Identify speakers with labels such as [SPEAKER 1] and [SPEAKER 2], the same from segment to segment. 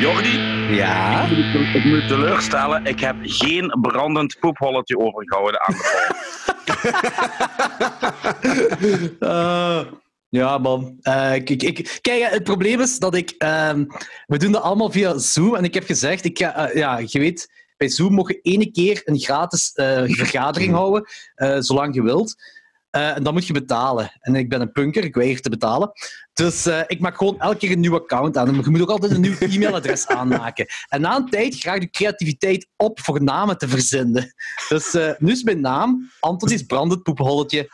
[SPEAKER 1] Jordi,
[SPEAKER 2] Ja.
[SPEAKER 1] ik moet- ik moet teleurstellen, ik heb geen brandend poepholletje overgehouden aan de pool.
[SPEAKER 2] Eh, ja, man. Eh, ik, ik, ik- kijk, het probleem is dat ik. ehm, we doen dat allemaal via Zoom. En ik heb gezegd: ik ga, eh, ja, je weet, bij Zoom mocht je één keer een gratis eh, vergadering houden, eh, zolang je wilt. Eh, en dan moet je betalen. En ik ben een punker, ik weiger te betalen. Dus eh, ik maak gewoon elke keer een nieuw account aan. En je moet ook altijd een nieuw e-mailadres aanmaken. En na een tijd graag de creativiteit op voor namen te verzinnen. Dus eh, nu is mijn naam Anthony's Brandend Poepholletje.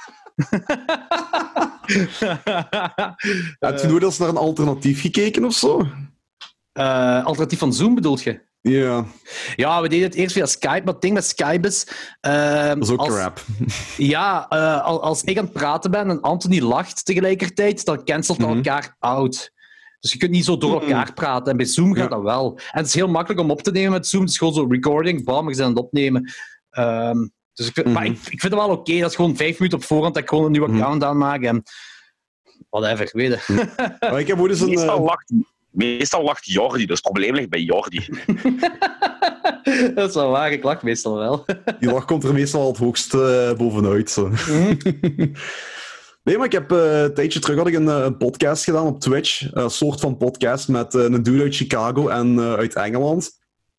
[SPEAKER 3] Had je nooit eens naar een alternatief gekeken of zo?
[SPEAKER 2] Eh, alternatief van Zoom bedoelt je?
[SPEAKER 3] Ja, maar
[SPEAKER 2] Ja, we deden het eerst via Skype, maar het ding met Skype is... ehm,
[SPEAKER 3] dat is ook
[SPEAKER 2] als-
[SPEAKER 3] crap.
[SPEAKER 2] Ja, eh, al- als ik aan het praten ben en Anthony lacht tegelijkertijd, dan cancelt dat
[SPEAKER 3] Mhm.
[SPEAKER 2] elkaar out. Dus je kunt niet zo door
[SPEAKER 3] Mhm.
[SPEAKER 2] elkaar praten. En bij Zoom gaat
[SPEAKER 3] Ja.
[SPEAKER 2] dat wel. En het is heel makkelijk om op te nemen met Zoom. Het is gewoon zo recording, bam, we zijn aan het opnemen. Ehm, dus ik vind, maar
[SPEAKER 3] Mhm.
[SPEAKER 2] ik, ik vind het wel oké. Dat is gewoon vijf minuten op voorhand dat ik gewoon een nieuwe
[SPEAKER 3] Mhm.
[SPEAKER 2] account aanmaak. En whatever, weet je.
[SPEAKER 3] Maar ik heb ooit eens een...
[SPEAKER 1] Meestal
[SPEAKER 3] eh,
[SPEAKER 1] lacht, meestal lacht Jordi, dus het probleem ligt bij Jordi.
[SPEAKER 2] dat is wel waar. Ik lach meestal wel.
[SPEAKER 3] Die lach komt er meestal al het hoogst eh, bovenuit. Zo. nee, maar ik heb eh, een tijdje terug had ik een, eh, een podcast gedaan op Twitch. Een soort van podcast met eh, een dude uit Chicago en eh, uit Engeland.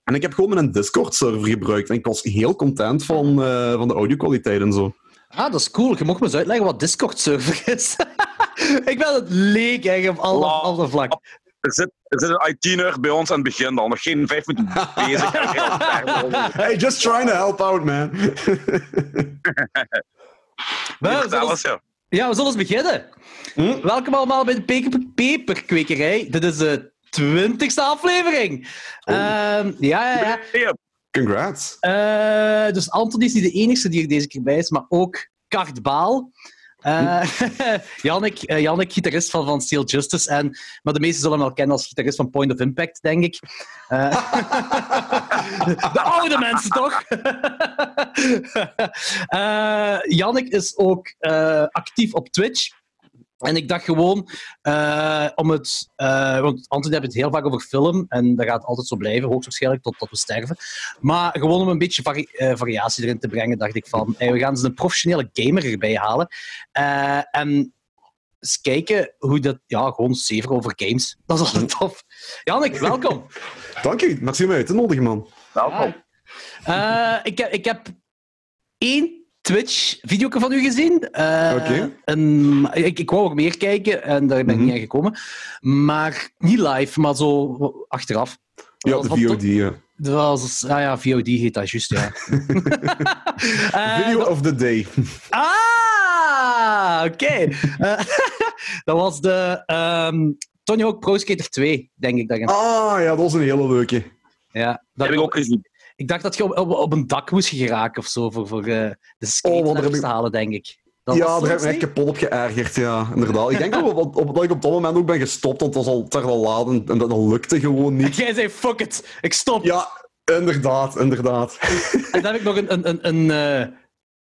[SPEAKER 3] En ik heb gewoon mijn Discord-server gebruikt. En ik was heel content van, eh, van de audio-kwaliteit en zo.
[SPEAKER 2] Ah, dat is cool. Je mocht me eens uitleggen wat Discord-server is. ik ben het leek eigenlijk op alle,
[SPEAKER 1] Wow.
[SPEAKER 2] alle vlakken.
[SPEAKER 1] Er zit, er zit een IT-nerd bij ons aan het begin al, nog geen vijf minuten bezig. Hij is al ver over.
[SPEAKER 3] Hey, just trying to help out, man.
[SPEAKER 2] Maar we zullen
[SPEAKER 1] Vertel eens,
[SPEAKER 2] eens-
[SPEAKER 1] ja.
[SPEAKER 2] Ja, we zullen eens beginnen.
[SPEAKER 3] Hm?
[SPEAKER 2] Welkom allemaal bij de Peper- Peperkwekerij. Dit is de twintigste aflevering.
[SPEAKER 3] Oh.
[SPEAKER 2] Ehm, ja, ja, ja.
[SPEAKER 1] Ja,
[SPEAKER 3] Congrats.
[SPEAKER 2] Eh, dus Anton is niet de enige die er deze keer bij is, maar ook Kart Baal. Eh, Jannik, eh, Jannik, gitarist van, van Steel Justice. En, maar de meesten zullen hem wel kennen als gitarist van Point of Impact, denk ik. Eh, de oude mensen, toch? Eh Jannik is ook eh, actief op Twitch. En ik dacht gewoon, eh, om het... eh, want Anton heeft het heel vaak over film. En dat gaat altijd zo blijven, hoogstwaarschijnlijk, totdat we sterven. Maar gewoon om een beetje vari- eh, variatie erin te brengen, dacht ik van, hey, we gaan eens een professionele gamer erbij halen. Eh, en eens kijken hoe dat... Ja, gewoon zeven over games. Dat is altijd tof. Jannik, welkom.
[SPEAKER 3] Dank je. Merci om uit te nodigen, man.
[SPEAKER 1] welkom.
[SPEAKER 2] Eh, ik, heb, ik heb één Twitch-video van u gezien. Eh,
[SPEAKER 3] Oké.
[SPEAKER 2] een- ik, ik wou er meer kijken en daar ben ik
[SPEAKER 3] Mhm.
[SPEAKER 2] niet aan gekomen. Maar niet live, maar zo oh, achteraf.
[SPEAKER 3] Ja,
[SPEAKER 2] Dat was
[SPEAKER 3] de
[SPEAKER 2] wat
[SPEAKER 3] VOD.
[SPEAKER 2] tof.
[SPEAKER 3] eh,
[SPEAKER 2] Dat was, ah ja, VOD heet dat, juist, ja. Eh,
[SPEAKER 3] Video of the day.
[SPEAKER 2] Ah, oké. Eh, dat was de ehm Tony Hawk Pro Skater 2, denk ik. Dat je-
[SPEAKER 3] Ah, ja, dat was een hele leuke.
[SPEAKER 2] ja, dat
[SPEAKER 1] Dat heb ik ook gezien.
[SPEAKER 2] ik dacht dat je op, op, op een dak moest geraken of zo voor, voor eh, de skate
[SPEAKER 3] Oh, want
[SPEAKER 2] naar
[SPEAKER 3] er heb
[SPEAKER 2] huis
[SPEAKER 3] ik-
[SPEAKER 2] te halen, denk ik. Dat was
[SPEAKER 3] ja,
[SPEAKER 2] zo,
[SPEAKER 3] daar heb ik me echt
[SPEAKER 2] niet?
[SPEAKER 3] kapot op geërgerd, ja, inderdaad. Ik denk ook op, op, dat ik op dat moment ook ben gestopt, want het was al te laat en, en dat lukte gewoon niet.
[SPEAKER 2] Jij zei, fuck it, ik stop.
[SPEAKER 3] Ja, inderdaad, inderdaad.
[SPEAKER 2] En dan heb ik nog een, een, een, een, eh,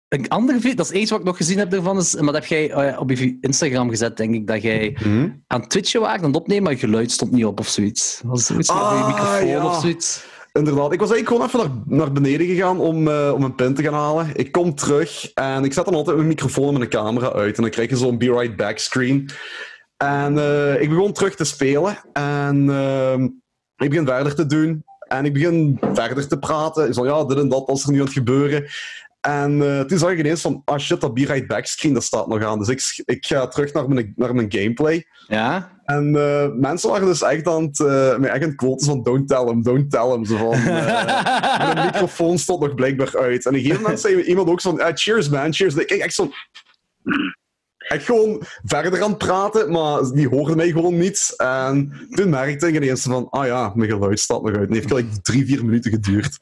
[SPEAKER 2] een ander video. Dat is eens wat ik nog gezien heb ervan. Is, maar dat heb jij eh, op je Instagram gezet, denk ik, dat jij
[SPEAKER 3] Hm?
[SPEAKER 2] aan Twitchen waart en het opnemen, maar je geluid stond niet op of zoiets. Dat was zoiets met je
[SPEAKER 3] Ah,
[SPEAKER 2] microfoon
[SPEAKER 3] ja.
[SPEAKER 2] of zoiets.
[SPEAKER 3] Inderdaad. Ik was eigenlijk gewoon even naar, naar beneden gegaan om, eh, om een pin te gaan halen. Ik kom terug en ik zet dan altijd mijn microfoon en mijn camera uit. En dan krijg je zo'n Be Right Back screen. En eh, ik begon terug te spelen. En ehm, ik begin verder te doen. En ik begin verder te praten. Ik zo, ja, dit en dat was er nu aan het gebeuren. En eh, toen zag ik ineens van, ah shit, dat Be Right Back screen, dat staat nog aan. Dus ik, ik ga terug naar mijn, naar mijn gameplay.
[SPEAKER 2] Ja?
[SPEAKER 3] En eh, mensen waren dus echt aan het, eh mij echt aan het quoten van don't tell him, don't tell him. Zo van, eh, mijn microfoon stond nog blijkbaar uit. En op een gegeven moment zei iemand ook zo van, "Ah, cheers man, cheers. En Ik kijk echt zo... Echt gewoon verder aan het praten, maar die hoorde mij gewoon niet. En toen merkte ik ineens van, ah ja, mijn geluid staat nog uit. En het heeft gelijk drie, vier minuten geduurd.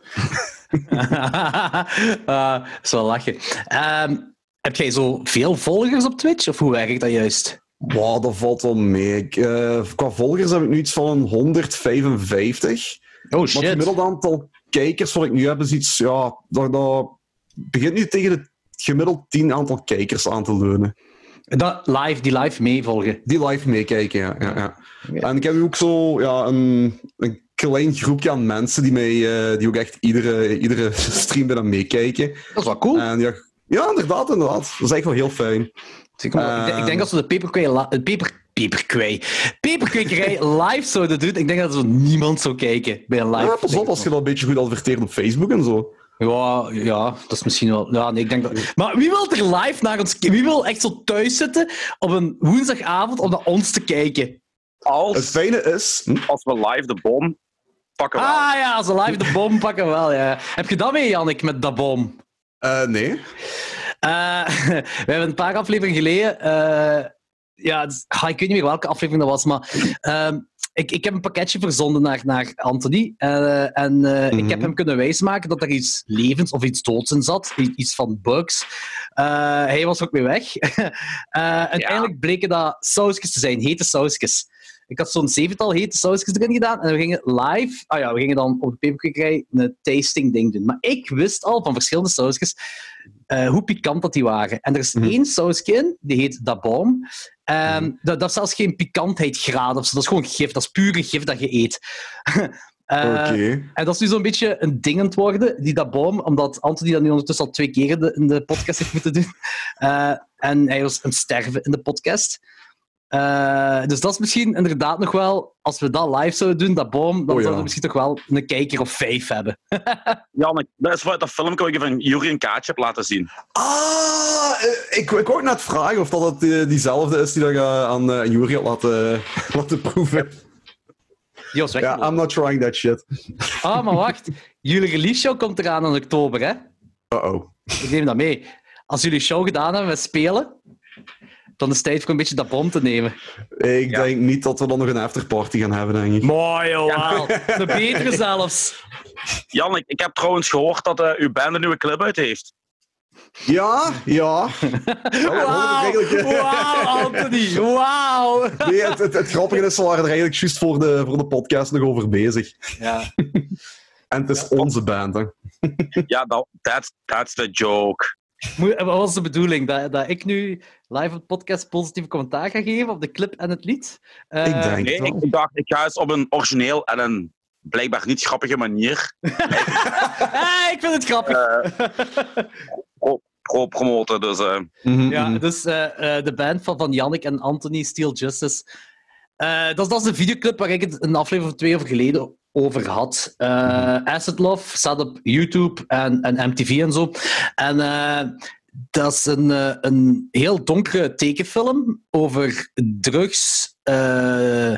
[SPEAKER 2] Ah, dat is wel lachen. Ehm, heb jij zo veel volgers op Twitch, of hoe werkt dat juist?
[SPEAKER 3] Wow, dat valt wel mee. Ik, eh, qua volgers heb ik nu iets van een 155.
[SPEAKER 2] Oh
[SPEAKER 3] Maar het gemiddelde aantal kijkers wat ik nu heb is iets, ja, dat, dat begint nu tegen het gemiddeld 10 aantal kijkers aan te leunen.
[SPEAKER 2] Dat live, die live meevolgen.
[SPEAKER 3] Die live meekijken, ja. ja, ja.
[SPEAKER 2] Ja.
[SPEAKER 3] En ik heb nu ook zo ja, een, een klein groepje aan mensen die, mij, eh, die ook echt iedere, iedere stream bijna meekijken.
[SPEAKER 2] Dat is wel cool.
[SPEAKER 3] En ja, ja, inderdaad, inderdaad. Dat is echt wel heel fijn.
[SPEAKER 2] Zeker, maar ik, denk- ik denk dat ze de peperkwee... la- eh, Peper, peperkwee. Peperkwekerij live zouden doen. Ik denk dat er niemand zou kijken bij een live.
[SPEAKER 3] Ja, Eh, pas op als je dat een beetje goed adverteert op Facebook en zo.
[SPEAKER 2] Ja, ja, dat is misschien wel. Ja, nee, ik denk dat... Maar wie wil er live naar ons Wie wil echt zo thuis zitten op een woensdagavond om naar ons te kijken?
[SPEAKER 3] Het
[SPEAKER 1] Als,
[SPEAKER 3] fijne is... Hm?
[SPEAKER 1] als we live de bom pakken. we aan.
[SPEAKER 2] Ah ja, als we live de bom pakken wel, ja. Heb je dat mee, Jannik, met dat bom?
[SPEAKER 3] Eh, nee.
[SPEAKER 2] Eh, we hebben een paar afleveringen geleden. eh, ja, het is- ah, ik weet niet meer welke aflevering dat was, maar. ehm, ik, ik heb een pakketje verzonden naar, naar Anthony. eh, en eh, ik heb
[SPEAKER 3] Mhm.
[SPEAKER 2] hem kunnen wijsmaken dat er iets levens of iets doods in zat. i- Iets van bugs. Eh, hij was er ook mee weg. Eh, Uiteindelijk bleken dat sausjes te zijn, hete sausjes. Ik had zo'n zevental hete sausjes erin gedaan. En we gingen live... Ah ja, we gingen dan op de peperkwekerij een tasting ding doen. Maar ik wist al van verschillende sausjes eh, hoe pikant dat die waren. En er is
[SPEAKER 3] Mhm.
[SPEAKER 2] één sausje in, die heet Da Bomb. Ehm, dat, dat is zelfs geen pikantheidsgraad of zo. Dat is gewoon gif. Dat is pure gif dat je eet. Eh,
[SPEAKER 3] Oké.
[SPEAKER 2] En dat is nu zo'n beetje een ding aan het worden, die dat boom, omdat Anthony dat nu ondertussen al twee keer de- in de podcast heeft moeten doen. Eh, en hij was een sterven in de podcast. Eh, dus dat is misschien inderdaad nog wel, als we dat live zouden doen, dat boom, dan
[SPEAKER 3] Oh ja.
[SPEAKER 2] zouden we misschien toch wel een kijker of vijf hebben.
[SPEAKER 1] Ja, maar dat is wat dat filmpje wat ik van Juri en Kaatje heb laten zien.
[SPEAKER 3] Ah, eh, ik, ik wou net vragen of dat het, eh, diezelfde is die dat je aan eh, aan Juri had laten, laten proeven.
[SPEAKER 2] Die was weg.
[SPEAKER 3] Ja, I'm not trying that shit.
[SPEAKER 2] Ah, maar wacht. Jullie release show komt eraan in oktober, hè?
[SPEAKER 3] Uh-oh.
[SPEAKER 2] Ik neem dat mee. Als jullie show gedaan hebben met spelen, dan is het tijd voor een beetje dat bom te nemen.
[SPEAKER 3] Ik
[SPEAKER 1] Ja.
[SPEAKER 3] denk niet dat we dan nog een afterparty gaan hebben, denk ik.
[SPEAKER 2] Mooi, oh, wauw. De betere zelfs.
[SPEAKER 1] Jan, ik, ik heb trouwens gehoord dat eh, uw band een nieuwe clip uit heeft.
[SPEAKER 3] Ja, ja. Oh,
[SPEAKER 2] Wauw,
[SPEAKER 3] hoor ik eigenlijk, eh.
[SPEAKER 2] Wauw, Anthony. Wauw.
[SPEAKER 3] Nee, het, het, het grappige is, we waren er eigenlijk juist voor de, voor de podcast nog over bezig.
[SPEAKER 2] Ja.
[SPEAKER 3] En het is onze band, hè.
[SPEAKER 1] Ja, dat that's, that's the joke.
[SPEAKER 2] Moet- en Wat was de bedoeling? Dat, dat ik nu live op de podcast positieve commentaar ga geven op de clip en het lied? Eh,
[SPEAKER 3] Ik denk
[SPEAKER 1] Nee,
[SPEAKER 3] het wel.
[SPEAKER 1] ik dacht, ik ga eens op een origineel en een blijkbaar niet grappige manier
[SPEAKER 2] eh, ik vind het grappig.
[SPEAKER 1] pro promoten. Dus eh,
[SPEAKER 3] Mhm,
[SPEAKER 2] Ja,
[SPEAKER 3] mhm.
[SPEAKER 2] dus eh, eh, de band van, van Yannick en Anthony, Steel Justice. Eh, dat, is- dat is de videoclip waar ik het een aflevering of twee over geleden over had. Eh, Acid Love staat op YouTube en, en MTV en zo. En eh, dat is een, eh, een heel donkere tekenfilm over drugs, eh,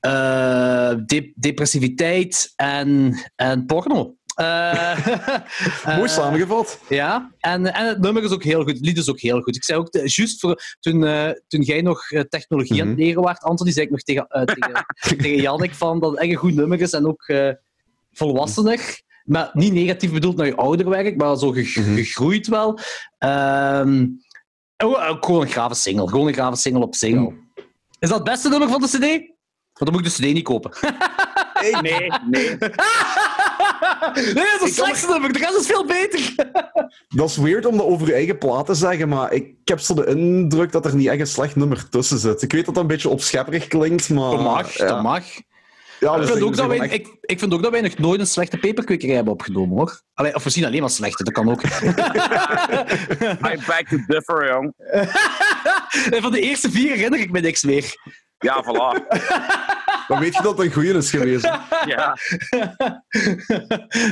[SPEAKER 2] eh, dep- depressiviteit en, en porno. Eh,
[SPEAKER 3] Mooi
[SPEAKER 2] eh,
[SPEAKER 3] samengevat.
[SPEAKER 2] ja, en, en het nummer is ook heel goed. Het lied is ook heel goed. Ik zei ook, eh, juist voor, toen, eh, toen jij nog eh, technologie aan het leren waart, Anthony, zei ik nog tegen, eh, tegen, tegen Jannik van dat het echt een goed nummer is en ook eh, volwassener. Maar niet negatief bedoeld naar je ouder werk, maar zo ge-
[SPEAKER 3] Mhm.
[SPEAKER 2] gegroeid wel. Ehm, en ook- ook gewoon een grave single. Gewoon een grave single op single. Is dat het beste nummer van de CD? Want dan moet ik de CD niet kopen.
[SPEAKER 1] nee, nee.
[SPEAKER 2] nee, dat is het slechtste nummer. De rest is veel beter.
[SPEAKER 3] Dat is weird om dat over je eigen plaat te zeggen, maar ik heb zo de indruk dat er niet echt een slecht nummer tussen zit. Ik weet dat dat een beetje opschepperig klinkt, maar...
[SPEAKER 2] Dat mag,
[SPEAKER 3] ja.
[SPEAKER 2] Ah, dat mag.
[SPEAKER 3] Ja,
[SPEAKER 2] Ik
[SPEAKER 3] dus
[SPEAKER 2] vind,
[SPEAKER 3] denk-
[SPEAKER 2] ook dat
[SPEAKER 3] we
[SPEAKER 2] wij,
[SPEAKER 3] zijn
[SPEAKER 2] ik, ik vind ook dat wij nog nooit een slechte peperkwekerij hebben opgenomen, hoor. Allee, of misschien alleen maar slechte, dat kan ook.
[SPEAKER 1] I beg to differ, jong.
[SPEAKER 2] Nee, van de eerste vier herinner ik me niks meer.
[SPEAKER 1] Ja, voilà.
[SPEAKER 3] echt- Dan weet je dat het een goeie is geweest.
[SPEAKER 1] Ja.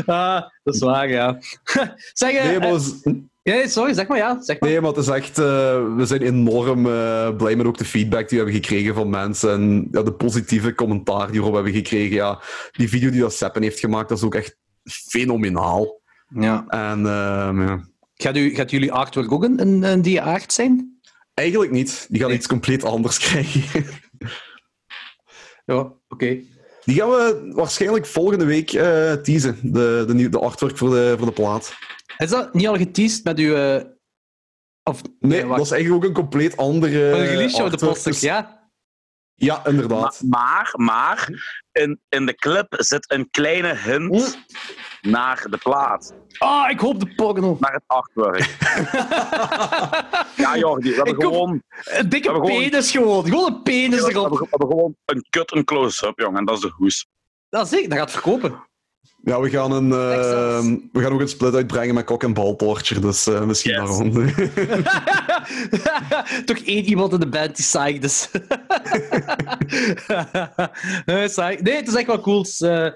[SPEAKER 2] ah, dat is waar, ja. zeg, eh,
[SPEAKER 3] Nee, maar,
[SPEAKER 2] eh,
[SPEAKER 3] we-
[SPEAKER 2] nee, sorry, zeg maar ja. Zeg maar.
[SPEAKER 3] nee, maar het is echt... eh, we zijn enorm eh, blij met ook de feedback die we hebben gekregen van mensen. En ja, de positieve commentaar die we erop hebben gekregen. Ja, die video die dat Seppen heeft gemaakt, dat is ook echt fenomenaal.
[SPEAKER 2] Ja.
[SPEAKER 3] En ehm, ja.
[SPEAKER 2] Gaat, u, gaat jullie artwork ook een, een, een die aard zijn?
[SPEAKER 3] eigenlijk niet. Die gaan
[SPEAKER 2] Nee.
[SPEAKER 3] iets compleet anders krijgen.
[SPEAKER 2] Ja, oké.
[SPEAKER 3] Die gaan we waarschijnlijk volgende week eh, teasen. De, de, nieuw- de artwork voor de, voor de plaat.
[SPEAKER 2] Is dat niet al geteased met uw... eh, of,
[SPEAKER 3] Nee,
[SPEAKER 2] wacht.
[SPEAKER 3] dat is eigenlijk ook een compleet andere.
[SPEAKER 2] Van de release show, de
[SPEAKER 3] artwork.
[SPEAKER 2] poster,
[SPEAKER 3] Dus-
[SPEAKER 2] ja.
[SPEAKER 3] Ja,
[SPEAKER 1] Maar,
[SPEAKER 3] inderdaad.
[SPEAKER 1] maar, maar in, in de clip zit een kleine hint naar de plaat,
[SPEAKER 2] Ah, ik hoop de porno.
[SPEAKER 1] naar het artwork. ja, Jordi, we hebben
[SPEAKER 2] Ik hoop-
[SPEAKER 1] gewoon...
[SPEAKER 2] Een dikke
[SPEAKER 1] Ja, maar gewoon-
[SPEAKER 2] penis gewoon. Gewoon een penis
[SPEAKER 1] We
[SPEAKER 2] erop.
[SPEAKER 1] hebben, we hebben gewoon een kut, een close-up, jongen. En dat is de hoes.
[SPEAKER 2] Dat is ik, dat gaat verkopen.
[SPEAKER 3] Ja, we gaan, een, eh,
[SPEAKER 2] Texas.
[SPEAKER 3] we gaan ook een split uitbrengen met Kok en Bal Torture, dus eh, misschien
[SPEAKER 1] Yes.
[SPEAKER 3] daarom.
[SPEAKER 2] Toch één iemand in de band die psyched is. nee, psych. nee, het is echt wel cool. Het is, eh,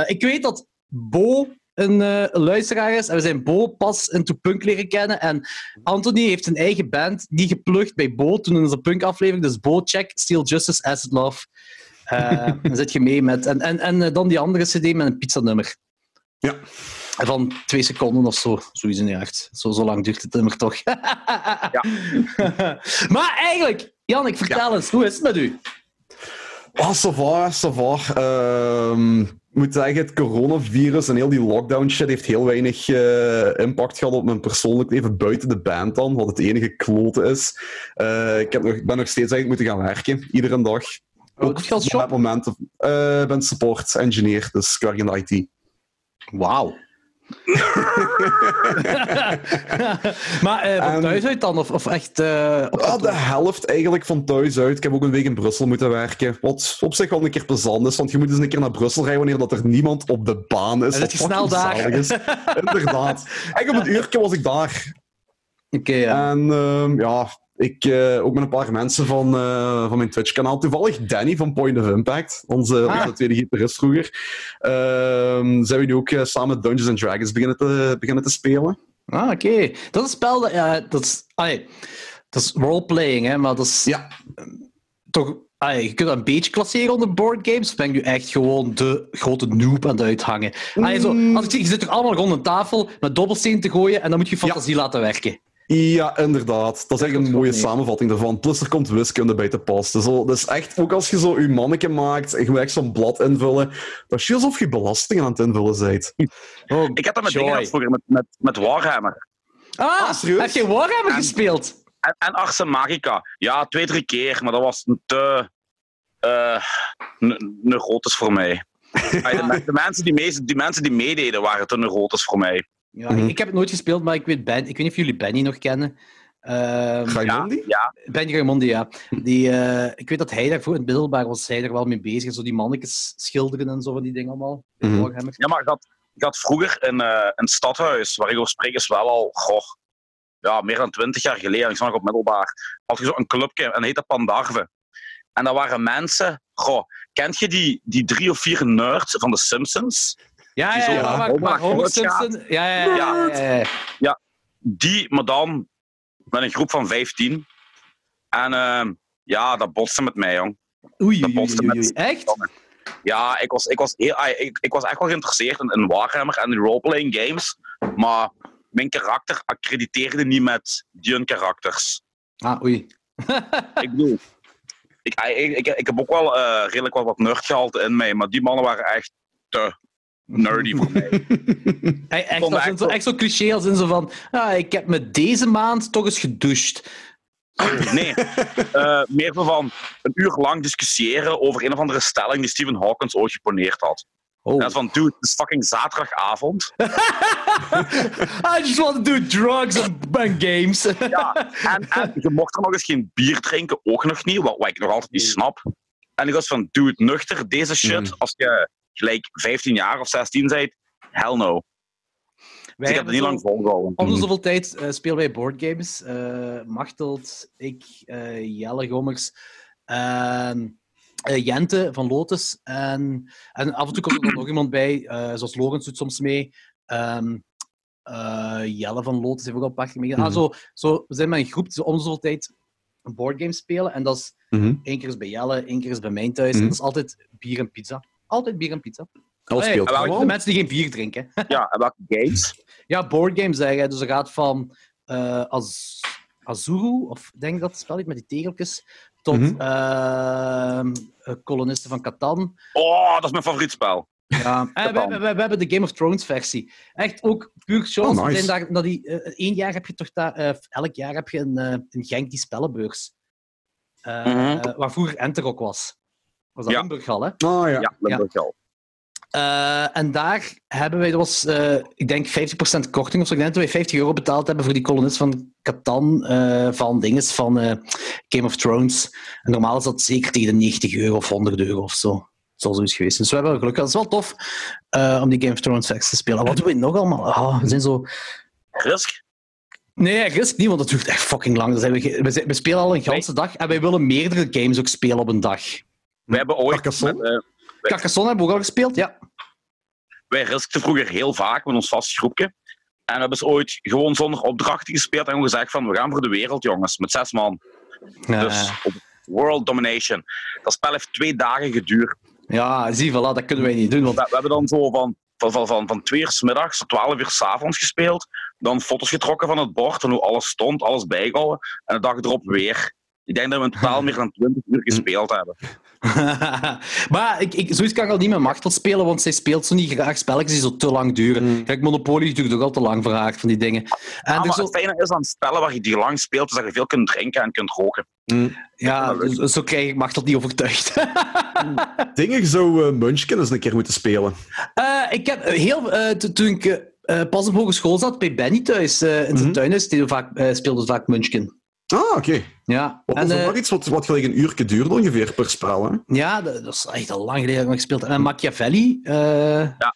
[SPEAKER 2] eh, ik weet dat Bo een eh, een luisteraar is. En we zijn Bo pas in To Punk leren kennen. En Anthony heeft een eigen band die geplukt bij Bo toen in onze punk-aflevering. Dus Bo, check Steel Justice, Acid Love. Eh, dan zit je mee met. En, en, en eh, dan die andere CD met een pizza-nummer.
[SPEAKER 3] Ja.
[SPEAKER 2] Van twee seconden of zo. Zoiets in de acht. Zo, zo lang duurt het nummer toch. ja. maar eigenlijk, Jannik, vertel eens, hoe is het met u?
[SPEAKER 3] Ah, ça va, ça va. Ehm, ik moet zeggen, het coronavirus en heel die lockdown shit heeft heel weinig eh, impact gehad op mijn persoonlijk leven buiten de band dan, wat het enige klote is. Eh, ik heb nog, ben nog steeds eigenlijk moeten gaan werken, iedere dag.
[SPEAKER 2] Oh, doe je als job?
[SPEAKER 3] op het moment. eh, Ik ben support engineer, dus ik werk in de IT.
[SPEAKER 2] Wauw. maar eh van
[SPEAKER 3] Ehm,
[SPEAKER 2] thuis uit dan? Of, of echt... eh, op
[SPEAKER 3] Ah,
[SPEAKER 2] kantoor?
[SPEAKER 3] de helft eigenlijk van thuis uit. Ik heb ook een week in Brussel moeten werken. Wat op zich wel een keer plezant is, want je moet eens een keer naar Brussel rijden wanneer dat er niemand op de baan is.
[SPEAKER 2] Dan
[SPEAKER 3] Wat
[SPEAKER 2] zit je snel
[SPEAKER 3] fucking
[SPEAKER 2] daar.
[SPEAKER 3] zalig is. Inderdaad. Eigenlijk op een uurtje was ik daar.
[SPEAKER 2] Oké, ja.
[SPEAKER 3] En ehm, ja, ik eh, ook met een paar mensen van, eh, van mijn Twitch-kanaal. Toevallig Danny van Point of Impact, onze,
[SPEAKER 2] Ah.
[SPEAKER 3] onze tweede gitarist vroeger. Ehm, zijn we nu ook eh, samen Dungeons and Dragons beginnen te, beginnen te spelen.
[SPEAKER 2] Ah, oké. Dat is een spel dat... ja, dat is... Allee, dat is roleplaying, hè, maar dat is
[SPEAKER 3] Ja,
[SPEAKER 2] toch... Allee, je kunt dat een beetje klasseren onder boardgames. Of ben ik nu echt gewoon de grote noob aan het uithangen? Allee, zo,
[SPEAKER 3] Mm.
[SPEAKER 2] als ik zeg, je zit toch allemaal rond een tafel met dobbelsteen te gooien en dan moet je fantasie laten werken.
[SPEAKER 3] Ja, inderdaad. Dat is echt
[SPEAKER 2] klopt
[SPEAKER 3] een mooie
[SPEAKER 2] wel, nee.
[SPEAKER 3] samenvatting daarvan. Plus er komt wiskunde bij te pas. Dus, al- dus echt, ook als je zo je manneke maakt en je moet echt zo'n blad invullen, dat is alsof je belastingen aan het invullen bent.
[SPEAKER 2] Oh,
[SPEAKER 1] Ik had dat met
[SPEAKER 2] joy.
[SPEAKER 1] dingen gehad vroeger, met, met, met Warhammer.
[SPEAKER 2] Ah,
[SPEAKER 3] Ah, serieus?
[SPEAKER 2] heb je Warhammer
[SPEAKER 1] En-
[SPEAKER 2] gespeeld?
[SPEAKER 1] En, en Ars Magica. Ja, twee, drie keer, maar dat was te... eh ne- neurotisch voor mij. Ah, de, men- de mensen die mee, die mensen die meededen waren te neurotisch voor mij.
[SPEAKER 2] Ja,
[SPEAKER 3] Mhm.
[SPEAKER 2] ik, ik heb het nooit gespeeld, maar ik weet, ben, ik weet niet of jullie Benny nog kennen. Ehm,
[SPEAKER 3] Ga je
[SPEAKER 1] Ja,
[SPEAKER 3] doen die?
[SPEAKER 1] ja.
[SPEAKER 2] Benny Raimondi, ja. Die, eh, ik weet dat hij daarvoor in het middelbaar was, hij er wel mee bezig. Zo die mannetjes schilderen en zo van die dingen allemaal. Met
[SPEAKER 3] Mhm.
[SPEAKER 2] Warhammer.
[SPEAKER 1] Ja, maar ik had, ik had vroeger in eh, een stadhuis, waar ik over spreek, is wel al, goh, ja, meer dan twintig jaar geleden, ik zat nog op middelbaar, had je zo'n clubje en dat heette Pandarve. En dat waren mensen, goh, kent je die, die drie of vier nerds van de Simpsons?
[SPEAKER 2] Ja,
[SPEAKER 1] Die
[SPEAKER 2] ja,
[SPEAKER 1] zo-
[SPEAKER 2] ja.
[SPEAKER 3] ja,
[SPEAKER 2] Waar,
[SPEAKER 1] Homer
[SPEAKER 2] waar Homer
[SPEAKER 1] grootgaat.
[SPEAKER 2] Simpson... Ja, ja, ja. ja, ja, ja.
[SPEAKER 1] Die, maar dan met een groep van vijftien. En ehm, ja, dat botste met mij, jong.
[SPEAKER 2] Oei,
[SPEAKER 1] Dat
[SPEAKER 2] oei, oei,
[SPEAKER 1] botste
[SPEAKER 2] oei,
[SPEAKER 1] met-
[SPEAKER 2] oei. Echt?
[SPEAKER 1] Ja, ik was, ik was, heel, ah, ik, ik was echt wel geïnteresseerd in, in Warhammer en in roleplaying games. Maar mijn karakter accrediteerde niet met die hun karakters.
[SPEAKER 2] Ah, oei.
[SPEAKER 1] Ik bedoel, ik, ah, ik, ik, ik heb ook wel eh, redelijk wel wat nerdgehalte in mij. Maar die mannen waren echt te nerdy voor mij.
[SPEAKER 2] Hey, echt,
[SPEAKER 1] Vond
[SPEAKER 2] als
[SPEAKER 1] ik
[SPEAKER 2] in zo,
[SPEAKER 1] wel-
[SPEAKER 2] echt zo cliché als in zo van... Ah, ik heb me deze maand toch eens gedoucht.
[SPEAKER 1] Nee, eh, meer zo van een uur lang discussiëren over een of andere stelling die Stephen Hawkins ooit geponeerd had.
[SPEAKER 2] Oh.
[SPEAKER 1] En van, dude, het is fucking zaterdagavond.
[SPEAKER 2] I just want to do drugs and, and games.
[SPEAKER 1] Ja, en, en je mocht er nog eens geen bier drinken, ook nog niet, wat, wat ik nog altijd niet snap. En ik was van, doe het nuchter, deze shit.
[SPEAKER 3] Mhm.
[SPEAKER 1] Als je gelijk 15 jaar of 16 bent, hell no. Dus
[SPEAKER 2] Wij
[SPEAKER 1] ik heb
[SPEAKER 2] hebben
[SPEAKER 1] het niet
[SPEAKER 2] zo-
[SPEAKER 1] lang volgehouden.
[SPEAKER 2] Om de zoveel tijd eh, spelen wij boardgames. Eh Machtelt, ik, eh, Jelle Gommers, en, eh, Jente van Lotus. En, en af en toe komt er dan nog iemand bij, eh, zoals Logans doet soms mee. Ehm, eh, Jelle van Lotus heeft ook al een paar keer meegedaan.
[SPEAKER 3] Mhm.
[SPEAKER 2] Ah, zo, zo, we zijn met een groep die zo om de zoveel tijd een boardgame spelen. En dat is
[SPEAKER 3] Mhm.
[SPEAKER 2] één keer is bij Jelle, één keer is bij mijn thuis.
[SPEAKER 3] Mhm.
[SPEAKER 2] En dat is altijd bier en pizza. Altijd bier en pizza.
[SPEAKER 3] Al
[SPEAKER 2] Hey,
[SPEAKER 3] speelt
[SPEAKER 1] en
[SPEAKER 2] de
[SPEAKER 3] gewoon.
[SPEAKER 2] mensen die geen bier drinken.
[SPEAKER 1] Ja, en welke games?
[SPEAKER 2] Ja, boardgames zeg je. Dus dat gaat van eh, Az- Azuru, of ik denk dat het spel heet met die tegeltjes, tot
[SPEAKER 3] Mhm.
[SPEAKER 2] ehm, eh, kolonisten van Catan.
[SPEAKER 1] Oh, dat is mijn favoriet spel.
[SPEAKER 2] Ja. En Ah, we, we- we- we hebben de Game of Thrones versie. Echt ook puur chance.
[SPEAKER 3] Oh,
[SPEAKER 2] We
[SPEAKER 3] nice.
[SPEAKER 2] zijn daar, dat die, eh, één jaar heb je toch daar, eh, elk jaar heb je een, eh een Genk die spellenbeurs. Eh,
[SPEAKER 1] Mhm.
[SPEAKER 2] eh, waar vroeger Enterok was. Was dat
[SPEAKER 1] Ja.
[SPEAKER 2] Limburghal, hè?
[SPEAKER 3] Ah ja.
[SPEAKER 1] Ja, Limburg wel.
[SPEAKER 2] Eh, en daar hebben wij, dat was eh, ik denk 50% korting of zo. Ik denk dat wij 50 euro betaald hebben voor die kolonist van Catan eh, van dinges van eh, Game of Thrones. En normaal is dat zeker tegen de 90 euro of 100 euro of zo. zal zoiets geweest. Dus we hebben wel geluk gehad. Het is wel tof eh, om die Game of Thrones facts te spelen. Wat doen we nog allemaal? Ah, we zijn zo...
[SPEAKER 1] Risk?
[SPEAKER 2] Nee, risk niet, want dat duurt echt fucking lang. Dat zijn we, ge- we, zijn- we spelen al een ganse dag en wij willen meerdere games ook spelen op een dag.
[SPEAKER 1] We hebben ooit...
[SPEAKER 3] Carcassonne?
[SPEAKER 1] met, eh,
[SPEAKER 2] Carcassonne hebben we ook al gespeeld, ja.
[SPEAKER 1] wij riskten vroeger heel vaak met ons vaste groepje. En we hebben ze ooit gewoon zonder opdrachten gespeeld en gewoon gezegd van, we gaan voor de wereld, jongens, met zes man. Dus
[SPEAKER 2] Eh,
[SPEAKER 1] op world domination. Dat spel heeft twee dagen geduurd.
[SPEAKER 2] ja, zie, voilà, dat kunnen wij niet doen.
[SPEAKER 1] We,
[SPEAKER 2] Want,
[SPEAKER 1] we hebben dan zo van, van, van, van, van twee uur 's middags tot twaalf uur 's avonds gespeeld. Dan foto's getrokken van het bord, van hoe alles stond, alles bijgehouden. En de dag erop weer. Ik denk dat we in totaal meer dan 20 uur gespeeld hebben.
[SPEAKER 2] maar ik, ik, zoiets kan ik al niet met Machtel spelen, want zij speelt zo niet graag spelletjes die zo te lang duren. Kijk, Monopoly duurt ook al te lang voor haar, van die dingen. En
[SPEAKER 1] Hmm. Ah,
[SPEAKER 2] er
[SPEAKER 1] maar
[SPEAKER 2] dus zo-
[SPEAKER 1] het fijne is aan spellen waar je die lang speelt, is dat je veel kunt drinken en kunt roken.
[SPEAKER 2] ja, dus- zo krijg ik Machtel niet overtuigd.
[SPEAKER 3] Dingen zou eh, Munchkin eens een keer moeten spelen.
[SPEAKER 2] Eh, ik heb heel, eh, to- toen ik eh, eh, pas op hogeschool zat, bij Benny thuis eh, in zijn
[SPEAKER 1] Hmm.
[SPEAKER 3] Mhm.
[SPEAKER 2] tuin, is, die vaak, eh, speelde vaak Munchkin.
[SPEAKER 3] Ah, oké.
[SPEAKER 2] Ja,
[SPEAKER 1] Oh,
[SPEAKER 3] Wat
[SPEAKER 2] en,
[SPEAKER 3] was er
[SPEAKER 2] eh,
[SPEAKER 3] nog iets wat, wat gelijk een uurtje duurde ongeveer per spel, hè?
[SPEAKER 2] ja dat, dat is echt al lang geleden dat ik nog gespeeld heb. En Machiavelli, eh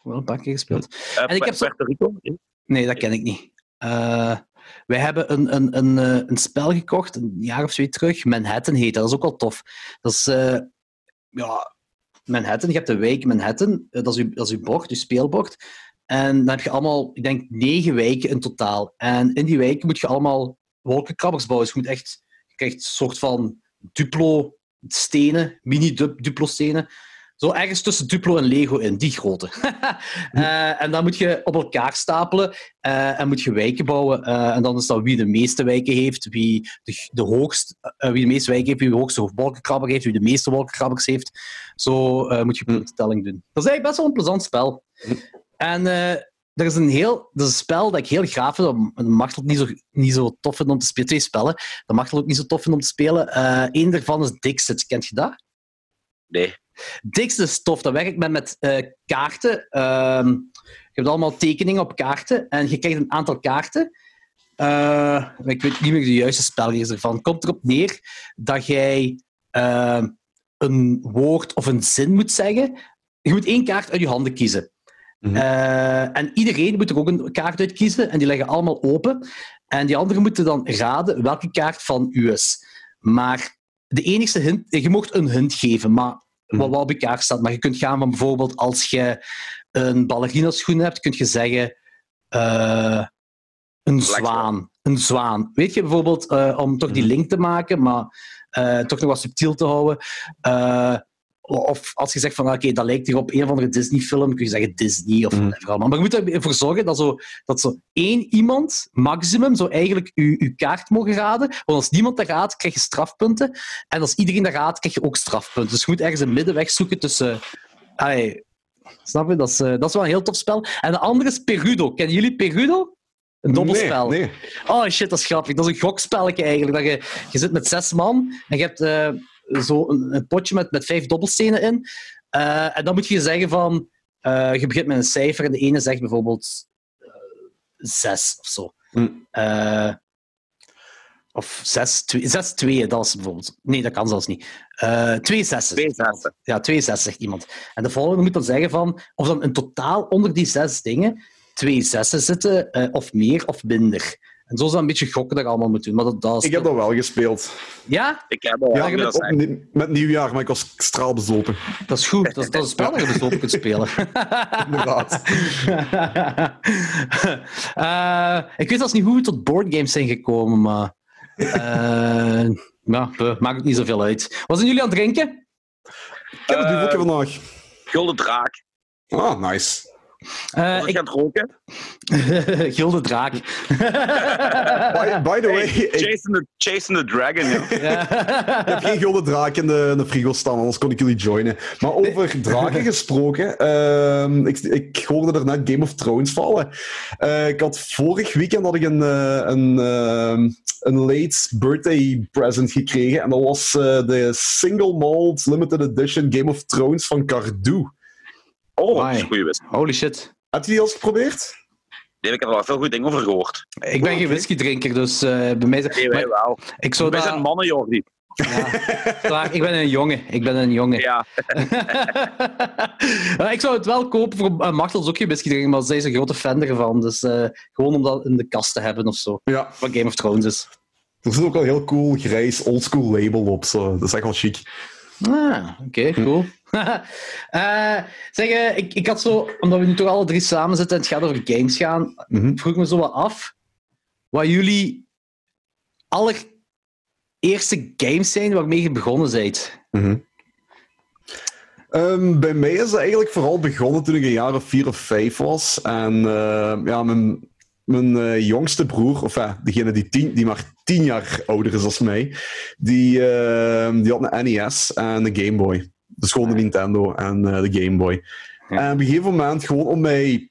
[SPEAKER 2] wel een paar keer gespeeld.
[SPEAKER 1] Eh,
[SPEAKER 2] En ik heb zo-
[SPEAKER 1] Puerto Rico?
[SPEAKER 2] Nee, dat ken ik niet. Eh, wij hebben een, een, een, eh, een spel gekocht, een jaar of twee terug. Manhattan heet dat. Dat is ook wel tof. Dat is... eh, ja, Manhattan. Je hebt de wijk Manhattan. Eh, dat, is uw, dat is uw bord, uw speelbord. En dan heb je allemaal, ik denk, negen wijken in totaal. En in die wijken moet je allemaal wolkenkrabbers bouwen. Dus je moet echt... Je krijgt een soort van Duplo-stenen, mini-Duplo-stenen. Zo ergens tussen Duplo en Lego in, die grote. Eh, en dan moet je op elkaar stapelen eh, en moet je wijken bouwen. Eh, en dan is dat wie de meeste wijken heeft, wie de, de, hoogst, eh, wie de meeste wijken heeft, wie de hoogste wolkenkrabber heeft, wie de meeste wolkenkrabbers heeft. Zo eh, moet je puntentelling doen. Dat is eigenlijk best wel een plezant spel. En eh, er is een heel dat is een spel dat ik heel gaaf vind, dat Machtel niet zo, niet zo tof vindt om te spelen. Twee spellen, dat Machtel ook niet zo tof vindt om te spelen. Eén daarvan is Dixit, kent je dat?
[SPEAKER 1] Nee.
[SPEAKER 2] dikste stof. Dat werk ik met, met eh, kaarten. Ehm, je hebt allemaal tekeningen op kaarten. En je krijgt een aantal kaarten. Eh, ik weet niet meer de juiste spelregels ervan. Komt erop neer dat jij ehm, een woord of een zin moet zeggen. Je moet één kaart uit je handen kiezen.
[SPEAKER 3] Mhm.
[SPEAKER 2] Eh, en iedereen moet er ook een kaart uit kiezen. En die leggen allemaal open. En die anderen moeten dan raden welke kaart van u is. Maar de enigste hint... Je mocht een hint geven, maar wat wel op elkaar staat. Maar je kunt gaan van bijvoorbeeld als je een ballerina schoen hebt, kun je zeggen eh, een
[SPEAKER 1] Black
[SPEAKER 2] zwaan. Een zwaan. Weet je bijvoorbeeld, eh, om toch die link te maken, maar eh, toch nog wat subtiel te houden. eh, of als je zegt van oké, dat lijkt hier op een of andere Disney-film, kun je zeggen Disney of
[SPEAKER 3] Mhm.
[SPEAKER 2] whatever allemaal. Maar je moet ervoor zorgen dat zo, dat zo één iemand, maximum, zo eigenlijk uw, uw kaart mogen raden. Want als niemand dat raadt, krijg je strafpunten. En als iedereen dat raadt, krijg je ook strafpunten. Dus je moet ergens een middenweg zoeken tussen. Ai, snap je? Dat is, eh, dat is wel een heel tof spel. En de andere is Perudo. Kennen jullie Perudo? Een dobbelspel.
[SPEAKER 3] Nee, nee.
[SPEAKER 2] Oh shit, dat is grappig. Dat is een gokspelletje eigenlijk. Dat je, je zit met zes man en je hebt eh, zo een, een potje met, met vijf dobbelstenen in. Eh, en dan moet je zeggen van... eh, je begint met een cijfer en de ene zegt bijvoorbeeld eh, zes of zo.
[SPEAKER 3] Hm.
[SPEAKER 2] Eh, of zes, twee, zes tweeën, dat is bijvoorbeeld... Nee, dat kan zelfs niet. Eh, twee zessen.
[SPEAKER 1] Twee zessen.
[SPEAKER 2] Ja, twee zes, zegt iemand. En de volgende moet dan zeggen van... Of dan in totaal onder die zes dingen twee zessen zitten, eh, of meer of minder. En zo is dat een beetje gokken dat je allemaal moet doen. Maar dat, dat is
[SPEAKER 3] Ik heb dat wel gespeeld.
[SPEAKER 2] Ja,
[SPEAKER 1] Ik heb al
[SPEAKER 3] Ja,
[SPEAKER 1] dat
[SPEAKER 3] met,
[SPEAKER 1] zijn.
[SPEAKER 3] op nie- met nieuwjaar, maar ik was straalbezopen.
[SPEAKER 2] dat is goed. Dat is, dat is een spel dat je dus open kunt spelen.
[SPEAKER 3] Inderdaad.
[SPEAKER 2] Eh, ik weet zelfs niet hoe we tot boardgames zijn gekomen, maar... eh, ja, eh, maakt het niet zoveel uit. Wat zijn jullie aan het drinken?
[SPEAKER 3] ik heb het
[SPEAKER 1] Eh,
[SPEAKER 3] duveltje vandaag.
[SPEAKER 1] Gulden draak.
[SPEAKER 3] Ah, nice.
[SPEAKER 2] Eh,
[SPEAKER 1] Was ik
[SPEAKER 2] ik...
[SPEAKER 1] aan het roken?
[SPEAKER 2] Gilde Draak.
[SPEAKER 3] By, by the
[SPEAKER 1] eh,
[SPEAKER 3] way, ik
[SPEAKER 1] Chasing the, chasing the Dragon, ja.
[SPEAKER 2] Ja.
[SPEAKER 3] heb geen gulden draak in de, in de frigo staan, anders kon ik jullie joinen. Maar over draken gesproken, ehm, ik, ik hoorde er net Game of Thrones vallen. Eh, ik had vorig weekend had ik een, eh, een, ehm, een late birthday present gekregen. En dat was eh, de Single Malt Limited Edition Game of Thrones van Cardo.
[SPEAKER 1] Oh, dat is
[SPEAKER 2] Amai.
[SPEAKER 1] een goede whisky.
[SPEAKER 2] Holy shit.
[SPEAKER 3] Heb je die al eens geprobeerd?
[SPEAKER 1] Nee, ik heb er wel veel goede dingen over gehoord.
[SPEAKER 2] Ik ben geen
[SPEAKER 3] oké.
[SPEAKER 2] whiskydrinker, dus eh, bij mij...
[SPEAKER 1] Nee, wij
[SPEAKER 2] maar
[SPEAKER 1] wel.
[SPEAKER 2] ik zou
[SPEAKER 1] wij
[SPEAKER 2] dat...
[SPEAKER 1] zijn mannen, Jordi.
[SPEAKER 2] Ja. Klaar, ik ben een jongen. Ik ben een jongen.
[SPEAKER 1] Ja,
[SPEAKER 2] Maar ik zou het wel kopen voor uh, Martel is ook geen whisky maar zij is een grote fan ervan. Dus eh, gewoon om dat in de kast te hebben of zo.
[SPEAKER 3] Ja,
[SPEAKER 2] Wat Game of Thrones is.
[SPEAKER 3] er zit ook wel een heel cool grijs oldschool label op. Zo. Dat is echt wel chic.
[SPEAKER 2] Ah, oké, cool. Eh, zeg, eh, ik, ik had zo, omdat we nu toch alle drie samen zitten en het gaat over games gaan,
[SPEAKER 3] Mhm.
[SPEAKER 2] vroeg me zo wat af wat jullie allereerste games zijn waarmee je begonnen bent.
[SPEAKER 3] Mhm. Ehm, bij mij is het eigenlijk vooral begonnen toen ik een jaar of vier of vijf was. En eh, ja, mijn, mijn eh, jongste broer, of eh, degene die, tien, die maar tien jaar ouder is dan mij, die, ehm, die had een NES en een Game Boy. Dus gewoon de Nintendo en eh, de Game Boy.
[SPEAKER 2] Ja.
[SPEAKER 3] En op een gegeven moment, gewoon om mij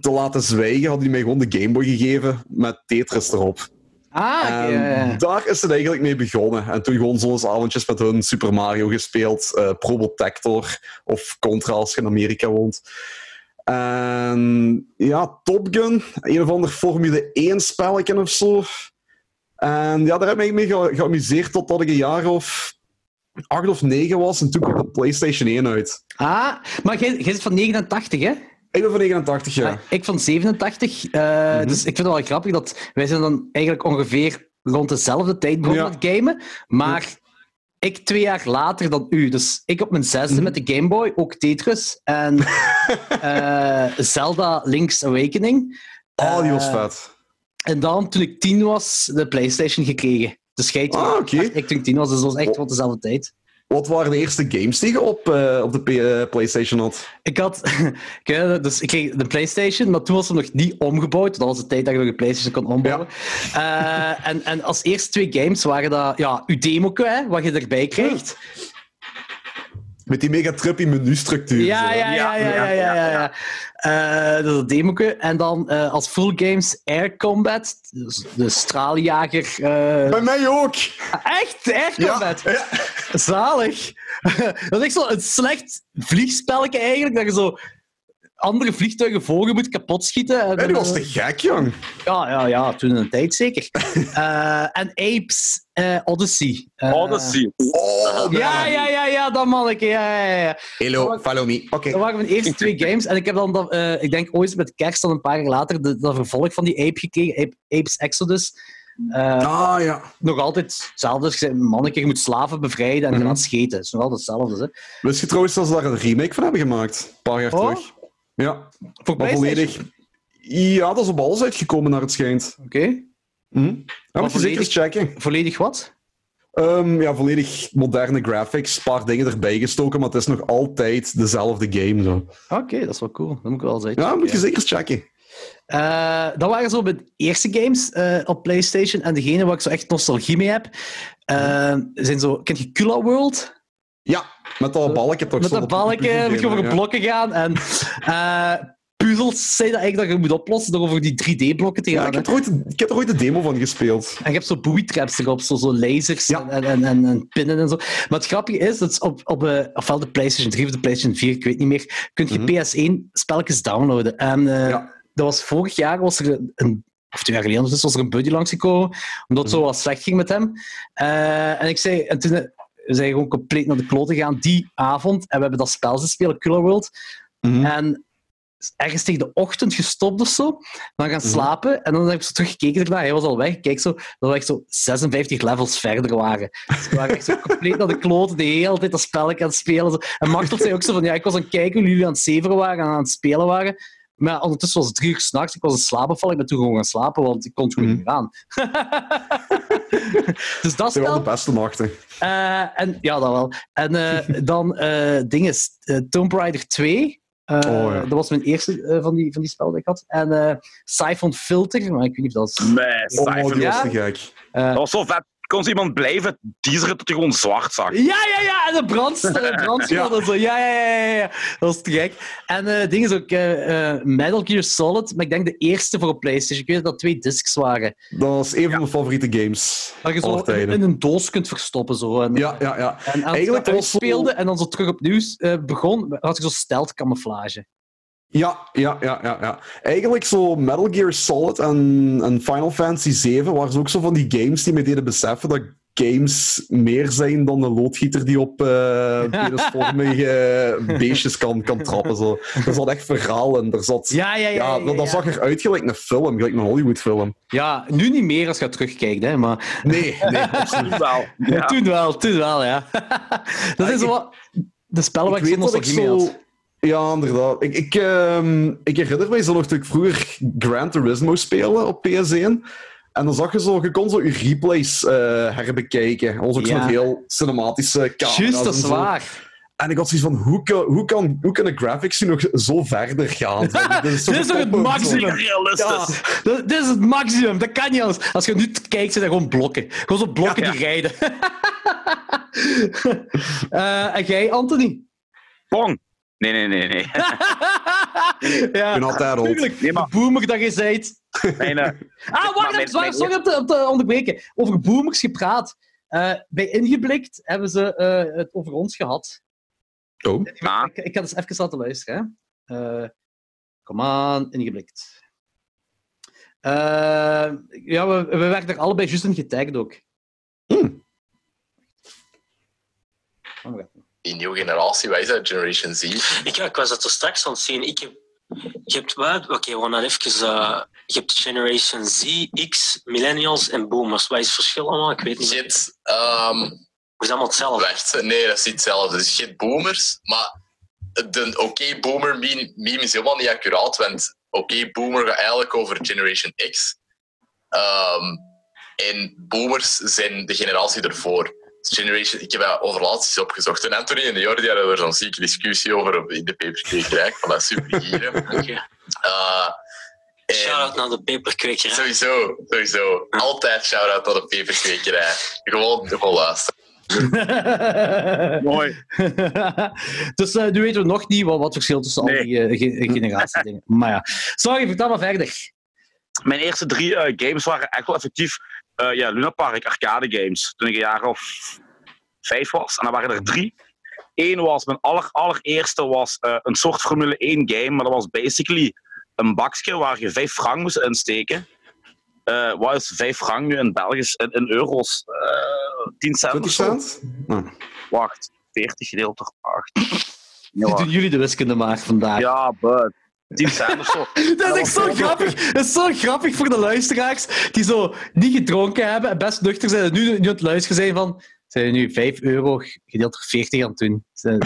[SPEAKER 3] te laten zwijgen, had hij mij gewoon de Game Boy gegeven met Tetris erop.
[SPEAKER 2] Ah,
[SPEAKER 3] En Ehm, daar is het eigenlijk mee begonnen. En toen gewoon zo'n avondjes met hun Super Mario gespeeld, eh Probotector of Contra als je in Amerika woont. En ja, Top Gun, een of ander Formule 1 spelletje of zo. En ja, daar heb ik mee ge- geamuseerd totdat ik een jaar of acht of negen was. En toen kwam de PlayStation 1 uit.
[SPEAKER 2] ah, maar jij jij bent van 89, hè?
[SPEAKER 3] Ik ben van 89 jaar.
[SPEAKER 2] Ah, Ik van 87. eh,
[SPEAKER 3] Mhm.
[SPEAKER 2] Dus ik vind het wel grappig dat wij zijn dan eigenlijk ongeveer rond dezelfde tijd begonnen
[SPEAKER 3] Ja.
[SPEAKER 2] met gamen. Maar ik twee jaar later dan u. Dus ik op mijn zesde
[SPEAKER 3] Mhm.
[SPEAKER 2] met de Game Boy, ook Tetris en eh, Zelda Link's Awakening.
[SPEAKER 3] oh, die was
[SPEAKER 2] eh,
[SPEAKER 3] vet.
[SPEAKER 2] En dan, toen ik tien was, de PlayStation gekregen. Dus jij twee
[SPEAKER 3] Ah,
[SPEAKER 2] jaar
[SPEAKER 3] oké. Oh.
[SPEAKER 2] later, ik toen ik tien was, dus dat was echt rond dezelfde tijd.
[SPEAKER 3] Wat waren de eerste games die je op, eh, op de P- eh, PlayStation had?
[SPEAKER 2] Ik had, ik weet het, dus ik kreeg de PlayStation, maar toen was hem nog niet omgebouwd. Dat was de tijd dat je nog een PlayStation kon ombouwen. Eh, en, en als eerste twee games waren dat, ja, uw demo, hè, wat je erbij kreeg.
[SPEAKER 3] Met die mega trippy menustructuur.
[SPEAKER 2] Ja,
[SPEAKER 3] zo.
[SPEAKER 2] ja, ja, ja, ja, ja. ja, ja. Eh, dat is het demoke. En dan eh, als full games Air Combat, dus de straaljager. eh,
[SPEAKER 3] Bij mij ook!
[SPEAKER 2] echt, Air Combat. Zalig. dat is echt zo'n slecht vliegspelletje eigenlijk, dat je zo andere vliegtuigen voor je moet kapot schieten. En,
[SPEAKER 3] Hey, die was
[SPEAKER 2] eh,
[SPEAKER 3] te gek, jong.
[SPEAKER 2] Ja, ja, ja, toen in een tijd zeker. Eh, en Apes eh, Odyssey. Eh,
[SPEAKER 1] Odyssey.
[SPEAKER 3] Oh,
[SPEAKER 2] Ja, ja, ja, ja, dat manneke. Ja, ja, ja.
[SPEAKER 3] Hello, follow me. Oké.
[SPEAKER 2] Dat waren mijn eerste twee games. En ik heb dan, dat, eh, ik denk ooit met kerst dan een paar jaar later, de, dat vervolg van die ape gekregen, Ape- Apes Exodus. Eh,
[SPEAKER 3] Ah, ja.
[SPEAKER 2] Nog altijd hetzelfde. Dus ik zei, manneke, je moet slaven bevrijden en je
[SPEAKER 3] Mhm.
[SPEAKER 2] laat scheten. Het is nog altijd hetzelfde. Hè.
[SPEAKER 3] Wist je trouwens dat ze daar een remake van hebben gemaakt? Een paar jaar
[SPEAKER 2] Oh?
[SPEAKER 3] terug. Ja,
[SPEAKER 2] Voor
[SPEAKER 3] maar
[SPEAKER 2] PlayStation.
[SPEAKER 3] volledig... Ja, dat is op alles uitgekomen naar het schijnt.
[SPEAKER 2] Oké.
[SPEAKER 3] Hm? Ja, moet je zeker
[SPEAKER 2] volledig-
[SPEAKER 3] eens checken.
[SPEAKER 2] Volledig wat?
[SPEAKER 3] Ehm, ja, volledig moderne graphics. Een paar dingen erbij gestoken, maar het is nog altijd dezelfde game. Zo.
[SPEAKER 2] Oké, dat is wel cool. Dat moet ik wel zeggen.
[SPEAKER 3] Ja, moet je zeker eens checken.
[SPEAKER 2] Eh, dat waren zo mijn eerste games eh, op PlayStation. En degene waar ik zo echt nostalgie mee heb, eh, zijn zo... Kent je Kula World?
[SPEAKER 3] Ja, met dat balken toch.
[SPEAKER 2] Met
[SPEAKER 3] zo
[SPEAKER 2] dat
[SPEAKER 3] die
[SPEAKER 2] balken moet je
[SPEAKER 3] puzzelgame,
[SPEAKER 2] over
[SPEAKER 3] ja.
[SPEAKER 2] blokken gaan. En eh, puzzels zijn dat eigenlijk dat je moet oplossen door over die 3D-blokken te gaan.
[SPEAKER 3] Ja, ik,
[SPEAKER 2] hè.
[SPEAKER 3] heb er ooit, ik heb er ooit de demo van gespeeld.
[SPEAKER 2] En je hebt zo booby traps erop, zo, zo lasers
[SPEAKER 3] Ja.
[SPEAKER 2] en, en, en, en pinnen en zo. Maar het grappige is, dat is op, op eh, ofwel de PlayStation 3 of de PlayStation 4, ik weet niet meer, kun je
[SPEAKER 3] Mhm.
[SPEAKER 2] PS1-spelletjes downloaden. En eh,
[SPEAKER 3] Ja.
[SPEAKER 2] dat was vorig jaar, was er een, of twee jaar geleden ondertussen, was er een buddy langsgekomen, omdat het zo
[SPEAKER 3] Mhm.
[SPEAKER 2] wat slecht ging met hem. Eh, en ik zei, en toen eh, we zijn gewoon compleet naar de klote gegaan die avond. En we hebben dat spel gespeeld, Cooler World.
[SPEAKER 3] Mhm.
[SPEAKER 2] En ergens tegen de ochtend gestopt of zo. Dan gaan
[SPEAKER 3] Mhm.
[SPEAKER 2] slapen. En dan heb ik zo teruggekeken daarna. Hij was al weg. Ik Kijk zo, dat we echt zo 56 levels verder waren. Dus we waren echt zo compleet naar de kloten. De hele tijd dat spelletje aan het spelen. Zo. En Martel zei ook zo van... Ja, ik was aan het kijken hoe jullie aan het zeveren waren en aan het spelen waren. Maar ja, ondertussen was het drie uur s'nachts. Ik was in slaap gevallen. Ik ben toen gewoon gaan slapen, want ik kon het gewoon
[SPEAKER 3] Mhm.
[SPEAKER 2] niet meer aan. dus dat
[SPEAKER 3] Dat zijn
[SPEAKER 2] spel...
[SPEAKER 3] wel de beste nachten.
[SPEAKER 2] eh, en, ja, dat wel. En eh, dan eh dingen. eh, Tomb Raider 2. eh,
[SPEAKER 3] Oh, ja.
[SPEAKER 2] Dat was mijn eerste eh, van, die, van die spel dat ik had. En eh Siphon Filter, maar ik weet niet of dat is.
[SPEAKER 1] Nee,
[SPEAKER 3] Oh,
[SPEAKER 1] cijfer.
[SPEAKER 3] die was
[SPEAKER 2] Ja?
[SPEAKER 3] te gek.
[SPEAKER 1] Dat was zo vet. Kon ze iemand blijven teaseren tot hij gewoon zwart zag.
[SPEAKER 2] Ja, ja, ja, en de brandst- brandschot en zo. Ja, ja, ja, ja, ja. Dat was te gek. En eh dingen is ook eh, eh, Metal Gear Solid, maar ik denk de eerste voor op PlayStation. Ik weet dat dat twee discs waren.
[SPEAKER 3] Dat was een van mijn favoriete games.
[SPEAKER 2] Dat je zo
[SPEAKER 3] aller
[SPEAKER 2] in,
[SPEAKER 3] tijden.
[SPEAKER 2] in een doos kunt verstoppen. Zo. En,
[SPEAKER 3] Ja, ja, ja.
[SPEAKER 2] en
[SPEAKER 3] eigenlijk
[SPEAKER 2] eigenlijk
[SPEAKER 3] was zo-
[SPEAKER 2] speelde en dan zo terug opnieuw eh, begon, had ik zo stealth camouflage.
[SPEAKER 3] Ja, ja, ja, ja, ja. Eigenlijk zo Metal Gear Solid en, en Final Fantasy 7 waren ze ook zo van die games die mij deden beseffen dat ik games meer zijn dan een loodgieter die op eh penisvormige eh, beestjes kan, kan trappen. Zo. Er zat echt verhaal in. Er zat, ja,
[SPEAKER 2] Ja, ja, ja. ja,
[SPEAKER 3] dat, dat
[SPEAKER 2] ja.
[SPEAKER 3] zag eruit gelijk een film, gelijk een Hollywoodfilm.
[SPEAKER 2] Ja, nu niet meer als je terugkijkt, hè, maar...
[SPEAKER 3] Nee, nee, absoluut.
[SPEAKER 1] Wel, ja.
[SPEAKER 2] Toen wel, toen wel, ja. dat
[SPEAKER 3] Ja,
[SPEAKER 2] is
[SPEAKER 3] ik-
[SPEAKER 2] wel... De spellen waar
[SPEAKER 3] Ik
[SPEAKER 2] ik zo'n
[SPEAKER 3] weet dat ik
[SPEAKER 2] nostalgie mee had.
[SPEAKER 3] zo... Ja, inderdaad. Ik, ik, ehm, ik herinner mij zo nog dat ik vroeger Gran Turismo speelde op PS1. En dan zag je zo, je kon zo je replays eh, herbekijken. Ons ook
[SPEAKER 2] Ja.
[SPEAKER 3] zo'n heel cinematische camera's.
[SPEAKER 2] Juist, dat
[SPEAKER 3] en
[SPEAKER 2] is
[SPEAKER 3] zo.
[SPEAKER 2] waar.
[SPEAKER 3] En ik had zoiets van, hoe kan, hoe kan, hoe kunnen graphics nu nog zo verder gaan?
[SPEAKER 2] Dit is toch het
[SPEAKER 3] toppunt,
[SPEAKER 2] maximum?
[SPEAKER 3] zo.
[SPEAKER 1] Zeker realistisch.
[SPEAKER 2] Dat, dit is het maximum, dat kan niet anders. Als je nu t- kijkt, zijn er gewoon blokken. Gewoon zo blokken
[SPEAKER 1] Ja, ja.
[SPEAKER 2] die rijden. Eh, en jij, Anthony?
[SPEAKER 1] Pong. Nee, nee, nee, nee.
[SPEAKER 3] Ik ben
[SPEAKER 2] ja,
[SPEAKER 3] altijd rond.
[SPEAKER 2] natuurlijk.
[SPEAKER 1] Nee, maar-
[SPEAKER 2] De boomer dat je zijt.
[SPEAKER 1] Mijn, eh,
[SPEAKER 2] Ah, wacht,
[SPEAKER 1] mijn-
[SPEAKER 2] even, sorry,
[SPEAKER 1] mijn-
[SPEAKER 2] sorry om te, om te eh, onderbreken. Over boomers gepraat. Eh, bij Ingeblikt hebben ze eh, het over ons gehad.
[SPEAKER 3] Oh.
[SPEAKER 1] Ah.
[SPEAKER 2] Ik, ik ga dus even laten luisteren. Hè. Eh, kom aan, Ingeblikt. Eh, ja, we, we werden er allebei juist in getagd ook.
[SPEAKER 3] Hmm.
[SPEAKER 2] Oh my god.
[SPEAKER 4] die nieuwe generatie, wij zijn Generation Z.
[SPEAKER 5] Ik, ja, ik was dat er straks aan het zien. Ik heb, je hebt wat? Oké, we gaan dat even. eh, je hebt Generation Z, X, Millennials en Boomers. Wat is het verschil allemaal? Ik weet niet. Het
[SPEAKER 4] Shit, ehm,
[SPEAKER 5] is allemaal hetzelfde.
[SPEAKER 4] wacht, nee, dat is niet hetzelfde. Dus je hebt boomers, maar de oké boomer meme, meme is helemaal niet accuraat, want oké boomer gaat eigenlijk over Generation X. Ehm, en boomers zijn de generatie ervoor. Dus Generation, ik heb dat over laatst eens opgezocht. En Anthony en Jordi hadden er zo'n zieke discussie over op, in de paperkwekerij. Van dat is super hier.
[SPEAKER 5] Oké. Shout-out naar de paperkwekerij.
[SPEAKER 4] Eh, Sowieso, sowieso. Altijd shout-out tot de peperkwekerij. Gewoon, gewoon luisteren.
[SPEAKER 1] mooi.
[SPEAKER 2] dus eh, nu weten we nog niet wat, wat het verschil tussen al
[SPEAKER 1] Nee.
[SPEAKER 2] die eh, ge- generatie dingen. Maar ja, sorry, vertel maar verder.
[SPEAKER 1] Mijn eerste drie eh, games waren echt wel effectief eh ja, Luna Park arcade games. Toen ik een jaar of vijf was. En dan waren er drie. Eén was, mijn aller, allereerste was eh, een soort Formule 1 game. Maar dat was basically een bakje waar je vijf frank moest insteken. Eh, wat is vijf frank nu in Belgisch? In, in euro's? Eh 10 cent?
[SPEAKER 3] 20
[SPEAKER 1] of zo?
[SPEAKER 3] cent? Nou,
[SPEAKER 1] Wacht, 40 gedeeld door 8.
[SPEAKER 2] Die doen jullie de wiskunde maar vandaag.
[SPEAKER 1] Ja, but. 10 cent of zo.
[SPEAKER 2] Dat is echt
[SPEAKER 1] Dat was
[SPEAKER 2] zo
[SPEAKER 1] heel
[SPEAKER 2] grappig. Dat is zo grappig voor de luisteraars die zo niet gedronken hebben en best nuchter zijn en nu, nu aan het luisteren zijn van... Zijn er nu 5 euro gedeeld door 40 aan het doen? Zijn-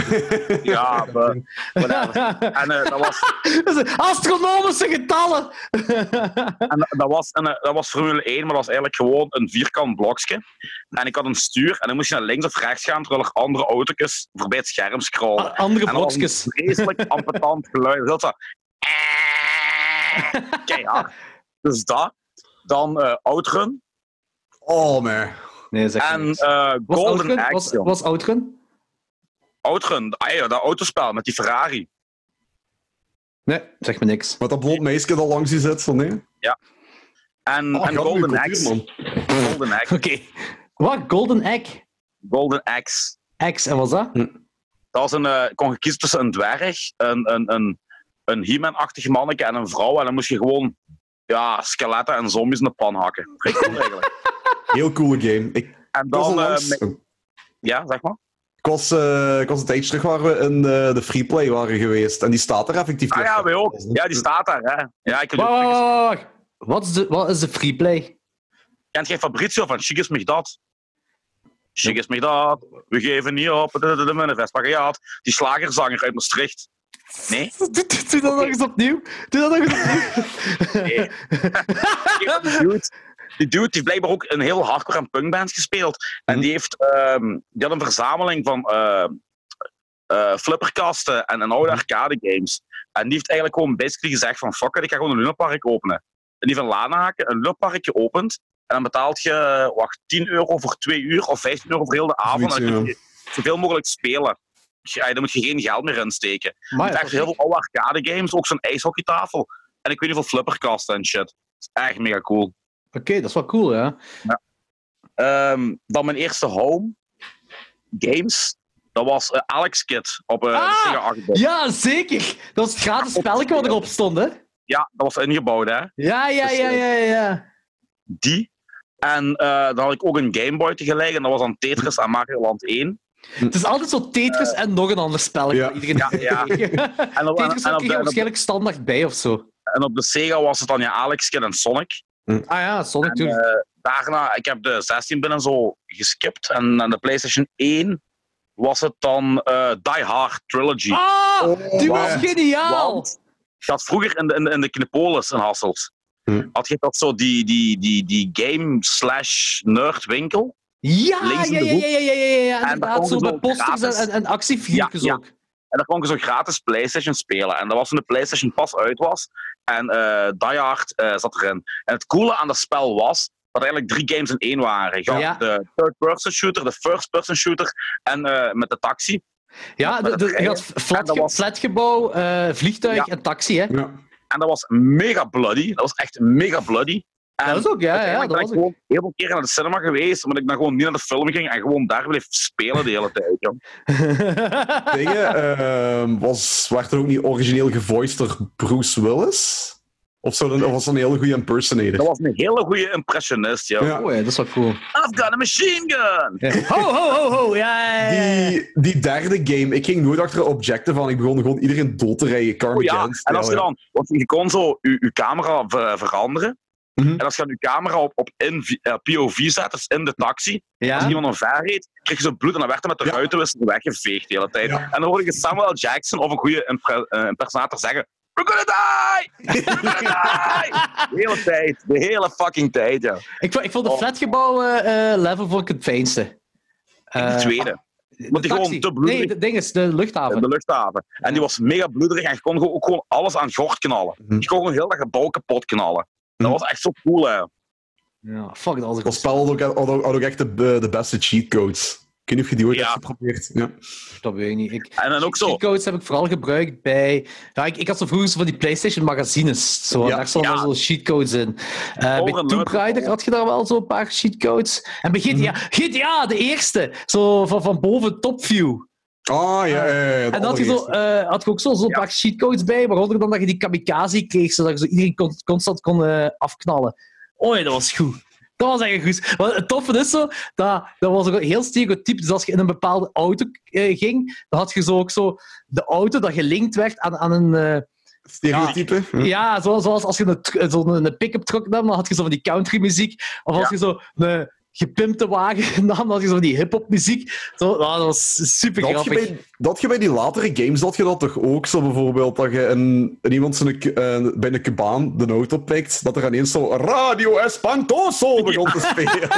[SPEAKER 1] Ja, but. Whatever. En eh, dat was
[SPEAKER 2] Dat zijn Astronomische getallen!
[SPEAKER 1] En dat- dat was, en, eh, dat was Formule 1, maar dat was eigenlijk gewoon een vierkant blokje. En ik had een stuur en dan moest je naar links of rechts gaan terwijl er andere auto's voorbij het scherm scrollen.
[SPEAKER 2] A- Oh, Andere
[SPEAKER 1] en dat was een
[SPEAKER 2] Ah, blokjes.
[SPEAKER 1] vreselijk ampetant geluid. Dat was keihard. Dus dat. Dan eh Outrun.
[SPEAKER 3] Oh, man.
[SPEAKER 2] Nee, zeg
[SPEAKER 1] En eh,
[SPEAKER 2] Was
[SPEAKER 1] Golden
[SPEAKER 2] Outrun?
[SPEAKER 1] Axe.
[SPEAKER 2] Was,
[SPEAKER 1] jong.
[SPEAKER 2] was Outrun?
[SPEAKER 1] Outrun, ah, ja, dat autospel met die Ferrari.
[SPEAKER 2] Nee, zeg me niks.
[SPEAKER 3] Met dat blond meisje dat langs je zit, zo nee?
[SPEAKER 1] En,
[SPEAKER 3] Oh,
[SPEAKER 1] en
[SPEAKER 3] god,
[SPEAKER 1] Golden
[SPEAKER 3] nu
[SPEAKER 1] Axe.
[SPEAKER 3] cultuur, man.
[SPEAKER 1] Golden Axe.
[SPEAKER 2] Oké. Wat? Golden Egg?
[SPEAKER 1] Golden Axe.
[SPEAKER 2] X, en wat was dat?
[SPEAKER 1] Dat was een, eh, kon je kiezen tussen een dwerg, een, een, een, een He-Man-achtig manneke en een vrouw. En dan moest je gewoon ja, skeletten en zombies in de pan hakken. Vrij cool eigenlijk.
[SPEAKER 3] Heel coole game. Ik,
[SPEAKER 1] En
[SPEAKER 3] ik was
[SPEAKER 1] dan... eh,
[SPEAKER 3] onlangs-
[SPEAKER 1] met- ja, zeg maar.
[SPEAKER 3] Ik was, eh, ik was een tijdje terug waar we in eh, de Freeplay waren geweest. En die staat er effectief
[SPEAKER 1] Ah
[SPEAKER 3] nog.
[SPEAKER 1] ja, wij ook. Ja, die staat daar. Hè. Ja, ik
[SPEAKER 2] Wacht, wacht,
[SPEAKER 1] wow.
[SPEAKER 2] wacht, wacht. Wat is de, wat is de freeplay?
[SPEAKER 1] Kent jij Fabrizio van Chic is mij dat? Chic is mij dat. We geven niet op. De, de, de manifest. Maar ja, die slagerzanger uit Maastricht. Nee?
[SPEAKER 2] Doe, doe- doe dat nog eens opnieuw. Doe dat nog eens opnieuw.
[SPEAKER 1] Nee. Die dude, die dude heeft blijkbaar ook een heel hardcore en punkbands gespeeld. En
[SPEAKER 3] Mhm.
[SPEAKER 1] die, heeft, ehm, die had een verzameling van ehm, eh, flipperkasten en, en
[SPEAKER 3] Mhm.
[SPEAKER 1] oude arcade games. En die heeft eigenlijk gewoon basically gezegd van fuck it, ik ga gewoon een lunapark openen. En die van Lanaken, een lunapark opent. En dan betaalt je eh, wacht, 10 euro voor 2 uur of 15 euro voor heel de avond.
[SPEAKER 3] Zoiets,
[SPEAKER 1] en dan
[SPEAKER 3] ja.
[SPEAKER 1] kun je zoveel mogelijk spelen. Ja, daar moet je geen geld meer in steken.
[SPEAKER 2] Maar
[SPEAKER 1] Het is echt heel veel oude arcade games, ook zo'n ijshockeytafel. En ik weet niet veel flipperkasten en shit. Het is echt mega cool.
[SPEAKER 2] Oké, dat is wel cool, ja.
[SPEAKER 1] Ehm, dan mijn eerste home games. Dat was eh, Alex Kid op eh,
[SPEAKER 2] Ah!
[SPEAKER 1] de Sega 8 bit.
[SPEAKER 2] Ja, zeker. Dat was het gratis spelletje wat erop stond, hè?
[SPEAKER 1] Ja, dat was ingebouwd, hè.
[SPEAKER 2] Ja, ja, ja, ja, ja.
[SPEAKER 1] Die. En eh, dan had ik ook een Game Boy tegelijk. En dat was dan Tetris aan Mario Land 1.
[SPEAKER 2] Het is altijd zo Tetris en nog een ander spel.
[SPEAKER 3] Ja.
[SPEAKER 2] Ja. Iedereen
[SPEAKER 1] Ja, ja.
[SPEAKER 2] Tetris
[SPEAKER 1] En op, en, en op de, en
[SPEAKER 2] heb je
[SPEAKER 1] op-
[SPEAKER 2] waarschijnlijk standaard bij of zo.
[SPEAKER 1] en op de Sega was het dan ja, Alex Kid en Sonic.
[SPEAKER 2] Ah ja, Sonic
[SPEAKER 1] En,
[SPEAKER 2] Tour.
[SPEAKER 1] eh, daarna, ik heb de 16 binnen zo geskipt. En aan de PlayStation 1 was het dan eh, Die Hard Trilogy.
[SPEAKER 2] ah, die was
[SPEAKER 1] wauw.
[SPEAKER 2] geniaal!
[SPEAKER 1] eh, Oh, Want je had vroeger in de, in de, in de Knepolis in Hasselt,
[SPEAKER 3] Hm.
[SPEAKER 1] had je dat zo die, die, die, die game-slash-nerd-winkel.
[SPEAKER 2] Ja,
[SPEAKER 1] Links in
[SPEAKER 2] ja,
[SPEAKER 1] de
[SPEAKER 2] ja, ja, ja, ja, ja, ja,
[SPEAKER 1] daar
[SPEAKER 2] inderdaad. Zo
[SPEAKER 1] konden ze
[SPEAKER 2] met
[SPEAKER 1] ook
[SPEAKER 2] posters en,
[SPEAKER 1] gratis-
[SPEAKER 2] en, en actiefilmpjes
[SPEAKER 1] Ja, ja.
[SPEAKER 2] ook.
[SPEAKER 1] En daar kon je zo gratis PlayStation spelen. En dat was toen de PlayStation pas uit was. En eh Die Hard eh, zat erin. En het coole aan dat spel was dat er eigenlijk drie games in één waren. Je had
[SPEAKER 2] Ja.
[SPEAKER 1] de third-person shooter, de first-person shooter en eh, met de taxi.
[SPEAKER 2] Ja,
[SPEAKER 1] met
[SPEAKER 2] de- de-
[SPEAKER 1] het
[SPEAKER 2] je
[SPEAKER 1] rijden.
[SPEAKER 2] had flat,
[SPEAKER 1] En dat was-
[SPEAKER 2] flatgebouw, eh, vliegtuig
[SPEAKER 1] Ja.
[SPEAKER 2] en taxi. Hè.
[SPEAKER 3] Ja.
[SPEAKER 1] En dat was mega bloody. Dat was echt mega bloody. En
[SPEAKER 2] Dat is ook, ja, ja,
[SPEAKER 1] uiteindelijk
[SPEAKER 2] dat
[SPEAKER 1] ben ik
[SPEAKER 2] was ook.
[SPEAKER 1] gewoon heel veel keren naar de cinema geweest, omdat ik dan gewoon niet naar de film ging en gewoon daar bleef spelen de hele tijd. joh.
[SPEAKER 3] Dingen, ehm, was, werd er ook niet origineel gevoiced door Bruce Willis? Of, zo, dan- of was dat een hele goede
[SPEAKER 1] Dat
[SPEAKER 3] impersonator?
[SPEAKER 1] was een hele goede impressionist. joh.
[SPEAKER 3] Ja.
[SPEAKER 2] Mooi, dat is wel cool.
[SPEAKER 1] I've got a machine gun!
[SPEAKER 2] Ja. Ho, ho, ho, ho. Ja, ja, ja, ja.
[SPEAKER 3] Die, die derde game, ik ging nooit achter een objective van. Ik begon gewoon iedereen dood te rijden.
[SPEAKER 1] Oh ja,
[SPEAKER 3] Carmageddon
[SPEAKER 1] en als je
[SPEAKER 3] style,
[SPEAKER 1] dan, want je kon zo je, je camera ver- veranderen.
[SPEAKER 3] Mhm.
[SPEAKER 1] En als je dan je camera op, op in, eh, POV zet, dus in de taxi, als
[SPEAKER 2] Ja?
[SPEAKER 1] iemand omver reed, kreeg je zo bloed en dan werd hij met de
[SPEAKER 3] Ja.
[SPEAKER 1] ruitenwisser weggeveegd de hele tijd.
[SPEAKER 3] Ja.
[SPEAKER 1] En dan hoorde je Samuel L. Jackson of een goede impre- eh, impersonator zeggen: We're gonna die! We're gonna die! De hele tijd, de hele fucking tijd, ja.
[SPEAKER 2] Ik, vond- ik vond de
[SPEAKER 1] Oh.
[SPEAKER 2] flatgebouw eh, eh, level vond ik het fijnste.
[SPEAKER 1] De
[SPEAKER 2] Eh,
[SPEAKER 1] tweede,
[SPEAKER 2] de
[SPEAKER 1] want die
[SPEAKER 2] taxi.
[SPEAKER 1] gewoon te bloedig-
[SPEAKER 2] Nee, de ding is, de luchthaven.
[SPEAKER 1] in de luchthaven. En die was mega bloederig en je kon gewoon- ook gewoon alles aan gort knallen.
[SPEAKER 3] Mhm.
[SPEAKER 1] Je kon gewoon heel dat gebouw kapot knallen. Dat
[SPEAKER 3] Mhm.
[SPEAKER 1] was echt zo cool, hè.
[SPEAKER 2] Ja, fuck, dat was een
[SPEAKER 3] Dat
[SPEAKER 2] goed
[SPEAKER 3] spel had ook, had ook- had ook echt de, eh, de beste cheatcodes. Ik weet niet of je die ooit
[SPEAKER 1] Ja.
[SPEAKER 3] hebt geprobeerd. Ja.
[SPEAKER 2] spel, dat weet ik niet. Ik,
[SPEAKER 1] En dan ook zo,
[SPEAKER 2] codes heb ik vooral gebruikt bij... Ja, ik, ik had zo vroeger zo van die PlayStation magazines. Zo,
[SPEAKER 3] Ja.
[SPEAKER 2] daar stonden
[SPEAKER 1] Ja.
[SPEAKER 2] zo cheatcodes in. Eh, bij
[SPEAKER 1] een
[SPEAKER 2] Tomb
[SPEAKER 1] leuk-
[SPEAKER 2] Raider had je daar wel zo een paar cheatcodes. En bij GTA,
[SPEAKER 1] Mhm.
[SPEAKER 2] GTA, de eerste. Zo van, van boven topview.
[SPEAKER 3] Ah, ja, ja, ja, ja,
[SPEAKER 2] En dan had je, zo,
[SPEAKER 3] allereerste.
[SPEAKER 2] eh, had je ook zo- zo'n
[SPEAKER 1] Ja.
[SPEAKER 2] paar cheatcodes bij, waaronder dan dat je die kamikaze kreeg, zodat je zo iedereen kon- constant kon eh, afknallen. Oh ja, dat was goed. Dat was echt goed. Want het toffe is zo, dat, dat was ook heel stereotyp. Dus als je in een bepaalde auto eh, ging, dan had je zo ook zo de auto dat gelinkt werd aan, aan een... eh,
[SPEAKER 3] Stereotype. Ja.
[SPEAKER 2] ja, zo- zoals als je een, tr- eh, zo'n een pick-up truck nam, dan had je zo van die country muziek. Of als
[SPEAKER 1] Ja.
[SPEAKER 2] je zo een gepimpte wagen nam, dan had je zo van die hip-hop muziek. Zo, nou, dat was super
[SPEAKER 3] Dat je,
[SPEAKER 2] grappig.
[SPEAKER 3] bij, dat je bij die latere games, dat je dat toch ook zo bijvoorbeeld, dat je een, een iemand zijn, eh, bij een Cubaan de auto pikt, dat er ineens zo Radio Espantoso begon te spelen.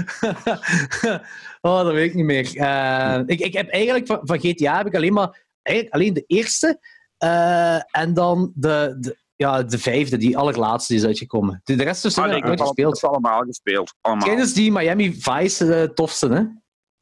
[SPEAKER 2] oh, dat weet ik niet meer. Eh, ik, ik heb eigenlijk van, van GTA heb ik alleen maar eigenlijk alleen de eerste eh, en dan de, de, ja, de vijfde, die allerlaatste die is uitgekomen. De, de rest is
[SPEAKER 1] Ah,
[SPEAKER 2] heb
[SPEAKER 1] nee,
[SPEAKER 2] ik
[SPEAKER 1] ik
[SPEAKER 2] nooit
[SPEAKER 1] heb al-
[SPEAKER 2] gespeeld.
[SPEAKER 1] het allemaal gespeeld. Allemaal.
[SPEAKER 2] Ken is die Miami Vice de tofste, hè?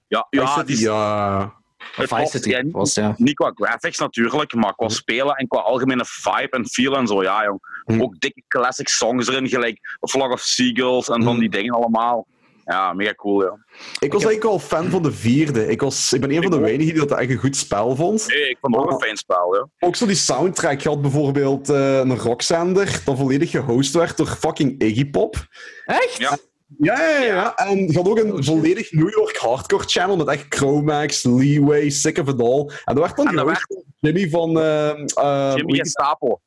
[SPEAKER 1] Ja, ja,
[SPEAKER 3] Vice
[SPEAKER 1] die,
[SPEAKER 3] City, ja.
[SPEAKER 1] het
[SPEAKER 2] Vice
[SPEAKER 1] was-
[SPEAKER 2] City
[SPEAKER 1] ja, niet-
[SPEAKER 2] was, ja.
[SPEAKER 1] Niet qua graphics natuurlijk, maar qua spelen en qua algemene vibe en feel en zo. Ja, jong.
[SPEAKER 3] Hm.
[SPEAKER 1] Ook dikke classic songs erin, gelijk Vlog of Seagulls en
[SPEAKER 3] Hm.
[SPEAKER 1] van die dingen allemaal. Ja, mega cool, ja.
[SPEAKER 3] Ik was eigenlijk wel fan van de vierde. Ik, was, ik ben een van de
[SPEAKER 1] Ik ook.
[SPEAKER 3] weinigen die dat echt een goed spel vond.
[SPEAKER 1] Nee, ik vond het ook
[SPEAKER 3] Oh.
[SPEAKER 1] een fijn spel, ja.
[SPEAKER 3] Ook zo die soundtrack. Je had bijvoorbeeld eh, een rockzender dat volledig gehost werd door fucking Iggy Pop.
[SPEAKER 2] Echt?
[SPEAKER 1] Ja.
[SPEAKER 3] Ja, ja, ja, ja. En je had ook een volledig New York hardcore channel met echt Chromax, Leeway, Sick of It All. En dat werd dan
[SPEAKER 1] En dat
[SPEAKER 3] gehost door Jimmy van... eh, eh,
[SPEAKER 1] Jimmy Gestapo. Van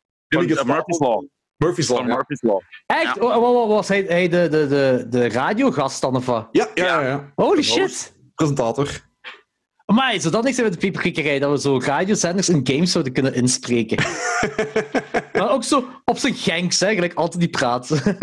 [SPEAKER 3] Jimmy
[SPEAKER 1] eh,
[SPEAKER 3] Gestapo.
[SPEAKER 1] Murphy's Law.
[SPEAKER 3] Murphy's Law,
[SPEAKER 1] Van
[SPEAKER 3] ja.
[SPEAKER 1] Murphy's Law. Ja.
[SPEAKER 2] Echt? Oh, oh, oh, was hij, hij de, de, de, de radiogast dan of wat?
[SPEAKER 3] Ja, ja, ja, ja.
[SPEAKER 2] Holy
[SPEAKER 3] Dat
[SPEAKER 2] shit!
[SPEAKER 3] Presentator.
[SPEAKER 2] Maar zodat niks met de pieperkikkerij, dat we zo radiozenders in games zouden kunnen inspreken. maar ook zo op zijn gangs, hè, gelijk altijd die praat.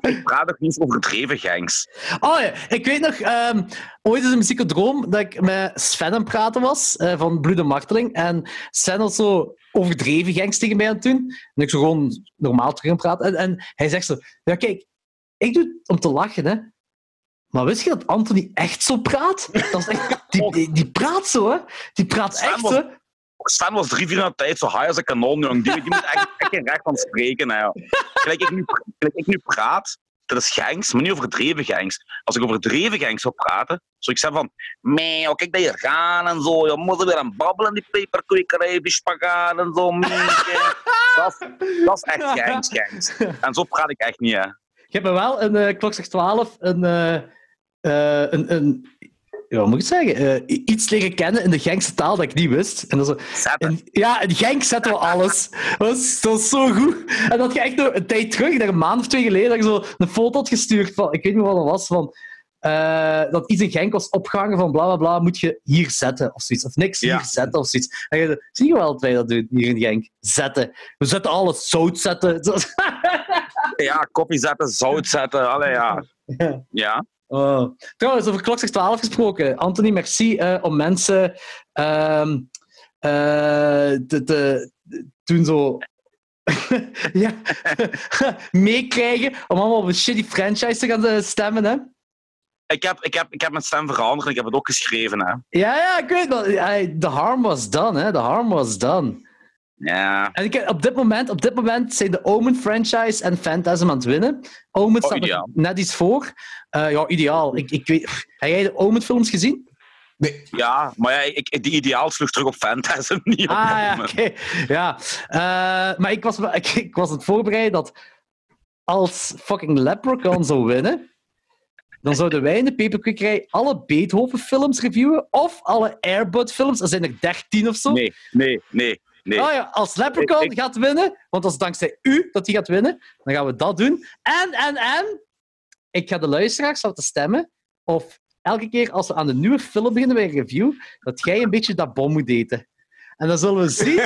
[SPEAKER 1] Ik praat ook niet over gedreven gangs.
[SPEAKER 2] oh ja, ik weet nog, ehm, ooit is een psychodroom dat ik met Sven aan het praten was, eh, van Bloed en Marteling. En Sven had zo overdreven gangs tegen mij aan het doen. En ik zo gewoon normaal terug aan het praten. En, en hij zegt zo, ja kijk, ik doe het om te lachen, hè. Maar wist je dat Anthony echt zo praat? Dat is echt, die, die, die praat zo, hè. Die praat
[SPEAKER 1] Sven
[SPEAKER 2] echt,
[SPEAKER 1] was-
[SPEAKER 2] hè.
[SPEAKER 1] Stan was drie, vier jaar tijd zo high als een kanon, jong. Die, die moet echt, echt geen recht van spreken. Hè. Gelijk, ik nu, gelijk ik nu praat, dat is gangs, maar niet overdreven gangs. Als ik overdreven gangs zou praten, zou ik zeggen van, mee, joh, kijk dat je gaan en zo, je moet er weer aan babbelen, die peperkwekerij, die spagaan en zo, mee, kijk." dat, is- dat is echt gangs, gangs. En zo praat ik echt niet, hè.
[SPEAKER 2] Je hebt me wel een eh klok zegt 12 een, eh, eh, een, een ja, hoe moet ik het zeggen? Eh, i- iets leren kennen in de Genkse taal dat ik niet wist. En dat is zo-
[SPEAKER 1] Zetten.
[SPEAKER 2] en, ja, in Genk zetten we alles. Dat was, dat was zo goed. En dat je echt nog een tijd terug, daar een maand of twee geleden, dat ik zo een foto had gestuurd van, ik weet niet wat dat was, van eh, dat iets in Genk was opgehangen van bla bla bla, moet je hier zetten of zoiets. Of niks
[SPEAKER 1] Ja.
[SPEAKER 2] hier zetten of zoiets. En je, zo, zie je wel dat wij dat doen hier in Genk? Zetten. We zetten alles, zout zetten.
[SPEAKER 1] Ja, koffie zetten, zout zetten, allee, ja.
[SPEAKER 2] Ja.
[SPEAKER 1] Ja.
[SPEAKER 2] Oh. Trouwens, over klok 12 gesproken. Anthony, merci eh, om mensen ehm, eh, te, te doen zo. ja, meekrijgen om allemaal op een shitty franchise te gaan eh, stemmen, hè?
[SPEAKER 1] Ik heb, ik, heb, ik heb mijn stem veranderd en ik heb het ook geschreven, hè.
[SPEAKER 2] Ja, ja, ik weet dat. Hey, The harm was done, hè? The harm was done.
[SPEAKER 1] Ja.
[SPEAKER 2] En ik, op, dit moment, op dit moment zijn de Omen franchise en Phantasm aan het winnen. Omen staat nog
[SPEAKER 1] ideaal.
[SPEAKER 2] net iets voor. Eh, ja, ideaal. Ik, ik weet, heb jij de Omen-films gezien?
[SPEAKER 1] Ja, maar ja, ik, ik- die ideaal sloeg terug op Phantasm, niet op
[SPEAKER 2] Ah, ja,
[SPEAKER 1] Omen.
[SPEAKER 2] oké. Ja. Eh, maar ik was, me- ik, ik was aan het voorbereid dat als fucking Leprechaun zou winnen, dan zouden wij in de Paperquickerij alle Beethoven-films reviewen of alle Airbud-films. Er zijn er 13 of zo.
[SPEAKER 1] Nee, nee, nee, nee.
[SPEAKER 2] Oh ja, als Leprechaun
[SPEAKER 1] Ik-
[SPEAKER 2] gaat winnen, want dat is dankzij u dat hij gaat winnen, dan gaan we dat doen. En, en, en, ik ga de luisteraars laten stemmen of elke keer als we aan de nieuwe film beginnen bij een review, dat jij een beetje dat bom moet eten. En dan zullen we zien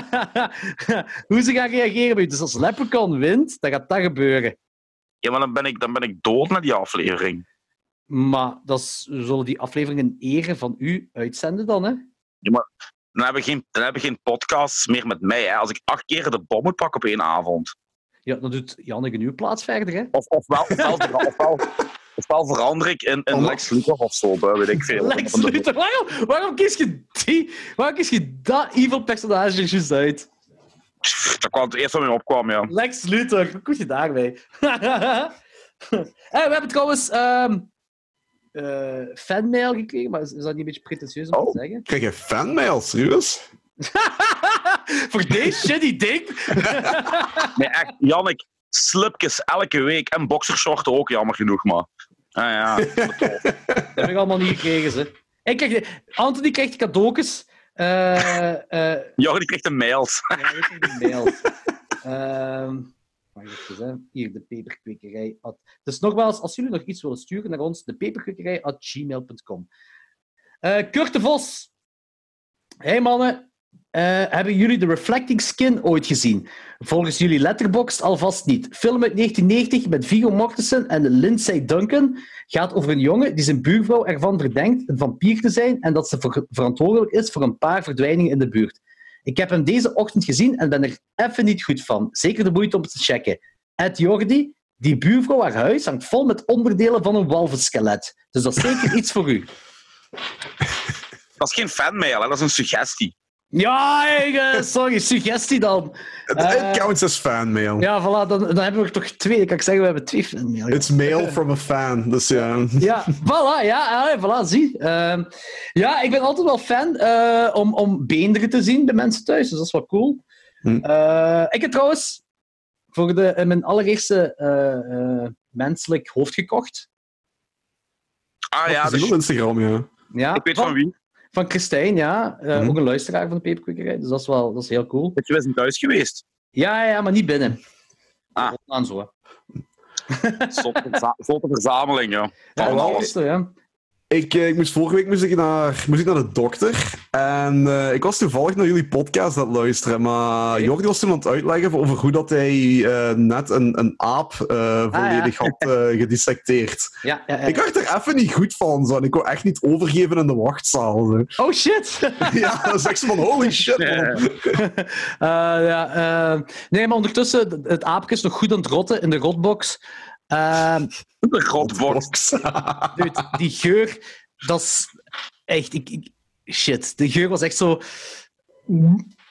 [SPEAKER 2] hoe ze gaan reageren bij u. Dus als Leprechaun wint, dan gaat dat gebeuren.
[SPEAKER 1] Ja, maar dan ben ik, dan ben ik dood na die aflevering.
[SPEAKER 2] Maar dat is, we zullen die afleveringen in ere van u uitzenden dan, hè?
[SPEAKER 1] Dan hebben we geen, dan hebben we geen podcasts meer met mij, hè. Als ik acht keer de bom moet pakken op één avond.
[SPEAKER 2] Ja, dan doet Janneke nu plaats verder, hè?
[SPEAKER 1] Of, ofwel, ofwel, ofwel, ofwel verander ik in, in
[SPEAKER 3] Oh,
[SPEAKER 1] Lex Luthor of zo, hè, weet ik veel.
[SPEAKER 2] Lex Luthor, waarom, waarom kies je die? Waarom kies je dat evil personage er juist uit?
[SPEAKER 1] Pff, Dat kwam het eerste wat mij opkwam, ja.
[SPEAKER 2] Lex Luthor, hoe kom je daarbij? hey, we hebben trouwens ehm eh, fanmail gekregen, maar is, is dat niet een beetje pretentieus om
[SPEAKER 3] Oh.
[SPEAKER 2] te zeggen?
[SPEAKER 3] Krijg je fanmail, serieus?
[SPEAKER 2] Voor deze shitty dick.
[SPEAKER 1] Nee, echt, Jannik, slipjes elke week en boxershorten ook, jammer genoeg, maar... Ah, ja.
[SPEAKER 2] Dat heb ik allemaal niet gekregen, ze. Ik krijg de, Anthony krijgt cadeautjes. Eh eh
[SPEAKER 1] Jordi krijgt een mails.
[SPEAKER 2] Ja, dit is een mail. Ehm, wacht even, hè. Hier, de peperkwekerij. at- Dus nogmaals, als jullie nog iets willen sturen naar ons, de peperkwekerij at gmail.com. Eh, Kurt de Vos. Hey mannen, Eh, hebben jullie de Reflecting Skin ooit gezien? Volgens jullie Letterboxd alvast niet. Film uit 1990 met Viggo Mortensen en Lindsay Duncan gaat over een jongen die zijn buurvrouw ervan verdenkt een vampier te zijn en dat ze ver- verantwoordelijk is voor een paar verdwijningen in de buurt. Ik heb hem deze ochtend gezien en ben er even niet goed van. Zeker de moeite om te checken. Ed Jordi, die buurvrouw haar huis hangt vol met onderdelen van een walvenskelet. Dus dat is zeker iets voor u.
[SPEAKER 1] Dat is geen fanmail, hè, dat is een suggestie.
[SPEAKER 2] Ja, ik, eh, sorry, suggestie dan.
[SPEAKER 3] Het
[SPEAKER 2] Eh.
[SPEAKER 3] it counts as fanmail.
[SPEAKER 2] Ja, voilà, dan, dan hebben we er toch twee. Dan kan ik zeggen, we hebben twee filmen.
[SPEAKER 3] It's mail from a fan, dus ja.
[SPEAKER 2] Ja, voilà, ja, allee, voilà, zie. Ehm, ja, ik ben altijd wel fan eh, om, om beenderen te zien bij mensen thuis, dus dat is wel cool.
[SPEAKER 3] Hm.
[SPEAKER 2] Eh, ik heb trouwens voor de, eh, mijn allereerste eh, eh, menselijk hoofd gekocht.
[SPEAKER 1] Ah ja,
[SPEAKER 3] dat is
[SPEAKER 1] dus,
[SPEAKER 3] op Instagram, ja.
[SPEAKER 2] Ja,
[SPEAKER 1] ik weet van wie.
[SPEAKER 2] Van Christijn, ja. Eh,
[SPEAKER 3] Mhm.
[SPEAKER 2] Ook een luisteraar van de Peperkwekerij, dus dat is wel dat is heel cool.
[SPEAKER 1] Je bent thuis geweest.
[SPEAKER 2] Ja, ja, ja, maar niet binnen.
[SPEAKER 1] Ah.
[SPEAKER 2] Aan zo. hè.
[SPEAKER 1] Zotte verza- zotte verzameling, ja.
[SPEAKER 2] Ja,
[SPEAKER 1] Van
[SPEAKER 2] dat
[SPEAKER 1] alles.
[SPEAKER 2] is er, ja.
[SPEAKER 3] Ik, eh, ik moest vorige week moest ik naar, moest ik naar de dokter. En eh, ik was toevallig naar jullie podcast aan het luisteren. Maar Jordi was toen aan het uitleggen over hoe dat hij eh, net een, een aap eh, volledig had eh, gedissecteerd.
[SPEAKER 2] Ja, Ah, ja, ja.
[SPEAKER 3] Ik dacht er even niet goed van. Zo, en ik wou echt niet overgeven in de wachtzaal. zo.
[SPEAKER 2] Oh shit!
[SPEAKER 3] ja, dan zeg ze van holy shit, man.
[SPEAKER 2] Eh, ja, eh, nee, maar ondertussen, d- het aapje is nog goed aan het rotten in de rotbox. Ehm,
[SPEAKER 1] De grotvorst.
[SPEAKER 2] dude, die geur, dat is echt... Ik, ik- shit, de geur was echt zo...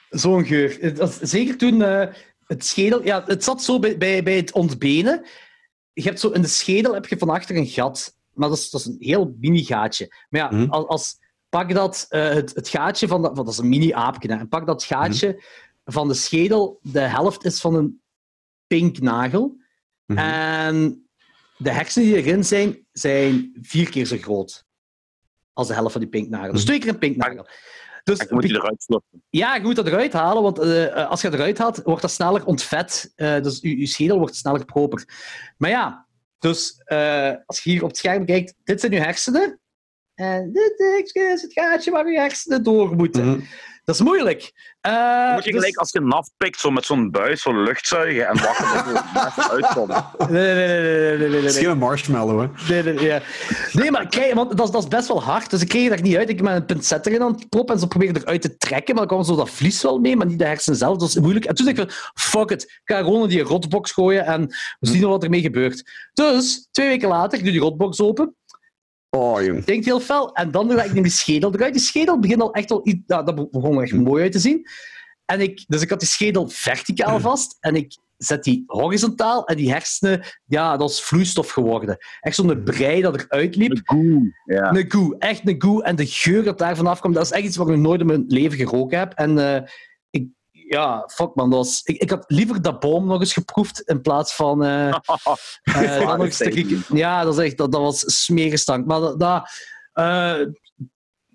[SPEAKER 2] Zo'n geur. Het was- zeker toen eh, het schedel... Ja, het zat zo bij, bij, bij het ontbenen. je hebt zo in de schedel heb je van achter een gat, maar dat is, dat is een heel mini gaatje. Maar ja,
[SPEAKER 3] Mhm.
[SPEAKER 2] als, als pak dat eh, het, het gaatje van, dat- van dat is een mini aapje, hè, en pak dat gaatje
[SPEAKER 3] Mhm.
[SPEAKER 2] van de schedel, de helft is van een pinknagel
[SPEAKER 3] Mhm.
[SPEAKER 2] en de hersenen die erin zijn, zijn vier keer zo groot als de helft van die pinknagel. Dus
[SPEAKER 3] Mhm.
[SPEAKER 2] twee keer een pinknagel. Dus
[SPEAKER 1] Ik moet die eruit slopen.
[SPEAKER 2] ja, je moet dat eruit halen, want eh, eh, als je dat eruit haalt, wordt dat sneller ontvet. Eh, dus je, je schedel wordt sneller proper. Maar ja, dus eh, als je hier op het scherm kijkt, dit zijn je hersenen. En dit is het gaatje waar je hersenen door moeten.
[SPEAKER 3] Mhm.
[SPEAKER 2] Dat is moeilijk. Eh,
[SPEAKER 1] Moet je
[SPEAKER 2] dus-
[SPEAKER 1] gelijk als je naf pikt, zo met zo'n buis, zo lucht zuigen en wachten tot het mes uitkomt.
[SPEAKER 2] Nee, nee, nee, nee, nee, nee, nee,
[SPEAKER 3] Het is
[SPEAKER 2] nee.
[SPEAKER 3] geen marshmallow, hè.
[SPEAKER 2] Nee, nee, nee, ja. nee, maar kijk, want dat, is- dat is best wel hard. Dus ik kreeg er niet uit. Ik heb met een pincet erin aan het proppen en ze probeerden eruit te trekken. Maar dan kwam zo dat vlies wel mee, maar niet de hersenen zelf. Dat is moeilijk. En toen dacht ik van, fuck it. Ik ga gewoon in die rotbox gooien en we zien wel wat ermee gebeurt. Dus, twee weken later, ik doe die rotbox open.
[SPEAKER 3] Oh, jong.
[SPEAKER 2] Denkt heel fel. En dan ga ik neem die schedel eruit. Die schedel begint al echt wel... i- Ja, dat begon er echt mooi uit te zien. En ik, dus ik had die schedel verticaal vast en ik zet die horizontaal en die hersenen, ja, dat is vloeistof geworden. Echt zo'n brei dat eruit liep.
[SPEAKER 1] De goe. Ja.
[SPEAKER 2] Een goe, echt een goe. En de geur dat daar vanaf komt, dat is echt iets wat ik nog nooit in mijn leven geroken heb. En eh, ik, ja, fuck man, dat was, ik, ik had liever dat boom nog eens geproefd in plaats van... eh, eh, dat nog eens te kieken. ja, dat, is echt, dat, dat was smerenstank. Maar dat... dat, eh,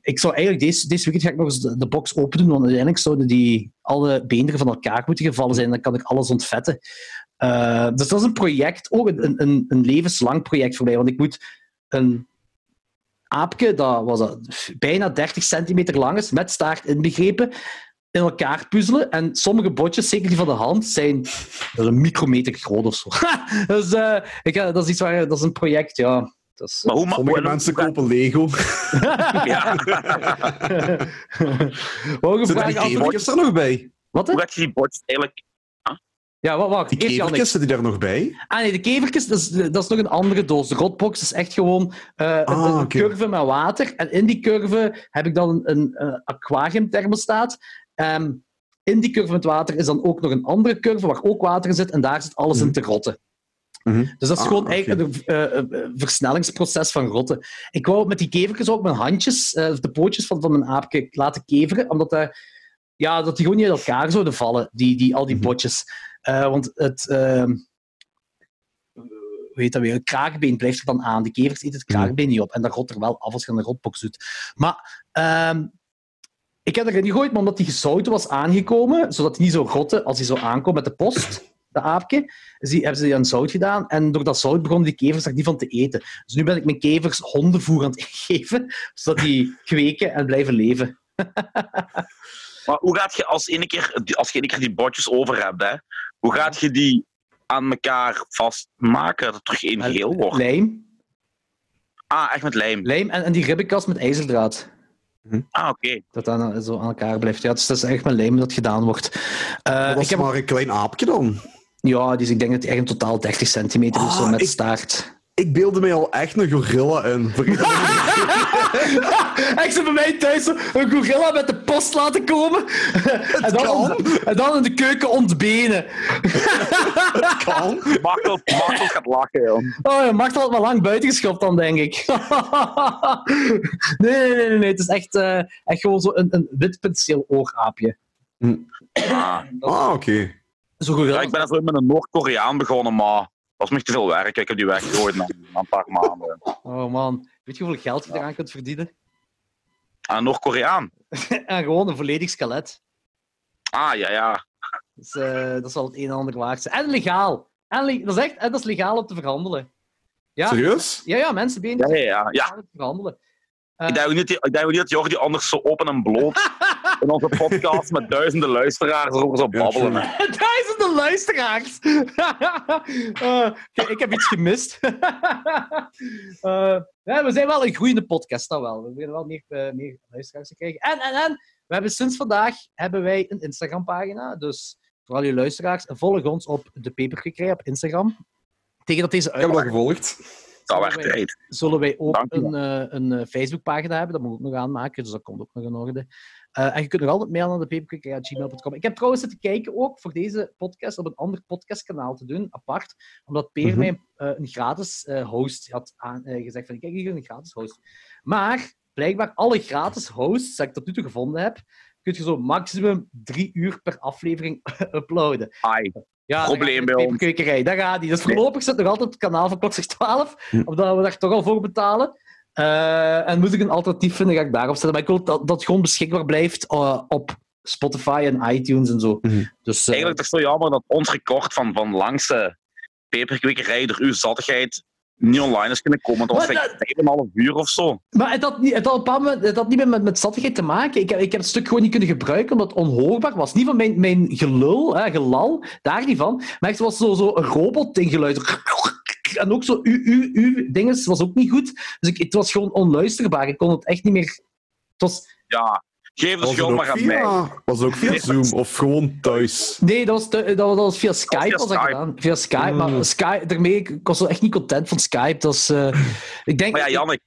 [SPEAKER 2] ik zou eigenlijk deze, deze weekend ga ik nog eens de, de box open doen, want uiteindelijk zouden die alle beenderen van elkaar moeten gevallen zijn. Dan kan ik alles ontvetten. Eh, dus dat is een project, ook een, een- een, een levenslang project voor mij. Want ik moet een aapje, dat was dat, bijna 30 centimeter lang is, met staart inbegrepen, in elkaar puzzelen. En sommige botjes, zeker die van de hand, zijn dat is een micrometer groot of zo. dus eh, ik, ga- dat is iets waar, dat is een project, ja. Dat is,
[SPEAKER 1] Maar hoe ma-
[SPEAKER 3] Sommige
[SPEAKER 1] hoe-
[SPEAKER 3] mensen kopen Lego.
[SPEAKER 1] Ja.
[SPEAKER 2] Wou je
[SPEAKER 3] Zitten
[SPEAKER 2] vragen
[SPEAKER 3] die
[SPEAKER 2] antwoorden?
[SPEAKER 3] kevertjes er nog bij?
[SPEAKER 2] Wat? hè?
[SPEAKER 1] Hoe gaat je die bordjes eigenlijk...
[SPEAKER 2] Ja, wacht, wacht.
[SPEAKER 3] Die
[SPEAKER 2] Eerst Jannik.
[SPEAKER 3] kevertjes zitten die er nog bij?
[SPEAKER 2] Ah nee, de kevertjes, dat is, dat is nog een andere doos. De rotbox is echt gewoon eh, een-
[SPEAKER 3] Ah,
[SPEAKER 2] een,
[SPEAKER 3] oké.
[SPEAKER 2] curve met water. En in die curve heb ik dan een, een eh, aquariumthermostaat. Ehm, in die curve met water is dan ook nog een andere curve waar ook water in zit. En daar zit alles in te rotten.
[SPEAKER 3] Mhm.
[SPEAKER 2] Dus dat is
[SPEAKER 3] Ah,
[SPEAKER 2] gewoon
[SPEAKER 3] oké.
[SPEAKER 2] eigenlijk een eh, eh, eh, versnellingsproces van rotten. Ik wou met die kevertjes ook mijn handjes, eh, of de pootjes van, van mijn aapje, laten keveren. Omdat daar, ja, dat die gewoon niet in elkaar zouden vallen, die, die, al die
[SPEAKER 3] Mhm.
[SPEAKER 2] botjes. Eh, want het... ehm, hoe heet dat weer, een kraakbeen blijft er dan aan. De kevers eet het
[SPEAKER 3] Mhm.
[SPEAKER 2] kraakbeen niet op. En dat rot er wel af als je een rotbox doet. Maar ehm, ik heb erin gegooid, maar omdat die gezouten was aangekomen, zodat die niet zo rotte als die zo aankomt met de post, de aapje, is die, hebben ze die aan zout gedaan. En door dat zout begonnen die kevers daar niet van te eten. Dus nu ben ik mijn kevers hondenvoer aan het geven, zodat die kweken en blijven leven.
[SPEAKER 1] Maar hoe gaat je als, ene keer, als je ene keer die bordjes over hebt, hè, hoe gaat je die aan elkaar vastmaken, dat het terug één geheel wordt?
[SPEAKER 2] Lijm.
[SPEAKER 1] Ah, echt met lijm.
[SPEAKER 2] Lijm en, en die ribbenkast met ijzerdraad.
[SPEAKER 1] Ah, oké.
[SPEAKER 2] Dat dat aan- zo aan elkaar blijft. Ja, dus dat is echt mijn lijm dat het gedaan wordt. Eh,
[SPEAKER 3] dat
[SPEAKER 2] ik
[SPEAKER 3] is
[SPEAKER 2] heb,
[SPEAKER 3] maar een klein aapje dan.
[SPEAKER 2] Ja, dus ik denk dat hij echt in totaal 30 centimeter of zo
[SPEAKER 3] Ah,
[SPEAKER 2] met
[SPEAKER 3] ik-
[SPEAKER 2] staart.
[SPEAKER 3] Ik beelde mij al echt een gorilla in.
[SPEAKER 2] Ik zit bij mij thuis een gorilla met de post laten komen. en, dan
[SPEAKER 3] kan.
[SPEAKER 2] en dan in de keuken ontbenen.
[SPEAKER 3] kan.
[SPEAKER 1] Martel, Martel gaat lachen, joh.
[SPEAKER 2] Oh, je mag al maar lang buiten geschopt dan, denk ik. nee, nee, nee, nee, nee. Het is echt, eh, echt gewoon zo'n een, een wit penseel oogaapje.
[SPEAKER 1] Ah.
[SPEAKER 3] Ah, oké.
[SPEAKER 2] Zo'n gorilla.
[SPEAKER 1] Ja, ik ben er zo met een Noord-Koreaan begonnen, maar dat was me te veel werk. Ik heb die weggegooid na, na een paar maanden.
[SPEAKER 2] Oh man, weet je hoeveel geld je eraan kunt verdienen?
[SPEAKER 1] Ah, Noord-Koreaan?
[SPEAKER 2] en gewoon een volledig skelet.
[SPEAKER 1] Ah, ja, ja.
[SPEAKER 2] Dus, eh, dat zal het een en ander waard zijn. En legaal. En le- dat, is echt, en dat is legaal om te verhandelen. Ja,
[SPEAKER 3] Serieus?
[SPEAKER 2] ja, ja mensen die
[SPEAKER 1] Ja, ja, ja. ja.
[SPEAKER 2] om te verhandelen. Eh,
[SPEAKER 1] Ik denk ook niet dat- ik denk ook niet dat Jordi anders zo open en bloot in onze podcast met duizenden luisteraars erover zou
[SPEAKER 3] Ja,
[SPEAKER 1] babbelen.
[SPEAKER 3] true.
[SPEAKER 1] hè.
[SPEAKER 2] Duizenden luisteraars! Eh, kijk, ik heb iets gemist. Eh, ja, we zijn wel een groeiende podcast, dat wel. We beginnen wel meer, eh, meer luisteraars te krijgen. En, en, en, we hebben sinds vandaag hebben wij een Instagram-pagina. Dus voor al je luisteraars, volg ons op de Paperkikker op Instagram. Tegen dat deze
[SPEAKER 3] Ik heb
[SPEAKER 2] uit...
[SPEAKER 3] dat gevolgd.
[SPEAKER 1] Dat
[SPEAKER 2] Zullen
[SPEAKER 1] werd
[SPEAKER 2] wij-
[SPEAKER 1] tijd.
[SPEAKER 2] Zullen wij ook
[SPEAKER 1] Dank u
[SPEAKER 2] een, eh, een eh, Facebookpagina hebben? Dat moet ik ook nog aanmaken, dus dat komt ook nog in orde. Eh, en je kunt nog altijd mailen naar de paperclick.gmail.com. Ik heb trouwens zitten kijken ook voor deze podcast op een ander podcastkanaal te doen, apart. Omdat Peer
[SPEAKER 3] Mhm.
[SPEAKER 2] mij eh, een gratis eh, host had aan, eh, gezegd. Van, kijk, hier een gratis host. Maar blijkbaar alle gratis hosts die ik tot nu toe gevonden heb, kun je zo maximum drie uur per aflevering uploaden.
[SPEAKER 1] Ai,
[SPEAKER 2] Ja, dat
[SPEAKER 1] Probleem
[SPEAKER 2] gaat
[SPEAKER 1] bij
[SPEAKER 2] de
[SPEAKER 1] ons.
[SPEAKER 2] peperkwekerij, Daar gaat die. Dus
[SPEAKER 1] Nee.
[SPEAKER 2] voorlopig zit nog altijd op het kanaal van Klokzicht 12,
[SPEAKER 3] Hm.
[SPEAKER 2] omdat we daar toch al voor betalen. Eh, en moet ik een alternatief vinden, ga ik daarop zetten. Maar ik wil dat dat gewoon beschikbaar blijft eh, op Spotify en iTunes en zo.
[SPEAKER 3] Mhm.
[SPEAKER 2] Dus eh,
[SPEAKER 1] Eigenlijk is het zo jammer dat ons record van, van langste peperkwekerij door uw zattigheid niet online is kunnen komen. Dat was
[SPEAKER 2] Maar
[SPEAKER 1] echt een half uur of zo.
[SPEAKER 2] Maar het had, niet, het had op een bepaald moment- het had niet meer met, met zattigheid te maken. Ik heb, ik heb het stuk gewoon niet kunnen gebruiken, omdat het onhoorbaar was. Niet van mijn, mijn gelul, hè, gelal, daar niet van. Maar echt, het was zo- zo'n zo robotding geluid. En ook zo u, u, u dinges was ook niet goed. Dus ik, het was gewoon onluisterbaar. Ik kon het echt niet meer... Het was,
[SPEAKER 1] Ja, geef de
[SPEAKER 3] Was het,
[SPEAKER 1] schuld maar
[SPEAKER 3] ook
[SPEAKER 1] aan mij.
[SPEAKER 3] via, was het ook via
[SPEAKER 1] Nee,
[SPEAKER 3] Zoom of gewoon thuis?
[SPEAKER 2] nee, dat was, te- dat was, dat was via Skype.
[SPEAKER 1] via
[SPEAKER 2] was dat
[SPEAKER 1] Skype.
[SPEAKER 2] gedaan. Via Skype.
[SPEAKER 3] Mm.
[SPEAKER 2] Maar Skype, daarmee, ik was wel echt niet content van Skype. Dat is, eh, ik denk,
[SPEAKER 1] Maar ja, Jannik,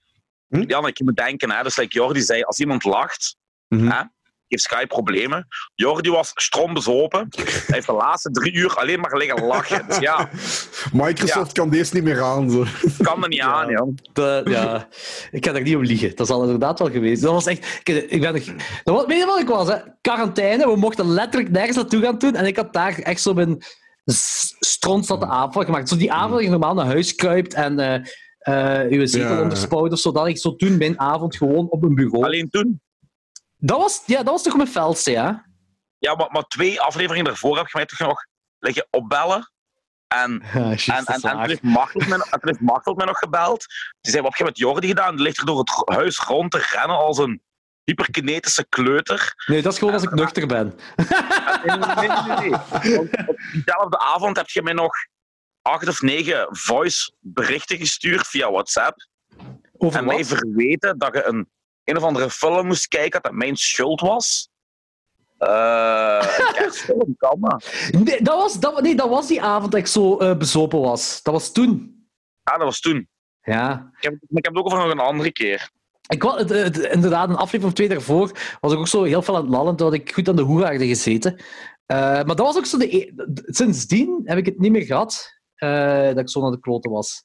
[SPEAKER 3] Hm?
[SPEAKER 1] Jannik, je moet denken, hè, dus like Jordi zei, als iemand lacht,
[SPEAKER 3] Mhm.
[SPEAKER 1] heeft Sky problemen. Jordi was strombezopen. Hij heeft de laatste drie uur alleen maar liggen lachen. Dus ja,
[SPEAKER 3] Microsoft kan deze niet meer aan. Zo.
[SPEAKER 1] kan er niet aan,
[SPEAKER 2] Ja.
[SPEAKER 1] joh.
[SPEAKER 2] De- ja, ik ga daar niet om liegen. Dat is al inderdaad wel geweest. Dat was echt... Ik, ik ben, nog- dat was, weet je wat ik was? Hè? Quarantaine. We mochten letterlijk nergens naartoe gaan toen. En ik had daar echt zo mijn s- stront zat de aanval gemaakt. Zo die avond dat je normaal naar huis kruipt en eh eh je zetel
[SPEAKER 3] Ja.
[SPEAKER 2] onderspouwt of zo. Dat ik zo toen mijn avond gewoon op een bureau...
[SPEAKER 1] Alleen toen.
[SPEAKER 2] Dat, was, ja, dat was toch mijn felste, ja?
[SPEAKER 1] Ja, maar, maar twee afleveringen daarvoor heb je mij toch nog liggen opbellen. En,
[SPEAKER 2] Ja, shit,
[SPEAKER 1] en,
[SPEAKER 2] dat
[SPEAKER 1] en,
[SPEAKER 2] is
[SPEAKER 1] en toen
[SPEAKER 2] waar.
[SPEAKER 1] heeft Martel mij, en toen heeft Martel mij nog gebeld. Die zei, wat heb je met Jordi gedaan? Die ligt er door het ro- huis rond te rennen als een hyperkinetische kleuter.
[SPEAKER 2] Nee, dat is gewoon als ik nuchter ben.
[SPEAKER 1] Nee, nee, nee, nee, nee. Want Op diezelfde avond heb je mij nog acht of negen voice berichten gestuurd via WhatsApp.
[SPEAKER 2] Over
[SPEAKER 1] en mij
[SPEAKER 2] wat?
[SPEAKER 1] verweten dat je een, een of andere film moest kijken dat mijn schuld was. Eh een kerstfilm kan dat.
[SPEAKER 2] Nee dat, was, dat, nee, dat was die avond dat ik zo eh, bezopen was. Dat was toen.
[SPEAKER 1] Ja, dat was toen.
[SPEAKER 2] Ja.
[SPEAKER 1] Ik heb, ik heb het ook over nog een andere keer.
[SPEAKER 2] Ik was, het, het- inderdaad, een aflevering of twee daarvoor was ik ook zo heel veel aan het lallen, dat ik goed aan de hoeraarde gezeten. Eh, maar dat was ook zo de... e- d- Sindsdien heb ik het niet meer gehad eh, dat ik zo naar de kloten was.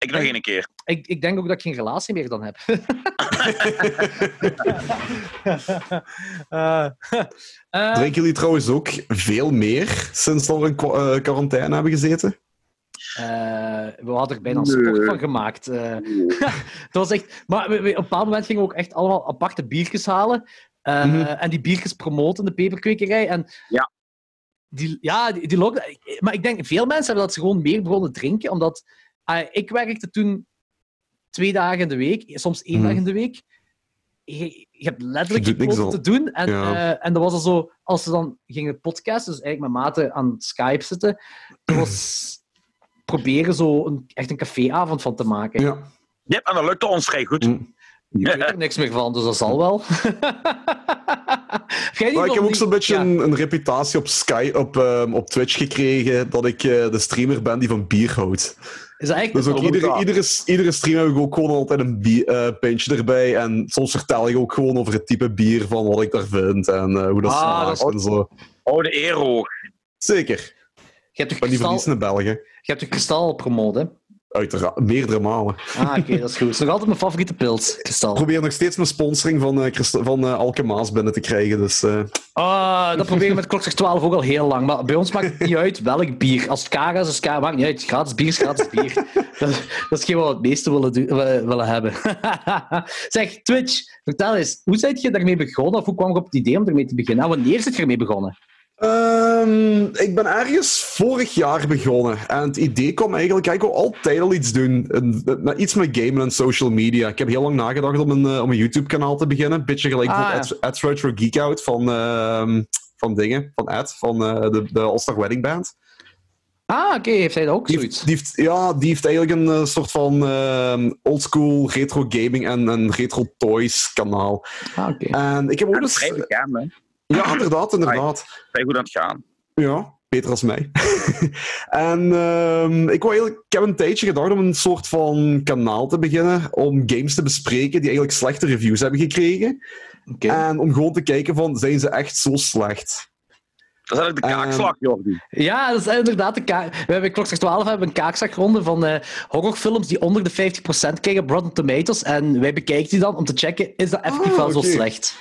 [SPEAKER 1] Ik nog één keer.
[SPEAKER 2] Ik, ik denk ook dat ik geen relatie meer dan heb. Eh, eh,
[SPEAKER 3] Drinken jullie trouwens ook veel meer sinds dat we in kwa- eh, quarantaine hebben gezeten?
[SPEAKER 2] eh, we hadden er bijna een sport
[SPEAKER 1] Nee.
[SPEAKER 2] van gemaakt. eh. Het was echt... Maar we- we- op een bepaald moment gingen we ook echt allemaal aparte biertjes halen. eh,
[SPEAKER 3] Mhm.
[SPEAKER 2] En die biertjes promoten in de peperkwekerij. En
[SPEAKER 1] Ja.
[SPEAKER 2] Die, ja, die, die lockdown- ik- Maar ik denk, veel mensen hebben dat ze gewoon meer begonnen drinken. Omdat ah, ik werkte toen twee dagen in de week, soms één
[SPEAKER 3] Mhm.
[SPEAKER 2] dag in de week. Je, je hebt letterlijk
[SPEAKER 3] Je doet niks
[SPEAKER 2] niks te
[SPEAKER 3] al.
[SPEAKER 2] doen. En,
[SPEAKER 3] Ja.
[SPEAKER 2] eh, en dat was al zo, als ze dan gingen podcasten, dus eigenlijk met maten aan het Skype zitten, dat was proberen zo een, echt een caféavond van te maken.
[SPEAKER 3] Ja.
[SPEAKER 1] Ja, en dat lukte ons vrij goed.
[SPEAKER 3] Mm.
[SPEAKER 2] Ik weet er niks meer van, dus dat zal wel. Jij
[SPEAKER 3] Maar ik heb ook
[SPEAKER 2] zo'n
[SPEAKER 3] zo'n beetje een, een reputatie op, Sky, op, ehm, op Twitch gekregen dat ik eh, de streamer ben die van bier houdt.
[SPEAKER 2] Is dat echt
[SPEAKER 3] Dus ook
[SPEAKER 1] Oh,
[SPEAKER 3] iedere,
[SPEAKER 1] inderdaad.
[SPEAKER 3] iedere, iedere stream heb ik ook gewoon altijd een bier, eh, pintje erbij. En soms vertel ik ook gewoon over het type bier van wat ik daar vind en eh, hoe dat
[SPEAKER 2] Ah,
[SPEAKER 3] smaakt
[SPEAKER 2] dat
[SPEAKER 3] en zo.
[SPEAKER 1] Oude eer ook.
[SPEAKER 3] Zeker.
[SPEAKER 2] Je hebt toch
[SPEAKER 3] Maar die
[SPEAKER 2] kristal,
[SPEAKER 3] verliezen in België.
[SPEAKER 2] je hebt toch kristal promoot, hè?
[SPEAKER 3] Uiteraard. Meerdere malen.
[SPEAKER 2] Ah, oké, dat is goed. Het is nog altijd mijn favoriete pils, kristal.
[SPEAKER 3] Ik probeer nog steeds mijn sponsoring van, eh Christ- van eh, Alke Maas binnen te krijgen. Dus eh,
[SPEAKER 2] Ah, dat proberen we met klokslag 12 ook al heel lang. Maar bij ons maakt het niet uit welk bier. Als het Kara is, is Kara. Maakt niet uit. Gratis bier is gratis bier. dat, dat is geen wat we het meeste willen, doen- we- willen hebben. zeg, Twitch, vertel eens. Hoe ben je daarmee begonnen? Of hoe kwam je op het idee om ermee te beginnen? En wanneer zit je ermee begonnen?
[SPEAKER 3] Ehm, ik ben ergens vorig jaar begonnen. En het idee kwam eigenlijk... ja, Ik wil altijd al iets doen. Een- met- iets met gamen en social media. Ik heb heel lang nagedacht om een, eh, om een YouTube-kanaal te beginnen. Een beetje gelijk
[SPEAKER 2] Ah,
[SPEAKER 3] voor
[SPEAKER 2] ja.
[SPEAKER 3] Ads- Ads Retro Geek Out van, ehm, van dingen. Van Ed, van eh, de, de All-Star Wedding Band.
[SPEAKER 2] Ah, oké. heeft hij dat ook
[SPEAKER 3] Die
[SPEAKER 2] zoiets?
[SPEAKER 3] heeft, die heeft- ja, die heeft eigenlijk een eh, soort van ehm oldschool retro gaming en, en retro toys kanaal.
[SPEAKER 2] Ah, oké.
[SPEAKER 3] En ik heb ook
[SPEAKER 1] En
[SPEAKER 3] eens...
[SPEAKER 1] vrij bekend, hè.
[SPEAKER 3] Ja, inderdaad, inderdaad.
[SPEAKER 1] Vrij goed aan het gaan.
[SPEAKER 3] Ja. beter als mij. en ehm, ik, wou eigenlijk, ik heb een tijdje gedacht om een soort van kanaal te beginnen om games te bespreken die eigenlijk slechte reviews hebben gekregen.
[SPEAKER 2] Oké.
[SPEAKER 3] En om gewoon te kijken van, zijn ze echt zo slecht?
[SPEAKER 1] Dat is eigenlijk de kaakslag, Jordi.
[SPEAKER 2] Ja, dat is inderdaad de ka- We hebben klokslag 12 hebben een kaakslagronde van eh, horrorfilms die onder de 50% krijgen op Rotten Tomatoes. En wij bekijken die dan om te checken, is dat effectief
[SPEAKER 3] Ah,
[SPEAKER 2] wel zo
[SPEAKER 3] oké.
[SPEAKER 2] slecht?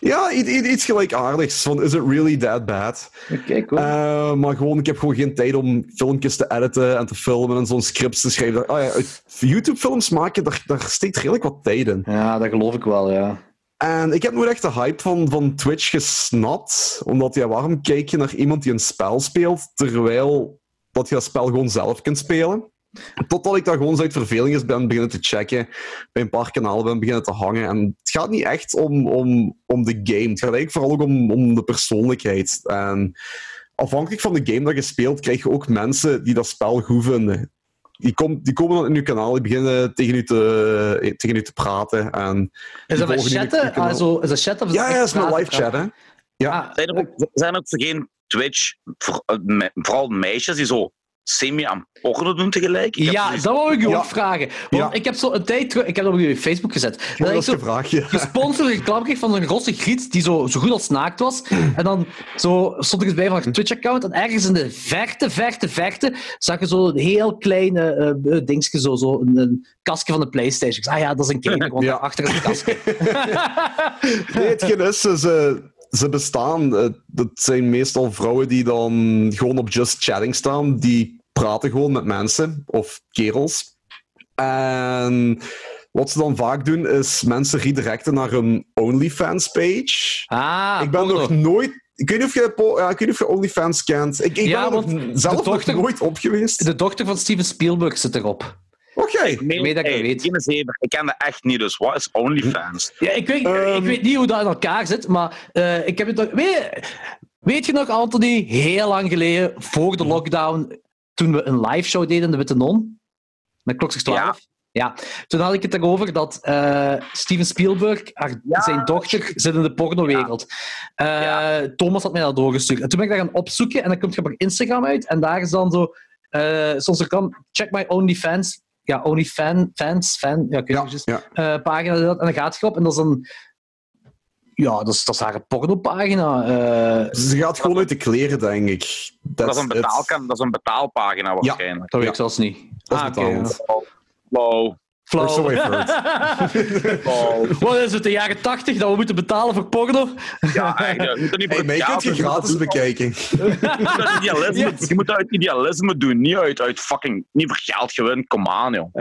[SPEAKER 3] Ja, i- i- iets gelijkaardigs. Van, is it really that bad?
[SPEAKER 2] Oké, cool.
[SPEAKER 3] Eh, maar gewoon, ik heb gewoon geen tijd om filmpjes te editen en te filmen en zo'n scripts te schrijven. Ah ja, uit YouTube-films maken, daar, daar steekt redelijk wat tijd in.
[SPEAKER 2] ja, dat geloof ik wel, ja.
[SPEAKER 3] En ik heb nooit echt de hype van, van Twitch gesnapt. Omdat, ja, waarom kijk je naar iemand die een spel speelt, terwijl dat je dat spel gewoon zelf kunt spelen? Totdat ik daar gewoon eens uit verveling eens ben beginnen te checken, bij een paar kanalen ben beginnen te hangen. En het gaat niet echt om, om, om de game, het gaat eigenlijk vooral ook om, om de persoonlijkheid. En afhankelijk van de game dat je speelt, krijg je ook mensen die dat spel goed vinden. Die, komt die komen dan in je kanaal, die beginnen tegen je te, tegen je te praten. En
[SPEAKER 2] Is dat
[SPEAKER 3] Die
[SPEAKER 2] met
[SPEAKER 3] volgen jullie
[SPEAKER 2] chatten?
[SPEAKER 3] kanaal.
[SPEAKER 2] Ah, zo, is dat chatten? of
[SPEAKER 3] ja,
[SPEAKER 2] echt
[SPEAKER 3] ja, dat is mijn
[SPEAKER 2] praten,
[SPEAKER 3] live chat, hè.
[SPEAKER 2] praten? Ah,
[SPEAKER 1] Zijn er ook, zijn er ook geen Twitch, voor- eh, me- vooral meisjes, die zo semi aan porno doen tegelijk? Ik heb dus
[SPEAKER 2] ja,
[SPEAKER 1] zoiets-
[SPEAKER 2] dat wou ik je
[SPEAKER 3] Ja.
[SPEAKER 2] ook vragen. Want
[SPEAKER 3] Ja.
[SPEAKER 2] ik heb zo een tijd terug... Ik heb dat op jullie Facebook gezet.
[SPEAKER 3] Ja,
[SPEAKER 2] Dat
[SPEAKER 3] dat
[SPEAKER 2] ik
[SPEAKER 3] is
[SPEAKER 2] zo
[SPEAKER 3] een vraagje.
[SPEAKER 2] gesponsord reclame kreeg van een rosse griet die zo, zo goed als naakt was. En dan zo stond ik eens bij van haar Twitch-account en ergens in de verte, verte, verte zag je zo een heel klein eh, eh, dingetje, zo, zo een, een kastje van de Playstation. Ik zei, ah ja, dat is een gamer, want
[SPEAKER 3] Ja.
[SPEAKER 2] achter is een kastje.
[SPEAKER 3] Nee, hetgeen is, ze- ze, ze bestaan. eh, Dat zijn meestal vrouwen die dan gewoon op Just Chatting staan. Die praten gewoon met mensen of kerels. En wat ze dan vaak doen, is mensen redirecten naar hun OnlyFans-page.
[SPEAKER 2] ah,
[SPEAKER 3] ik ben
[SPEAKER 2] porno.
[SPEAKER 3] nog nooit... Ik weet niet of je, po- ja, ik weet niet of je OnlyFans kent. Ik, ik
[SPEAKER 2] Ja,
[SPEAKER 3] ben er
[SPEAKER 2] want
[SPEAKER 3] nog zelf
[SPEAKER 2] de dochter-
[SPEAKER 3] nog nooit op geweest.
[SPEAKER 2] De dochter van Steven Spielberg zit erop.
[SPEAKER 3] Oké.
[SPEAKER 1] Nee,
[SPEAKER 2] Ik weet dat ik
[SPEAKER 1] hey,
[SPEAKER 2] het weet.
[SPEAKER 1] geen zever. Ik ken dat echt niet, dus wat is OnlyFans?
[SPEAKER 2] Ja, ik, weet, ik
[SPEAKER 3] Ehm.
[SPEAKER 2] weet niet hoe dat in elkaar zit, maar eh, ik heb het nog. Weet, weet je nog, Anthony, heel lang geleden, voor
[SPEAKER 3] Mhm.
[SPEAKER 2] de lockdown, toen we een live show deden in de Witte Non? Met klokslag 12? Ja. toen had ik het erover dat eh, Steven Spielberg, haar- zijn dochter, zit in de pornowereld. Eh, Thomas had mij dat doorgestuurd. En toen ben ik daar gaan opzoeken en dan komt je op haar Instagram uit en daar is dan zo, eh soms er kan, check my OnlyFans. Ja, OnlyFans, fans, fan. Ja, ik weet
[SPEAKER 3] Ja,
[SPEAKER 2] niet precies
[SPEAKER 3] ja.
[SPEAKER 2] eh, pagina dat, en dan gaat je op en dat is een... Ja, dat is, dat is haar pornopagina. eh
[SPEAKER 3] Ze gaat gewoon uit de kleren, denk ik.
[SPEAKER 1] Dat is, een
[SPEAKER 3] it.
[SPEAKER 1] betaalkan, dat is een betaalpagina waarschijnlijk.
[SPEAKER 2] dat weet
[SPEAKER 3] Ja.
[SPEAKER 2] ik zelfs niet. Ah,
[SPEAKER 3] Dat is
[SPEAKER 2] oké,
[SPEAKER 3] betaald.
[SPEAKER 2] ja.
[SPEAKER 1] Wow.
[SPEAKER 2] Flauw.
[SPEAKER 3] Or so I've
[SPEAKER 1] Wow.
[SPEAKER 2] Wat is het, de jaren tachtig dat we moeten betalen voor porno?
[SPEAKER 1] Ja, eigenlijk. Je moet dat niet voor
[SPEAKER 3] Hey, mij
[SPEAKER 1] het
[SPEAKER 3] kunt je
[SPEAKER 1] theater
[SPEAKER 3] gratis
[SPEAKER 1] doen.
[SPEAKER 3] bekijken.
[SPEAKER 1] Je moet dat idealisme-
[SPEAKER 2] Ja.
[SPEAKER 1] Je moet dat uit idealisme doen, niet uit, uit fucking... Niet voor geld gewin, kom aan, joh.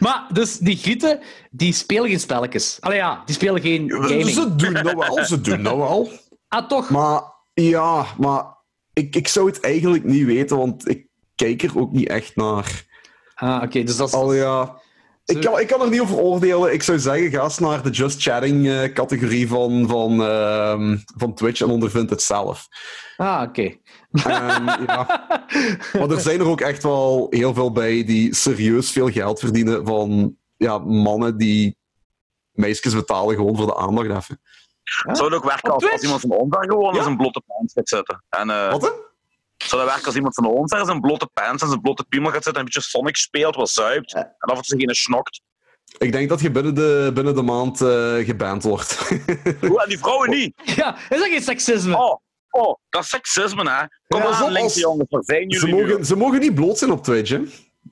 [SPEAKER 2] maar, dus die grieten, die spelen geen spelletjes. Allee ja, die spelen geen gaming.
[SPEAKER 3] Ze doen nou wel, ze doen nou wel.
[SPEAKER 2] Ah, toch?
[SPEAKER 3] Maar ja, maar ik, ik zou het eigenlijk niet weten, want ik kijk er ook niet echt naar.
[SPEAKER 2] Ah, oké, dus dat is...
[SPEAKER 3] Al ja. Ik kan, ik kan er niet over oordelen. Ik zou zeggen, ga eens naar de Just Chatting eh, categorie van, van, ehm, van Twitch en ondervind het zelf.
[SPEAKER 2] Ah, oké.
[SPEAKER 3] En, Ehm, ja. Maar er zijn er ook echt wel heel veel bij die serieus veel geld verdienen van ja, mannen die meisjes betalen gewoon voor de aandacht even.
[SPEAKER 1] Zou het ook werken
[SPEAKER 2] Op
[SPEAKER 1] als, als
[SPEAKER 2] Twitch?
[SPEAKER 1] iemand van ons daar gewoon
[SPEAKER 3] Ja.
[SPEAKER 1] in zijn blote pants gaat zitten? En, eh,
[SPEAKER 3] Wat hè?
[SPEAKER 1] zou dat werken als iemand van ons daar in zijn blote pants en zijn blote piemel gaat zitten en een beetje Sonic speelt, wat zuipt, en af en toe geen snokt?
[SPEAKER 3] Ik denk dat je binnen de, binnen de maand eh, geband wordt.
[SPEAKER 1] Oeh, en die vrouwen niet!
[SPEAKER 2] Ja, is dat geen seksisme?
[SPEAKER 1] Oh, oh, dat is seksisme, hè? Kom
[SPEAKER 3] Ja,
[SPEAKER 1] aan,
[SPEAKER 3] zo als-
[SPEAKER 1] linkse jongens, waar zijn
[SPEAKER 3] ze,
[SPEAKER 1] jullie nu?
[SPEAKER 3] mogen, ze mogen niet bloot zijn op Twitch. Hè?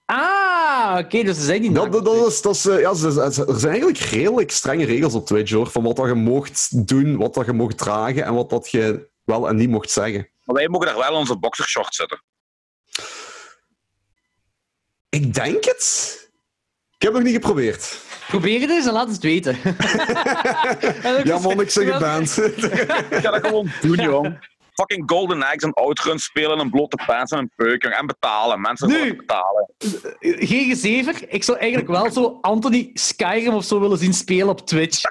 [SPEAKER 2] Ah, oké, dus ze zijn niet
[SPEAKER 3] Dat, dat,
[SPEAKER 2] naakt.
[SPEAKER 3] dat is, dat is, eh, ja, ze- ze- ze- er zijn eigenlijk redelijk strenge regels op Twitch hoor. Van wat dat je mocht doen, wat dat je mocht dragen en wat dat je wel en niet mocht zeggen.
[SPEAKER 1] Maar wij mogen daar wel in onze boxershorts zitten.
[SPEAKER 3] Ik denk het. Ik heb het nog niet geprobeerd.
[SPEAKER 2] Probeer het eens en laat het weten.
[SPEAKER 3] Ja, man, ik zeg
[SPEAKER 2] het
[SPEAKER 3] geband.
[SPEAKER 1] Ik ga dat gewoon doen, jong. Fucking Golden Eggs en Outrun spelen en blote pants en een peuk jong, en betalen. Mensen
[SPEAKER 2] Nu.
[SPEAKER 1] willen betalen.
[SPEAKER 2] Geen gezever. Ik zou eigenlijk wel zo Anthony Skyrim of zo willen zien spelen op Twitch.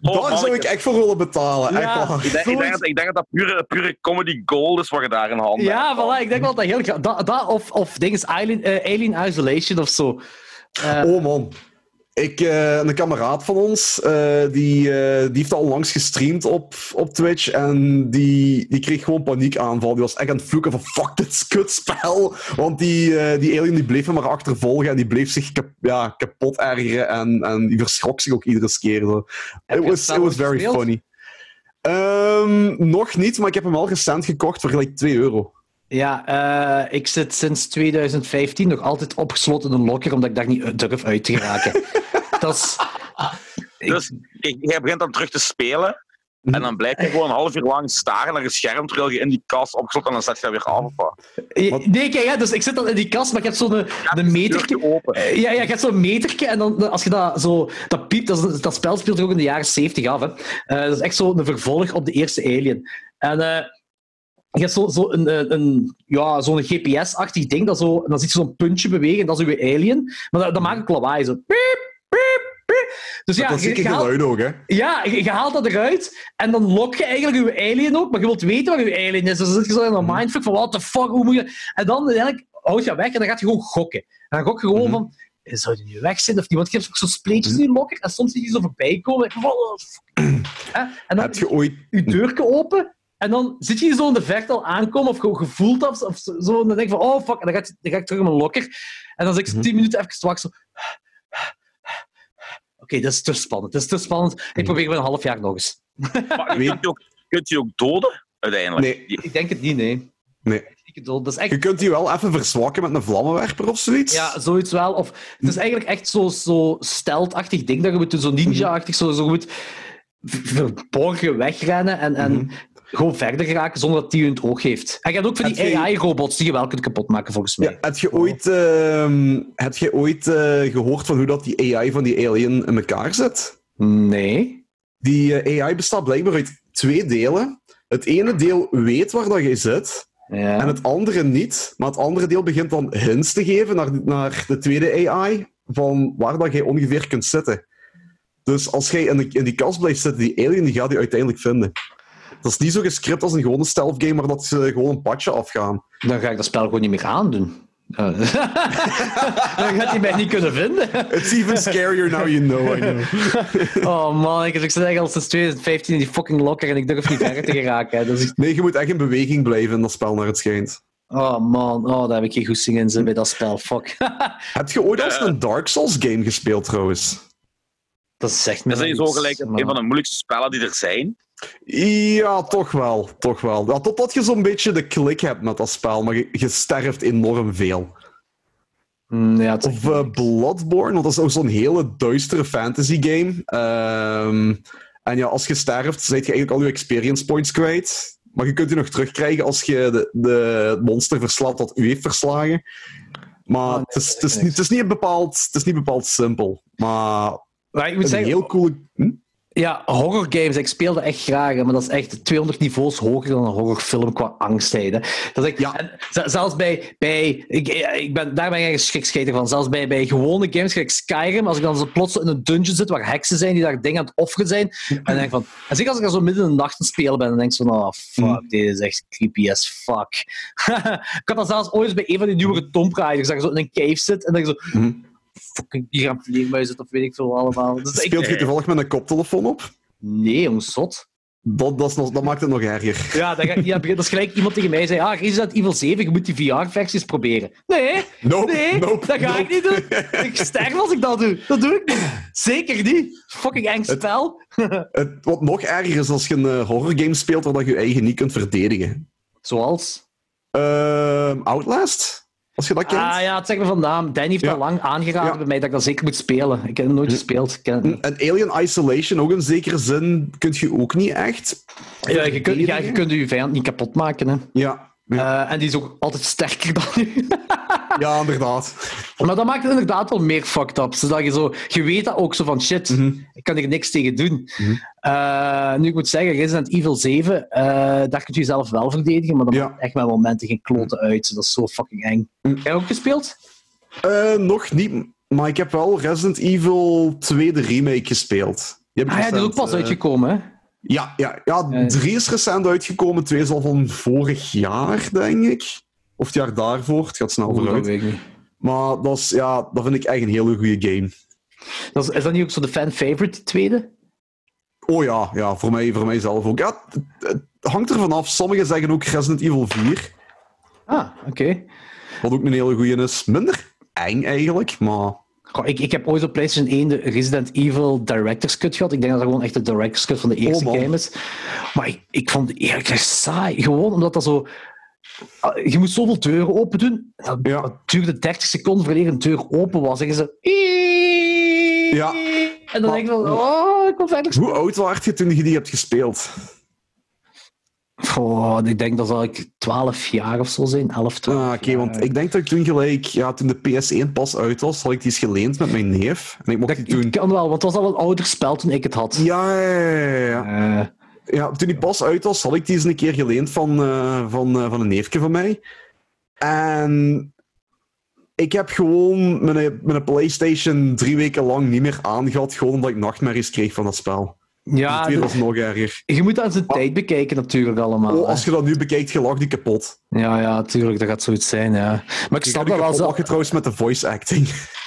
[SPEAKER 1] Oh,
[SPEAKER 3] Daar zou ik
[SPEAKER 1] mannetjes.
[SPEAKER 3] echt voor willen betalen.
[SPEAKER 2] Ja.
[SPEAKER 3] Echt waar.
[SPEAKER 1] Ik denk, ik, denk dat, ik denk dat dat pure, pure comedy gold is wat je daar in handen
[SPEAKER 2] Ja,
[SPEAKER 1] hebt.
[SPEAKER 2] voilà. Ik denk wel dat heel gra- dat, dat of, of ding is Alien, eh, Alien Isolation of zo. Eh,
[SPEAKER 3] Oh man. Ik, eh, een kameraad van ons, eh, die, eh, die heeft al onlangs gestreamd op, op Twitch. En die, die kreeg gewoon paniekaanval. Die was echt aan het vloeken van fuck dit kutspel. Want die, eh, die alien die bleef hem maar achtervolgen. En die bleef zich kap- ja, kapot ergeren. En, en die verschrok zich ook iedere keer. Zo. It
[SPEAKER 2] je
[SPEAKER 3] was,
[SPEAKER 2] het
[SPEAKER 3] it
[SPEAKER 2] spel
[SPEAKER 3] was very
[SPEAKER 2] gespeeld?
[SPEAKER 3] funny. Ehm, nog niet, maar ik heb hem al recent gekocht voor gelijk 2 euro.
[SPEAKER 2] Ja, eh, ik zit sinds 2015 nog altijd opgesloten in een lokker, omdat ik daar niet uit- durf uit te geraken. dat is... Ik-
[SPEAKER 1] Dus ik, jij begint dan terug te spelen. En dan blijf je gewoon een half uur lang staren naar je scherm terwijl je in die kast opgesloten en dan zet je dat weer af. of wat.
[SPEAKER 2] Eh,
[SPEAKER 3] Wat?
[SPEAKER 2] Nee, kijk, hè, dus ik zit dan in die kast, maar ik heb zo'n een
[SPEAKER 1] het
[SPEAKER 2] metertje...
[SPEAKER 1] deurtje open.
[SPEAKER 2] Eh, Ja, ja, je hebt zo'n metertje en dan, eh, als je dat zo... Dat piept, dat, is- dat spel speelt er ook in de jaren 70 af. Hè. Eh, dat is echt zo'n vervolg op de eerste Alien. En eh, je hebt zo'n zo een, een, een- ja, zo'n GPS-achtig ding, dat zo, en dan ziet je zo'n puntje bewegen, dat is uw alien. Maar dat, dat maakt ook lawaai, zo... Piep, piep, piep. Dus ja,
[SPEAKER 3] dat
[SPEAKER 2] je-
[SPEAKER 3] klassieke
[SPEAKER 2] je haalt-
[SPEAKER 3] geluid ook, hè?
[SPEAKER 2] ja, je, je haalt dat eruit en dan lok je eigenlijk je alien ook, maar je wilt weten waar je alien is. Dus dan zit je zo in een mindfuck van what the fuck, hoe moet je... En dan uiteindelijk houd je dat weg en dan gaat je gewoon gokken. En dan gok je gewoon
[SPEAKER 3] Mhm.
[SPEAKER 2] van, eh, zou die nu weg zijn of niet? Want je hebt ook zo'n spleetjes in je lokker en soms zie je die zo voorbij komen. En, ik, what the fuck. Hè? en dan
[SPEAKER 3] Heb je ooit
[SPEAKER 2] je deurke open en dan zit je zo in de vecht al aankomen of gewoon gevoeld of, of zo. En dan denk je van, oh fuck, en dan, gaat, dan ga ik terug in mijn lokker. En dan zit ik zo
[SPEAKER 3] Mhm.
[SPEAKER 2] tien minuten even zwak zo... Oké, dat is te spannend. Dat is te spannend.
[SPEAKER 3] Mhm.
[SPEAKER 2] Ik probeer weer een half jaar nog eens.
[SPEAKER 1] Maar
[SPEAKER 3] Weet-
[SPEAKER 1] je kunt die ook, kunt die ook doden, uiteindelijk.
[SPEAKER 3] Nee.
[SPEAKER 1] Die-
[SPEAKER 2] Ik denk het niet, nee.
[SPEAKER 3] Nee.
[SPEAKER 2] Ik bedoel, Dat is echt...
[SPEAKER 3] Je kunt die wel even verzwakken met een vlammenwerper of zoiets.
[SPEAKER 2] Ja, zoiets wel. Of, het is eigenlijk echt zo- zo steltachtig ding dat je moet doen,
[SPEAKER 3] Mhm.
[SPEAKER 2] zo ninja-achtig, zo, zo goed verborgen wegrennen en, en
[SPEAKER 3] Mhm.
[SPEAKER 2] gewoon verder geraken zonder dat die je in het oog heeft. En je hebt ook van
[SPEAKER 3] Heb
[SPEAKER 2] die
[SPEAKER 3] je-
[SPEAKER 2] AI-robots die je wel kunt kapotmaken, volgens mij.
[SPEAKER 3] Ja, heb je ooit, ehm, heb je ooit eh, gehoord van hoe dat die AI van die alien in elkaar zit?
[SPEAKER 2] Nee.
[SPEAKER 3] Die eh, AI bestaat blijkbaar uit twee delen. Het ene deel weet waar dat je zit,
[SPEAKER 2] Ja.
[SPEAKER 3] en het andere niet. Maar het andere deel begint dan hints te geven naar, naar de tweede AI van waar dat jij ongeveer kunt zitten. Dus als jij in, de- in die kast blijft zitten, die alien die gaat je uiteindelijk vinden. Dat is niet zo gescript als een gewone stealth game, maar dat ze gewoon een padje afgaan.
[SPEAKER 2] Dan ga ik dat spel gewoon niet meer aandoen. Eh, dan gaat hij mij niet kunnen vinden.
[SPEAKER 3] It's even scarier now you know, I know.
[SPEAKER 2] Oh man, ik, ik zit eigenlijk al sinds 2015 in die fucking lokker en ik durf niet verder te geraken. hè. Dat is echt-
[SPEAKER 3] Nee, je moet echt in beweging blijven in dat spel, naar het schijnt.
[SPEAKER 2] Oh man, oh, daar heb ik geen goesting in zin bij dat spel. Fuck.
[SPEAKER 3] Heb je ooit al eens een Dark Souls game gespeeld, trouwens?
[SPEAKER 2] dat is echt
[SPEAKER 1] Dat is
[SPEAKER 2] niet
[SPEAKER 1] sowieso gelijk een van de moeilijkste spellen die er zijn.
[SPEAKER 3] Ja, toch wel, toch wel. Ja, totdat je zo'n beetje de klik hebt met dat spel, maar je, je sterft enorm veel.
[SPEAKER 2] Mm, ja, het is
[SPEAKER 3] Of eh, Bloodborne, want dat is ook zo'n hele duistere fantasy game. Ehm, en ja, als je sterft, zet je eigenlijk al je experience points kwijt. Maar je kunt die nog terugkrijgen als je de, de het monster verslaat dat u heeft verslagen. Maar
[SPEAKER 2] Ah, nee,
[SPEAKER 3] het, is,
[SPEAKER 2] dat
[SPEAKER 3] het, is,
[SPEAKER 2] is
[SPEAKER 3] niet- het, is niet bepaald, het is niet bepaald simpel. Maar
[SPEAKER 2] Maar ik
[SPEAKER 3] een
[SPEAKER 2] moet zeggen,
[SPEAKER 3] heel coole... Hm?
[SPEAKER 2] ja, horrorgames, ik speel dat echt graag, hè, maar dat is echt 200 niveaus hoger dan een horrorfilm qua angstheid. hè. Dat is echt,
[SPEAKER 3] Ja.
[SPEAKER 2] en z- zelfs bij, bij ik, ik ben, daar ben ik echt schrikscheter van, zelfs bij, bij gewone games, gelijk Skyrim, als ik dan zo plots in een dungeon zit waar heksen zijn die daar dingen aan het offeren zijn, en dan denk ik van, en zeker als ik dan zo midden in de nacht aan het spelen ben, dan denk ik zo, oh fuck,
[SPEAKER 3] Mhm.
[SPEAKER 2] dit is echt creepy as fuck. ik had dat zelfs ooit eens bij een van die nieuwere Tomb Raiders, dat je zo in een cave zit en dan zo,
[SPEAKER 3] Mhm.
[SPEAKER 2] fucking, hier aan vleermuis zit of weet ik veel allemaal. Dus ik-
[SPEAKER 3] Speelt je toevallig met een koptelefoon op?
[SPEAKER 2] nee, jongens, zot.
[SPEAKER 3] Dat, dat, is nog, dat maakt het nog erger.
[SPEAKER 2] Ja, dat, ga ik niet aan beginnen. dat is gelijk iemand tegen mij zei: Ah, Resident Evil 7, je moet die VR-versies proberen. Nee,
[SPEAKER 3] Nope,
[SPEAKER 2] nee,
[SPEAKER 3] nope,
[SPEAKER 2] dat ga
[SPEAKER 3] nope.
[SPEAKER 2] ik niet doen. Ik sterf als ik dat doe. Dat doe ik niet. Zeker niet. Fucking eng spel.
[SPEAKER 3] Het, wat nog erger is als je een eh, horrorgame speelt waar dat je je eigen niet kunt verdedigen.
[SPEAKER 2] Zoals.
[SPEAKER 3] Ehm, Outlast? Als je dat kent?
[SPEAKER 2] Ah ja, het zegt me vandaan. Danny heeft
[SPEAKER 3] Ja.
[SPEAKER 2] dat lang aangeraden
[SPEAKER 3] Ja. Hm.
[SPEAKER 2] bij mij dat ik dat zeker moet spelen. Ik heb het nooit gespeeld. Ik ken het niet.
[SPEAKER 3] En Alien Isolation, ook in zekere zin, kun je ook niet echt.
[SPEAKER 2] Ja, je kunt, ja, je kunt je vijand niet kapot maken. Hè.
[SPEAKER 3] Ja, ja,
[SPEAKER 2] Eh, en die is ook altijd sterker dan u.
[SPEAKER 3] ja, inderdaad.
[SPEAKER 2] Maar dat maakt het inderdaad wel meer fucked up. Zodat je, zo, je weet dat ook zo van shit,
[SPEAKER 3] Mhm.
[SPEAKER 2] ik kan hier niks tegen doen.
[SPEAKER 3] Mhm.
[SPEAKER 2] Eh, nu, ik moet zeggen, Resident Evil 7, eh, daar kun je jezelf wel verdedigen, maar dat
[SPEAKER 3] Ja.
[SPEAKER 2] maakt echt met momenten geen kloten uit. Dat is zo fucking eng.
[SPEAKER 3] Mhm.
[SPEAKER 2] Heb jij ook gespeeld?
[SPEAKER 3] Eh, nog niet, maar ik heb wel Resident Evil 2 de remake gespeeld. Die heb ik
[SPEAKER 2] Ah, ja, die is ook
[SPEAKER 3] recent,
[SPEAKER 2] pas
[SPEAKER 3] eh,
[SPEAKER 2] uitgekomen, hè?
[SPEAKER 3] Ja, ja, ja,
[SPEAKER 2] Ja.
[SPEAKER 3] 3 is recent uitgekomen, 2 is al van vorig jaar, denk ik. Of het jaar daarvoor, het gaat snel
[SPEAKER 2] Oeh, dat
[SPEAKER 3] vooruit.
[SPEAKER 2] weet ik niet.
[SPEAKER 3] Maar dat, is, ja, dat vind ik echt een hele goede game.
[SPEAKER 2] Dat is, is dat niet ook zo de fan-favorite, die tweede?
[SPEAKER 3] Oh ja, ja voor, mij, voor mijzelf ook. Ja, het, het hangt er vanaf. Sommigen zeggen ook Resident Evil 4,
[SPEAKER 2] Ah, oké.
[SPEAKER 3] wat ook een hele goeie is. Minder eng eigenlijk, maar...
[SPEAKER 2] Goh, ik, ik heb ooit op PlayStation 1 de Resident Evil Director's Cut gehad. Ik denk dat dat gewoon echt de Director's Cut van de eerste
[SPEAKER 3] man.
[SPEAKER 2] game is. Maar ik, ik vond het eerlijk gezegd saai. Gewoon omdat dat zo... ah, Je moest zoveel deuren open doen. Dat,
[SPEAKER 3] Ja.
[SPEAKER 2] dat duurde 30 seconden voordat een deur open was. En je zo...
[SPEAKER 3] Ja.
[SPEAKER 2] En dan denk je van... Oh, ik wil verder
[SPEAKER 3] Hoe oud was je toen je die hebt gespeeld?
[SPEAKER 2] Goh, ik denk dat zal ik 12 jaar of zo zijn. 11, 12
[SPEAKER 3] Ah, Oké,
[SPEAKER 2] jaar.
[SPEAKER 3] want ik denk dat ik toen gelijk... Ja, toen de PS1 pas uit was, had ik die eens geleend met mijn neef. En ik mocht die
[SPEAKER 2] Het
[SPEAKER 3] toen...
[SPEAKER 2] kan wel, want het was al een ouder spel toen ik het had.
[SPEAKER 3] Ja, ja, ja, ja, ja.
[SPEAKER 2] Eh,
[SPEAKER 3] Ja, toen die pas uit was, had ik die eens een keer geleend van, eh, van, eh, van een neefje van mij. En ik heb gewoon mijn, mijn PlayStation drie weken lang niet meer aangehad, gewoon omdat ik nachtmerries kreeg van dat spel.
[SPEAKER 2] ja,
[SPEAKER 3] de tweede was nog erger.
[SPEAKER 2] Je moet aan zijn tijd bekijken, natuurlijk, allemaal.
[SPEAKER 3] Ah. Oh,
[SPEAKER 2] hè.
[SPEAKER 3] als je dat nu bekijkt, je lacht die kapot.
[SPEAKER 2] Ja, ja, tuurlijk, dat gaat zoiets zijn. Ja. Maar ik
[SPEAKER 3] Ik
[SPEAKER 2] snap
[SPEAKER 3] snap je
[SPEAKER 2] dat wel.
[SPEAKER 3] kapot
[SPEAKER 2] Zo...
[SPEAKER 3] lachen trouwens met de voice acting.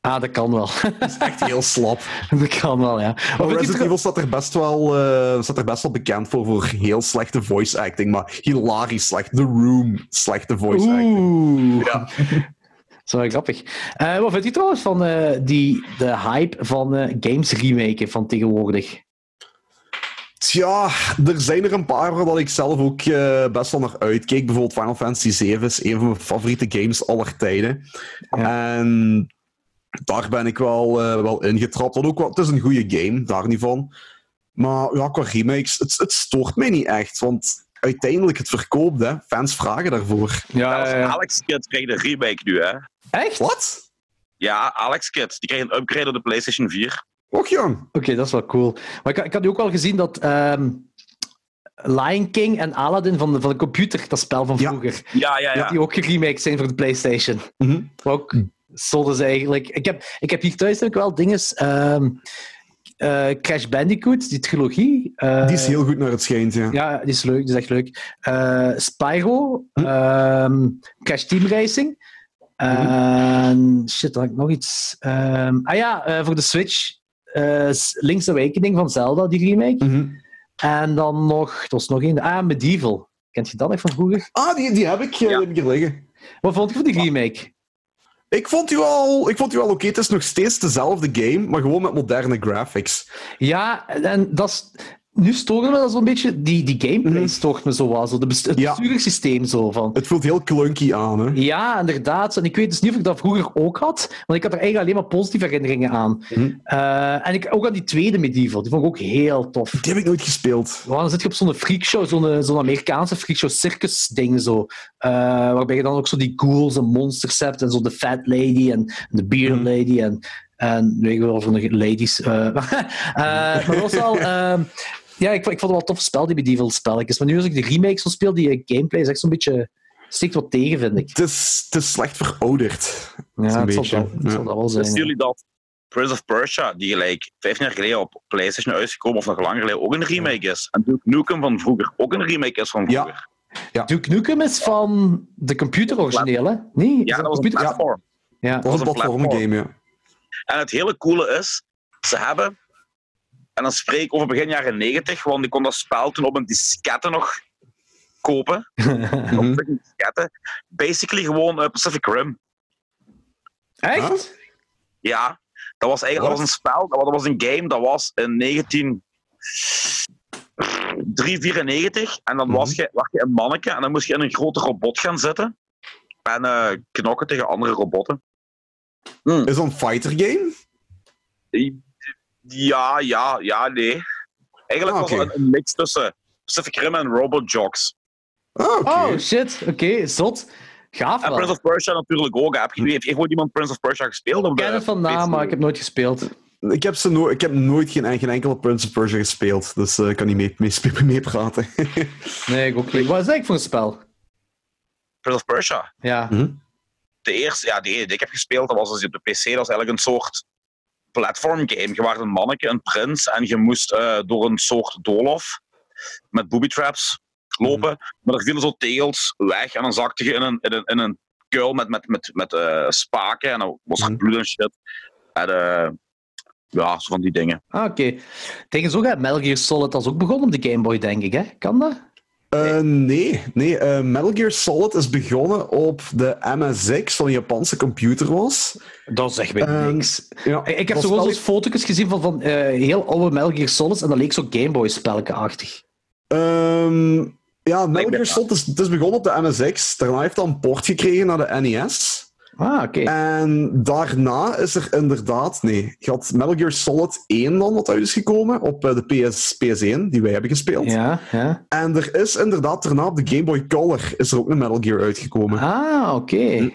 [SPEAKER 2] Ah, dat kan wel.
[SPEAKER 3] Echt heel slap.
[SPEAKER 2] dat kan wel, ja. Maar
[SPEAKER 3] Maar
[SPEAKER 2] vind je
[SPEAKER 3] Resident
[SPEAKER 2] trouw-
[SPEAKER 3] Evil staat er, best wel, eh, staat er best wel bekend voor, voor heel slechte voice acting. Maar hilarisch slecht. The Room, slechte voice acting.
[SPEAKER 2] Oeh.
[SPEAKER 4] Ja.
[SPEAKER 2] Dat is wel grappig. Eh, wat vind je trouwens van eh, die, de hype van eh, games remaken van tegenwoordig?
[SPEAKER 3] Tja, er zijn er een paar waar dat ik zelf ook eh, best wel naar uitkeek. Bijvoorbeeld Final Fantasy VII is een van mijn favoriete games aller tijden. En daar ben ik wel, eh, wel ingetrapt. Wat ook wel, het is een goede game, daar niet van. Maar ja, qua remakes, het, het stoort mij niet echt. Want uiteindelijk, het verkoopt, hè. Fans vragen daarvoor.
[SPEAKER 2] Eh,
[SPEAKER 1] Ja, als Alex Kid krijgt een remake nu, hè?
[SPEAKER 2] Nou, Echt? Oké,
[SPEAKER 3] Wat?
[SPEAKER 1] Ja, Alex Kid. Die krijgt een upgrade op de PlayStation 4.
[SPEAKER 3] Och, jong.
[SPEAKER 2] dat is wel cool. Maar ik, had- ik had nu ook wel gezien dat ehm, Lion King en Aladdin van de, van de computer, dat spel van
[SPEAKER 3] Ja.
[SPEAKER 2] vroeger,
[SPEAKER 1] Ja, ja,
[SPEAKER 2] dat
[SPEAKER 1] ja.
[SPEAKER 2] die ook geremaked zijn voor de PlayStation.
[SPEAKER 3] Mhm.
[SPEAKER 2] ook zonden ze eigenlijk. Ik heb, ik heb hier thuis ook wel dingen. ehm, eh, Crash Bandicoot, die trilogie. eh,
[SPEAKER 3] Die is heel goed naar het schijnt, ja.
[SPEAKER 2] Ja, die is leuk, die is echt leuk. Eh, Spyro,
[SPEAKER 3] Mhm.
[SPEAKER 2] ehm, Crash Team Racing. En shit, dan had ik nog iets. Ehm, ah ja, eh, voor de Switch. eh, S- Link's Awakening van Zelda, die remake.
[SPEAKER 3] Mhm.
[SPEAKER 2] En dan nog, er was nog één. Ah, Medieval. Kent je dat nog van vroeger?
[SPEAKER 3] Ah, die, die heb ik eh,
[SPEAKER 1] Ja.
[SPEAKER 3] die heb ik hier liggen.
[SPEAKER 2] Wat vond je van die remake?
[SPEAKER 3] Ik vond die wel, ik vond die wel oké. Het is nog steeds dezelfde game, maar gewoon met moderne graphics.
[SPEAKER 2] Ja, en dat is... Nu storen me dat zo'n beetje... Die, die gameplay
[SPEAKER 3] Mhm.
[SPEAKER 2] stoort me zo wel. Zo de best- het
[SPEAKER 3] Ja.
[SPEAKER 2] besturingssysteem zo van...
[SPEAKER 3] Het voelt heel clunky aan, hè?
[SPEAKER 2] Ja, inderdaad. En ik weet dus niet of ik dat vroeger ook had. Want ik had er eigenlijk alleen maar positieve herinneringen aan.
[SPEAKER 3] Mhm.
[SPEAKER 2] Eh, en ik, ook aan die tweede medieval. Die vond ik ook heel tof.
[SPEAKER 3] Die heb ik nooit gespeeld.
[SPEAKER 2] Want dan zit je op zo'n freakshow, zo'n eh, zo'n Amerikaanse freakshow circus ding zo. Eh, waarbij je dan ook zo die ghouls en monsters hebt en zo de fat lady en de beer
[SPEAKER 3] Mhm.
[SPEAKER 2] lady en, en weet ik wel of er nog ladies. eh Eh, maar dat was wel... ehm, ja, ik, vond- ik vond het wel een tof spel, die medieval spelletjes. Maar nu als ik de remake zo speel, die eh, gameplay is echt zo'n beetje... Stikt wat tegen, vind ik.
[SPEAKER 3] Het is, het is slecht verouderd. is
[SPEAKER 2] Ja,
[SPEAKER 3] een
[SPEAKER 2] het zal,
[SPEAKER 3] beetje,
[SPEAKER 2] dat, het
[SPEAKER 3] ja.
[SPEAKER 2] zal dat wel
[SPEAKER 1] Wisten
[SPEAKER 2] zijn. ja.
[SPEAKER 1] Dus jullie dat Prince of Persia, die gelijk vijf jaar geleden op PlayStation uitgekomen, of nog langer geleden, ook een remake is? En Duke Nukem van vroeger ook een remake is van
[SPEAKER 3] Ja.
[SPEAKER 1] vroeger.
[SPEAKER 2] Duke Nukem is van de computer origineel, hè? Nee?
[SPEAKER 1] Ja,
[SPEAKER 2] is
[SPEAKER 1] dat was een
[SPEAKER 2] een computer-
[SPEAKER 1] platform.
[SPEAKER 2] Ja.
[SPEAKER 3] Dat was een
[SPEAKER 1] Dat was een
[SPEAKER 3] platformgame, ja.
[SPEAKER 1] En het hele coole is, ze hebben, en dan spreek ik over begin jaren negentig, want ik kon dat spel toen op een diskette nog kopen. Op
[SPEAKER 3] Mhm.
[SPEAKER 1] een diskette. Basically gewoon eh, Pacific Rim.
[SPEAKER 2] Echt?
[SPEAKER 3] Huh?
[SPEAKER 1] Ja, dat was eigenlijk dat was een spel, dat was, dat was een game, dat was in 1994. En dan
[SPEAKER 3] Mhm.
[SPEAKER 1] was je, was je een manneke en dan moest je in een grote robot gaan zitten. En eh, knokken tegen andere robotten.
[SPEAKER 3] Is dat een fighter game?
[SPEAKER 1] Ja, ja, ja, nee. Eigenlijk
[SPEAKER 3] Ah,
[SPEAKER 1] was
[SPEAKER 3] oké.
[SPEAKER 1] het een, een mix tussen Pacific Rim en Robojocks.
[SPEAKER 3] Ah, oké.
[SPEAKER 2] Oh, shit. Oké, zot. Gaaf
[SPEAKER 1] En Prince
[SPEAKER 2] wel.
[SPEAKER 1] of Persia natuurlijk ook. Heb je, heeft, heeft ooit iemand Prince of eh, Persia gespeeld? Op
[SPEAKER 2] Ik
[SPEAKER 1] de
[SPEAKER 2] ken het van naam,
[SPEAKER 1] PlayStation?
[SPEAKER 2] maar ik heb nooit gespeeld.
[SPEAKER 3] Ik heb, ze no ik heb nooit geen, geen enkele Prince of Persia gespeeld, dus eh, ik kan niet mee- mee- meepraten. Eh, Mee
[SPEAKER 2] Nee, ik ook niet. Wat is dat eigenlijk voor een spel?
[SPEAKER 1] Prince of Persia.
[SPEAKER 2] Ja.
[SPEAKER 1] De eerste, ja, die, die ik heb gespeeld, dat was dus op de PC. Dat is eigenlijk een soort platform game. Je was een manneke, een prins, en je moest eh, door een soort doolhof met booby traps lopen.
[SPEAKER 2] Mhm.
[SPEAKER 1] Maar er vielen zo tegels weg en dan zakte je in een, in een, in een kuil met, met, met, met eh, spaken en dan was er
[SPEAKER 3] Mhm.
[SPEAKER 1] bloed en shit. En, eh, Ja, zo van die dingen.
[SPEAKER 2] Ah, oké. Tegen zo gaat Metal Gear Solid als ook begonnen op de Game Boy, denk ik. Hè? Kan dat?
[SPEAKER 3] Eh, nee, nee. eh, Metal Gear Solid is begonnen op de MSX van een Japanse computer was.
[SPEAKER 2] Dat zegt mij
[SPEAKER 3] Ehm,
[SPEAKER 2] niks.
[SPEAKER 3] Ja,
[SPEAKER 2] Ik, ik heb
[SPEAKER 3] dat
[SPEAKER 2] zo wel
[SPEAKER 3] spel-
[SPEAKER 2] eens foto's gezien van, van eh, heel oude Metal Gear Solids en dat leek zo Game Boy spelkenachtig.
[SPEAKER 3] Ehm, ja, Metal
[SPEAKER 1] ben-
[SPEAKER 3] Gear Solid is, het is begonnen op de MSX. Daarna heeft dat een port gekregen naar de NES.
[SPEAKER 2] Ah, oké.
[SPEAKER 3] Eh, En daarna is er inderdaad... Nee, je had Metal Gear Solid 1 dan, wat uit is gekomen, op eh, de PS, PS1, die wij hebben gespeeld.
[SPEAKER 2] Ja, ja.
[SPEAKER 3] En er is inderdaad daarna op de Game Boy Color is er ook een Metal Gear uitgekomen.
[SPEAKER 2] Ah, oké.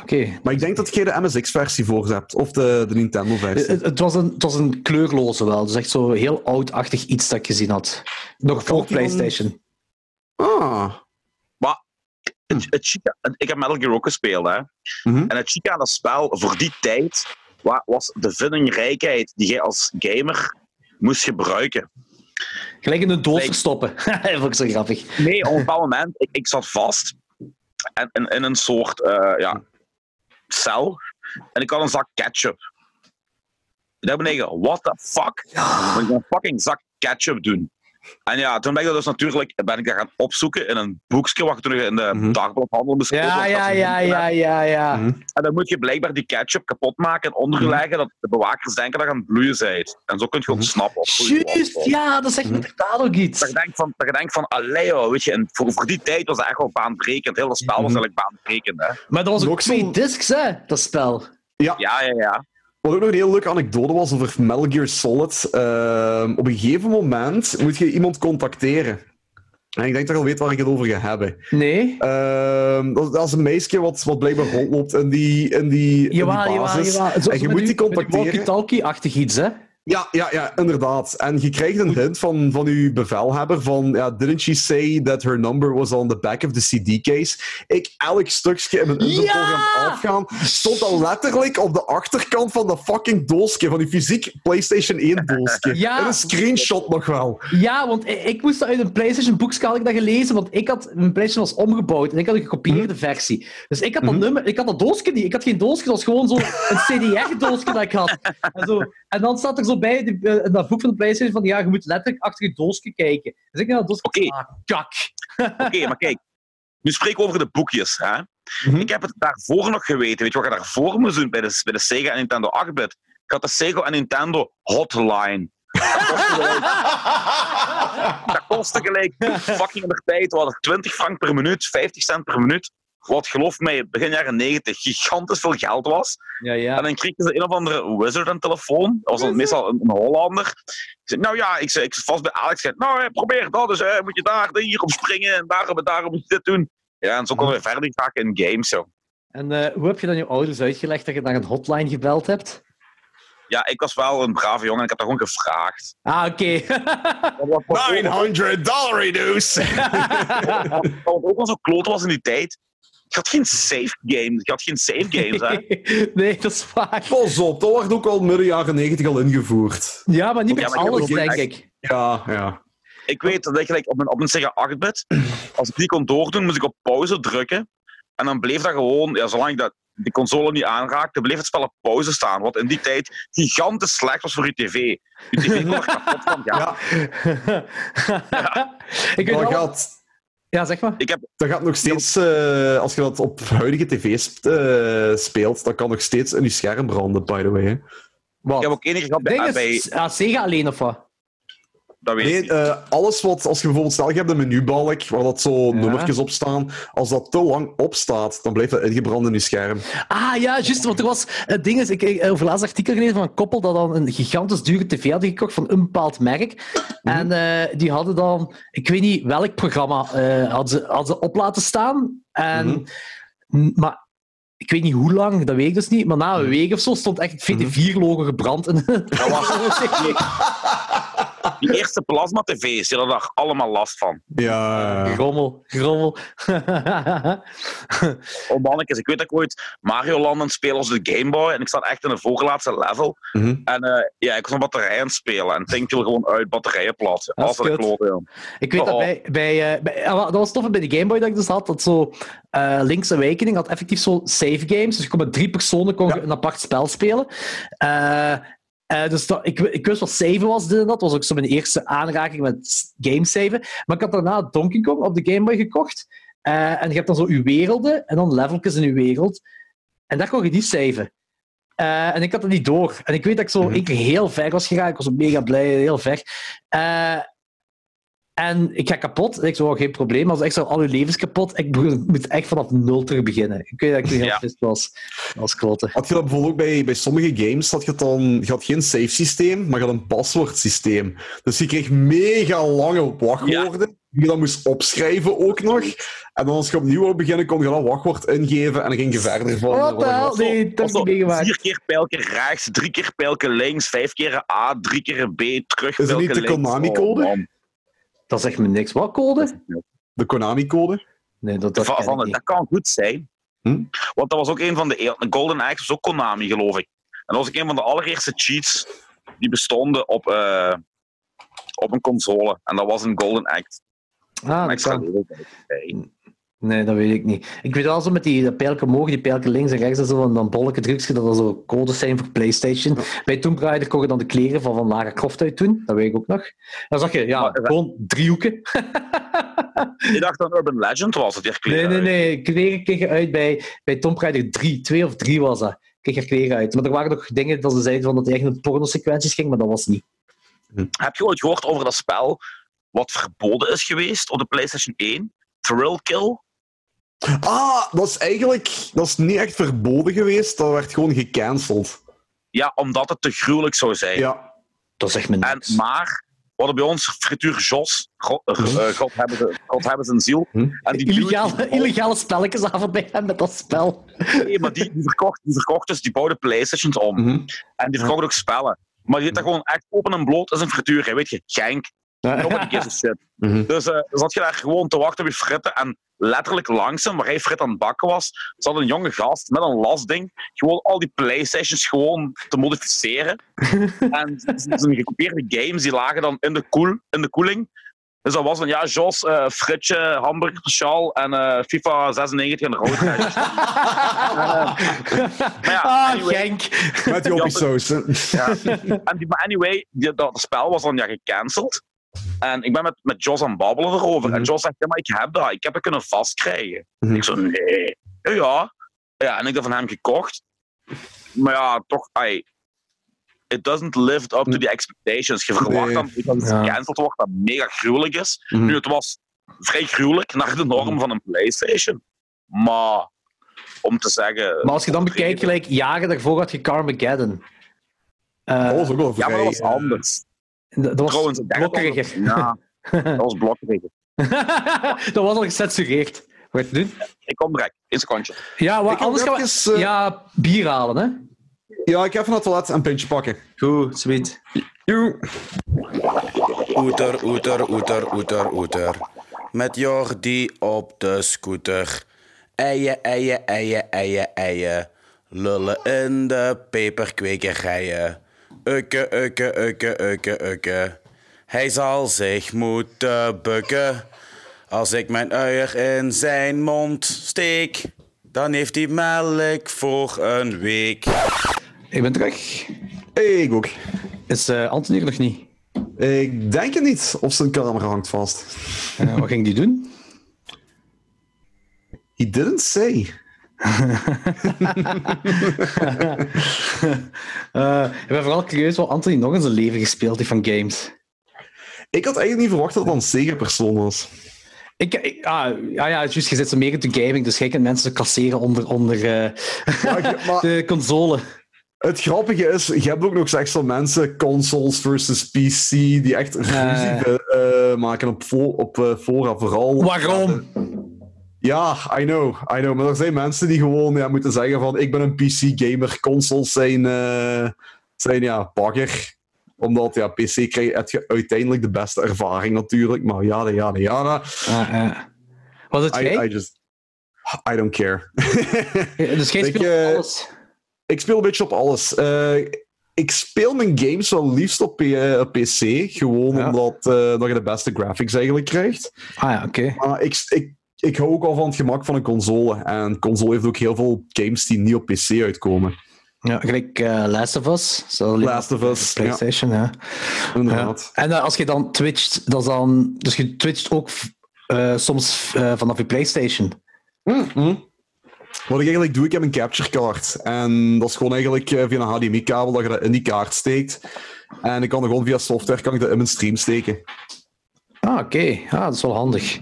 [SPEAKER 2] Oké.
[SPEAKER 3] Maar ik denk dat jij de MSX-versie voor hebt, of de, de
[SPEAKER 2] Het,
[SPEAKER 3] Nintendo-versie.
[SPEAKER 2] Eh, het- het was een, het was een kleurloze wel. Dus echt zo heel oudachtig iets dat ik gezien had. Nog voor
[SPEAKER 3] die van-
[SPEAKER 2] PlayStation. eh.
[SPEAKER 3] Ah,
[SPEAKER 1] Het, het chique- en ik heb Metal Gear ook gespeeld, hè.
[SPEAKER 3] Mhm.
[SPEAKER 1] En het chique aan dat spel, voor die tijd, wa- was de vindingrijkheid die jij als gamer moest gebruiken.
[SPEAKER 2] Gelijk in een doos
[SPEAKER 1] Lijkt-
[SPEAKER 2] verstoppen. Vond ik zo grappig.
[SPEAKER 1] Nee, op een bepaald moment, ik, ik zat vast en, in, in een soort eh, ja, cel. En ik had een zak ketchup. Ik dacht beneden, what the fuck? Moet ik een fucking zak ketchup doen? En ja, toen ben ik dat dus natuurlijk ben ik dat gaan opzoeken in een boekje wat ik toen in de
[SPEAKER 3] Mhm.
[SPEAKER 1] dagbladhandel beschreven
[SPEAKER 2] Ja,
[SPEAKER 1] had.
[SPEAKER 2] ja, ja, ja, ja, ja.
[SPEAKER 1] En dan moet je blijkbaar die ketchup kapot maken en
[SPEAKER 2] Mhm.
[SPEAKER 1] onderleggen dat de bewakers denken dat je aan het bloeien bent. En zo kun je ontsnappen.
[SPEAKER 2] Juist, ja, dat zegt me inderdaad ook
[SPEAKER 1] Dat je
[SPEAKER 2] iets.
[SPEAKER 1] denkt van, dat je denkt van allee, joh, weet je, en voor, voor die tijd was dat echt wel baanbrekend. Heel dat spel
[SPEAKER 2] Mhm.
[SPEAKER 1] was eigenlijk baanbrekend, hè.
[SPEAKER 2] Maar dat was ook
[SPEAKER 3] Nog zo'n-
[SPEAKER 2] twee discs, hè, dat spel.
[SPEAKER 1] Ja, ja, ja.
[SPEAKER 3] Wat ook nog een heel leuke anekdote was over Metal Gear Solid. Ehm, op een gegeven moment moet je iemand contacteren. En ik denk dat je al weet waar ik het over ga hebben.
[SPEAKER 2] Nee?
[SPEAKER 3] Ehm, dat, dat is een meisje wat, wat blijkbaar rondloopt in die, in die, in die
[SPEAKER 2] Jawel, jawel,
[SPEAKER 3] basis.
[SPEAKER 2] jawel. Zo-
[SPEAKER 3] en
[SPEAKER 2] zo
[SPEAKER 3] je
[SPEAKER 2] met
[SPEAKER 3] moet die
[SPEAKER 2] met
[SPEAKER 3] contacteren.
[SPEAKER 2] walkie-talkie-achtig iets, hè?
[SPEAKER 3] Ja, ja, ja, inderdaad. En je krijgt een hint van, van uw bevelhebber van... Ja, didn't she say that her number was on the back of the CD-case? Ik elk stukje in mijn interprogram
[SPEAKER 2] Ja!
[SPEAKER 3] afgaan... stond al letterlijk op de achterkant van dat fucking doosje. Van die fysiek PlayStation 1 doosje.
[SPEAKER 2] Ja.
[SPEAKER 3] En een screenshot nog wel.
[SPEAKER 2] Ja, want i- ik moest dat uit een PlayStation boekje had ik dat gelezen, want ik had mijn PlayStation was omgebouwd en ik had een gekopieerde versie. Dus ik had dat nummer, ik had dat doosje niet. Ik had geen doosje, dat was gewoon zo een CDR-doosje dat ik had. En, zo, en dan staat er zo bij die, eh, in dat boek van de PlayStation van ja, je moet letterlijk achter je doosje kijken. Dus ik naar dat doosje.
[SPEAKER 1] Oké.
[SPEAKER 2] Ah, kak.
[SPEAKER 1] Oké, maar kijk. Nu spreken we over de boekjes, hè. Ik heb het daarvoor nog geweten. Weet je wat je daarvoor moest doen bij de, bij de Sega en Nintendo 8-bit? Ik had de Sega en Nintendo Hotline. Dat kostte gelijk fucking in de tijd. Wat 20 frank per minuut, 50 cent per minuut. Wat geloof mij, begin jaren 90 gigantisch veel geld was.
[SPEAKER 2] Ja,
[SPEAKER 1] En
[SPEAKER 2] ja.
[SPEAKER 1] dan kreeg ze een of andere wizard aan de telefoon. Dat was dan meestal een, een Hollander. Ik zei, nou ja, ik, zei, ik zit vast bij Alex. Ik zei, nou, eh, probeer dat. Dus eh, moet je daar hier op springen en daarop, daarop moet je dit doen. Ja, en zo konden we verder gaan in games. Zo.
[SPEAKER 2] En eh, hoe heb je dan je ouders uitgelegd dat je naar een hotline gebeld hebt?
[SPEAKER 1] Ja, ik was wel een brave jongen en ik heb dat gewoon gevraagd.
[SPEAKER 2] Ah, oké.
[SPEAKER 1] Wat, wat, wat, ook-
[SPEAKER 3] dollar reduce!
[SPEAKER 1] wat ook wel zo kloot was in die tijd. Ik had geen save games. Ik had geen save games, hè.
[SPEAKER 2] nee, dat is waar.
[SPEAKER 3] Pas op, dat werd ook al midden jaren 90 al ingevoerd.
[SPEAKER 2] Ja, maar niet met
[SPEAKER 1] Ja, maar ik heb
[SPEAKER 2] alles,
[SPEAKER 1] ook
[SPEAKER 2] denk
[SPEAKER 1] echt-
[SPEAKER 2] ik.
[SPEAKER 3] Ja, ja.
[SPEAKER 1] Ik weet dat ik gelijk op een, op een Sega 8-bit, als ik die kon doordoen, moest ik op pauze drukken. En dan bleef dat gewoon, ja, zolang ik dat, die console niet aanraakte, bleef het spel op pauze staan. Wat in die tijd gigantisch slecht was voor je tv. Je tv kon er kapot van gaan.
[SPEAKER 3] ja.
[SPEAKER 2] ik weet wel-
[SPEAKER 3] Dat, gaat,
[SPEAKER 2] Ja, zeg maar.
[SPEAKER 1] Ik heb,
[SPEAKER 3] dat gaat nog steeds... eh, als je dat op huidige tv's eh, speelt, dat kan nog steeds in je scherm branden, by the way. hè.
[SPEAKER 1] ik
[SPEAKER 2] Wat?
[SPEAKER 1] heb ook enige gehad bij,
[SPEAKER 2] Ding is,
[SPEAKER 1] bij-
[SPEAKER 2] ah, Sega alleen of wat?
[SPEAKER 1] dat weet ik
[SPEAKER 3] Nee,
[SPEAKER 1] niet.
[SPEAKER 3] eh, alles wat, als je bijvoorbeeld stel, je hebt een menubalk waar dat zo
[SPEAKER 2] Ja.
[SPEAKER 3] nummertjes op staan. Als dat te lang opstaat, dan blijft dat ingebrand in je scherm.
[SPEAKER 2] Ah ja, juist, want er was het ding is, ik ik- over laatst artikel gelezen van een koppel dat dan een gigantisch dure tv hadden gekocht van een bepaald merk. En eh, die hadden dan, ik weet niet welk programma, eh, hadden, ze, hadden ze op laten staan. En, n- Maar ik weet niet hoe lang, dat weet ik dus niet. Maar na een week of zo stond echt het VT4-logo gebrand. En dat was
[SPEAKER 1] Die eerste plasma-tv's, die hadden daar allemaal last van.
[SPEAKER 3] Ja.
[SPEAKER 2] Grommel, grommel.
[SPEAKER 1] Oh, mannetjes, ik weet dat ik ooit Mario Land aan het spelen was op de Game Boy. En ik zat echt in een voorlaatste level.
[SPEAKER 3] Mhm.
[SPEAKER 1] En eh, ja, ik was een batterij aan het spelen. En Tink viel gewoon uit batterijen plat.
[SPEAKER 2] Dat is
[SPEAKER 1] Als dat
[SPEAKER 2] kut.
[SPEAKER 1] klote, ja.
[SPEAKER 2] Ik weet dat
[SPEAKER 1] Oh.
[SPEAKER 2] bij... bij, eh, bij- ah, wel, dat was tof bij de Game Boy dat ik dus had, dat zo... eh Link's Awakening had effectief zo save games. Dus je kon met drie personen kon je een apart spel spelen. Eh, Eh, dus dat, ik, ik wist wat saven was, dit en dat. was ook zo mijn eerste aanraking met gamesaven. Maar ik had daarna Donkey Kong op de Game Boy gekocht. Eh, en je hebt dan zo je werelden en dan leveltjes in je wereld. En daar kon je niet saven. Eh, en ik had dat niet door. En ik weet dat ik zo
[SPEAKER 3] Mhm.
[SPEAKER 2] één keer heel ver was gegaan. Ik was mega blij, heel ver. Eh, en ik ga kapot. En ik zo, oh, geen probleem. Als echt zo, al uw levens kapot. Ik be- moet echt vanaf nul terug beginnen. Ik weet dat ik toen heel
[SPEAKER 1] Ja.
[SPEAKER 2] pist was. Als klote.
[SPEAKER 3] Had je dat bijvoorbeeld ook bij, bij sommige games? Had je, het dan, je had geen save systeem, maar je had een paswoordsysteem. Dus je kreeg mega lange wachtwoorden. Die je dan moest opschrijven ook nog. En dan als je opnieuw wou beginnen, kon je dat wachtwoord ingeven en dan ging je verder van.
[SPEAKER 2] Wat de
[SPEAKER 3] eh,
[SPEAKER 2] hel?
[SPEAKER 3] wat er was.
[SPEAKER 2] Nee, dat
[SPEAKER 1] Of
[SPEAKER 2] heb ik
[SPEAKER 1] zo,
[SPEAKER 2] niet meegemaakt.
[SPEAKER 1] vier keer pijlke rechts, drie keer pijlke links, vijf keer A, drie keer B, terug
[SPEAKER 3] dat
[SPEAKER 1] pijlke
[SPEAKER 3] niet de
[SPEAKER 1] links.
[SPEAKER 3] Konami-code?
[SPEAKER 1] Oh, man.
[SPEAKER 2] Dat zegt me niks. Wat, code?
[SPEAKER 3] De Konami-code.
[SPEAKER 2] Nee, dat, dat
[SPEAKER 1] Dat,
[SPEAKER 2] ken
[SPEAKER 1] van,
[SPEAKER 2] ik
[SPEAKER 1] het-
[SPEAKER 2] niet.
[SPEAKER 1] dat kan goed zijn.
[SPEAKER 3] Hm?
[SPEAKER 1] Want dat was ook een van de... eer- Golden Axe was ook Konami, geloof ik. En dat was ook een van de allereerste cheats die bestonden op, eh, op een console. En dat was een Golden Axe.
[SPEAKER 2] Ah,
[SPEAKER 1] Een
[SPEAKER 2] dat
[SPEAKER 1] extra
[SPEAKER 2] kan.
[SPEAKER 1] level bij.
[SPEAKER 2] Nee, dat weet ik niet. Ik weet wel zo met die dat pijlken omhoog, die pijlken links en rechts en zo, en dan bolleke drukjes, dat dat zo codes zijn voor PlayStation. Bij Tomb Raider kon je dan de kleren van, van Lara Croft uit doen, dat weet ik ook nog. Dan zag je, ja,
[SPEAKER 1] Maar- eh,
[SPEAKER 2] gewoon driehoeken.
[SPEAKER 1] Ik dacht dat Urban Legend was het, die
[SPEAKER 2] nee,
[SPEAKER 1] kleren
[SPEAKER 2] nee,
[SPEAKER 1] uit.
[SPEAKER 2] nee, kleren kreeg je uit bij, bij Tomb Raider 3, 2 of 3 was dat. Kreeg je kleren uit. Maar er waren nog dingen dat ze zeiden van dat het echt een porno-sequenties ging, maar dat was niet.
[SPEAKER 1] Heb je ooit gehoord over dat spel wat verboden is geweest op de PlayStation 1? Thrill Kill?
[SPEAKER 3] Ah, dat is eigenlijk dat is niet echt verboden geweest. Dat werd gewoon gecanceld.
[SPEAKER 1] Ja, omdat het te gruwelijk zou zijn.
[SPEAKER 3] Ja.
[SPEAKER 2] Dat zegt me
[SPEAKER 1] En,
[SPEAKER 2] niks.
[SPEAKER 1] maar, wat er bij ons frituur Jos, God, eh, eh, God, hebben, ze- God hebben zijn ziel.
[SPEAKER 3] Hm?
[SPEAKER 1] En die
[SPEAKER 2] Illegale,
[SPEAKER 1] dude-
[SPEAKER 2] illegale spelletjesavond bij hem met dat spel.
[SPEAKER 1] Nee, maar die, die, verkocht, die verkocht dus, die bouwde PlayStations om.
[SPEAKER 3] Mhm.
[SPEAKER 1] En die verkocht ook spellen. Maar die deed dat gewoon echt open en bloot als een frituur. hè, Weet je, genk. Nobody gives a shit.
[SPEAKER 3] Mhm.
[SPEAKER 1] Dus eh zat je daar gewoon te wachten op je fritten. En letterlijk langs hem, waar hij frit aan het bakken was, zat een jonge gast met een lasding. Gewoon al die PlayStations gewoon te modificeren. en z- zijn gekopieerde games die lagen dan in de, koel, in de koeling. Dus dat was dan, ja, Jos, eh, fritje, hamburger speciaal en eh, FIFA 96 en rood. Maar ja,
[SPEAKER 2] ah,
[SPEAKER 1] Ah, anyway.
[SPEAKER 2] Genk.
[SPEAKER 3] Met die hoppiesaus. hè.
[SPEAKER 1] En die, maar anyway, die, dat spel was dan ja gecanceld. En ik ben met, met Jos aan het babbelen erover. En
[SPEAKER 3] Mhm.
[SPEAKER 1] Jos zegt, ja, maar ik heb dat. Ik heb het kunnen vastkrijgen.
[SPEAKER 3] Mhm.
[SPEAKER 1] Ik zo, nee. Ja, ja. Ja, en ik dat van hem gekocht. Maar ja, toch, ai, it doesn't live up to the expectations. Je verwacht
[SPEAKER 3] Nee.
[SPEAKER 1] dan dat iets
[SPEAKER 2] Ja.
[SPEAKER 1] gecanceld wordt dat mega gruwelijk is.
[SPEAKER 3] Mhm.
[SPEAKER 1] Nu, het was vrij gruwelijk naar de norm van een Playstation. Maar, om te zeggen...
[SPEAKER 2] Maar als je dan bekijkt, gelijk jaren daarvoor had je Carmageddon. Eh,
[SPEAKER 3] Dat was ook wel
[SPEAKER 1] Ja, maar dat was
[SPEAKER 3] vrij, eh,
[SPEAKER 1] anders.
[SPEAKER 2] d- dat
[SPEAKER 1] Oh,
[SPEAKER 2] was
[SPEAKER 1] Trouwens, ik denk dat dat-
[SPEAKER 2] blokkeriger.
[SPEAKER 1] Ja, dat was blokkeriger.
[SPEAKER 2] dat was al gecensureerd. Wat ga je doen?
[SPEAKER 1] Ik kom direct. Eén secondje.
[SPEAKER 2] Ja, wat
[SPEAKER 3] Ik
[SPEAKER 2] anders
[SPEAKER 3] ga
[SPEAKER 2] gaan we...
[SPEAKER 3] even, eh,
[SPEAKER 2] Ja, bier halen, hè?
[SPEAKER 3] Ja, ik ga even naar het toilet en een pintje pakken.
[SPEAKER 2] Goed, sweet.
[SPEAKER 3] Joe.
[SPEAKER 6] Oeter, oeter, oeter, oeter, oeter. Met Jordi op de scooter. Eien, eien, eien, eien, eien. Lullen in de peperkwekerijen. Ukke, ukke, ukke, ukke, ukke. Hij zal zich moeten bukken. Als ik mijn uier in zijn mond steek, dan heeft hij melk voor een week.
[SPEAKER 2] Ik ben terug.
[SPEAKER 3] Hey, ik ook.
[SPEAKER 2] Is eh Anthony er nog niet?
[SPEAKER 3] Ik denk het niet of zijn camera hangt vast.
[SPEAKER 2] Eh, wat ging die doen?
[SPEAKER 3] He didn't say.
[SPEAKER 2] Eh, ik ben vooral curieus wat Anthony nog in zijn leven gespeeld heeft van games.
[SPEAKER 3] Ik had eigenlijk niet verwacht dat het een Sega-persoon was.
[SPEAKER 2] Ik, ik- ah, ah ja, juist, je zit zo meer into gaming, dus jij kunt mensen klasseren onder, onder eh,
[SPEAKER 3] Maar, ik- maar
[SPEAKER 2] de console.
[SPEAKER 3] het grappige is, je hebt ook nog slechts van mensen, consoles versus PC, die echt ruzie eh, maken op, fo- op eh, fora vooral.
[SPEAKER 2] Waarom?
[SPEAKER 3] Ja, I know, I know. Maar er zijn mensen die gewoon ja, moeten zeggen van, ik ben een PC-gamer, consoles zijn, eh, zijn ja, bagger. Omdat, ja, PC krijg heb je uiteindelijk de beste ervaring natuurlijk, maar jada, jada, jada.
[SPEAKER 2] Ah, eh. Was het
[SPEAKER 3] I,
[SPEAKER 2] jij?
[SPEAKER 3] I just... I don't care.
[SPEAKER 2] dus jij
[SPEAKER 3] ik,
[SPEAKER 2] speelt
[SPEAKER 3] eh,
[SPEAKER 2] alles.
[SPEAKER 3] ik speel een beetje op alles. Eh, ik speel mijn games wel liefst op, P- eh, op PC. Gewoon
[SPEAKER 2] Ja.
[SPEAKER 3] omdat eh, dat je de beste graphics eigenlijk krijgt.
[SPEAKER 2] Ah ja, oké.
[SPEAKER 3] Maar ik, ik, ik hou ook al van het gemak van een console. En console heeft ook heel veel games die niet op PC uitkomen.
[SPEAKER 2] Ja, gelijk eh Last of Us. Zo liep
[SPEAKER 3] Last of
[SPEAKER 2] op
[SPEAKER 3] Us, ja.
[SPEAKER 2] PlayStation, ja.
[SPEAKER 3] Inderdaad.
[SPEAKER 2] En eh, als je dan twitcht, dat is dan... Dus je twitcht ook eh, soms eh, vanaf je PlayStation.
[SPEAKER 3] Wat ik eigenlijk doe, ik heb een capture card. En dat is gewoon eigenlijk eh, via een HDMI-kabel dat je dat in die kaart steekt. En ik kan er gewoon via software kan ik dat in mijn stream steken.
[SPEAKER 2] Ah, oké. Ah, dat is wel handig.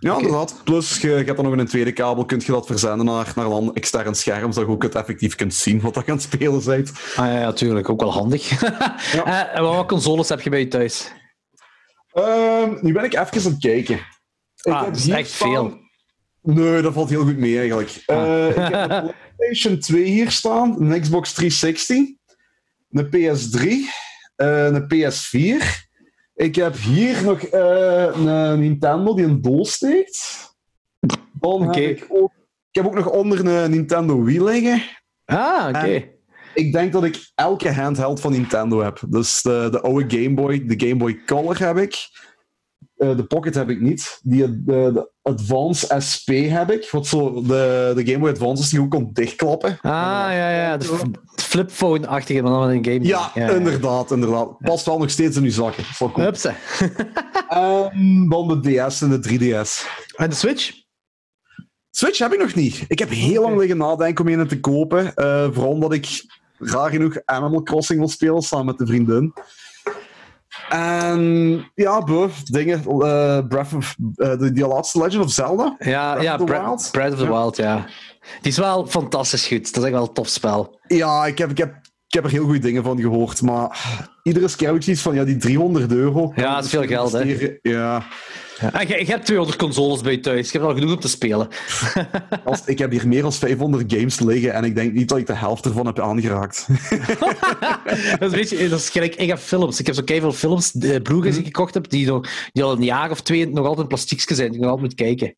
[SPEAKER 3] Ja, inderdaad. Plus, je, je hebt dan nog een tweede kabel, kun je dat verzenden naar, naar een ander extern scherm, zodat je ook het effectief kunt zien wat dat aan het spelen bent.
[SPEAKER 2] Ah ja, natuurlijk. Ook wel handig. Eh, en wat consoles heb je bij je thuis?
[SPEAKER 3] Ehm, nu ben ik even aan het kijken. Ik
[SPEAKER 2] Ah,
[SPEAKER 3] heb
[SPEAKER 2] dat is
[SPEAKER 3] hier
[SPEAKER 2] echt
[SPEAKER 3] staan-
[SPEAKER 2] veel. Ah.
[SPEAKER 3] Nee, dat valt heel goed mee eigenlijk. Eh, ik heb een PlayStation 2 hier staan, een Xbox 360, een PS3, eh, een PS4. Ik heb hier nog eh, een Nintendo die een doos steekt. Dan
[SPEAKER 2] Oké.
[SPEAKER 3] heb ik, ook, ik heb ook nog onder een Nintendo Wii liggen.
[SPEAKER 2] Ah, oké.
[SPEAKER 3] Ik denk dat ik elke handheld van Nintendo heb. Dus de, de oude Game Boy, de Game Boy Color heb ik. Eh, de Pocket heb ik niet. Die, eh, de, de Advance SP heb ik. Wat zo, de, de Game Boy Advance is die je ook kon dichtklappen.
[SPEAKER 2] Ah, ja, ja. De f- flipphone-achtige, maar dan met een game.
[SPEAKER 3] Ja, inderdaad, inderdaad. Past wel nog steeds in uw zakken. Dat is wel cool.
[SPEAKER 2] Hupsa.
[SPEAKER 3] En dan de DS en de 3DS.
[SPEAKER 2] En de Switch?
[SPEAKER 3] Switch heb ik nog niet. Ik heb heel lang liggen nadenken om een te kopen. eh, vooral omdat ik raar genoeg Animal Crossing wil spelen samen met de vriendin. En ja, boh, dingen. eh, Breath of, eh, de, die laatste Legend of Zelda.
[SPEAKER 2] Ja,
[SPEAKER 3] Breath
[SPEAKER 2] ja
[SPEAKER 3] of the
[SPEAKER 2] Breath,
[SPEAKER 3] Wild?
[SPEAKER 2] Breath of the
[SPEAKER 3] Ja.
[SPEAKER 2] Wild, ja. Die is wel fantastisch goed. Dat is echt wel een tof spel.
[SPEAKER 3] Ja, ik heb, ik heb, ik heb er heel goede dingen van gehoord. Maar iedere keer heb ik zoiets van, ja, die 300 euro.
[SPEAKER 2] Ja, dat is veel geld, hè.
[SPEAKER 3] investeren. Ja,
[SPEAKER 2] En je, je hebt 200 consoles bij je thuis. Je hebt al genoeg om te spelen.
[SPEAKER 3] als, ik heb hier meer dan 500 games liggen en ik denk niet dat ik de helft ervan heb aangeraakt.
[SPEAKER 2] dat, is een beetje, dat is gelijk. Ik heb films. Ik heb zo veel films, de broekjes
[SPEAKER 3] Mhm.
[SPEAKER 2] die ik gekocht heb, die, nog, die al een jaar of twee nog altijd in plastiekje zijn. Die ik nog altijd moet kijken.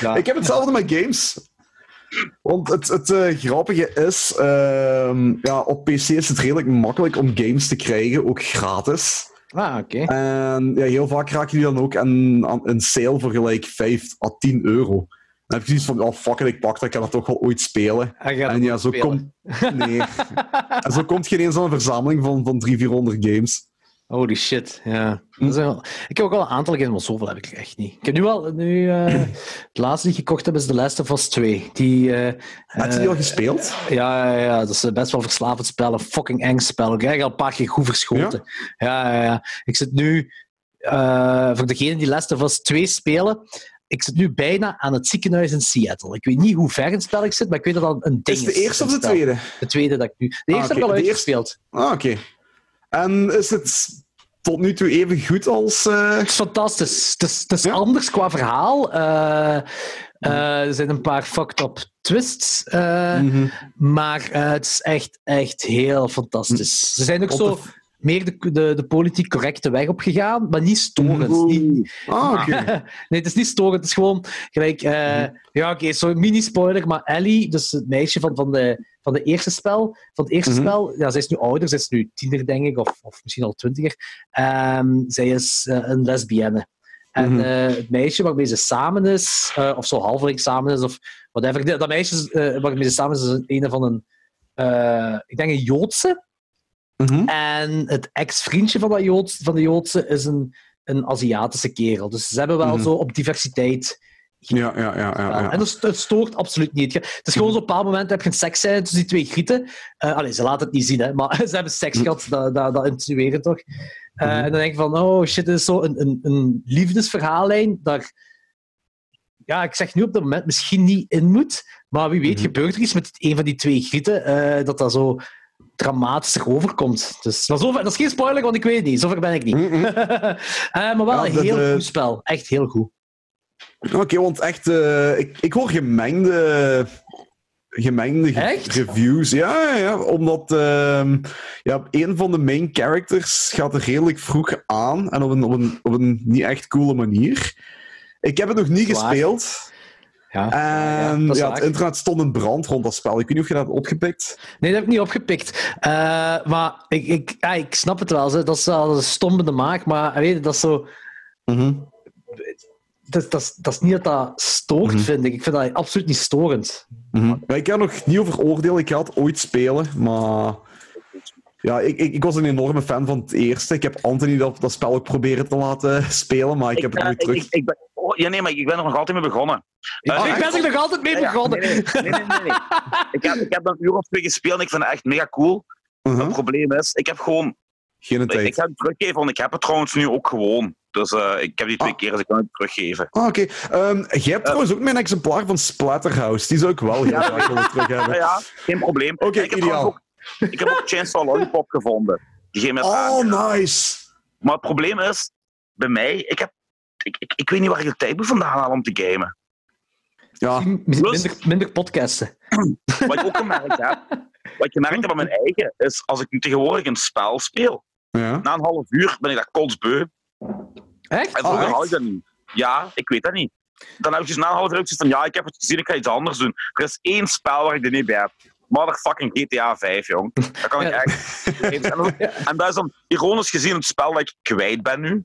[SPEAKER 2] Ja.
[SPEAKER 3] Ik heb hetzelfde met games. Want het, het eh, grappige is, ehm, ja, op PC is het redelijk makkelijk om games te krijgen, ook gratis.
[SPEAKER 2] Ah, oké.
[SPEAKER 3] En ja, heel vaak raak je die dan ook aan, aan een sale voor gelijk 5 à 10 euro. Dan heb je zoiets van, oh fuck it, ik pak dat, ik kan dat toch wel ooit spelen.
[SPEAKER 2] En je gaat
[SPEAKER 3] en ja, zo
[SPEAKER 2] spelen.
[SPEAKER 3] komt... Nee. en zo komt geen eens aan een verzameling van, van 300, 400 games.
[SPEAKER 2] Holy shit, ja.
[SPEAKER 3] Hm.
[SPEAKER 2] Dat zijn wel- Ik heb ook al een aantal games, maar zoveel heb ik echt niet. Ik heb nu wel... Nu, eh, het laatste die ik gekocht heb is The Last of Us 2. Die... eh,
[SPEAKER 3] Heb je Ah, die al gespeeld?
[SPEAKER 2] Ja, ja, ja, dat is best wel verslavend spel. Een fucking eng spel. Ik krijg al een paar keer goed verschoten. Ja, ja, ja. Ik zit nu, eh, voor degenen die Last of Us 2 spelen, ik zit nu bijna aan het ziekenhuis in Seattle. Ik weet niet hoe ver in het spel ik zit, maar ik weet dat dat een ding
[SPEAKER 3] Is
[SPEAKER 2] is.
[SPEAKER 3] het de eerste
[SPEAKER 2] in
[SPEAKER 3] of de
[SPEAKER 2] het spel.
[SPEAKER 3] tweede? Ah,
[SPEAKER 2] De tweede dat ik nu... De eerste
[SPEAKER 3] oké,
[SPEAKER 2] heb ik al
[SPEAKER 3] de eerste.
[SPEAKER 2] uitgespeeld.
[SPEAKER 3] Ah, oké. En is het tot nu toe even goed als... eh,
[SPEAKER 2] Het is fantastisch. Het is, het is
[SPEAKER 3] Ja.
[SPEAKER 2] anders qua verhaal. Eh, eh, er zijn een paar fucked up twists. eh,
[SPEAKER 3] Mm.
[SPEAKER 2] Maar eh, het is echt, echt heel fantastisch. Ze zijn ook
[SPEAKER 3] Op
[SPEAKER 2] zo
[SPEAKER 3] de-
[SPEAKER 2] meer de, de, de politiek correcte weg opgegaan, maar niet storend. Niet-
[SPEAKER 3] Ah, oké.
[SPEAKER 2] nee, het is niet storend. Het is gewoon gelijk... eh,
[SPEAKER 3] Mhm.
[SPEAKER 2] Ja, oké, zo mini-spoiler, maar Ellie, dus het meisje van, van, de, van de eerste spel, van het eerste
[SPEAKER 3] Mhm.
[SPEAKER 2] spel, ja, zij is nu ouder, zij is nu tiener, denk ik, of, of misschien al twintiger. Ehm, zij is eh, een lesbienne. En
[SPEAKER 3] Mhm.
[SPEAKER 2] eh, het meisje waarmee ze samen is, eh, of zo halverwege samen is, of whatever, dat dat meisje is, eh, waarmee ze samen is, is een, een van een... eh, ik denk een Joodse, Ah.
[SPEAKER 3] Mhm.
[SPEAKER 2] en het ex-vriendje van, dat Joods, van de Joodse is een, een Aziatische kerel. Dus ze hebben wel
[SPEAKER 3] Mhm.
[SPEAKER 2] zo op diversiteit.
[SPEAKER 3] Ja, ja, ja. ja, ja.
[SPEAKER 2] En dat sto- het stoort absoluut niet. Je- Het is gewoon zo'n bepaald moment heb je een seksscène tussen die twee grieten. Eh allee, ze laten het niet zien, hè, maar ze hebben seks
[SPEAKER 3] Mm.
[SPEAKER 2] gehad, dat, dat, dat insinueren toch. Eh,
[SPEAKER 3] Mhm.
[SPEAKER 2] En dan denk je van, oh shit, dit is zo een, een, een liefdesverhaallijn daar... Ja, ik zeg nu op dat moment misschien niet in moet, maar wie weet
[SPEAKER 3] Mhm.
[SPEAKER 2] gebeurt er iets met een van die twee grieten, eh, dat dat zo dramatischer overkomt. Dus, maar zover, dat is geen spoiler, want ik weet het niet. Zover ben ik niet.
[SPEAKER 3] Mhm.
[SPEAKER 2] Eh, maar wel
[SPEAKER 3] Ja,
[SPEAKER 2] een
[SPEAKER 3] dat,
[SPEAKER 2] heel
[SPEAKER 3] eh,
[SPEAKER 2] goed spel. Echt heel goed.
[SPEAKER 3] Oké, want echt, eh, ik, ik hoor gemengde, gemengde ge-
[SPEAKER 2] Echt?
[SPEAKER 3] reviews. Ja, ja, ja, omdat ehm, ja, een van de main characters gaat er redelijk vroeg aan en op een, op een, op een niet echt coole manier. Ik heb het nog niet
[SPEAKER 2] Dat is waar.
[SPEAKER 3] gespeeld.
[SPEAKER 2] Ja.
[SPEAKER 3] En
[SPEAKER 2] dat
[SPEAKER 3] ja,
[SPEAKER 2] is
[SPEAKER 3] het
[SPEAKER 2] waar.
[SPEAKER 3] internet stond in brand rond dat spel. Ik weet niet of je dat hebt opgepikt.
[SPEAKER 2] Nee, dat heb ik niet opgepikt. Eh, maar ik, ik, ja, ik snap het wel. Zo. Dat is wel een stomme maak, maar weet je, dat is zo...
[SPEAKER 3] Mhm.
[SPEAKER 2] dat, is- dat, is- dat is niet dat dat stoort,
[SPEAKER 3] Mhm.
[SPEAKER 2] vind ik. Ik vind dat absoluut niet storend.
[SPEAKER 3] Mhm. Maar ik kan er nog niet over oordelen. Ik ga het ooit spelen, maar... Ja, ik, ik, ik was een enorme fan van het eerste. Ik heb Anthony dat, dat spel ook proberen te laten spelen, maar ik heb het
[SPEAKER 1] ben-
[SPEAKER 3] nooit terug...
[SPEAKER 1] ik- ik ben- oh, ja, nee, maar ik ben er nog altijd mee begonnen. Eh,
[SPEAKER 2] ik ben er nog altijd mee
[SPEAKER 1] Ja, ja.
[SPEAKER 2] begonnen.
[SPEAKER 1] Nee, nee, nee, nee, nee. ik, heb, ik heb een uur of twee gespeeld en ik vind het echt mega cool.
[SPEAKER 3] Uh-huh.
[SPEAKER 1] Het probleem is, ik heb gewoon
[SPEAKER 3] Geen
[SPEAKER 1] Ik,
[SPEAKER 3] tijd.
[SPEAKER 1] ik ga het teruggeven, want ik heb het trouwens nu ook gewoon. Dus eh, ik heb die twee
[SPEAKER 3] Ah.
[SPEAKER 1] keer, dus ik kan het teruggeven.
[SPEAKER 3] Ah, oké. Ehm, jij
[SPEAKER 1] Eh.
[SPEAKER 3] hebt trouwens ook mijn exemplaar van Splatterhouse. Die zou ik wel heel graag willen terug
[SPEAKER 1] Ja,
[SPEAKER 3] hebben.
[SPEAKER 1] Ah, ja, geen probleem.
[SPEAKER 3] Oké,
[SPEAKER 1] En ik heb
[SPEAKER 3] ideaal.
[SPEAKER 1] trouwens Ook, ik heb ook Chainsaw Lollipop gevonden. Die geef me het aan.
[SPEAKER 3] Oh, nice!
[SPEAKER 1] Maar het probleem is, bij mij, ik, heb, ik, ik, ik weet niet waar ik de tijd moet vandaan haal om te gamen.
[SPEAKER 3] Ja,
[SPEAKER 2] Misschien Minder, minder podcasten.
[SPEAKER 1] Wat ik ook gemerkt heb, wat ik gemerkt heb aan mijn eigen, is als ik nu tegenwoordig een spel speel,
[SPEAKER 3] ja.
[SPEAKER 1] na een half uur ben ik dat kotsbeu.
[SPEAKER 2] Echt?
[SPEAKER 1] En vroeger
[SPEAKER 3] Oh, echt?
[SPEAKER 1] had ik dat niet. Ja, ik weet dat niet. Dan heb ik dus na een half uur ook zoiets van, ja, ik heb het gezien, ik ga iets anders doen. Er is één spel waar ik er niet bij heb. Motherfucking GTA 5, jong. Dat kan ik
[SPEAKER 2] Ja.
[SPEAKER 1] echt... En dat, en dat is dan ironisch gezien het spel dat ik kwijt ben nu.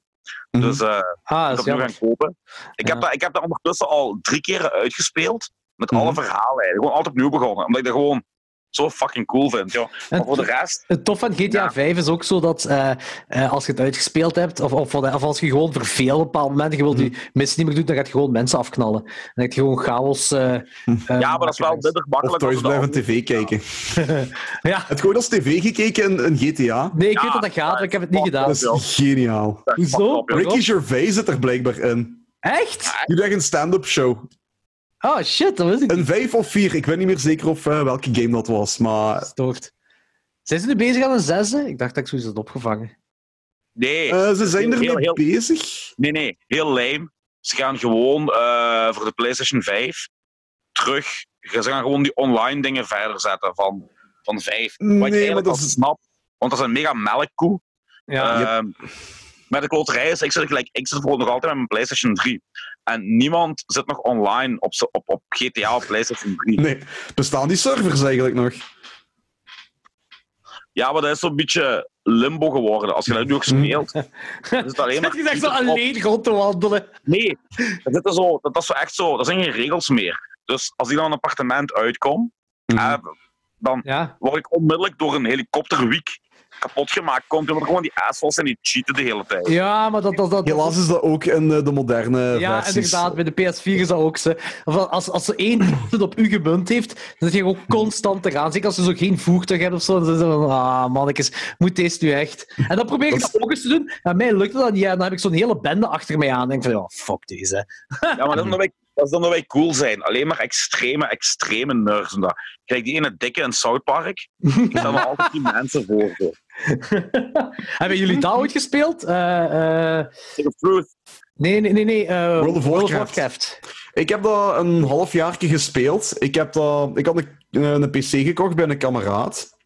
[SPEAKER 3] Mhm.
[SPEAKER 1] Dus eh,
[SPEAKER 2] Ah,
[SPEAKER 1] ik
[SPEAKER 2] dat is
[SPEAKER 1] dat nu gaan
[SPEAKER 2] jammer.
[SPEAKER 1] kopen. Ik,
[SPEAKER 2] Ja.
[SPEAKER 1] heb dat, ik heb dat ondertussen al drie keer uitgespeeld. Met alle
[SPEAKER 3] Mhm.
[SPEAKER 1] verhalen eigenlijk. Gewoon altijd opnieuw begonnen. Omdat ik dat gewoon zo fucking cool vind, joh. Maar
[SPEAKER 2] En-
[SPEAKER 1] voor de rest...
[SPEAKER 2] Het tof van GTA
[SPEAKER 1] Ja.
[SPEAKER 2] 5 is ook zo dat eh, eh, als je het uitgespeeld hebt, of, of, wat- of als je gewoon verveelt op een bepaald moment, je wilt
[SPEAKER 1] Mhm.
[SPEAKER 2] die missie niet meer doen, dan gaat je gewoon mensen afknallen. Dan gaat je gewoon chaos. eh, eh,
[SPEAKER 1] Ja, maar dat is wel
[SPEAKER 2] maken.
[SPEAKER 1] minder
[SPEAKER 3] Of
[SPEAKER 1] makkelijk. als
[SPEAKER 3] thuis
[SPEAKER 1] de
[SPEAKER 3] blijven
[SPEAKER 1] andere-
[SPEAKER 3] tv kijken.
[SPEAKER 2] Ja,
[SPEAKER 3] Het gewoon als tv gekeken in, in GTA.
[SPEAKER 2] nee, ik
[SPEAKER 1] Ja,
[SPEAKER 2] weet dat dat gaat, maar ik heb het niet
[SPEAKER 1] fuck,
[SPEAKER 2] gedaan.
[SPEAKER 3] Dat is geniaal.
[SPEAKER 2] Hoezo?
[SPEAKER 1] Fuck, joh.
[SPEAKER 2] Waarom?
[SPEAKER 3] Ricky Gervais zit er blijkbaar in.
[SPEAKER 2] Echt?
[SPEAKER 3] Die doet echt een stand-up show.
[SPEAKER 2] Oh shit, dat wist ik niet.
[SPEAKER 3] Een 5 of 4. Ik weet niet meer zeker of eh, welke game dat was, maar... eh,
[SPEAKER 2] Gestoord. Zijn ze nu bezig aan een zesde? Ik dacht dat ik zoiets had opgevangen.
[SPEAKER 1] Nee.
[SPEAKER 3] eh, ze zijn
[SPEAKER 1] Heel,
[SPEAKER 3] ermee
[SPEAKER 1] heel-
[SPEAKER 3] bezig.
[SPEAKER 1] Nee, nee, heel lame. Ze gaan gewoon eh, voor de PlayStation 5 terug. Ze gaan gewoon die online dingen verder zetten van, van 5. Wat
[SPEAKER 3] Nee,
[SPEAKER 1] ik
[SPEAKER 3] maar
[SPEAKER 1] eigenlijk
[SPEAKER 3] dat
[SPEAKER 1] al
[SPEAKER 3] is-
[SPEAKER 1] snap, want dat is een mega melkkoe.
[SPEAKER 2] Ja.
[SPEAKER 1] Ehm, Maar de kloterij is, ik zit, gelijk, ik zit bijvoorbeeld nog altijd met mijn PlayStation 3. En niemand zit nog online op, z'n- op, op GTA of PlayStation 3.
[SPEAKER 3] Nee, bestaan die servers eigenlijk nog?
[SPEAKER 1] Ja, maar dat is zo'n beetje limbo geworden. Als je dat nu ook speelt, dan is het alleen maar...
[SPEAKER 2] Heb je dacht zo
[SPEAKER 1] op-
[SPEAKER 2] alleen rond te wandelen?
[SPEAKER 1] Nee, dat is, zo, dat is zo echt zo. Er zijn geen regels meer. Dus als ik dan een appartement uitkom,
[SPEAKER 2] Mhm.
[SPEAKER 1] eh, dan
[SPEAKER 2] Ja.
[SPEAKER 1] word ik onmiddellijk door een helikopterwiek kapot gemaakt. Komt omdat er gewoon die assholes en die cheaten de hele tijd.
[SPEAKER 2] Ja, maar dat... dat, dat
[SPEAKER 3] Helaas is dat ook in eh, de moderne
[SPEAKER 2] Ja,
[SPEAKER 3] versies.
[SPEAKER 2] inderdaad. Bij de PS4 is dat ook zo. Of Als, als ze één het op u gemunt heeft, dan zit je ook constant eraan. Zeker als ze zo geen voertuig hebben of zo. Dan is het van, ah, mannetjes, moet deze nu echt? En dan probeer ik
[SPEAKER 3] Dat is-
[SPEAKER 2] dat ook eens te doen. En mij lukt dat niet. En dan heb ik zo'n hele bende achter mij aan. En denk van, ja, fuck deze.
[SPEAKER 1] Ja, maar dat
[SPEAKER 3] Mhm.
[SPEAKER 1] is omdat wij, dat is omdat wij cool zijn. Alleen maar extreme, extreme nerds. en dat. Kijk, die ene dikke in South Park, daar staan er altijd die mensen voor. zo.
[SPEAKER 2] Hebben jullie dat ooit gespeeld? Eh, eh,
[SPEAKER 1] Stick of Truth.
[SPEAKER 2] nee, nee, nee. nee eh,
[SPEAKER 3] World of Warcraft.
[SPEAKER 2] Warcraft.
[SPEAKER 3] Ik heb dat een half jaartje gespeeld. Ik, heb dat, ik had een, eh, een PC gekocht bij een kameraad.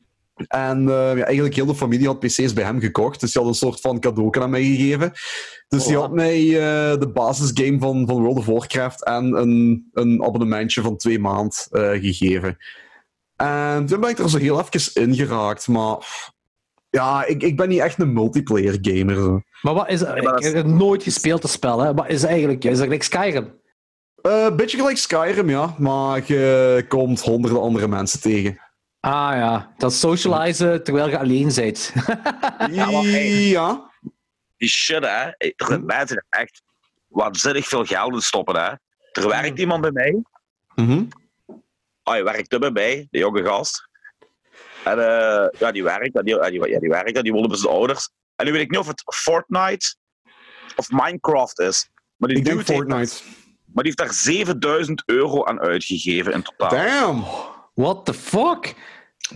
[SPEAKER 3] En eh, ja, eigenlijk heel de familie had PC's bij hem gekocht. Dus die had een soort van cadeau aan mij gegeven. Dus die
[SPEAKER 2] Voilà.
[SPEAKER 3] had mij eh, de basisgame van, van World of Warcraft en een, een abonnementje van twee maand eh, gegeven. En toen ben ik er zo heel even in geraakt. Maar pff, ja, ik, ik ben niet echt een multiplayer gamer. zo.
[SPEAKER 2] Maar wat is...
[SPEAKER 1] maar dat
[SPEAKER 2] Ik
[SPEAKER 1] is-
[SPEAKER 2] heb het nooit gespeeld, dat spel. Hè. Wat is dat eigenlijk? Is dat like Skyrim?
[SPEAKER 3] Eh, beetje gelijk Skyrim, ja. Maar je komt honderden andere mensen tegen.
[SPEAKER 2] Ah ja, dat is socializen terwijl je alleen bent.
[SPEAKER 3] Ja,
[SPEAKER 1] maar hey.
[SPEAKER 3] ja.
[SPEAKER 1] Die shit, hè. Er zijn
[SPEAKER 3] Mhm.
[SPEAKER 1] mensen die echt waanzinnig veel geld in stoppen, hè. Er
[SPEAKER 3] Mhm.
[SPEAKER 1] werkt iemand bij mij Oh, hij werkte bij mij, de jonge gast. En eh, ja, die werkt, en die, en die, ja, die werkt, en die woonde bij zijn ouders. En nu weet ik niet of het Fortnite of Minecraft is. Maar die,
[SPEAKER 3] Ik denk
[SPEAKER 1] dude heeft, maar
[SPEAKER 3] Fortnite.
[SPEAKER 1] die heeft daar 7000 euro aan uitgegeven in totaal.
[SPEAKER 3] Damn!
[SPEAKER 2] What the fuck?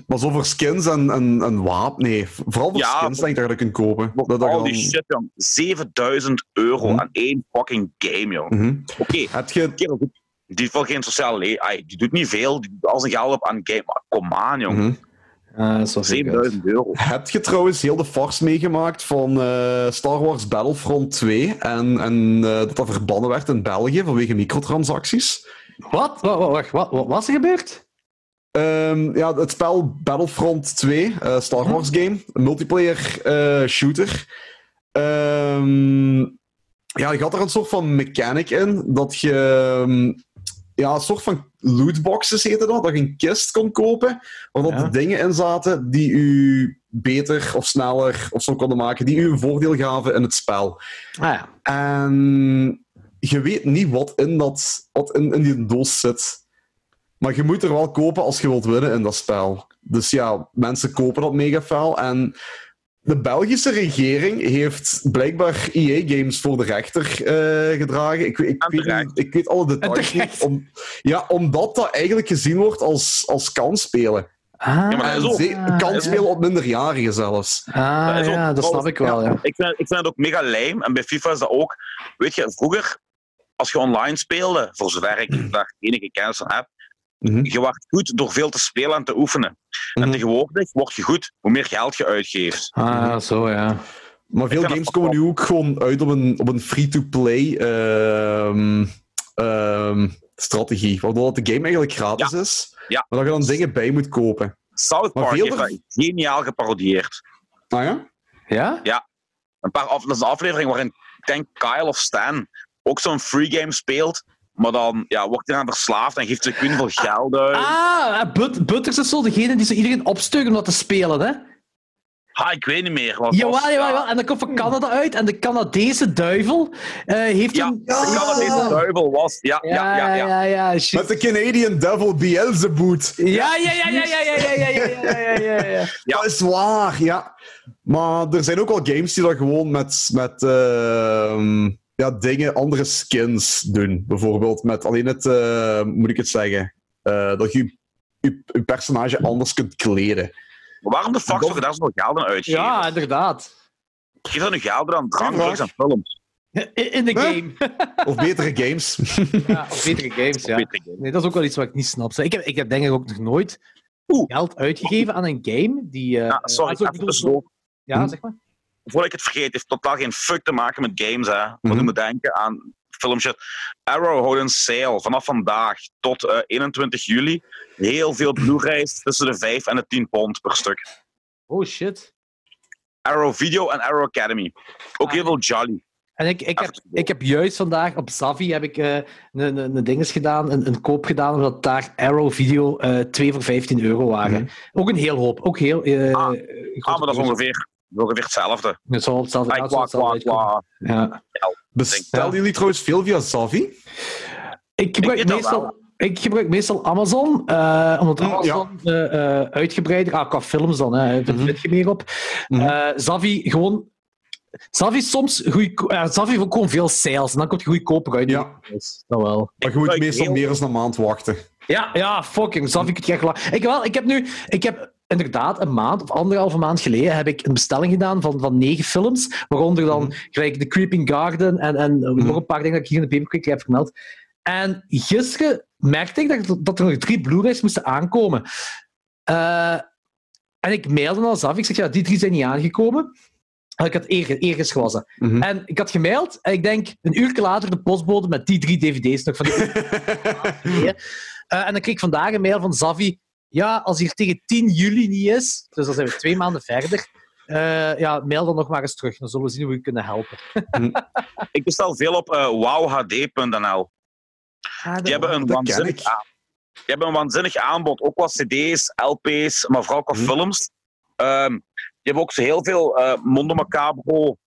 [SPEAKER 3] Maar zo voor skins en, en, en wapen, nee. Vooral voor
[SPEAKER 1] Ja,
[SPEAKER 3] skins denk ik dat je dat kunt kopen. Dat, dat
[SPEAKER 1] Al
[SPEAKER 3] gewoon-
[SPEAKER 1] die shit, jong. 7000 euro
[SPEAKER 3] Hm.
[SPEAKER 1] aan één fucking game, jong.
[SPEAKER 3] Mhm.
[SPEAKER 1] Oké,
[SPEAKER 3] Heb je...
[SPEAKER 1] kerel, goed, die heeft wel geen sociaal leven. Ai, Die doet niet veel, die doet al zijn geld op aan game. Maar kom aan, jong.
[SPEAKER 3] Mhm.
[SPEAKER 2] Ah, zo
[SPEAKER 1] 7000 euro.
[SPEAKER 3] Heb je trouwens heel de farce meegemaakt van eh, Star Wars Battlefront 2 en, en eh, dat dat verbannen werd in België vanwege microtransacties?
[SPEAKER 2] Wat? Wa- wa- Wacht, wat, wat was er gebeurd?
[SPEAKER 3] Ehm, ja, het spel Battlefront 2, eh, Star Wars game, een multiplayer eh, shooter. Ehm, Ja, je had er een soort van mechanic in dat je. ehm, Ja, een soort van lootboxes heette dat. Dat je een kist kon kopen. Waar dat
[SPEAKER 2] Ja.
[SPEAKER 3] de dingen in zaten die u beter of sneller of zo konden maken. Die u een voordeel gaven in het spel.
[SPEAKER 2] Ah ja.
[SPEAKER 3] En je weet niet wat in, dat, wat in, in die doos zit. Maar je moet er wel kopen als je wilt winnen in dat spel. Dus ja, mensen kopen dat mega fel. En de Belgische regering heeft blijkbaar EA Games voor de rechter eh, gedragen. Ik, ik,
[SPEAKER 1] En
[SPEAKER 3] weet,
[SPEAKER 1] terecht.
[SPEAKER 3] niet- ik weet alle details niet.
[SPEAKER 2] terecht.
[SPEAKER 3] Om, ja, omdat dat eigenlijk gezien wordt als, als kansspelen.
[SPEAKER 2] Ah,
[SPEAKER 1] Ja, maar dat is
[SPEAKER 3] En
[SPEAKER 1] ook.
[SPEAKER 3] ze, kansspelen op minderjarigen zelfs.
[SPEAKER 2] ah,
[SPEAKER 1] dat is ook-
[SPEAKER 2] ja, dat snap ik wel. Ja.
[SPEAKER 1] Ik vind, ik vind het ook mega lijm. En bij FIFA is dat ook. Weet je, vroeger, als je online speelde, voor zover ik daar enige kennis van heb,
[SPEAKER 3] Hm. Mhm.
[SPEAKER 1] je wordt goed door veel te spelen en te oefenen.
[SPEAKER 3] Mhm.
[SPEAKER 1] En tegenwoordig word je goed hoe meer geld je uitgeeft.
[SPEAKER 2] Ah, zo ja.
[SPEAKER 3] Maar veel
[SPEAKER 1] Ik kan
[SPEAKER 3] games
[SPEAKER 1] het
[SPEAKER 3] komen nu ook gewoon uit op een, op een free-to-play ehm, ehm, strategie. Waardoor dat de game eigenlijk gratis is,
[SPEAKER 1] Ja.
[SPEAKER 3] maar dat je dan dingen bij moet kopen.
[SPEAKER 1] South
[SPEAKER 3] Maar
[SPEAKER 1] Park
[SPEAKER 3] veel
[SPEAKER 1] heeft
[SPEAKER 3] er-
[SPEAKER 1] dat geniaal geparodieerd.
[SPEAKER 3] Ah ja?
[SPEAKER 2] Ja?
[SPEAKER 1] Een paar af, dat is een aflevering waarin, ik denk, Kyle of Stan ook zo'n free game speelt. Maar dan ja, wordt hij aan verslaafd en geeft ze kun veel geld uit.
[SPEAKER 2] Ah, eh, But Butters is zo degene die zo iedereen opstuurt om dat te spelen, hè?
[SPEAKER 1] Ha, ik weet niet meer. wat het was.
[SPEAKER 2] Jawel, jawel, jawel. En dat komt van Canada uit. En de Canadese duivel eh, heeft
[SPEAKER 1] Ja,
[SPEAKER 2] een... Ah,
[SPEAKER 1] de Canadese duivel was. Ja, ja, ja. ja.
[SPEAKER 2] ja, ja, shit.
[SPEAKER 3] Met de Canadian Devil Beelzebub.
[SPEAKER 2] Ja, ja, ja, ja, ja, ja, ja, ja, ja, ja, ja, ja, ja.
[SPEAKER 1] Ja.
[SPEAKER 3] Dat is waar, ja. Maar er zijn ook wel games die dat gewoon met, met ehm, ja, dingen, andere skins doen. Bijvoorbeeld met alleen het, eh, hoe moet ik het zeggen, Eh, dat je je je personage anders kunt kleden.
[SPEAKER 1] Maar waarom de fuck
[SPEAKER 3] Dat-
[SPEAKER 1] zou je daar zoveel geld aan uitgeven?
[SPEAKER 2] Ja, inderdaad.
[SPEAKER 1] Geef dan nu geld aan drank,
[SPEAKER 3] Ja,
[SPEAKER 1] drugs en films.
[SPEAKER 2] In, in de
[SPEAKER 3] Huh?
[SPEAKER 2] game.
[SPEAKER 3] Of betere games.
[SPEAKER 2] Ja, of betere games, ja.
[SPEAKER 1] Weet ik niet.
[SPEAKER 2] Nee, dat is ook wel iets wat ik niet snap. zeg. Ik heb, ik heb denk ik ook nog nooit
[SPEAKER 1] Oeh.
[SPEAKER 2] geld uitgegeven aan een game die... eh,
[SPEAKER 1] Ja,
[SPEAKER 2] eh,
[SPEAKER 1] sorry,
[SPEAKER 2] also, ik
[SPEAKER 1] even
[SPEAKER 2] bedoel,
[SPEAKER 1] tussendoor.
[SPEAKER 2] Ja, zeg maar.
[SPEAKER 1] Voordat ik het vergeet, heeft totaal geen fuck te maken met games. Hè. Wat
[SPEAKER 3] Mhm.
[SPEAKER 1] je moet denken aan filmshit. Arrow houdt een sale vanaf vandaag tot eh, 21 juli. Heel veel Blu-rays tussen de 5 en de 10 pond per stuk.
[SPEAKER 2] Oh, shit.
[SPEAKER 1] Arrow Video en Arrow Academy. Ook
[SPEAKER 2] Ah,
[SPEAKER 1] heel veel Jolly.
[SPEAKER 2] En ik, ik, heb,
[SPEAKER 1] Even tussendoor.
[SPEAKER 2] ik heb juist vandaag op Savi heb ik, eh, een, een, een dinges gedaan, een, een koop gedaan, omdat daar Arrow Video eh 2 voor 15 euro waren. Ook een heel hoop. Ook heel... eh,
[SPEAKER 1] Hm. Ah.
[SPEAKER 2] grote
[SPEAKER 1] Ah, maar dat is
[SPEAKER 2] koers.
[SPEAKER 1] ongeveer, ongeveer hetzelfde.
[SPEAKER 2] Het zal op hetzelfde
[SPEAKER 1] Ai,
[SPEAKER 2] ja, het zal
[SPEAKER 1] kwa,
[SPEAKER 2] op hetzelfde
[SPEAKER 1] kwa,
[SPEAKER 2] uitkomen.
[SPEAKER 1] kwa.
[SPEAKER 2] Ja.
[SPEAKER 3] Bestel jullie trouwens veel via Savi?
[SPEAKER 2] Ik gebruik,
[SPEAKER 1] Ik weet dat
[SPEAKER 2] meestal, ik gebruik meestal Amazon, eh, omdat
[SPEAKER 3] Mm,
[SPEAKER 2] Amazon eh, eh, uitgebreider... Ah, qua films dan, hè, daar
[SPEAKER 3] Mhm.
[SPEAKER 2] zit je meer op.
[SPEAKER 3] Mhm.
[SPEAKER 2] Eh, Zavi gewoon... Zavi is soms goedko- ja, Zavi heeft ook gewoon veel sales, en dan komt je goedkoper uit.
[SPEAKER 3] Ja.
[SPEAKER 2] Dus, dat wel.
[SPEAKER 3] Maar je moet
[SPEAKER 1] gebruik
[SPEAKER 3] meestal
[SPEAKER 1] heel-
[SPEAKER 3] meer dan een maand wachten.
[SPEAKER 2] Ja, ja, fucking, Zavi kun je echt... la- Ik, wel, ik heb nu... Ik heb inderdaad een maand of anderhalve maand geleden heb ik een bestelling gedaan van, van negen films, waaronder dan gelijk The Creeping Garden en, en nog een paar dingen dat ik hier in de paperclip heb vermeld. En gisteren merkte ik dat, dat er nog drie Blu-rays moesten aankomen. Eh, en ik mailde al af. Ik zeg, ja, die drie zijn niet aangekomen. En ik had eer, ergens gewassen.
[SPEAKER 3] Mhm.
[SPEAKER 2] En ik had gemaild. En ik denk, een uur later de postbode met die drie dvd's nog van die Eh, en dan kreeg ik vandaag een mail van Zavi. Ja, als hier tegen 10 juli niet is, dus dan zijn we twee maanden verder. eh, ja, mail dan nog maar eens terug. Dan zullen we zien hoe we je kunnen helpen.
[SPEAKER 1] Ik bestel veel op eh, wowhd.nl. Die hebben een
[SPEAKER 3] dat ken
[SPEAKER 1] waanzinnig
[SPEAKER 3] ik.
[SPEAKER 1] aanbod. Die hebben een waanzinnig aanbod. Ook qua cd's, lp's, maar vooral qua
[SPEAKER 3] Mhm.
[SPEAKER 1] films. Ehm, die hebben ook zo heel veel eh Mondo Macabro,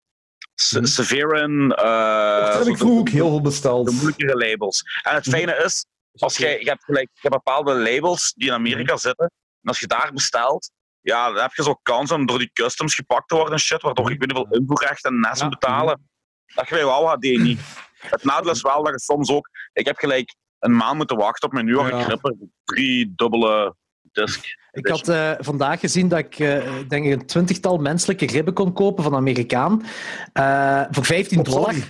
[SPEAKER 1] Se-
[SPEAKER 3] Mhm.
[SPEAKER 1] Severin. eh,
[SPEAKER 3] dat heb ik
[SPEAKER 1] zo
[SPEAKER 3] vroeger ook heel veel
[SPEAKER 1] de,
[SPEAKER 3] besteld.
[SPEAKER 1] de moeilijkere labels. En het fijne is, als jij, je, hebt gelijk, je hebt bepaalde labels die in Amerika zitten. En als je daar bestelt, ja, dan heb je zo kans om door die customs gepakt te worden en shit. Waardoor je binnen veel invoerrecht en nes
[SPEAKER 2] Ja.
[SPEAKER 1] moet betalen. Dat je bij Wow HD niet. Het nadeel is wel dat je soms ook. Ik heb gelijk een maand moeten wachten op mijn nieuwe
[SPEAKER 3] Ja.
[SPEAKER 1] gripper. Drie dubbele disc.
[SPEAKER 2] Ik had eh, vandaag gezien dat ik eh, denk ik een twintigtal menselijke ribben kon kopen van een Amerikaan. eh, voor 15
[SPEAKER 3] Op
[SPEAKER 2] dollar.
[SPEAKER 3] Zalm?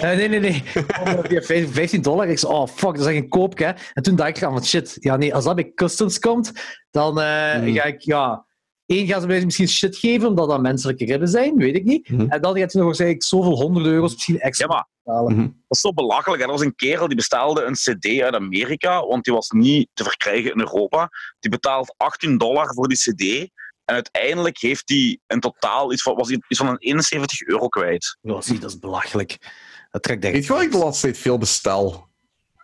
[SPEAKER 2] Eh, nee, nee, nee. Om, eh, via 15 dollar. Ik zei, oh fuck, dat is echt een koopje. hè. En toen dacht ik aan, van shit, ja nee, als dat bij customs komt, dan eh,
[SPEAKER 3] Mm.
[SPEAKER 2] ga ik, ja... Eén gaan ze mij misschien shit geven, omdat dat menselijke ribben zijn, weet ik niet.
[SPEAKER 3] Mhm.
[SPEAKER 2] En dan gaat ze nog waarschijnlijk zoveel honderd euro's misschien
[SPEAKER 1] Ja,
[SPEAKER 2] extra
[SPEAKER 1] maar
[SPEAKER 2] betalen.
[SPEAKER 1] dat is zo belachelijk. hè. Er was een kerel die bestelde een CD uit Amerika, want die was niet te verkrijgen in Europa. Die betaalt 18 dollar voor die CD. En uiteindelijk heeft hij in totaal iets van, was hij iets van een 71 euro kwijt.
[SPEAKER 2] Ja, zie, dat is belachelijk. Dat trekt
[SPEAKER 3] Weet
[SPEAKER 2] echt.
[SPEAKER 3] je waar ik de laatste tijd veel bestel?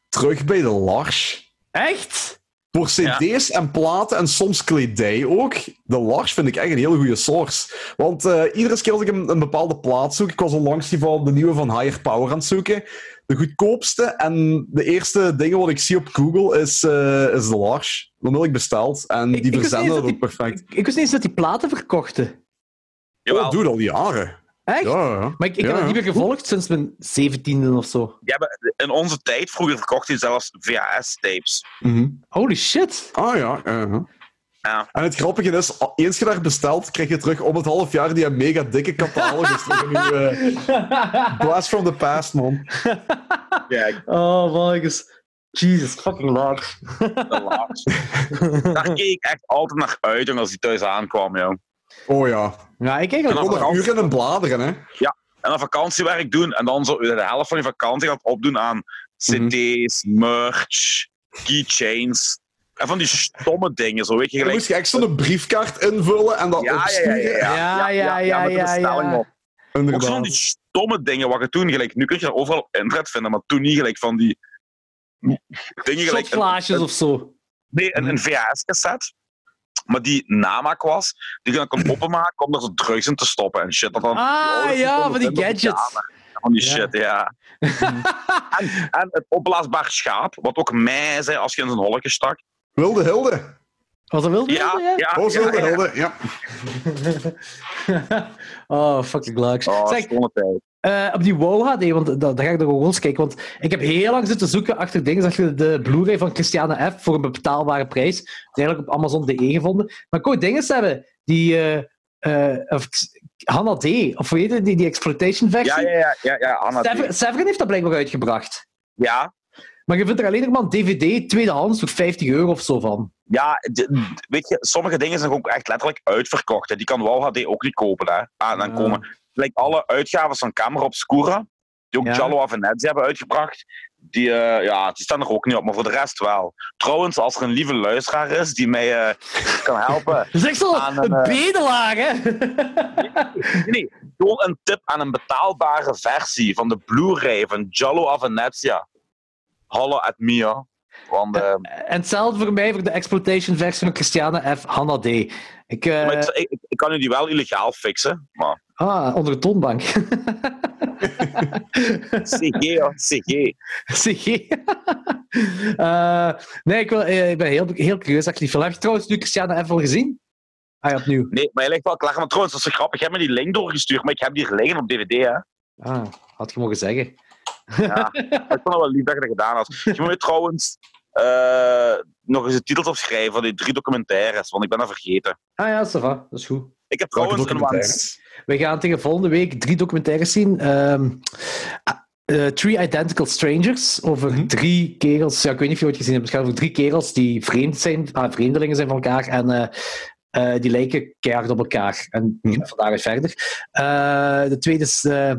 [SPEAKER 3] Terug bij de Lars.
[SPEAKER 2] Echt?
[SPEAKER 3] Voor cd's en platen en soms kledij ook. De Lars vind ik echt een hele goede source. Want eh, iedere keer als ik een, een bepaalde plaat zoek... Ik was onlangs die van de nieuwe van Higher Power aan het zoeken. De goedkoopste en de eerste dingen wat ik zie op Google is, eh, is de Lars. Dan wil ik besteld.
[SPEAKER 2] Ik-
[SPEAKER 3] En die
[SPEAKER 2] ik wist niet
[SPEAKER 3] verzenden dat
[SPEAKER 2] dat
[SPEAKER 3] ook perfect.
[SPEAKER 2] Ik, ik wist niet eens dat die platen verkochten.
[SPEAKER 1] Jawel,
[SPEAKER 3] Dat doe Oh, al jaren.
[SPEAKER 2] Echt?
[SPEAKER 3] Ja, ja.
[SPEAKER 2] Maar ik, ik
[SPEAKER 3] Ja,
[SPEAKER 2] heb dat
[SPEAKER 3] ja.
[SPEAKER 2] niet meer gevolgd sinds mijn 17e of zo.
[SPEAKER 1] die hebben- in onze tijd vroeger verkocht hij zelfs VHS-tapes.
[SPEAKER 3] Mhm.
[SPEAKER 2] Holy shit.
[SPEAKER 3] Ah ja, ja, ja.
[SPEAKER 1] Ja.
[SPEAKER 3] En het grappige is, al- eens je daar bestelt, krijg je terug om het half jaar die mega dikke Dus catalogus. terug in je, eh, blast from the past, man.
[SPEAKER 1] Ja, ik
[SPEAKER 2] Oh, volgens. Jesus fucking lord.
[SPEAKER 1] ben laat. Daar keek ik echt altijd naar uit jongen, als hij thuis aankwam, joh.
[SPEAKER 3] Oh ja.
[SPEAKER 2] Ja, ik kijk
[SPEAKER 3] Ik
[SPEAKER 2] er
[SPEAKER 3] kon
[SPEAKER 2] ook
[SPEAKER 3] er uren in bladeren, hè.
[SPEAKER 1] En dan vakantiewerk doen. En dan zo de helft van je vakantie gaat opdoen aan Mhm. CD's, merch, keychains. En van die stomme dingen, zo weet je
[SPEAKER 3] Dan
[SPEAKER 1] gelijk.
[SPEAKER 3] moest je echt zo'n briefkaart invullen en dat
[SPEAKER 1] Ja, ja, ja,
[SPEAKER 3] opsturen.
[SPEAKER 1] ja, ja.
[SPEAKER 2] Ja, ja, ja,
[SPEAKER 1] met de
[SPEAKER 2] ja,
[SPEAKER 1] bestelling
[SPEAKER 2] ja.
[SPEAKER 1] op. Ook
[SPEAKER 3] Inderdaad.
[SPEAKER 1] zo'n die stomme dingen wat je toen gelijk. Nu kun je dat overal op internet vinden, maar toen niet gelijk van die dingen gelijk.
[SPEAKER 2] Shotflaasjes of zo.
[SPEAKER 1] Nee, een, een VHS-cassette. Maar die namaak was, die je dan kon openmaken om er zo drugs in te stoppen en shit. Dat dan
[SPEAKER 2] Ah,
[SPEAKER 1] ouders
[SPEAKER 2] ja, van
[SPEAKER 1] konden
[SPEAKER 2] die
[SPEAKER 1] vinden op de
[SPEAKER 2] gadgets.
[SPEAKER 1] kamer. Van die
[SPEAKER 2] Ja.
[SPEAKER 1] shit, ja. en, en het opblaasbaar schaap, wat ook mij zei als je in zijn holletje stak.
[SPEAKER 3] Wilde Hilde.
[SPEAKER 2] Was dat wild?
[SPEAKER 1] Ja, ja, Ah, ja.
[SPEAKER 3] Oh, Wilde
[SPEAKER 1] ja.
[SPEAKER 3] Hilde, ja.
[SPEAKER 2] oh, fucking leuk.
[SPEAKER 1] Oh,
[SPEAKER 2] zeg,
[SPEAKER 1] stomme tijd.
[SPEAKER 2] eh, op die WoW HD, want da- daar ga ik nog wel eens kijken. Want ik heb heel lang zitten zoeken achter dingen. Zag je de Blu-ray van Christiane F. voor een betaalbare prijs? Dat is eigenlijk op Amazon.de gevonden. Maar ik wou dingen hebben die. eh eh, of, Hanna D. Of weet je, die, die exploitation versie.
[SPEAKER 1] Ja, ja, ja, ja, ja, Anna. die-
[SPEAKER 2] Severin, Severin heeft dat blijkbaar uitgebracht.
[SPEAKER 1] Ja,
[SPEAKER 2] Maar je vindt er alleen nog maar een DVD tweedehands voor 50 euro of zo van.
[SPEAKER 1] ja d- d- weet je, sommige dingen zijn ook echt letterlijk uitverkocht. Hè. Die kan WoW HD ook niet kopen. Hè. Ah, dan
[SPEAKER 2] Ja.
[SPEAKER 1] komen gelijk alle uitgaven van Camera Obscura, die ook
[SPEAKER 2] Ja.
[SPEAKER 1] Jalo Avenazzi hebben uitgebracht, die, eh, ja, die staan er ook niet op, maar voor de rest wel. Trouwens, als er een lieve luisteraar is die mij eh, kan helpen,
[SPEAKER 2] Dat is echt zo
[SPEAKER 1] Aan een,
[SPEAKER 2] een
[SPEAKER 1] eh,
[SPEAKER 2] bedelaar, hè?
[SPEAKER 1] Nee, gewoon een tip aan een betaalbare versie van de Blu-ray van Jallo Avenetia. Hallo at Mia. Want, eh,
[SPEAKER 2] en hetzelfde voor mij voor de exploitation versie van Christiane F. Hanna D. Ik, eh,
[SPEAKER 1] maar ik, ik, ik kan u die wel illegaal fixen. Maar
[SPEAKER 2] Ah, onder de toonbank.
[SPEAKER 1] CG, hoor, CG.
[SPEAKER 2] CG. Eh, nee, ik, wil, eh, ik ben heel, heel curieus dat ik die film heb. Trouwens, nu Christiane F. al gezien? Ah ja, opnieuw.
[SPEAKER 1] Nee, maar je ligt wel klaar. Maar trouwens, dat is zo grappig. Je hebt me die link doorgestuurd, maar ik heb die hier liggen op DVD. Hè.
[SPEAKER 2] Ah, had je mogen zeggen.
[SPEAKER 1] Ja. Maar ik vond het wel lief dat je dat gedaan had. Je moet me trouwens eh, nog eens de titels opschrijven van die drie documentaires, want ik ben dat vergeten.
[SPEAKER 2] Ah ja, ça va, dat is goed.
[SPEAKER 1] Ik heb
[SPEAKER 3] Welke
[SPEAKER 1] trouwens een
[SPEAKER 3] documentaire?
[SPEAKER 1] waanz-
[SPEAKER 2] We gaan tegen volgende week drie documentaires zien. Ehm, ah, eh, Three Identical Strangers over drie kerels. Ja, ik weet niet of je ooit gezien hebt. Het gaat over drie kerels die vreemd zijn, ah, vreemdelingen zijn van elkaar. En eh, eh, die lijken keihard op elkaar. En
[SPEAKER 3] Mhm.
[SPEAKER 2] van daaruit verder. Eh, de tweede is. eh,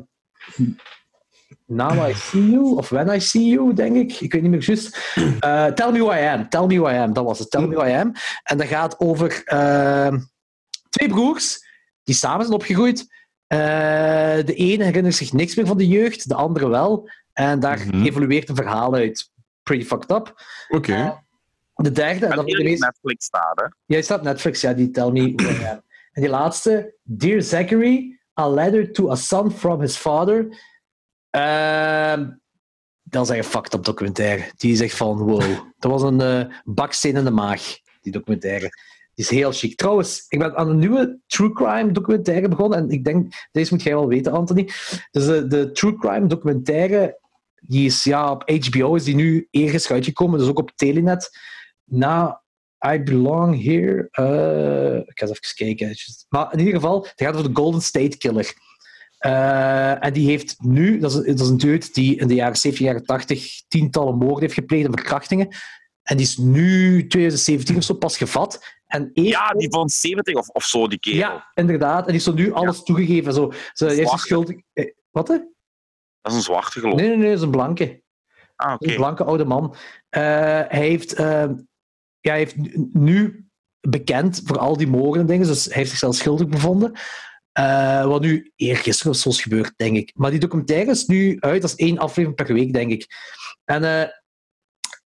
[SPEAKER 2] Now I See You, of When I See You, denk ik. Ik weet niet meer juist. Eh, Tell Me Who I Am, Tell Me Who I Am, dat was het. Tell Me Who I Am. En dat gaat over ehm, twee broers die samen zijn opgegroeid. Eh, de ene herinnert zich niks meer van de jeugd, de andere wel. En daar
[SPEAKER 3] Mhm.
[SPEAKER 2] evolueert een verhaal uit. Pretty fucked up.
[SPEAKER 3] Oké.
[SPEAKER 2] De derde, en
[SPEAKER 1] en
[SPEAKER 2] dat
[SPEAKER 1] die
[SPEAKER 2] is de
[SPEAKER 1] op
[SPEAKER 2] meest...
[SPEAKER 1] Netflix staat. Hè.
[SPEAKER 2] Jij staat op Netflix, ja, die Tell Me Who I Am. En die laatste, Dear Zachary, a letter to a son from his father. Ehm, dat is echt een fucked up documentaire. Die zegt van, wow. Dat was een eh, baksteen in de maag, die documentaire. Die is heel chic. Trouwens, ik ben aan een nieuwe true crime documentaire begonnen. En ik denk, deze moet jij wel weten, Anthony. Dus de, de true crime documentaire, die is ja, op HBO, is die nu ergens uitgekomen. Dus ook op Telenet. Na I Belong Here. eh, ik ga eens even kijken. Just- Maar in ieder geval, het gaat over de Golden State Killer. Eh, en die heeft nu, dat is, dat is een dude die in de jaren 70, jaren 80 tientallen moorden heeft gepleegd en verkrachtingen. En die is nu 2017 of zo pas gevat. En eerst-
[SPEAKER 1] Ja, die van 70 of, of zo, die kerel.
[SPEAKER 2] ja, inderdaad. En die heeft zo nu alles toegegeven. Zo, ze heeft zich
[SPEAKER 1] Zwarte.
[SPEAKER 2] schuldig. eh, Wat? Hè?
[SPEAKER 1] Dat is een zwarte geloof.
[SPEAKER 2] Nee, nee, nee, dat is een blanke.
[SPEAKER 1] Ah, oké.
[SPEAKER 2] ehm, Een blanke oude man. Eh, hij heeft, eh, ja, hij heeft nu- nu bekend voor al die moorden en dingen. Dus hij heeft zichzelf schuldig bevonden. Eh, wat nu eergisteren of zo is gebeurd, denk ik. Maar die documentaire is nu uit als één aflevering per week, denk ik. En eh,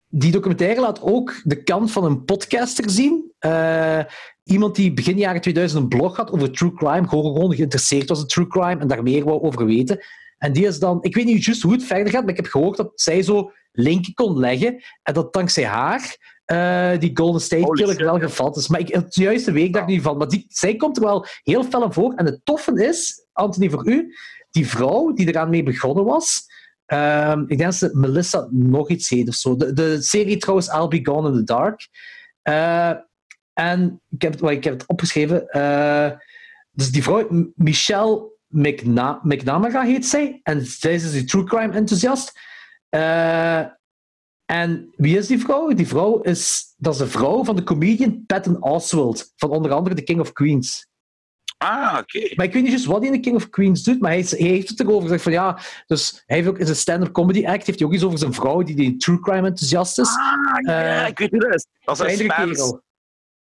[SPEAKER 2] die documentaire laat ook de kant van een podcaster zien. Eh, iemand die begin jaren 2000 een blog had over true crime, gewoon, gewoon geïnteresseerd was in true crime en daar meer wou over weten. En die is dan, ik weet niet juist hoe het verder gaat, maar ik heb gehoord dat zij zo linken kon leggen en dat dankzij haar eh, die Golden State
[SPEAKER 1] Holy
[SPEAKER 2] Killer
[SPEAKER 1] shit,
[SPEAKER 2] wel gevat is. Maar ik, het juiste week daar niet van. Maar die, zij komt er wel heel fel aan voor. En het toffe is, Anthony, voor u, die vrouw die eraan mee begonnen was, ehm, ik denk dat ze Melissa nog iets heet of zo. De, de serie trouwens I'll Be Gone in the Dark. Eh, en ik heb, het- wel, ik heb het opgeschreven. eh, dus die vrouw, M- Michelle McNa McNamara heet zij. En zij is dus die true crime enthousiast. Eh, en wie is die vrouw? Die vrouw is... Dat is de vrouw van de comedian Patton Oswalt. Van onder andere The King of Queens.
[SPEAKER 1] Ah, oké.
[SPEAKER 2] Maar ik weet niet juist wat hij in The King of Queens doet, maar hij, is- hij heeft het erover gezegd van ja... Dus hij heeft ook in zijn stand-up comedy act heeft hij ook iets over zijn vrouw die, die een true crime enthousiast is.
[SPEAKER 1] Ah, ja,
[SPEAKER 2] Eh,
[SPEAKER 1] ik weet wie dat is. Dat is
[SPEAKER 2] Kleinere
[SPEAKER 1] Spence.
[SPEAKER 2] kerel.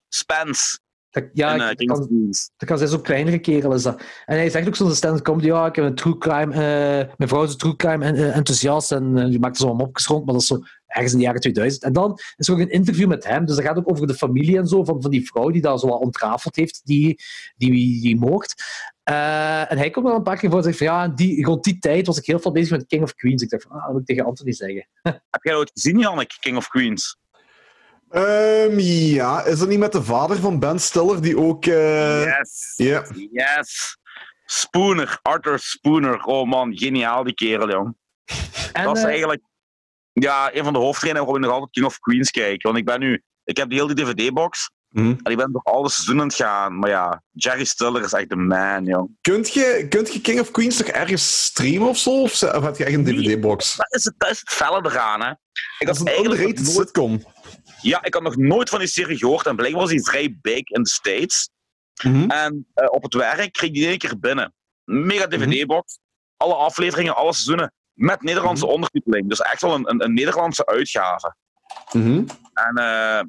[SPEAKER 1] Spence.
[SPEAKER 2] Dat- ja,
[SPEAKER 1] in, eh,
[SPEAKER 2] ik-
[SPEAKER 1] King of
[SPEAKER 2] kan-
[SPEAKER 1] Queens.
[SPEAKER 2] Dat kan zijn, zo'n kleinere kerel is dat. En hij zegt ook zo'n stand-up comedy, ja, ik heb een true crime, eh, mijn vrouw is een true crime en, eh, enthousiast en eh, die maakt er zo'n mopjes rond, maar dat is zo ergens in de jaren 2000. En dan is er ook een interview met hem, dus dat gaat ook over de familie en zo, van, van die vrouw die daar zo wat ontrafeld heeft, die, die, die, moord. Eh, en hij komt wel een paar keer voor en zegt van, ja, die, rond die tijd was ik heel veel bezig met King of Queens. Ik dacht van, ah, dat moet ik tegen Anthony zeggen.
[SPEAKER 1] Heb jij ooit gezien, Jannik, King of Queens?
[SPEAKER 3] Ehm, ja, is dat niet met de vader van Ben Stiller die ook. eh,
[SPEAKER 1] yes.
[SPEAKER 3] ja.
[SPEAKER 1] Yes. Spooner, Arthur Spooner. Oh man, geniaal die kerel, jong.
[SPEAKER 2] En,
[SPEAKER 1] dat is
[SPEAKER 2] eh,
[SPEAKER 1] eigenlijk ja, een van de hoofdredenen waarom ik nog altijd King of Queens kijk. Want ik ben nu, ik heb die hele DVD-box
[SPEAKER 3] Mhm.
[SPEAKER 1] en ik ben door alle seizoenen aan het gaan. Maar ja, Jerry Stiller is echt de man, jong.
[SPEAKER 3] Kunt, je, kunt je King of Queens toch ergens streamen of zo? Of, ze- of heb je echt een
[SPEAKER 1] Nee.
[SPEAKER 3] DVD-box?
[SPEAKER 1] Dat is het, dat is het felle eraan, hè. Ik
[SPEAKER 3] Dat is
[SPEAKER 1] had
[SPEAKER 3] een
[SPEAKER 1] eigenlijk
[SPEAKER 3] underrated
[SPEAKER 1] nog nooit,
[SPEAKER 3] sitcom.
[SPEAKER 1] ja, ik had nog nooit van die serie gehoord en blijkbaar was die vrij big in de States.
[SPEAKER 3] Mhm.
[SPEAKER 1] En eh, op het werk kreeg ik die in één keer binnen. Mega DVD-box. Alle afleveringen, alle seizoenen. Met Nederlandse ondertiteling. Dus echt wel een, een, een Nederlandse uitgave.
[SPEAKER 3] Mhm.
[SPEAKER 1] En eh,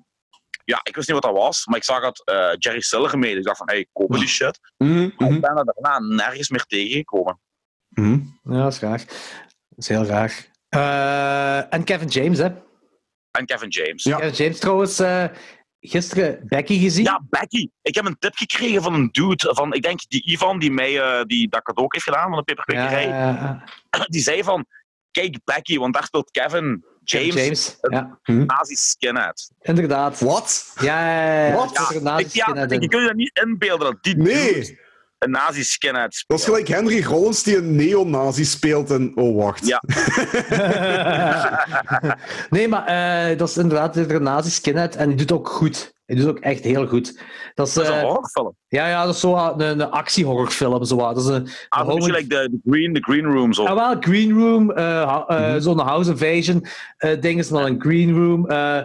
[SPEAKER 1] ja, ik wist niet wat dat was, maar ik zag dat eh, Jerry Stiller gemeden. Ik dacht van, hey, kopen die shit.
[SPEAKER 3] Mhm.
[SPEAKER 1] Maar
[SPEAKER 3] Mhm.
[SPEAKER 1] ik ben er daarna nergens meer tegengekomen.
[SPEAKER 3] Mhm.
[SPEAKER 2] Ja, dat is raar. Dat is heel raar. Eh, en Kevin James, hè.
[SPEAKER 1] En Kevin James.
[SPEAKER 3] Ja.
[SPEAKER 1] Ja.
[SPEAKER 2] Kevin James trouwens... eh, Gisteren Becky gezien.
[SPEAKER 1] Becky. Ik heb een tip gekregen van een dude, van, ik denk die Ivan, die mij eh, die, dat cadeau heeft gedaan van de peperkwekerij.
[SPEAKER 2] Ja, ja, ja.
[SPEAKER 1] Die zei van, kijk Becky, want daar speelt Kevin James,
[SPEAKER 2] James.
[SPEAKER 1] James.
[SPEAKER 2] Ja,
[SPEAKER 1] nazi skinhead.
[SPEAKER 2] inderdaad.
[SPEAKER 3] Wat?
[SPEAKER 2] Ja, ja, ja, ja.
[SPEAKER 3] Wat?
[SPEAKER 2] Er zit er een nazi
[SPEAKER 1] Ik, ja,
[SPEAKER 2] skinhead in.
[SPEAKER 1] je kunt je dat niet inbeelden, dat die dude
[SPEAKER 3] Nee,
[SPEAKER 1] een nazi skinhead
[SPEAKER 3] dat is
[SPEAKER 1] speelt.
[SPEAKER 3] gelijk Henry Rollins die een neonazi speelt en... Oh, wacht.
[SPEAKER 1] Ja.
[SPEAKER 2] nee, maar eh, dat is inderdaad er zit er een nazi skinhead en die doet ook goed. Hij doet ook echt heel goed. Dat is,
[SPEAKER 1] Dat is
[SPEAKER 2] eh,
[SPEAKER 1] een horrorfilm.
[SPEAKER 2] ja, ja, dat is zo wat een, een actiehorrorfilm. Zo wat. Dat is een,
[SPEAKER 1] Ah, dat is
[SPEAKER 2] een horror-
[SPEAKER 1] gelijk de, de green, de green Room zo.
[SPEAKER 2] Ah, wel, Green Room, eh, ha- eh, zo'n House Invasion eh ding is dan een Green Room. eh,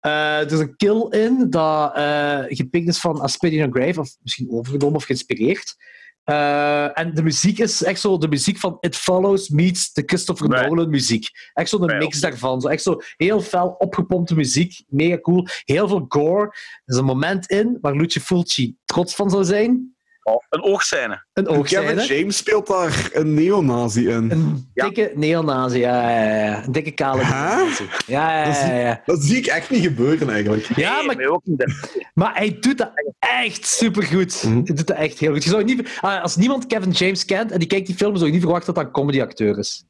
[SPEAKER 2] eh, er is een kill in dat eh, gepikt is van Asperian Grave, of misschien overgenomen of geïnspireerd. Eh, en de muziek is echt zo de muziek van It Follows meets de Christopher
[SPEAKER 1] Right.
[SPEAKER 2] Nolan muziek. Echt zo'n
[SPEAKER 1] Right.
[SPEAKER 2] mix daarvan. Zo, echt zo heel fel opgepompte muziek. Mega cool. Heel veel gore. Er is een moment in waar Lucio Fulci trots van zou zijn.
[SPEAKER 1] Oh, een oogscène.
[SPEAKER 2] Een
[SPEAKER 3] Kevin
[SPEAKER 2] oogscène.
[SPEAKER 3] James speelt daar een neonazi in.
[SPEAKER 2] Een
[SPEAKER 1] Ja.
[SPEAKER 2] dikke neonazi, ja, ja, ja, ja. Een dikke kale
[SPEAKER 3] Huh?
[SPEAKER 2] neonazi. Ja, ja, ja, ja.
[SPEAKER 3] Dat zie ik echt niet gebeuren, eigenlijk.
[SPEAKER 2] Ja,
[SPEAKER 1] Nee,
[SPEAKER 2] maar,
[SPEAKER 1] mij ook niet.
[SPEAKER 2] maar hij doet dat echt supergoed.
[SPEAKER 3] Mhm.
[SPEAKER 2] Hij doet dat echt heel goed. Je zou niet, ah, als niemand Kevin James kent en die kijkt die film, zou je niet verwachten dat dat een comedyacteur is.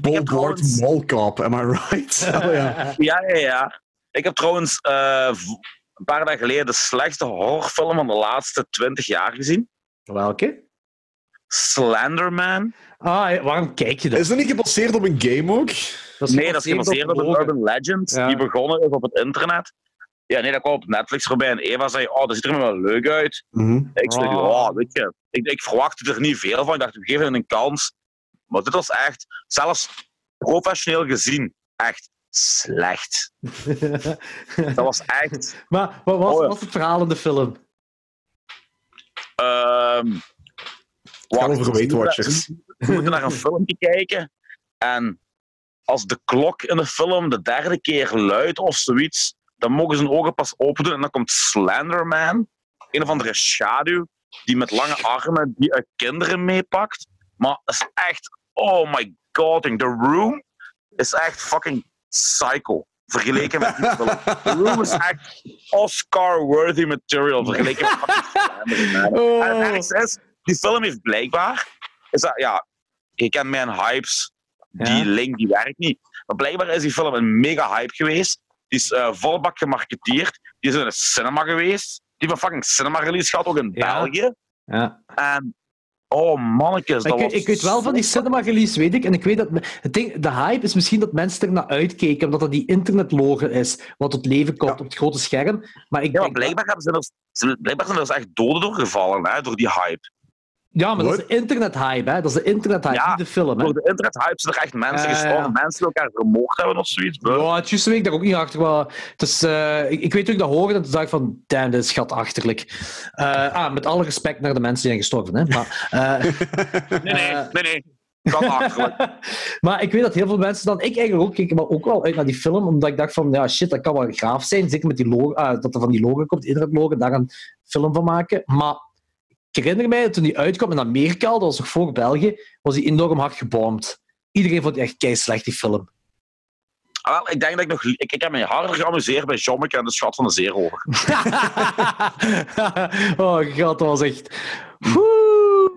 [SPEAKER 3] Bob
[SPEAKER 1] trouwens-
[SPEAKER 3] Ward Mallcap, am I right? Oh, ja.
[SPEAKER 1] Ja, ja, ja. Ik heb trouwens eh, v- een paar dagen geleden de slechtste horrorfilm van de laatste twintig jaar gezien.
[SPEAKER 2] Welke?
[SPEAKER 1] Slenderman.
[SPEAKER 2] Ah, waarom kijk je dat?
[SPEAKER 3] Is dat niet gebaseerd op een game ook?
[SPEAKER 2] dat
[SPEAKER 1] Nee, dat is gebaseerd op een
[SPEAKER 2] gelogen.
[SPEAKER 1] urban legend
[SPEAKER 2] Ja.
[SPEAKER 1] die begonnen is op het internet. Ja, nee, dat kwam op Netflix voorbij. En Eva zei, oh, dat ziet er wel leuk uit. Ik zei,
[SPEAKER 2] Ah.
[SPEAKER 1] oh, weet je, ik, ik verwachtte er niet veel van. Ik dacht, we geven het een kans. Maar dit was echt, zelfs professioneel gezien, echt slecht. Dat was echt...
[SPEAKER 2] maar wat was,
[SPEAKER 1] Oh, ja.
[SPEAKER 2] was het verhaal in de film?
[SPEAKER 1] Ehm wacht, we
[SPEAKER 3] over Weight
[SPEAKER 1] moeten-
[SPEAKER 3] Watchers.
[SPEAKER 1] We moeten naar een filmpje kijken. En als de klok in de film de derde keer luidt of zoiets, dan mogen zijn ogen pas openen en dan komt Slenderman, een of andere schaduw, die met lange armen die eh, kinderen meepakt. Maar het is echt, oh my god, en The Room is echt fucking psycho. Vergeleken met die film. The Room is echt Oscar-worthy material vergeleken met fucking Slenderman.
[SPEAKER 3] Oh.
[SPEAKER 2] Oh.
[SPEAKER 1] En het ergste Ah, is, die film heeft blijkbaar. Is dat, ja, je kent mijn hypes. Die
[SPEAKER 2] Ja.
[SPEAKER 1] link die werkt niet. Maar blijkbaar is die film een mega hype geweest. Die is eh volbak gemarketeerd. Die is in een cinema geweest. Die heeft een fucking cinema release gehad, ook in
[SPEAKER 2] Ja.
[SPEAKER 1] België.
[SPEAKER 2] Ja.
[SPEAKER 1] En oh mannetjes, dat
[SPEAKER 2] Ik,
[SPEAKER 1] was
[SPEAKER 2] ik weet wel van die
[SPEAKER 1] zo-
[SPEAKER 2] cinema-release, weet ik. En ik weet dat... Het ding, de hype is misschien dat mensen er naar uitkeken, omdat dat die internetlore is, wat tot leven komt op het grote scherm. Maar ik
[SPEAKER 1] Ja, maar
[SPEAKER 2] denk...
[SPEAKER 1] blijkbaar, hebben ze er, zijn- blijkbaar zijn er dus echt doden doorgevallen hè, door die hype.
[SPEAKER 2] Ja, maar dat is de internethype, hè. Dat is de internethype,
[SPEAKER 1] Ja,
[SPEAKER 2] niet de film, hè.
[SPEAKER 1] Door de internet-hype zijn er echt mensen
[SPEAKER 2] Ja, ja,
[SPEAKER 1] gestorven,
[SPEAKER 2] ja.
[SPEAKER 1] mensen die elkaar vermoord hebben of zoiets. bro.
[SPEAKER 2] Ja, het juiste week daar ook niet achter. Maar het is, eh, ik, ik weet ook dat horen en toen dacht ik van, damn, dit is schatachterlijk. Eh, ah, met alle respect naar de mensen die zijn gestorven, hè. Maar, eh,
[SPEAKER 1] Nee, nee,
[SPEAKER 2] Eh.
[SPEAKER 1] nee, nee. Kan achterlijk.
[SPEAKER 2] maar ik weet dat heel veel mensen dan... Ik eigenlijk ook, keek maar ook wel uit naar die film, omdat ik dacht van, ja, shit, dat kan wel graaf zijn. Zeker met die logo, eh, dat er van die logo komt, internetlogo, daar een film van maken. Maar ik herinner mij, dat toen die uitkwam in Amerika, al, dat was nog voor België, was die enorm hard gebomd. Iedereen vond die echt keislecht, die film.
[SPEAKER 1] Ah, wel, ik denk dat ik nog... Ik, ik heb me harder geamuseerd bij Jommeke en de Schat van de Zeerover.
[SPEAKER 2] oh god, dat was echt. Woe.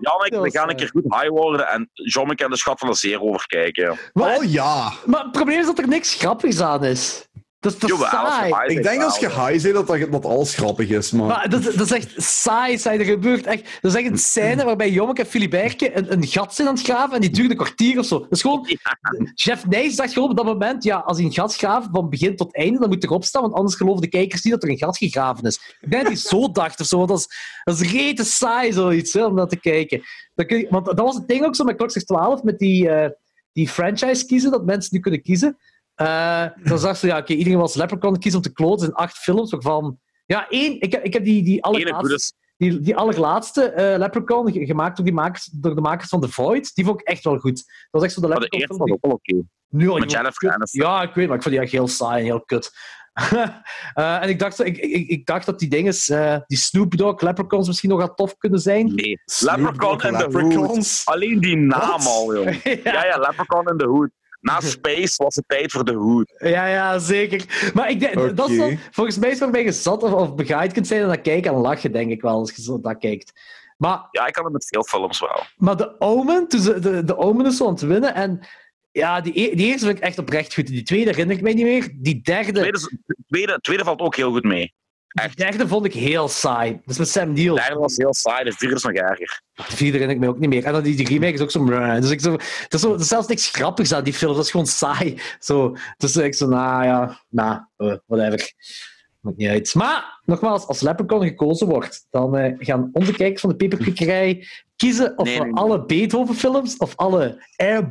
[SPEAKER 1] Jannik,
[SPEAKER 2] Dat
[SPEAKER 1] we
[SPEAKER 2] was,
[SPEAKER 1] gaan een
[SPEAKER 2] eh,
[SPEAKER 1] keer goed high worden en Jommeke en de Schat van de Zeerover kijken.
[SPEAKER 2] Maar,
[SPEAKER 3] Oh ja.
[SPEAKER 2] maar het probleem is dat er niks grappigs aan is. Dat is te
[SPEAKER 1] Jawel, als je
[SPEAKER 2] saai.
[SPEAKER 1] high
[SPEAKER 3] Ik
[SPEAKER 1] bent,
[SPEAKER 3] denk
[SPEAKER 1] wel,
[SPEAKER 3] als je
[SPEAKER 1] ja.
[SPEAKER 3] high zit dat, dat dat alles grappig is, maar...
[SPEAKER 2] Maar dat, dat is echt saai, saai. Er gebeurt echt... Dat is echt een scène waarbij Jommeke en Filiberke een, een gat zijn aan het graven en die duurde een kwartier of zo. Dat is gewoon... Jeff Nijs dacht gewoon op dat moment, ja, als hij een gat graaft van begin tot einde, dan moet hij erop staan, want anders geloven de kijkers niet dat er een gat gegraven is. Ik denk dat hij zo dacht of zo, want dat is, dat is rete saai zoiets, hè, om naar te kijken. Dan kun je- want dat was het ding ook zo met Klok 12, met die, eh, die franchise kiezen, dat mensen nu kunnen kiezen. Eh, dan zag ze, ja, oké, iedereen was Leprechaun kiezen om te kloten in acht films, waarvan... Ja, één, ik heb, ik heb die, die
[SPEAKER 1] Ene
[SPEAKER 2] allerlaatste,
[SPEAKER 1] goede
[SPEAKER 2] die, die allerlaatste eh, Leprechaun, ge- gemaakt door, die makers, door de makers van The Void, die vond ik echt wel goed. Dat was echt zo de
[SPEAKER 1] Maar de
[SPEAKER 2] Leprechaun
[SPEAKER 1] eerste
[SPEAKER 2] film
[SPEAKER 1] was ook
[SPEAKER 2] die
[SPEAKER 1] wel oké.
[SPEAKER 2] nu al
[SPEAKER 1] Met
[SPEAKER 2] iemand
[SPEAKER 1] Jennifer
[SPEAKER 2] kut-
[SPEAKER 1] Aniston.
[SPEAKER 2] Ja, ik weet, maar ik vond die echt heel saai en heel kut. Eh, en ik dacht, ik, ik, ik dacht dat die dingen, eh, die Snoop Dogg, Leprechauns misschien nog wat tof kunnen zijn.
[SPEAKER 1] Nee.
[SPEAKER 3] Snoop
[SPEAKER 1] Leprechaun
[SPEAKER 3] Dogg,
[SPEAKER 1] in the Hood.
[SPEAKER 3] Leprechauns.
[SPEAKER 1] Alleen die naam
[SPEAKER 3] Wat?
[SPEAKER 1] al, joh. Ja, ja, Leprechaun in the Hood. Na Space was het tijd voor de Hood.
[SPEAKER 2] Ja, ja, zeker. Maar ik denk,
[SPEAKER 3] Oké.
[SPEAKER 2] dat is dan- volgens mij is waarbij je zat of, of begaaid kunt zijn en dan kijken en lachen, denk ik wel, als je zo dat kijkt. Maar,
[SPEAKER 1] Ja, ik kan het met veel films wel.
[SPEAKER 2] maar de Omen, toen ze- de, de Omen is zo aan het winnen en ja, die, e- die eerste vind ik echt oprecht goed. Die tweede herinner ik mij niet meer. Die derde,
[SPEAKER 1] Tweede, is- tweede, tweede valt ook heel goed mee.
[SPEAKER 2] die derde vond ik heel saai. Dat is met Sam Neill.
[SPEAKER 1] De derde was heel saai, de vierde is nog erger.
[SPEAKER 2] De vierde herinner ik mij ook niet meer. En dan die, die remake is ook zo... brrr. Dus ik zo, het is zo er is zelfs niks grappigs aan die film. Dat is gewoon saai. Zo, dus ik zo, nou ja, nou, eh, whatever. Maakt niet uit. Maar, nogmaals, als Leprechaun gekozen wordt, dan eh, gaan onze kijkers van de Peperkikkerij kiezen of
[SPEAKER 1] Nee,
[SPEAKER 2] we
[SPEAKER 1] nee, nee.
[SPEAKER 2] alle Beethoven-films of alle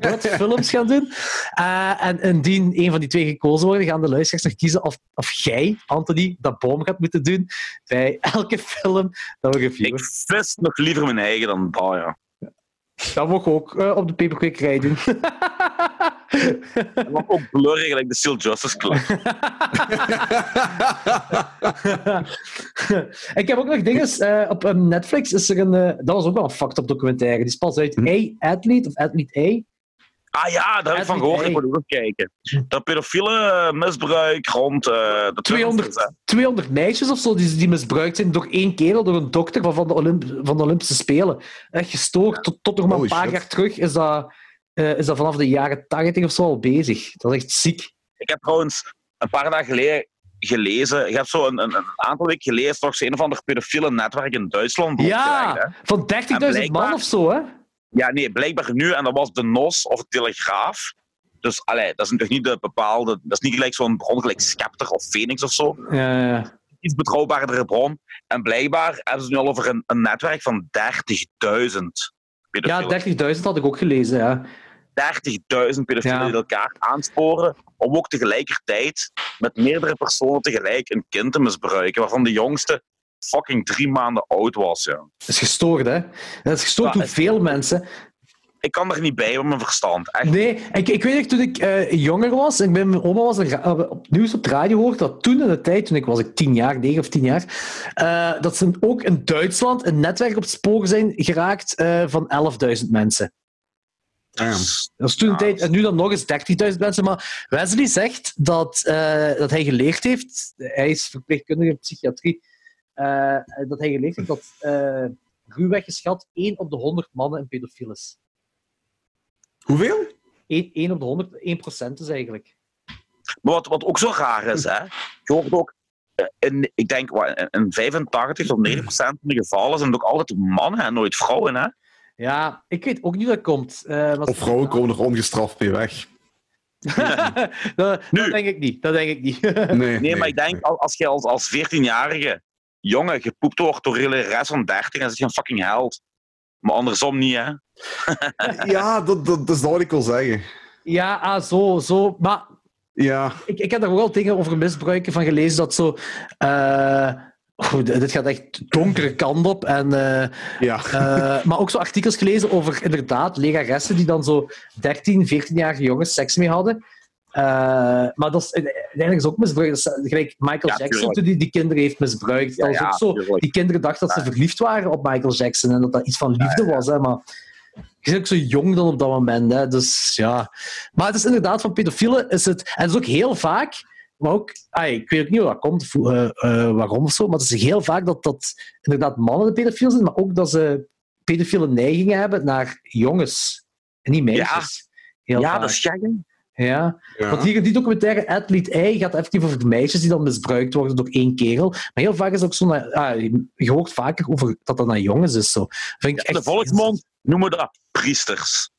[SPEAKER 2] Airbud-films gaan doen. Eh, en indien een van die twee gekozen worden, gaan de luisteraars nog kiezen of, of jij, Anthony, dat boom gaat moeten doen bij elke film dat we reviewen.
[SPEAKER 1] Ik vis nog liever mijn eigen dan dat, ja.
[SPEAKER 2] Dat mogen we ook eh, op de peperkwekerij doen.
[SPEAKER 1] En dan ook blurry, gelijk de Seal Justice Club.
[SPEAKER 2] ik heb ook nog dingen. eh, op eh, Netflix is er een. eh, dat was ook wel een fucked-up documentaire. Die is pas uit A, Athlete of Athlete A.
[SPEAKER 1] Ah ja, daar heb ik van gehoord. Ik moet ook nog kijken. Dat pedofiele eh, misbruik rond eh, de
[SPEAKER 2] 200, 200 meisjes of zo die, die misbruikt zijn door één kerel, door een dokter van, van, de, Olymp- van de Olympische Spelen. Echt gestoord. Tot,
[SPEAKER 1] Oh,
[SPEAKER 2] tot nog maar een
[SPEAKER 3] Holy
[SPEAKER 2] paar
[SPEAKER 3] shit.
[SPEAKER 2] jaar terug is dat, eh, is dat vanaf de jaren 80 of zo al bezig. Dat is echt ziek.
[SPEAKER 1] Ik heb trouwens een paar dagen geleden gelezen. Ik heb zo een, een, een aantal weken geleden toch een of ander pedofiele netwerk in Duitsland. blootgelegd, hè.
[SPEAKER 2] Ja, van 30.000 man
[SPEAKER 1] blijkbaar-
[SPEAKER 2] of zo, hè?
[SPEAKER 1] ja, nee, blijkbaar nu. En dat was de NOS of de Telegraaf. Dus allee, dat is natuurlijk niet de bepaalde. Dat is niet gelijk zo'n bron, gelijk Scepter of Phoenix of zo.
[SPEAKER 2] Ja, ja, ja.
[SPEAKER 1] Iets betrouwbaardere bron. En blijkbaar hebben ze het nu al over een, een netwerk van 30.000 pedofielen.
[SPEAKER 2] Ja, 30.000 had ik ook gelezen, ja.
[SPEAKER 1] 30.000 pedofielen
[SPEAKER 2] Ja.
[SPEAKER 1] die elkaar aansporen om ook tegelijkertijd met meerdere personen tegelijk een kind te misbruiken, waarvan de jongste fucking drie maanden oud was. Ja.
[SPEAKER 2] Dat is gestoord, hè? Dat is gestoord
[SPEAKER 1] Ja,
[SPEAKER 2] hoeveel mensen.
[SPEAKER 1] ik kan er niet bij met mijn verstand. Echt.
[SPEAKER 2] Nee, ik, ik weet nog, toen ik eh, jonger was, en bij mijn oma was er ra- eh, op nieuws op de radio gehoord dat toen in de tijd, toen ik was ik tien jaar, negen of tien jaar, eh, dat ze ook in Duitsland een netwerk op het spoor zijn geraakt eh, van 11.000 mensen. Dat is toen een
[SPEAKER 1] Ja,
[SPEAKER 2] tijd,
[SPEAKER 1] dat
[SPEAKER 2] en nu dan nog eens 30.000 mensen. Maar Wesley zegt dat, eh, dat hij geleerd heeft, hij is verpleegkundige in psychiatrie, eh, dat hij geleerd heeft dat eh ruwweg geschat 1 op de 100 mannen een pedofiel is.
[SPEAKER 3] Hoeveel?
[SPEAKER 2] 1, op de 100, 1 procent is eigenlijk.
[SPEAKER 1] Maar wat, wat ook zo raar is, hè, je hoort ook, eh, in, ik denk wat, in- in 85 tot 90 procent van de gevallen zijn het ook altijd mannen en nooit vrouwen. Hè?
[SPEAKER 2] Ja, ik weet ook niet hoe dat komt. eh, maar-
[SPEAKER 3] Of vrouwen komen er ongestraft mee weg.
[SPEAKER 2] dat, dat
[SPEAKER 1] Nu.
[SPEAKER 2] denk ik niet. Dat denk ik niet.
[SPEAKER 3] Nee,
[SPEAKER 1] Nee, maar ik denk, al- als je als, als 14-jarige jongen gepoept wordt door hele rest van 30, dan zit je een fucking held. Maar andersom niet, hè?
[SPEAKER 3] Ja, dat, dat, dat is dat wat ik wil zeggen.
[SPEAKER 2] ja, ah, zo, zo. Maar
[SPEAKER 3] Ja,
[SPEAKER 2] ik, ik heb daar ook al dingen over misbruiken van gelezen dat zo. eh, goed, dit gaat echt donkere kant op. En, eh,
[SPEAKER 3] ja.
[SPEAKER 2] eh, maar ook zo artikels gelezen over inderdaad legaressen die dan zo 13, 14-jarige jongens seks mee hadden. Eh, maar dat is uiteindelijk is ook misbruikt. Dat is, eh, gelijk Michael
[SPEAKER 1] Ja,
[SPEAKER 2] Jackson
[SPEAKER 1] tuurlijk.
[SPEAKER 2] toen die, die kinderen heeft misbruikt. dat was
[SPEAKER 1] ja,
[SPEAKER 2] ook zo.
[SPEAKER 1] tuurlijk.
[SPEAKER 2] Die kinderen dachten dat ze verliefd waren op Michael Jackson en dat dat iets van liefde was. Hè, maar je bent ook zo jong dan op dat moment. Hè, dus ja. Maar het is inderdaad van pedofielen. Is het, en het is ook heel vaak, maar ook, ai, ik weet ook niet hoe dat komt, vo- eh, eh, waarom of zo, maar het is heel vaak dat, dat inderdaad mannen de pedofiel zijn, maar ook dat ze pedofiele neigingen hebben naar jongens en niet meisjes. Heel
[SPEAKER 1] Ja,
[SPEAKER 2] vaak.
[SPEAKER 1] dat is gek. hè?
[SPEAKER 2] ja. Want
[SPEAKER 3] ja.
[SPEAKER 2] hier in die documentaire Ed Lied Ei gaat effectief over de meisjes die dan misbruikt worden door één kerel. Maar heel vaak is het ook zo... naar- ah, je hoort vaker over dat dat naar jongens is. Zo. Vind ik
[SPEAKER 1] In de
[SPEAKER 2] echt...
[SPEAKER 1] volksmond noemen we dat priesters.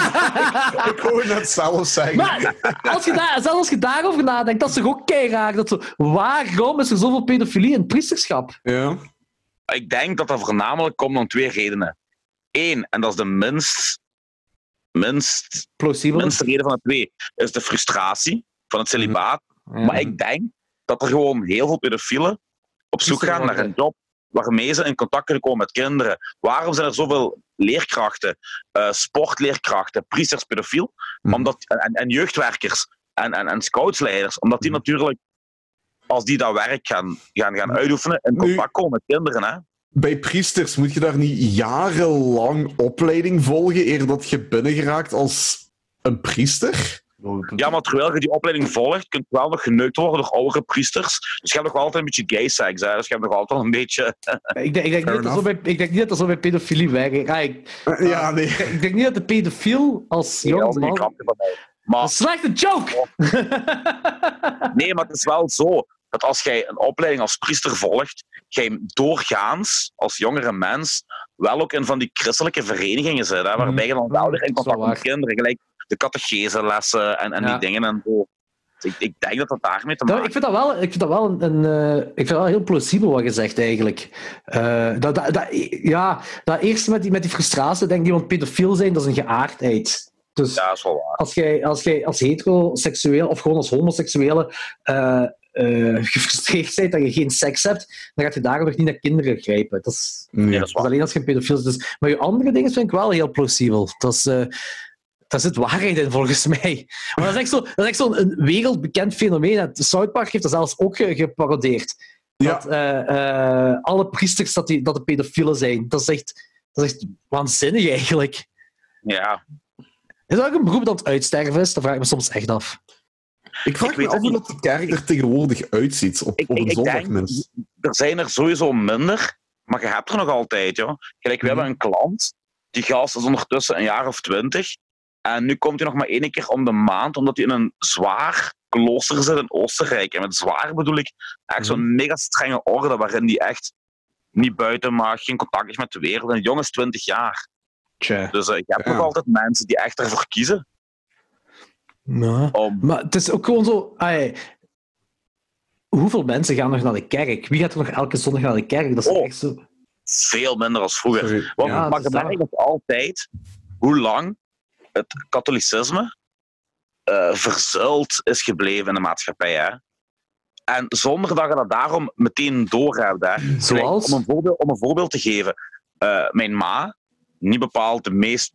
[SPEAKER 3] Ik wou net zelf zeggen.
[SPEAKER 2] maar als je daar, zelfs als je daarover nadenkt, dat is toch ook keiraar. Dat zo, waarom is er zoveel pedofilie in het priesterschap?
[SPEAKER 3] Ja.
[SPEAKER 1] Ik denk dat dat voornamelijk komt om twee redenen. Eén, en dat is de minst, minst,
[SPEAKER 2] Plausibel.
[SPEAKER 1] minste reden van de twee, is de frustratie van het celibaat.
[SPEAKER 3] Mhm.
[SPEAKER 2] Ja.
[SPEAKER 1] Maar ik denk dat er gewoon heel veel pedofielen op zoek
[SPEAKER 2] Priester
[SPEAKER 1] gaan naar
[SPEAKER 2] worden.
[SPEAKER 1] een job waarmee ze in contact kunnen komen met kinderen. Waarom zijn er zoveel leerkrachten, eh, sportleerkrachten, priesters, pedofiel
[SPEAKER 3] Mhm.
[SPEAKER 1] omdat, en, en- en jeugdwerkers en, en, en scoutsleiders? Omdat
[SPEAKER 3] Mhm.
[SPEAKER 1] die natuurlijk, als die dat werk gaan, gaan, gaan uitoefenen, in
[SPEAKER 3] Nu-
[SPEAKER 1] contact komen met kinderen. Hè?
[SPEAKER 3] Bij priesters moet je daar niet jarenlang opleiding volgen eer dat je binnengeraakt als een priester?
[SPEAKER 1] Ja, maar terwijl je die opleiding volgt, kun je wel nog geneukt worden door oudere priesters. Dus je hebt nog wel altijd een beetje gay sex. Hè? Dus je hebt nog altijd een beetje...
[SPEAKER 2] Ik denk, ik, denk niet dat dat zo bij, ik denk niet dat dat zo bij pedofilie werkt. Ah, ik,
[SPEAKER 3] Eh, Ja, nee.
[SPEAKER 2] ik denk niet dat de pedofiel als jong
[SPEAKER 1] een
[SPEAKER 2] man... Dus-
[SPEAKER 1] grapje van mij. Maar
[SPEAKER 2] Een slechte joke!
[SPEAKER 1] Nee, maar het is wel zo dat als jij een opleiding als priester volgt, jij doorgaans als jongere mens wel ook in van die christelijke verenigingen zit, hè, waarbij je dan wel weer in
[SPEAKER 2] Mhm. dat is
[SPEAKER 1] contact
[SPEAKER 2] wel
[SPEAKER 1] met
[SPEAKER 2] waar.
[SPEAKER 1] kinderen, gelijk de catechese-lessen en, en
[SPEAKER 2] Ja.
[SPEAKER 1] die dingen en zo. Dus ik, ik denk dat dat daarmee te
[SPEAKER 2] Dat-
[SPEAKER 1] maken
[SPEAKER 2] ik vind dat wel, ik vind dat wel, een, een, eh, ik vind dat wel heel plausibel wat je zegt, eigenlijk. Eh, dat, dat, dat- ja, dat eerste met die, met die frustratie, denk ik, want pedofiel zijn, dat is een geaardheid. Dus
[SPEAKER 1] Ja, dat is wel waar.
[SPEAKER 2] als jij als, jij als heteroseksueel of gewoon als homoseksuele eh, eh, gefrustreerd bent dat je geen seks hebt, dan gaat je daarom nog niet naar kinderen grijpen. Dat is,
[SPEAKER 1] Nee,
[SPEAKER 3] Nee.
[SPEAKER 1] dat is
[SPEAKER 2] dat
[SPEAKER 1] waar.
[SPEAKER 2] is dus alleen als je een pedofiel is. Dus, maar je andere dingen vind ik wel heel plausibel. Dat is, eh, daar zit waarheid in, volgens mij. Maar dat is echt zo- dat is echt zo'n een wereldbekend fenomeen. Het South Park heeft dat zelfs ook ge- geparodeerd. Dat eh, eh, alle priesters dat, die, dat de pedofielen zijn. Dat is echt, dat is echt waanzinnig, eigenlijk.
[SPEAKER 1] Ja.
[SPEAKER 2] Is dat ook een beroep dat aan het uitsterven is? Dat vraag ik me soms echt af.
[SPEAKER 3] Ik vraag
[SPEAKER 1] Ik
[SPEAKER 3] me
[SPEAKER 1] weet
[SPEAKER 3] af
[SPEAKER 1] dat
[SPEAKER 3] hoe dat de kerk er tegenwoordig uitziet op,
[SPEAKER 1] Ik-
[SPEAKER 3] op
[SPEAKER 1] ik-
[SPEAKER 3] een
[SPEAKER 1] ik
[SPEAKER 3] zondag,
[SPEAKER 1] denk-
[SPEAKER 3] mensen.
[SPEAKER 1] Er zijn er sowieso minder, maar je hebt er nog altijd, joh. Gelijk, we
[SPEAKER 3] Mhm.
[SPEAKER 1] hebben een klant, die gast is ondertussen een jaar of twintig, en nu komt hij nog maar één keer om de maand, omdat hij in een zwaar klooster zit in Oostenrijk. En met zwaar bedoel ik echt
[SPEAKER 3] Mhm.
[SPEAKER 1] zo'n mega strenge orde, waarin hij echt niet buiten mag, geen contact heeft met de wereld. En de jongen is twintig jaar. Dus eh, je hebt
[SPEAKER 3] Ja.
[SPEAKER 1] nog altijd mensen die echt ervoor kiezen
[SPEAKER 2] Ja.
[SPEAKER 1] om
[SPEAKER 2] Maar het is ook gewoon zo. ai, hoeveel mensen gaan nog naar de kerk? Wie gaat er nog elke zondag naar de kerk? Dat is
[SPEAKER 1] Oh.
[SPEAKER 2] echt zo.
[SPEAKER 1] veel minder als vroeger.
[SPEAKER 3] Sorry.
[SPEAKER 1] Want,
[SPEAKER 2] Ja,
[SPEAKER 1] maar
[SPEAKER 2] dat
[SPEAKER 1] je
[SPEAKER 2] is
[SPEAKER 1] merkt ook altijd hoe lang het katholicisme eh verzult is gebleven in de maatschappij. Hè? En zonder dat je dat daarom meteen doorhebt. Hè?
[SPEAKER 2] Zoals?
[SPEAKER 1] Om een voorbeeld, om een voorbeeld te geven. eh, mijn ma niet bepaald de meest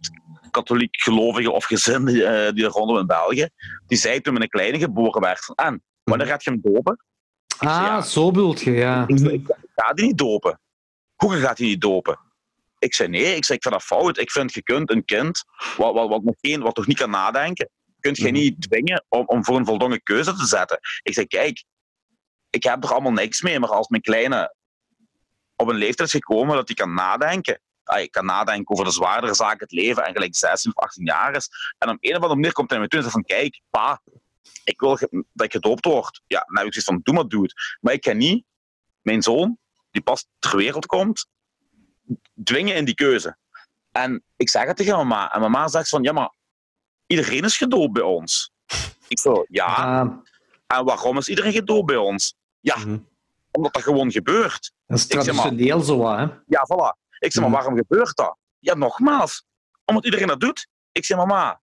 [SPEAKER 1] katholiek gelovigen of gezinnen eh, die er rondom in België, die zei toen mijn kleine geboren werd van, en,
[SPEAKER 2] Mhm.
[SPEAKER 1] wanneer gaat je hem dopen?
[SPEAKER 2] Ah,
[SPEAKER 1] ja.
[SPEAKER 2] zo bedoelt je, ja.
[SPEAKER 1] Ik zei, ik ga die niet dopen. Hoe gaat hij niet dopen? Ik zei, nee, ik, zei, ik vind dat fout. Ik vind, je kunt een kind, wat, wat, wat, nog, geen, wat nog niet kan nadenken, kunt je niet dwingen om, om voor een voldongen keuze te zetten. Ik zei, kijk, ik heb er allemaal niks mee, maar als mijn kleine op een leeftijd is gekomen dat hij kan nadenken, hij kan nadenken over de zwaardere zaken, het leven, en gelijk 16 of 18 jaar is, en op een of andere manier komt hij naar me toe en zegt van, kijk, pa, ik wil ge- dat ik gedoopt word. Ja, dan heb ik zoiets van, doe maar, dude. Maar ik kan niet mijn zoon, die pas ter wereld komt, dwingen in die keuze. En ik zeg het tegen mama. En mama zegt van, ja, maar iedereen is gedoopt bij ons. Ik zo, ja.
[SPEAKER 2] Ah,
[SPEAKER 1] En waarom is iedereen gedoopt bij ons? Ja,
[SPEAKER 3] Mhm.
[SPEAKER 1] omdat dat gewoon gebeurt.
[SPEAKER 2] dat is
[SPEAKER 1] zeg maar-
[SPEAKER 2] traditioneel zo, wat, hè.
[SPEAKER 1] Ja, voilà. Ik zeg, maar
[SPEAKER 3] Mhm.
[SPEAKER 1] waarom gebeurt dat? Ja, nogmaals. Omdat iedereen dat doet. Ik zeg, mama,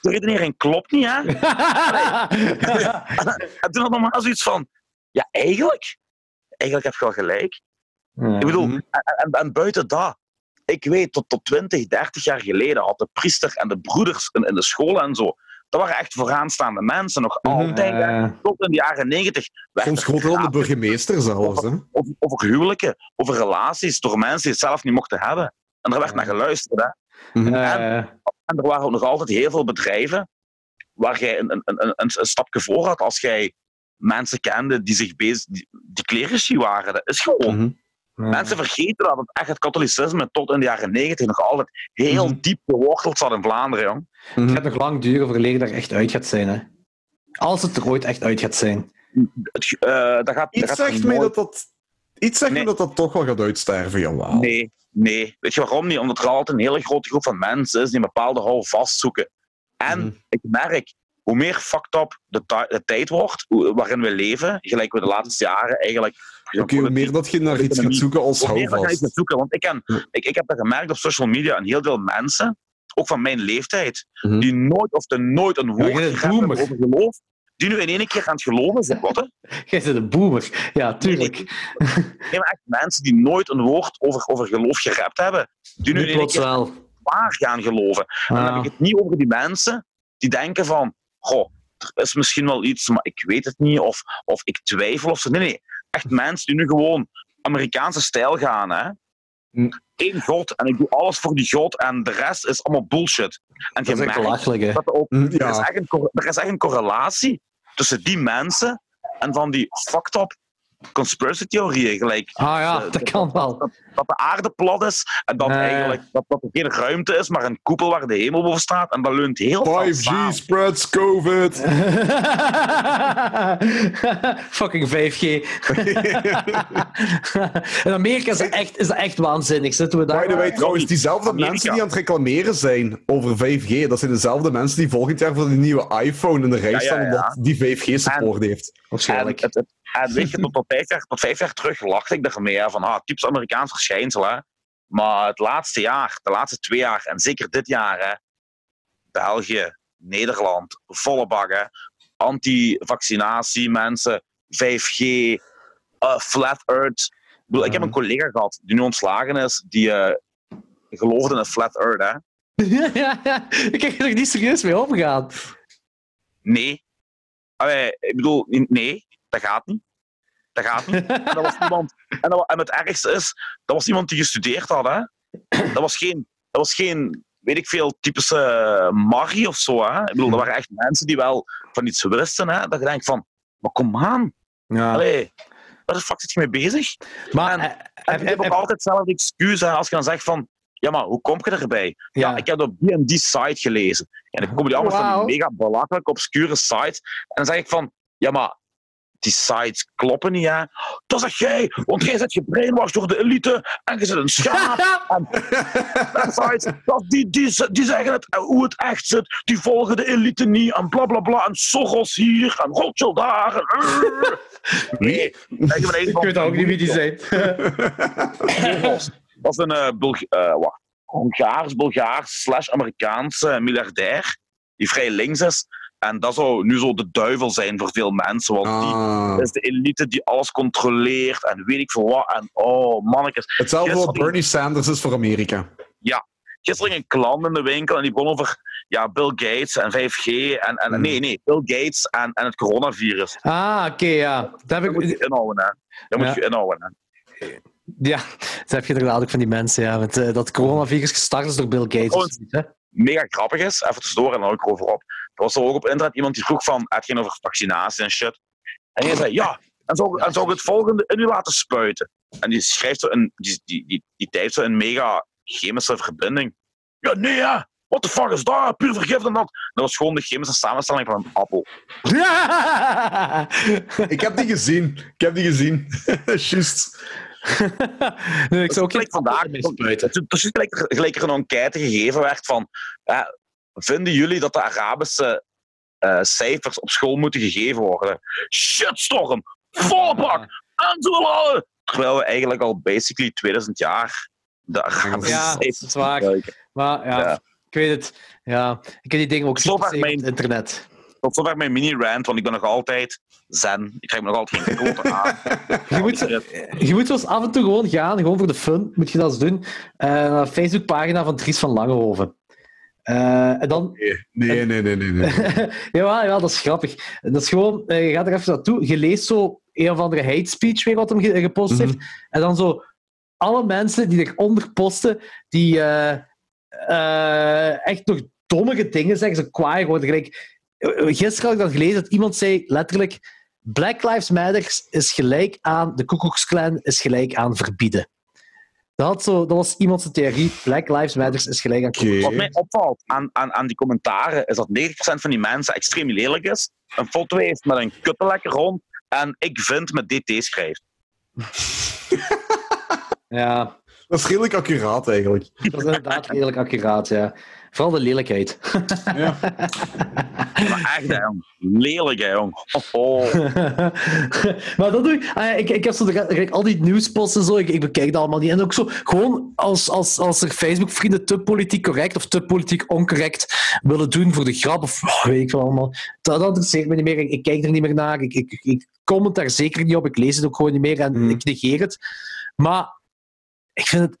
[SPEAKER 1] de redenering klopt niet, hè? En toen had mama zoiets van, ja, eigenlijk. Eigenlijk heb je wel gelijk. Ik bedoel,
[SPEAKER 3] Mhm.
[SPEAKER 1] en, en- en buiten dat, ik weet tot, tot 20, 30 jaar geleden had de priester en de broeders in, in de school en zo, dat waren echt vooraanstaande mensen, nog
[SPEAKER 3] Mhm.
[SPEAKER 1] altijd. hè.
[SPEAKER 2] Eh,
[SPEAKER 1] Tot in de jaren 90 werd
[SPEAKER 3] Soms
[SPEAKER 1] er
[SPEAKER 3] groter dan de
[SPEAKER 1] gepraat
[SPEAKER 3] burgemeester zelfs. Hè?
[SPEAKER 1] over, over huwelijken, over relaties, door mensen die het zelf niet mochten hebben. En er werd
[SPEAKER 2] Ja.
[SPEAKER 1] naar geluisterd. Hè. Mhm.
[SPEAKER 2] eh,
[SPEAKER 1] En er waren ook nog altijd heel veel bedrijven waar jij een, een, een, een, een stapje voor had als jij mensen kende die zich bezig, die, die clerici waren. Dat is gewoon.
[SPEAKER 3] Mhm.
[SPEAKER 1] Mensen vergeten dat het echt het katholicisme tot in de jaren negentig nog altijd heel
[SPEAKER 3] Mhm.
[SPEAKER 1] diep geworteld zat in Vlaanderen, jong.
[SPEAKER 2] Het gaat nog lang duren voor leer er echt uit gaat zijn, hè. Als het er ooit echt uit gaat zijn.
[SPEAKER 1] Het, eh, dat gaat, dat
[SPEAKER 3] Iets
[SPEAKER 1] gaat
[SPEAKER 3] zegt mij
[SPEAKER 1] nooit-
[SPEAKER 3] dat dat... Iets zegt
[SPEAKER 1] Nee.
[SPEAKER 3] me dat dat toch wel gaat uitsterven, jawel.
[SPEAKER 1] Nee, nee. Weet je waarom niet? Omdat er altijd een hele grote groep van mensen is die een bepaalde houvast zoeken. En
[SPEAKER 3] Mhm.
[SPEAKER 1] ik merk, hoe meer fucked up de, ti- de tijd wordt hoe- waarin we leven, gelijk we de laatste jaren eigenlijk...
[SPEAKER 3] Oké, hoe meer dat je naar iets gaat
[SPEAKER 1] economie.
[SPEAKER 3] zoeken als
[SPEAKER 1] Probeer dat gaan
[SPEAKER 3] houvast.
[SPEAKER 1] eens te zoeken. Want ik, ken,
[SPEAKER 3] Ja.
[SPEAKER 1] ik, ik heb dat gemerkt op social media. Een heel veel mensen, ook van mijn leeftijd,
[SPEAKER 3] Mhm.
[SPEAKER 1] die nooit of te nooit een woord
[SPEAKER 2] jij bent een
[SPEAKER 1] gegeven hebben
[SPEAKER 2] boomer.
[SPEAKER 1] over geloof, die nu in één keer aan het geloven zijn. Wat, hè?
[SPEAKER 2] Jij bent een boomer. Ja, tuurlijk.
[SPEAKER 1] Nee, maar echt mensen die nooit een woord over, over geloof gerept hebben, die nu
[SPEAKER 2] nu
[SPEAKER 1] in één
[SPEAKER 2] plots
[SPEAKER 1] keer
[SPEAKER 2] wel.
[SPEAKER 3] eh.
[SPEAKER 1] waar gaan geloven. En dan
[SPEAKER 2] Ah.
[SPEAKER 1] heb ik het niet over die mensen die denken van, goh, er is misschien wel iets, maar ik weet het niet, of, of ik twijfel. Of zo. Nee, nee, echt mensen die nu gewoon Amerikaanse stijl gaan, hè.
[SPEAKER 3] Hm.
[SPEAKER 1] Eén god en ik doe alles voor die god en de rest is allemaal bullshit. En je
[SPEAKER 2] Dat is echt
[SPEAKER 1] merkt
[SPEAKER 2] belachelijk, hè. Hm,
[SPEAKER 1] dat er ook
[SPEAKER 3] Mm,
[SPEAKER 1] er is,
[SPEAKER 3] Ja,
[SPEAKER 1] echt een, cor- er is echt een correlatie tussen die mensen en van die fucked up conspiracy theorieën. Gelijk
[SPEAKER 2] Ah ja,
[SPEAKER 1] eh,
[SPEAKER 2] dat kan wel.
[SPEAKER 1] dat de aarde plat is en dat,
[SPEAKER 2] Eh.
[SPEAKER 1] eigenlijk, dat, dat er geen ruimte is, maar een koepel waar de hemel boven staat. En dat leunt heel veel
[SPEAKER 3] 5G spreads COVID.
[SPEAKER 2] Fucking 5G. In Amerika is dat echt, is dat echt waanzinnig. Zitten we
[SPEAKER 3] By
[SPEAKER 2] daar?
[SPEAKER 3] the way, trouwens, diezelfde
[SPEAKER 1] Amerika.
[SPEAKER 3] mensen die aan het reclameren zijn over 5G, dat zijn dezelfde mensen die volgend jaar voor de nieuwe iPhone in de rij
[SPEAKER 1] Ja, ja,
[SPEAKER 3] staan
[SPEAKER 1] ja.
[SPEAKER 3] omdat die 5G-support heeft.
[SPEAKER 1] En,
[SPEAKER 2] Waarschijnlijk.
[SPEAKER 1] het, het- en weet je, tot, tot, vijf jaar, tot vijf jaar terug lachte ik ermee hè, van ah, typisch Amerikaans verschijnsel. Hè. Maar het laatste jaar, de laatste twee jaar en zeker dit jaar, hè, België, Nederland, volle bakken, anti-vaccinatie mensen, 5G, eh, flat earth. Ik, bedoel, ik heb
[SPEAKER 2] Ja.
[SPEAKER 1] een collega gehad die nu ontslagen is, die eh, geloofde in flat earth. Hè.
[SPEAKER 2] Ik kan er niet serieus mee omgaan.
[SPEAKER 1] Nee. Allee, ik bedoel, nee, dat gaat niet. Dat gaat niet. En, dat was iemand, en, dat wa- en het ergste is, dat was iemand die gestudeerd had. Hè? Dat, was geen, dat was geen, weet ik veel, typische magie of zo. Hè? Ik bedoel, dat waren echt mensen die wel van iets wisten. Hè? Dat je denkt van, maar kom aan.
[SPEAKER 2] Ja.
[SPEAKER 1] Allee, waar de fuck zit je mee bezig?
[SPEAKER 2] Maar
[SPEAKER 1] En-
[SPEAKER 2] eh,
[SPEAKER 1] En
[SPEAKER 2] heb-
[SPEAKER 1] je hebt ook
[SPEAKER 2] heb-
[SPEAKER 1] altijd hetzelfde excuus hè, als je dan zegt van, ja, maar hoe kom je erbij? Ja,
[SPEAKER 2] ja.
[SPEAKER 1] ik heb het op die en die site gelezen. En dan kom je allemaal van
[SPEAKER 2] Wauw.
[SPEAKER 1] die mega belachelijk obscure sites. En dan zeg ik van, ja maar, die sites kloppen niet hè. Dat zeg jij, want jij zit gebrainwashed door de elite en je zit een schaap. en dat sites, dat, die, die, ze- die zeggen het, en hoe het echt zit, die volgen de elite niet en bla bla bla. En Soros hier en Rothschild daar. En, nee,
[SPEAKER 2] Ik weet ook niet wie die zijn.
[SPEAKER 1] Soros. Dat is een eh, Bulg- eh, wat? Hongaars, Bulgaars slash Amerikaans eh, miljardair. Die vrij links is. En dat zou nu zo de duivel zijn voor veel mensen. Want
[SPEAKER 3] Ah.
[SPEAKER 1] die is de elite die alles controleert. En weet ik veel wat. En oh, mannetjes.
[SPEAKER 3] Hetzelfde
[SPEAKER 1] Yes,
[SPEAKER 3] wat
[SPEAKER 1] die-
[SPEAKER 3] Bernie Sanders is voor Amerika.
[SPEAKER 1] gisteren ging een klant in de winkel en die begon over ja, Bill Gates en 5G. En, en, Nee, nee, Bill Gates en, en het coronavirus.
[SPEAKER 2] Ah, oké, ja. Dat
[SPEAKER 1] Dat
[SPEAKER 2] heb
[SPEAKER 1] moet
[SPEAKER 2] ik,
[SPEAKER 1] je inhouden, hè. Dat moet
[SPEAKER 2] Ja.
[SPEAKER 1] je inhouden, hè.
[SPEAKER 2] ja, dat heb je inderdaad ook van die mensen, ja. Met, eh, dat coronavirus gestart is door Bill Gates. of
[SPEAKER 1] Oh,
[SPEAKER 2] zoiets, hè.
[SPEAKER 1] mega grappig is, even tussendoor en dan hou ik erover op. Er was er ook op internet iemand die vroeg van, het ging over vaccinatie en shit. En hij zei, ja, en zou, en zou ik het volgende in u laten spuiten? En die schrijft zo een, die, die, die, die typt zo een mega chemische verbinding. Ja, nee hè, what the fuck is dat? Puur vergif en dat. Dat was gewoon de chemische samenstelling van een appel.
[SPEAKER 3] Ik heb die gezien. Ik heb die gezien. Juist.
[SPEAKER 2] nee, ik zou ook
[SPEAKER 1] Gelijk
[SPEAKER 2] geen
[SPEAKER 1] vandaag,
[SPEAKER 2] mee spuiten.
[SPEAKER 1] Het is precies gelijk, gelijk er een enquête gegeven werd van, hè, vinden jullie dat de Arabische eh, cijfers op school moeten gegeven worden? Shitstorm!
[SPEAKER 2] Oh,
[SPEAKER 1] Volle bak! Aantoelhouden! Terwijl we eigenlijk al basically 2000 jaar de Arabische
[SPEAKER 2] Ja, dat
[SPEAKER 1] cijfers
[SPEAKER 2] is waar.
[SPEAKER 1] gebruiken.
[SPEAKER 2] Maar ja,
[SPEAKER 1] Ja.
[SPEAKER 2] ik weet het. Ja, ik heb die dingen ook
[SPEAKER 1] Zo
[SPEAKER 2] zien
[SPEAKER 1] vaak
[SPEAKER 2] passeren op
[SPEAKER 1] mijn-
[SPEAKER 2] het internet.
[SPEAKER 1] Tot zover mijn mini-rant, want ik ben nog altijd zen. Ik krijg me nog altijd geen klote aan.
[SPEAKER 2] Je moet, je moet zoals af en toe gewoon gaan, gewoon voor de fun, moet je dat eens doen, eh, naar de Facebookpagina van Dries van Langehoven. Eh, en dan...
[SPEAKER 3] Nee, nee, nee, nee. nee.
[SPEAKER 2] jawel, jawel, dat is grappig. Dat is gewoon, eh, je gaat er even naartoe, je leest zo een of andere hate speech weer wat hem ge- gepost
[SPEAKER 3] Mhm.
[SPEAKER 2] heeft, en dan zo alle mensen die eronder posten, die eh, eh, echt nog dommige dingen zeggen, zo kwaai worden. Gelijk, eh, gisteren had ik dat gelezen, dat iemand zei letterlijk... Black Lives Matter is gelijk aan de Ku Klux Klan is gelijk aan verbieden. Dat, had zo, dat was iemand zijn theorie. Black Lives Matter is gelijk aan Ku Klux
[SPEAKER 1] Wat
[SPEAKER 3] Oké.
[SPEAKER 1] mij opvalt aan, aan, aan die commentaren is dat 90% van die mensen extreem lelijk is, een foto heeft met een kuttelekker rond en ik vind met DT schrijft.
[SPEAKER 2] Ja,
[SPEAKER 3] Dat is redelijk accuraat eigenlijk.
[SPEAKER 2] dat is inderdaad redelijk accuraat. Ja. Vooral de lelijkheid.
[SPEAKER 3] Ja.
[SPEAKER 1] Maar echt, hè, jong. Lelijk, hè, jong. Oh, oh.
[SPEAKER 2] maar dat doe ik. ah ja, ik, ik heb zo de- kijk, al die nieuwsposts en zo. Ik, ik bekijk dat allemaal niet. En ook zo, gewoon als, als, als er Facebook-vrienden te politiek correct of te politiek oncorrect willen doen voor de grap of oh, weet ik veel allemaal. Dat, dat interesseert me niet meer. Ik, ik kijk er niet meer naar. Ik, ik, ik comment daar zeker niet op. Ik lees het ook gewoon niet meer en
[SPEAKER 3] Hmm.
[SPEAKER 2] ik negeer het. Maar ik vind het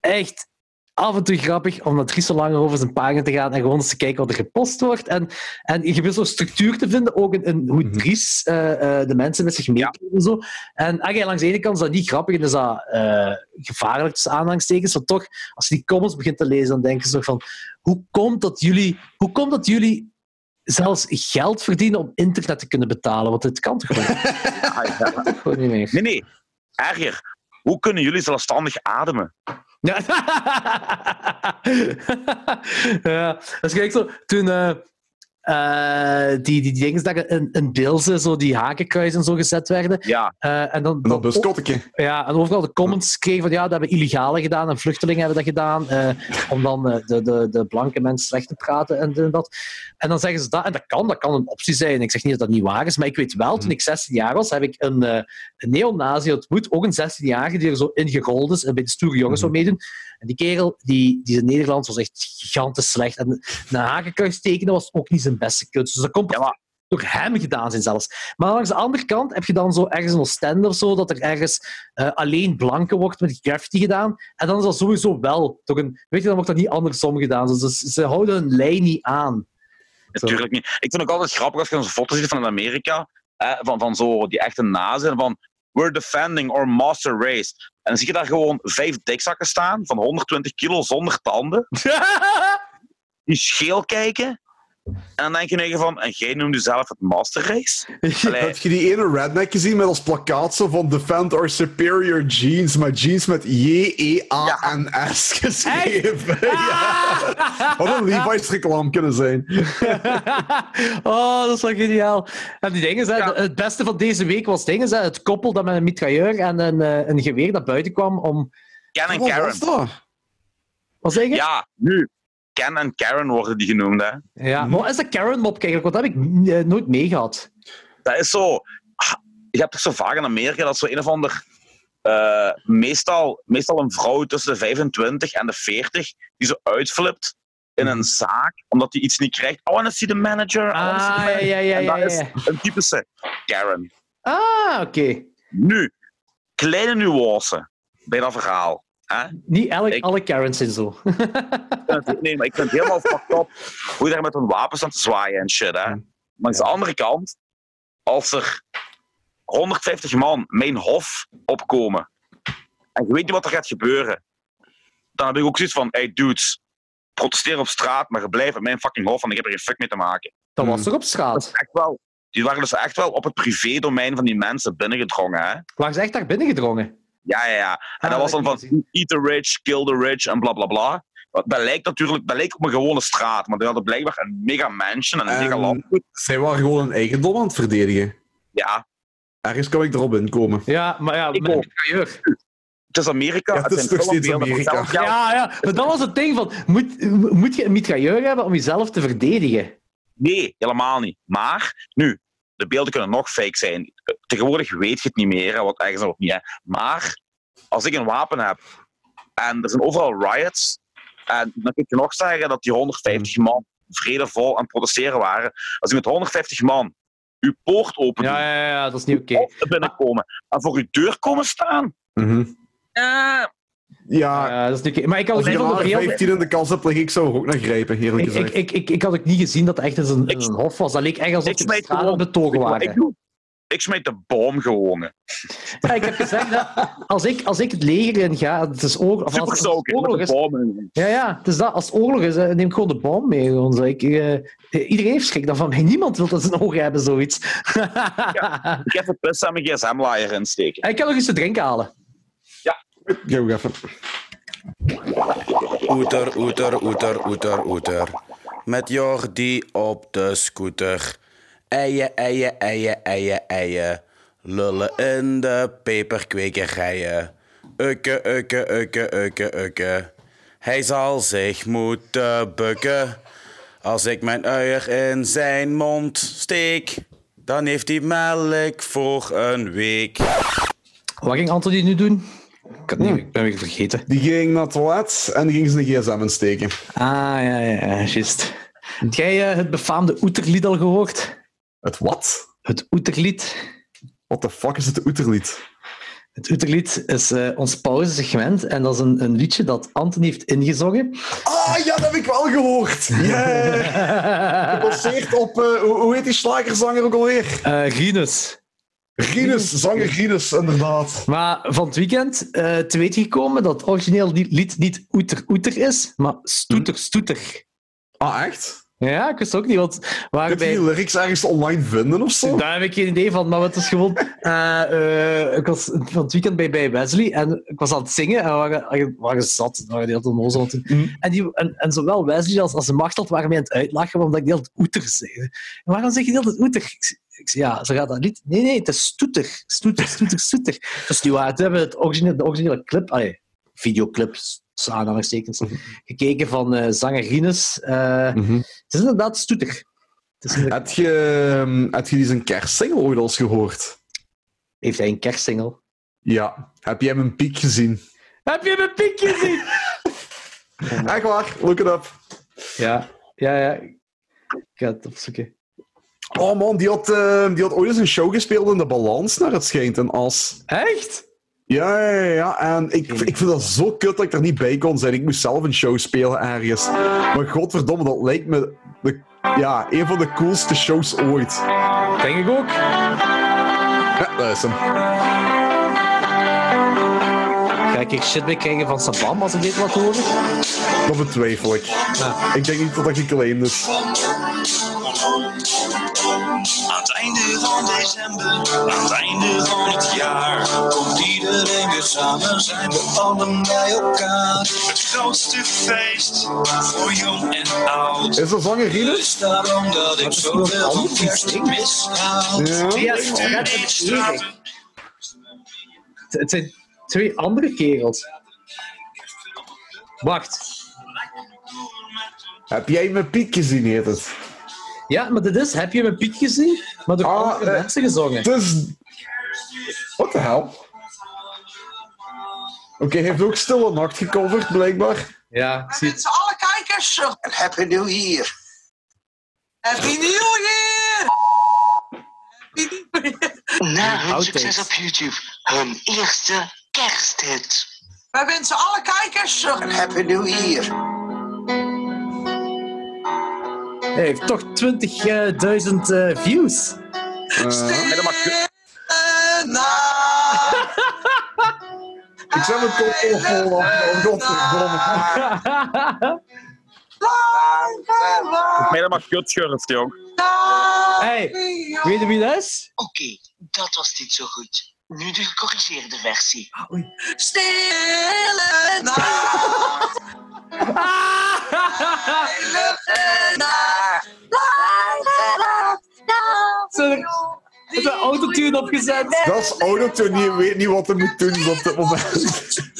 [SPEAKER 2] echt af en toe grappig om naar Dries zo lang over zijn pagina te gaan en gewoon eens te kijken wat er gepost wordt. En en je wilt zo'n structuur te vinden, ook in, in hoe
[SPEAKER 3] Mhm.
[SPEAKER 2] Dries eh, eh, de mensen met zich meekrijgt en zo. En ah, ja, langs de ene kant is dat niet grappig en is dat eh, gevaarlijk tussen aanhalingstekens, maar toch, als je die comments begint te lezen, dan denk je zo van, hoe komt dat jullie, hoe komt dat jullie zelfs geld verdienen om internet te kunnen betalen? Want het kan toch gewoon,
[SPEAKER 1] Ja, ja.
[SPEAKER 2] kan toch gewoon niet meer?
[SPEAKER 1] Nee, nee. Erger. Hoe kunnen jullie zelfstandig ademen?
[SPEAKER 2] Ja. ja, dat is gelijk zo. Toen eh, eh, die, die, die dingen dat in, in Bilze, zo die hakenkruisen en zo gezet werden.
[SPEAKER 1] Ja,
[SPEAKER 2] eh, en dan,
[SPEAKER 3] En dus dat
[SPEAKER 2] dan-
[SPEAKER 3] buskottetje.
[SPEAKER 2] ja, en overal de comments kregen van ja, dat hebben illegalen gedaan en vluchtelingen hebben dat gedaan. eh, om dan eh, de, de, de blanke mensen slecht te praten en dit en dat. En dan zeggen ze dat, en dat kan, dat kan een optie zijn. Ik zeg niet dat dat niet waar is, maar ik weet wel, toen ik 16 jaar was, heb ik een, eh een neonazi ontmoet, ook een 16-jarige die er zo in gerold is en bij de stoere jongens zou meedoen. En die kerel, die, die zijn Nederlands was echt gigantisch slecht. En een hakenkruis tekenen was ook niet zijn beste kunst. Dus dat komt
[SPEAKER 1] Ja, maar-
[SPEAKER 2] door hem gedaan zijn zelfs. Maar langs de andere kant heb je dan zo ergens een Oostende of zo, dat er ergens eh, alleen blanke wordt met graffiti gedaan. En dan is dat sowieso wel door een... Weet je, dan wordt dat niet andersom gedaan. Dus ze, ze houden hun lijn niet aan.
[SPEAKER 1] natuurlijk niet. Ik vind ook altijd grappig als je zo'n foto ziet van Amerika, eh, van, van zo die echte nazen, van we're defending our master race. En dan zie je daar gewoon vijf dikzakken staan van 120 kilo zonder tanden. die scheel kijken. En dan denk je in ieder geval van, en jij noemt jezelf het Master Race? Allee,
[SPEAKER 3] Heb je die ene redneck gezien met als plakkaat zo van Defend Our Superior Jeans, maar jeans met E J-E-A-N-S geschreven? Ja.
[SPEAKER 2] Ah!
[SPEAKER 3] Wat een Levi's reclame kunnen zijn.
[SPEAKER 2] oh, dat is wel geniaal. En die dingen, hè, het beste van deze week was dingen, hè, het koppel dat met een mitrailleur en een, eh, een geweer dat buiten kwam om...
[SPEAKER 1] Ken en
[SPEAKER 3] Wat
[SPEAKER 1] Karen.
[SPEAKER 3] was dat?
[SPEAKER 2] Wat zeg je?
[SPEAKER 1] Ja, nu. Ken en Karen worden die genoemd, hè.
[SPEAKER 2] Ja, maar wat is dat Karen-mop eigenlijk? Want dat heb ik eh, nooit meegehad.
[SPEAKER 1] Dat is zo... ah, Je hebt toch zo vaak in Amerika dat zo een of ander... eh, meestal, meestal een vrouw tussen de 25 en de 40 die zo uitflipt in een
[SPEAKER 2] Mhm.
[SPEAKER 1] zaak, omdat die iets niet krijgt. I want to see the manager. I wanna see the
[SPEAKER 2] Ah, ja,
[SPEAKER 1] manager.
[SPEAKER 2] ja, ja.
[SPEAKER 1] en
[SPEAKER 2] ja,
[SPEAKER 1] dat
[SPEAKER 2] ja.
[SPEAKER 1] is een typische Karen.
[SPEAKER 2] Ah, oké.
[SPEAKER 1] Nu, kleine nuance bij dat verhaal. Hè?
[SPEAKER 2] Niet elk,
[SPEAKER 1] Ik-
[SPEAKER 2] alle Karens en zo.
[SPEAKER 1] vind het- Nee, maar ik vind het helemaal fucked up hoe daar met hun wapens aan te zwaaien en shit. Hè? Maar aan de andere kant, als er 150 man mijn hof opkomen en je weet niet wat er gaat gebeuren, dan heb ik ook zoiets van: hey dudes, protesteer op straat, maar je blijft op mijn fucking hof en ik heb er geen fuck mee te maken.
[SPEAKER 2] Dat
[SPEAKER 3] Hmm.
[SPEAKER 2] was er op straat.
[SPEAKER 1] Echt wel. Die waren dus echt wel op het privédomein van die mensen binnengedrongen. Hè?
[SPEAKER 2] Waren ze echt daar binnengedrongen?
[SPEAKER 1] Ja, ja, ja. En
[SPEAKER 2] Ah,
[SPEAKER 1] dat was dan
[SPEAKER 2] dat
[SPEAKER 1] van
[SPEAKER 2] heb ik
[SPEAKER 1] eat the rich, kill the rich en bla bla bla. Want Dat lijkt natuurlijk dat lijkt op een gewone straat, maar die hadden blijkbaar een mega mansion en een mega
[SPEAKER 3] En
[SPEAKER 1] land.
[SPEAKER 3] Zij waren gewoon hun eigendom aan het verdedigen.
[SPEAKER 1] Ja,
[SPEAKER 3] Ergens kan ik erop inkomen.
[SPEAKER 2] Ja, maar ja,
[SPEAKER 1] Ik
[SPEAKER 2] met
[SPEAKER 1] ook.
[SPEAKER 2] een mitrailleur.
[SPEAKER 1] het is Amerika.
[SPEAKER 3] Ja, het is nog steeds
[SPEAKER 1] filmbeelden van
[SPEAKER 3] Amerika.
[SPEAKER 1] zelf-
[SPEAKER 2] Ja,
[SPEAKER 1] Ja,
[SPEAKER 2] ja, maar dat was het ding van, moet, moet je een mitrailleur hebben om jezelf te verdedigen?
[SPEAKER 1] Nee, helemaal niet. Maar nu, de beelden kunnen nog fake zijn. Tegenwoordig weet je het niet meer, hè, wat ergens ook niet. Hè. Maar als ik een wapen heb en er zijn overal riots, en dan kun je nog zeggen dat die 150
[SPEAKER 3] Mm.
[SPEAKER 1] man vredevol aan het protesteren waren. Als je met 150 man uw poort opent
[SPEAKER 2] Ja, ja, ja, dat is niet oké.
[SPEAKER 1] of er binnenkomen en voor uw deur komen staan.
[SPEAKER 3] Mhm.
[SPEAKER 1] Eh,
[SPEAKER 3] Ja,
[SPEAKER 2] Ja, dat is niet oké. Ah. Oh, Maar ik had,
[SPEAKER 3] als
[SPEAKER 2] ook
[SPEAKER 3] ik
[SPEAKER 2] niet
[SPEAKER 3] een
[SPEAKER 2] van de
[SPEAKER 3] jaren
[SPEAKER 2] reële-
[SPEAKER 3] 15 in de kast heb liggen, ik zou er ook naar grijpen, eerlijk
[SPEAKER 2] ik, ik,
[SPEAKER 3] gezegd.
[SPEAKER 2] ik, ik, ik had ook niet gezien dat dat echt eens een,
[SPEAKER 1] Ik-
[SPEAKER 2] een hof was. Dat leek echt alsof
[SPEAKER 1] ik
[SPEAKER 2] ze op
[SPEAKER 1] smijt
[SPEAKER 2] straat aan
[SPEAKER 1] gewoon.
[SPEAKER 2] het betogen
[SPEAKER 1] weet je wat
[SPEAKER 2] waren.
[SPEAKER 1] ik doe? Ik smijt de boom gewoon. hè.
[SPEAKER 2] Ja, ik heb gezegd, dat als ik, als ik het leger in ga, het is oorlog. of als-
[SPEAKER 1] Super
[SPEAKER 2] als het
[SPEAKER 1] stoken. met
[SPEAKER 2] oorlog
[SPEAKER 1] de
[SPEAKER 2] is,
[SPEAKER 1] boom in.
[SPEAKER 2] ja, ja, het is dat. Als het oorlog is, eh, neem ik gewoon de bom mee. Gewoon, zo. Ik, eh, iedereen heeft schrik daarvan. Niemand wil dat ze een ogen hebben, zoiets.
[SPEAKER 1] Ik heb de pis aan mijn gsm-laaier insteken.
[SPEAKER 2] En ik kan nog eens te drinken halen.
[SPEAKER 3] Ja, wacht even.
[SPEAKER 6] Oeter, oeter, oeter, oeter, oeter. Met Jordi op de scooter. Eien, eien, eien, eien, eien. Lullen in de peperkwekerijen. Ukke, ukke, ukke, ukke, ukke. Hij zal zich moeten bukken. Als ik mijn uier in zijn mond steek, dan heeft hij melk voor een week.
[SPEAKER 2] Wat ging Anthony nu doen? Ik, had niet, ik ben weer vergeten.
[SPEAKER 3] Die ging naar het toilet en die ging zijn gsm insteken.
[SPEAKER 2] Ah, ja, ja, ja, juist. Heb jij eh, het befaamde Oeterlied al gehoord?
[SPEAKER 3] Het wat?
[SPEAKER 2] Het Oeterlied.
[SPEAKER 3] What the fuck is het oeterlied?
[SPEAKER 2] Het Oeterlied is eh, ons pauzesegment. En dat is een, een liedje dat Anthony heeft ingezongen.
[SPEAKER 3] Ah, ja, dat heb ik wel gehoord! Yeah! Gebaseerd op, eh, hoe, hoe heet die slagerzanger ook alweer?
[SPEAKER 2] Eh, Rinus.
[SPEAKER 3] Rinus, zanger Rinus, inderdaad.
[SPEAKER 2] Maar van het weekend eh, te weten gekomen dat het origineel li- lied niet Oeter Oeter is, maar Stoeter Stoeter.
[SPEAKER 3] Ah, echt?
[SPEAKER 2] Ja, ik wist ook niet wat.
[SPEAKER 3] Kun je
[SPEAKER 2] Waarbij,
[SPEAKER 3] die lyrics ergens online vinden of zo?
[SPEAKER 2] daar heb ik geen idee van, maar het is gewoon. eh, eh, ik was van het weekend bij, bij Wesley en ik was aan het zingen en we waren, we waren zat. We waren de hele tijd onnozel aan het doen.
[SPEAKER 3] Hm.
[SPEAKER 2] En, die, en, en zowel Wesley als, als Machteld waren mij aan het uitlachen, omdat ik de hele tijd oeter zei. En waarom zeg je de hele tijd oeter? Ik, z- ik zei, ja, ze gaat dat niet. Nee, nee, het is stoeter. Stoeter, stoeter, stoeter. Dat is niet waar. Toen hebben we het originele, de originele clip, allee, videoclip, tussen aanhalingstekens, gekeken van eh zanger Rinus. Eh,
[SPEAKER 3] Mhm.
[SPEAKER 2] het is inderdaad stoeter. Het is inderdaad-
[SPEAKER 3] Heb je, ehm, heb je die zijn kerstsingle ooit al eens gehoord?
[SPEAKER 2] heeft hij een kerstsingle?
[SPEAKER 3] Ja. Heb jij hem een piek gezien?
[SPEAKER 2] Heb je mijn piek gezien?
[SPEAKER 3] Echt waar, look it up.
[SPEAKER 2] ja, ja, ja. Ik ga het opzoeken.
[SPEAKER 3] Oh man, die had, eh, die had ooit eens een show gespeeld in de balans, naar het schijnt, in As.
[SPEAKER 2] Echt?
[SPEAKER 3] Ja, ja, ja, ja. En ik,
[SPEAKER 2] Geen
[SPEAKER 3] ik vind dat zo kut dat ik er niet bij kon zijn. Ik moest zelf een show spelen ergens. Maar godverdomme, dat lijkt me de, ja, een van de coolste shows ooit.
[SPEAKER 2] Denk ik ook.
[SPEAKER 3] Ja, dat is hem.
[SPEAKER 2] Ga ik hier shit mee krijgen van Sabam als ik dit wat hoor?
[SPEAKER 3] Dat betwijfel ik.
[SPEAKER 2] Ja.
[SPEAKER 3] Ik denk niet dat dat geclaimd is.
[SPEAKER 7] Aan het einde van december, aan het einde van het jaar, komt iedereen weer samen, zijn we allen bij elkaar. Het grootste feest voor jong en oud.
[SPEAKER 3] Is dat zanger Rinus?
[SPEAKER 7] Dus daarom dat ik
[SPEAKER 2] is gewoon
[SPEAKER 7] zoveel van
[SPEAKER 2] anders,
[SPEAKER 7] kerst
[SPEAKER 2] denk ik.
[SPEAKER 7] mishoud.
[SPEAKER 3] Ja.
[SPEAKER 2] Ja,
[SPEAKER 7] Ik
[SPEAKER 2] dat
[SPEAKER 7] stuur
[SPEAKER 2] is
[SPEAKER 7] niet
[SPEAKER 2] het
[SPEAKER 7] straten.
[SPEAKER 2] Het het zijn twee andere kerels. Wacht.
[SPEAKER 3] Heb jij mijn piek gezien, heet het?
[SPEAKER 2] Ja, maar dit is, heb je mijn Piet gezien? Maar door
[SPEAKER 3] Ah,
[SPEAKER 2] andere
[SPEAKER 3] eh,
[SPEAKER 2] mensen gezongen.
[SPEAKER 3] Het is... What the hell? Oké, hij heeft ook Stille Nacht gecoverd, blijkbaar.
[SPEAKER 2] Ja, ik zie het.
[SPEAKER 8] wensen alle kijkers een Happy New Year. Happy New Year! Happy New Year!
[SPEAKER 2] hun
[SPEAKER 9] Na hun
[SPEAKER 2] outtakes.
[SPEAKER 9] succes op YouTube, hun eerste kersthit.
[SPEAKER 7] Wij wensen alle kijkers een
[SPEAKER 8] Een happy new year.
[SPEAKER 2] Hij heeft toch 20.000 eh, views.
[SPEAKER 1] En dan mag je-
[SPEAKER 7] nacht.
[SPEAKER 3] Ik zou mijn kop opvol. Oh, godverdomme.
[SPEAKER 7] Lange, lange
[SPEAKER 1] mij dat maar kut schurft, jong.
[SPEAKER 7] nacht.
[SPEAKER 2] hey, weet je wie dat is?
[SPEAKER 9] Oké, dat was niet zo goed. Nu de gecorrigeerde versie.
[SPEAKER 7] Stille nacht. Stille nacht.
[SPEAKER 2] Ze heeft een autotune opgezet.
[SPEAKER 3] Dat is autotune. Je weet niet wat hij moet doen op dit moment.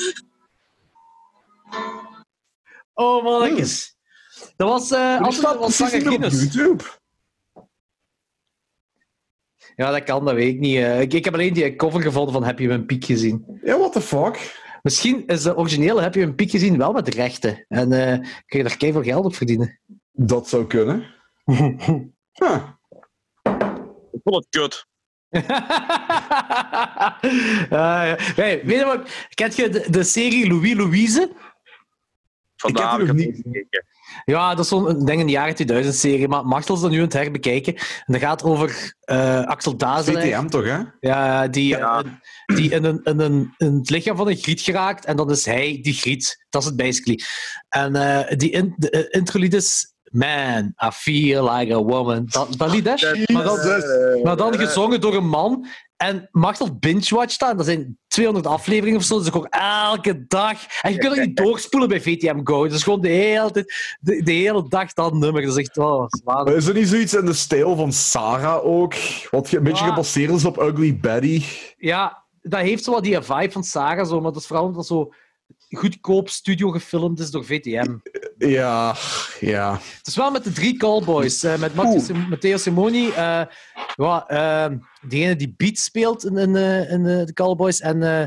[SPEAKER 2] Oh, mannetjes. Dat was... eh
[SPEAKER 3] Die
[SPEAKER 2] Anton, dat
[SPEAKER 3] staat
[SPEAKER 2] was
[SPEAKER 3] precies niet meer op
[SPEAKER 2] Guinness.
[SPEAKER 3] YouTube.
[SPEAKER 2] Ja, dat kan, dat weet ik niet. eh. ik, ik heb alleen die cover gevonden van Happy One Piek gezien.
[SPEAKER 3] Ja, what the fuck?
[SPEAKER 2] Misschien is de originele Happy One Piek gezien wel met rechten. En eh, kun je daar keihard geld op verdienen.
[SPEAKER 3] Dat zou kunnen. Huh.
[SPEAKER 1] Ik vond het kut.
[SPEAKER 2] Ah, ja. hey, weet je wat? Kent je de, de serie Louis Louise?
[SPEAKER 1] Vandaar
[SPEAKER 3] Ik heb die nog
[SPEAKER 1] het
[SPEAKER 3] niet-
[SPEAKER 1] gekeken.
[SPEAKER 2] Ja, dat is zo'n een ding in de jaren 2000 serie. Maar Martel is dat nu aan het herbekijken. En dat gaat over eh, Axel Dazen.
[SPEAKER 3] CTM toch, hè?
[SPEAKER 2] Ja, die, eh,
[SPEAKER 1] Ja.
[SPEAKER 2] die in, een, in, een, in het lichaam van een griet geraakt. En dan is hij die griet. Dat is het basically. En eh, die in, de, eh, interlied is... Man, I feel like a woman. Dat, dat lied, hè? Maar dan, maar dan gezongen door een man. En Martel binge-watcht dat. En Dat zijn 200 afleveringen of zo. Dus ik hoor elke dag. En je kunt het niet doorspoelen bij VTM Go. Dus gewoon de hele, tijd- de, de hele dag dat nummer. Dat is echt... Oh, zwaar.
[SPEAKER 3] Maar Is er niet zoiets in de stijl van Sarah ook? Wat een beetje
[SPEAKER 2] Ja.
[SPEAKER 3] gebaseerd is op Ugly Betty.
[SPEAKER 2] Ja, dat heeft zo wat die vibe van Sarah, zo, maar dat is vooral omdat dat zo goedkoop studio gefilmd is door VTM.
[SPEAKER 3] Ja, ja.
[SPEAKER 2] Het is wel met de drie callboys. eh, met Matteo Sim- Matteo Simoni, eh ja, eh, degene die Beat speelt in, in, eh, in eh, de callboys, en eh,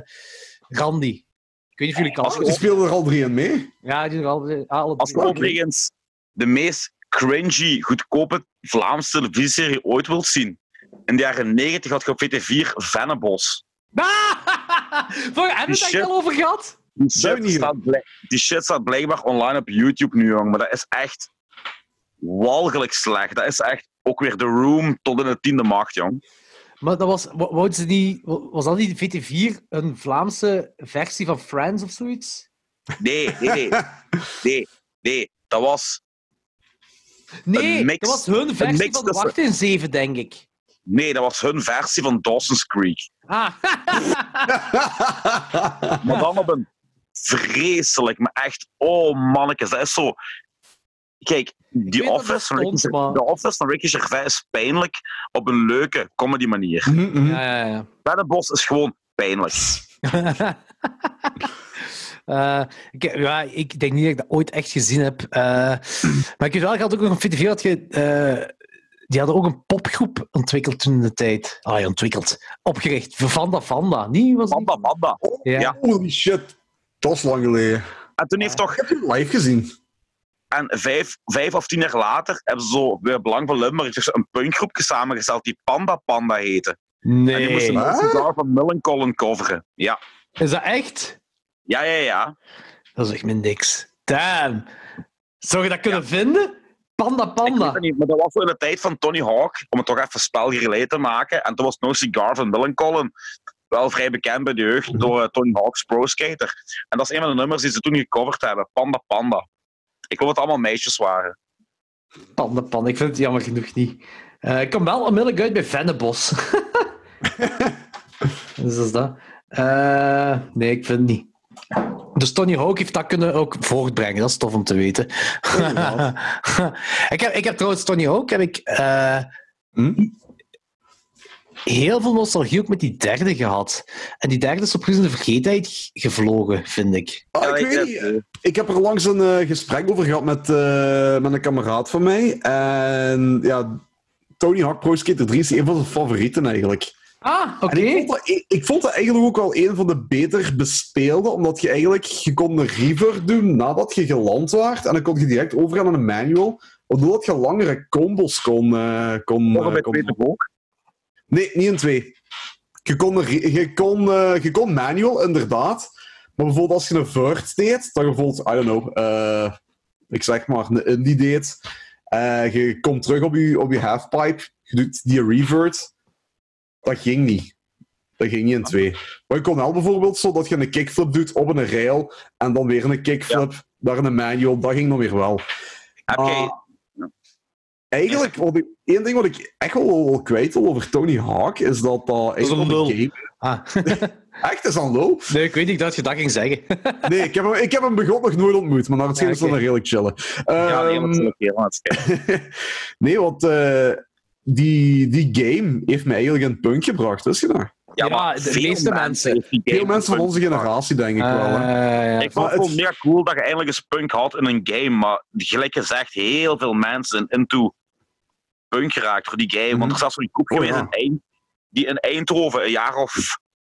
[SPEAKER 2] Randy. Ik weet niet of jullie
[SPEAKER 3] Die
[SPEAKER 2] callboys...
[SPEAKER 3] speelde er al drie in mee.
[SPEAKER 2] Ja, die doen alle, eh, alle
[SPEAKER 1] Oh, dus- Als je
[SPEAKER 2] drie.
[SPEAKER 1] overigens de meest cringy, goedkope Vlaamse televisieserie ooit wilt zien. In de jaren 90 had je op VT4 Vennebos.
[SPEAKER 2] Ah, voor, hebben we het
[SPEAKER 1] shit.
[SPEAKER 2] daar al over gehad?
[SPEAKER 1] Die
[SPEAKER 3] Ben ik
[SPEAKER 1] shit,
[SPEAKER 3] niet,
[SPEAKER 1] staat, blijk- die shit staat blijkbaar online op YouTube nu, jong. Maar dat is echt walgelijk slecht. Dat is echt ook weer The Room tot in de tiende macht, jong.
[SPEAKER 2] Maar dat was, wa- wouden ze niet, wa- was dat niet VT4 een Vlaamse versie van Friends of zoiets?
[SPEAKER 1] Nee, nee, nee. Nee, nee. Dat was...
[SPEAKER 2] Nee,
[SPEAKER 1] Een mix-
[SPEAKER 2] dat was hun versie
[SPEAKER 1] mix
[SPEAKER 2] van de
[SPEAKER 1] tussen-
[SPEAKER 2] Wacht in 7, denk ik.
[SPEAKER 1] Nee, dat was hun versie van Dawson's Creek.
[SPEAKER 2] Ah,
[SPEAKER 1] Maar dan op een vreselijk, maar echt, oh mannetjes, dat is zo. Kijk,
[SPEAKER 2] weet
[SPEAKER 1] die
[SPEAKER 2] dat
[SPEAKER 1] office,
[SPEAKER 2] dat
[SPEAKER 1] van Ricky,
[SPEAKER 2] stond, maar-
[SPEAKER 1] Gervais- de office van Ricky Gervais is pijnlijk op een leuke comedy manier.
[SPEAKER 3] Mhm.
[SPEAKER 2] ja, ja.
[SPEAKER 1] Bennebos is gewoon pijnlijk.
[SPEAKER 2] ja. Eh, ik, ja, ik denk niet dat ik dat ooit echt gezien heb. Eh, maar ik weet wel, ik had ook nog een VTV, had je, eh, die hadden ook een popgroep ontwikkeld toen in de tijd. Ah, ja, ontwikkeld. Opgericht. Vanda Vanda. Nee, was het niet?
[SPEAKER 1] Bamba, bamba. Oh,
[SPEAKER 2] Ja.
[SPEAKER 1] ja.
[SPEAKER 3] Holy shit. Dat is lang geleden.
[SPEAKER 1] En toen heeft toch,
[SPEAKER 3] Ik heb je live gezien.
[SPEAKER 1] en vijf, vijf of tien jaar later, hebben ze zo weer Belang van Limburg dus een punkgroepje samengesteld die Panda Panda heette. En die moesten
[SPEAKER 2] Nee.
[SPEAKER 3] Wat?
[SPEAKER 1] Nelson Darr van Millencolin coveren. Ja,
[SPEAKER 2] Is dat echt?
[SPEAKER 1] ja, ja. ja.
[SPEAKER 2] Dat is echt me niks. Damn. Zou je dat kunnen vinden? Panda
[SPEAKER 1] Ik weet
[SPEAKER 2] Panda.
[SPEAKER 1] het niet, maar dat was zo in de tijd van Tony Hawk, om het toch even spelgerelateerd te maken. En toen was No Cigar van Dylan Collin wel vrij bekend bij de jeugd door eh, Tony Hawk's Pro Skater. En dat is een van de nummers die ze toen gecoverd hebben, Panda Panda. Ik hoop dat het allemaal meisjes waren.
[SPEAKER 2] Panda Panda. Ik vind het jammer genoeg niet. Eh, ik kom wel onmiddellijk uit bij Vennebos. dus dat is dat. Eh, nee, ik vind het niet. Dus Tony Hawk heeft dat kunnen ook voortbrengen. Dat is tof om te weten. ik, heb, ik heb trouwens Tony Hawk heb ik, eh,
[SPEAKER 3] Hm?
[SPEAKER 2] heel veel nostalgie ook met die derde gehad. En die derde is op een vergetenheid gevlogen, vind ik.
[SPEAKER 3] Ah, ik weet niet. Ik heb er langs een eh, gesprek over gehad met, eh, met een kameraad van mij. En ja, Tony Hawk Pro Skater 3 is een van zijn favorieten eigenlijk.
[SPEAKER 2] Ah, oké.
[SPEAKER 3] En ik, vond dat, e-, ik, ik vond dat eigenlijk ook wel een van de beter bespeelde, omdat je eigenlijk je kon een river doen nadat je geland waart. En dan kon je direct overgaan naar een manual, omdat je langere combos kon... eh kon,
[SPEAKER 1] Nog
[SPEAKER 3] eh,
[SPEAKER 1] bij
[SPEAKER 3] kon-
[SPEAKER 1] Peter Boog.
[SPEAKER 3] Nee, niet in twee. Je kon, een ri- je kon, eh, je kon manual, inderdaad. Maar bijvoorbeeld als je een vert deed, dan bijvoorbeeld, I don't know, eh, ik zeg maar, een indie deed. eh, je komt terug op je, op je halfpipe, je doet die revert. Dat ging niet. Dat ging niet in twee. Maar je kon wel bijvoorbeeld zo dat je een kickflip doet op een rail en dan weer een kickflip, daar een manual, dat ging dan weer wel.
[SPEAKER 1] Heb jij,
[SPEAKER 3] Ah, eigenlijk, wat ik, één ding wat ik echt wel, wel kwijt wil over Tony Hawk, is dat dat
[SPEAKER 2] is
[SPEAKER 3] eigenlijk
[SPEAKER 2] een
[SPEAKER 3] op
[SPEAKER 2] lul.
[SPEAKER 3] game...
[SPEAKER 2] Ah.
[SPEAKER 3] Echt, dat is een lul.
[SPEAKER 2] nee, ik weet niet dat je dat ging zeggen.
[SPEAKER 3] Nee, ik heb, hem, ik heb hem begot nog nooit ontmoet, maar naar het scheen
[SPEAKER 2] Ja,
[SPEAKER 3] is dat
[SPEAKER 2] oké.
[SPEAKER 3] een redelijk chillen.
[SPEAKER 1] ja, nee,
[SPEAKER 3] Ehm,
[SPEAKER 1] natuurlijk. heel aan het schijnen.
[SPEAKER 3] nee, want eh, die, die game heeft mij eigenlijk een punt gebracht, is je daar?
[SPEAKER 1] Ja,
[SPEAKER 2] Ja,
[SPEAKER 1] maar
[SPEAKER 2] de
[SPEAKER 1] veel
[SPEAKER 2] meeste mensen-
[SPEAKER 1] heeft die game
[SPEAKER 3] Veel mensen van
[SPEAKER 1] punk
[SPEAKER 3] onze
[SPEAKER 1] gemaakt.
[SPEAKER 3] generatie, denk ik wel. hè.
[SPEAKER 2] Eh,
[SPEAKER 1] Ik
[SPEAKER 2] ja.
[SPEAKER 1] vond
[SPEAKER 3] Maar
[SPEAKER 1] het wel
[SPEAKER 3] het-
[SPEAKER 1] meer cool dat je eindelijk eens punk had in een game, maar gelijk gezegd, heel veel mensen zijn into punk geraakt voor die game. Want er zat zo'n groep
[SPEAKER 3] Oh,
[SPEAKER 1] geweest
[SPEAKER 3] ja.
[SPEAKER 1] in Eind- die in Eindhoven een jaar of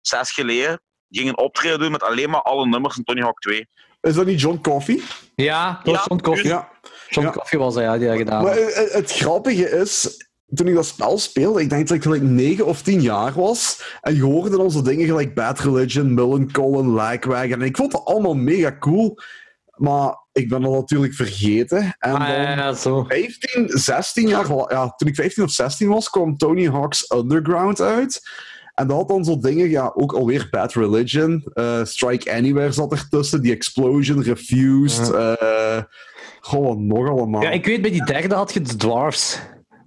[SPEAKER 1] zes geleden ging een optreden doen met alleen maar alle nummers van Tony Hawk 2.
[SPEAKER 3] Is dat niet John Coffey?
[SPEAKER 2] ja, dat was
[SPEAKER 1] Ja,
[SPEAKER 2] John Coffey.
[SPEAKER 3] Ja.
[SPEAKER 2] John
[SPEAKER 3] ja.
[SPEAKER 2] Coffey was hij, ja, die dat gedaan
[SPEAKER 3] Maar
[SPEAKER 2] had.
[SPEAKER 3] eh, eh, het grappige is, toen ik dat spel speelde, ik denk dat ik gelijk 9 of 10 jaar was. En je hoorde dan zo dingen gelijk Bad Religion, Millencolin, Lagwagon. En ik vond dat allemaal mega cool. Maar ik ben dat natuurlijk vergeten. En
[SPEAKER 2] Ah,
[SPEAKER 3] dan
[SPEAKER 2] ja, ja, zo.
[SPEAKER 3] 15, 16 jaar la- ja, toen ik 15 of 16 was, kwam Tony Hawk's Underground uit. En dat had dan zo dingen, ja, ook alweer Bad Religion, eh, Strike Anywhere zat ertussen, The Explosion, Refused, eh goh, wat nog allemaal.
[SPEAKER 2] Ja, ik weet, bij die derde had je de Dwarfs.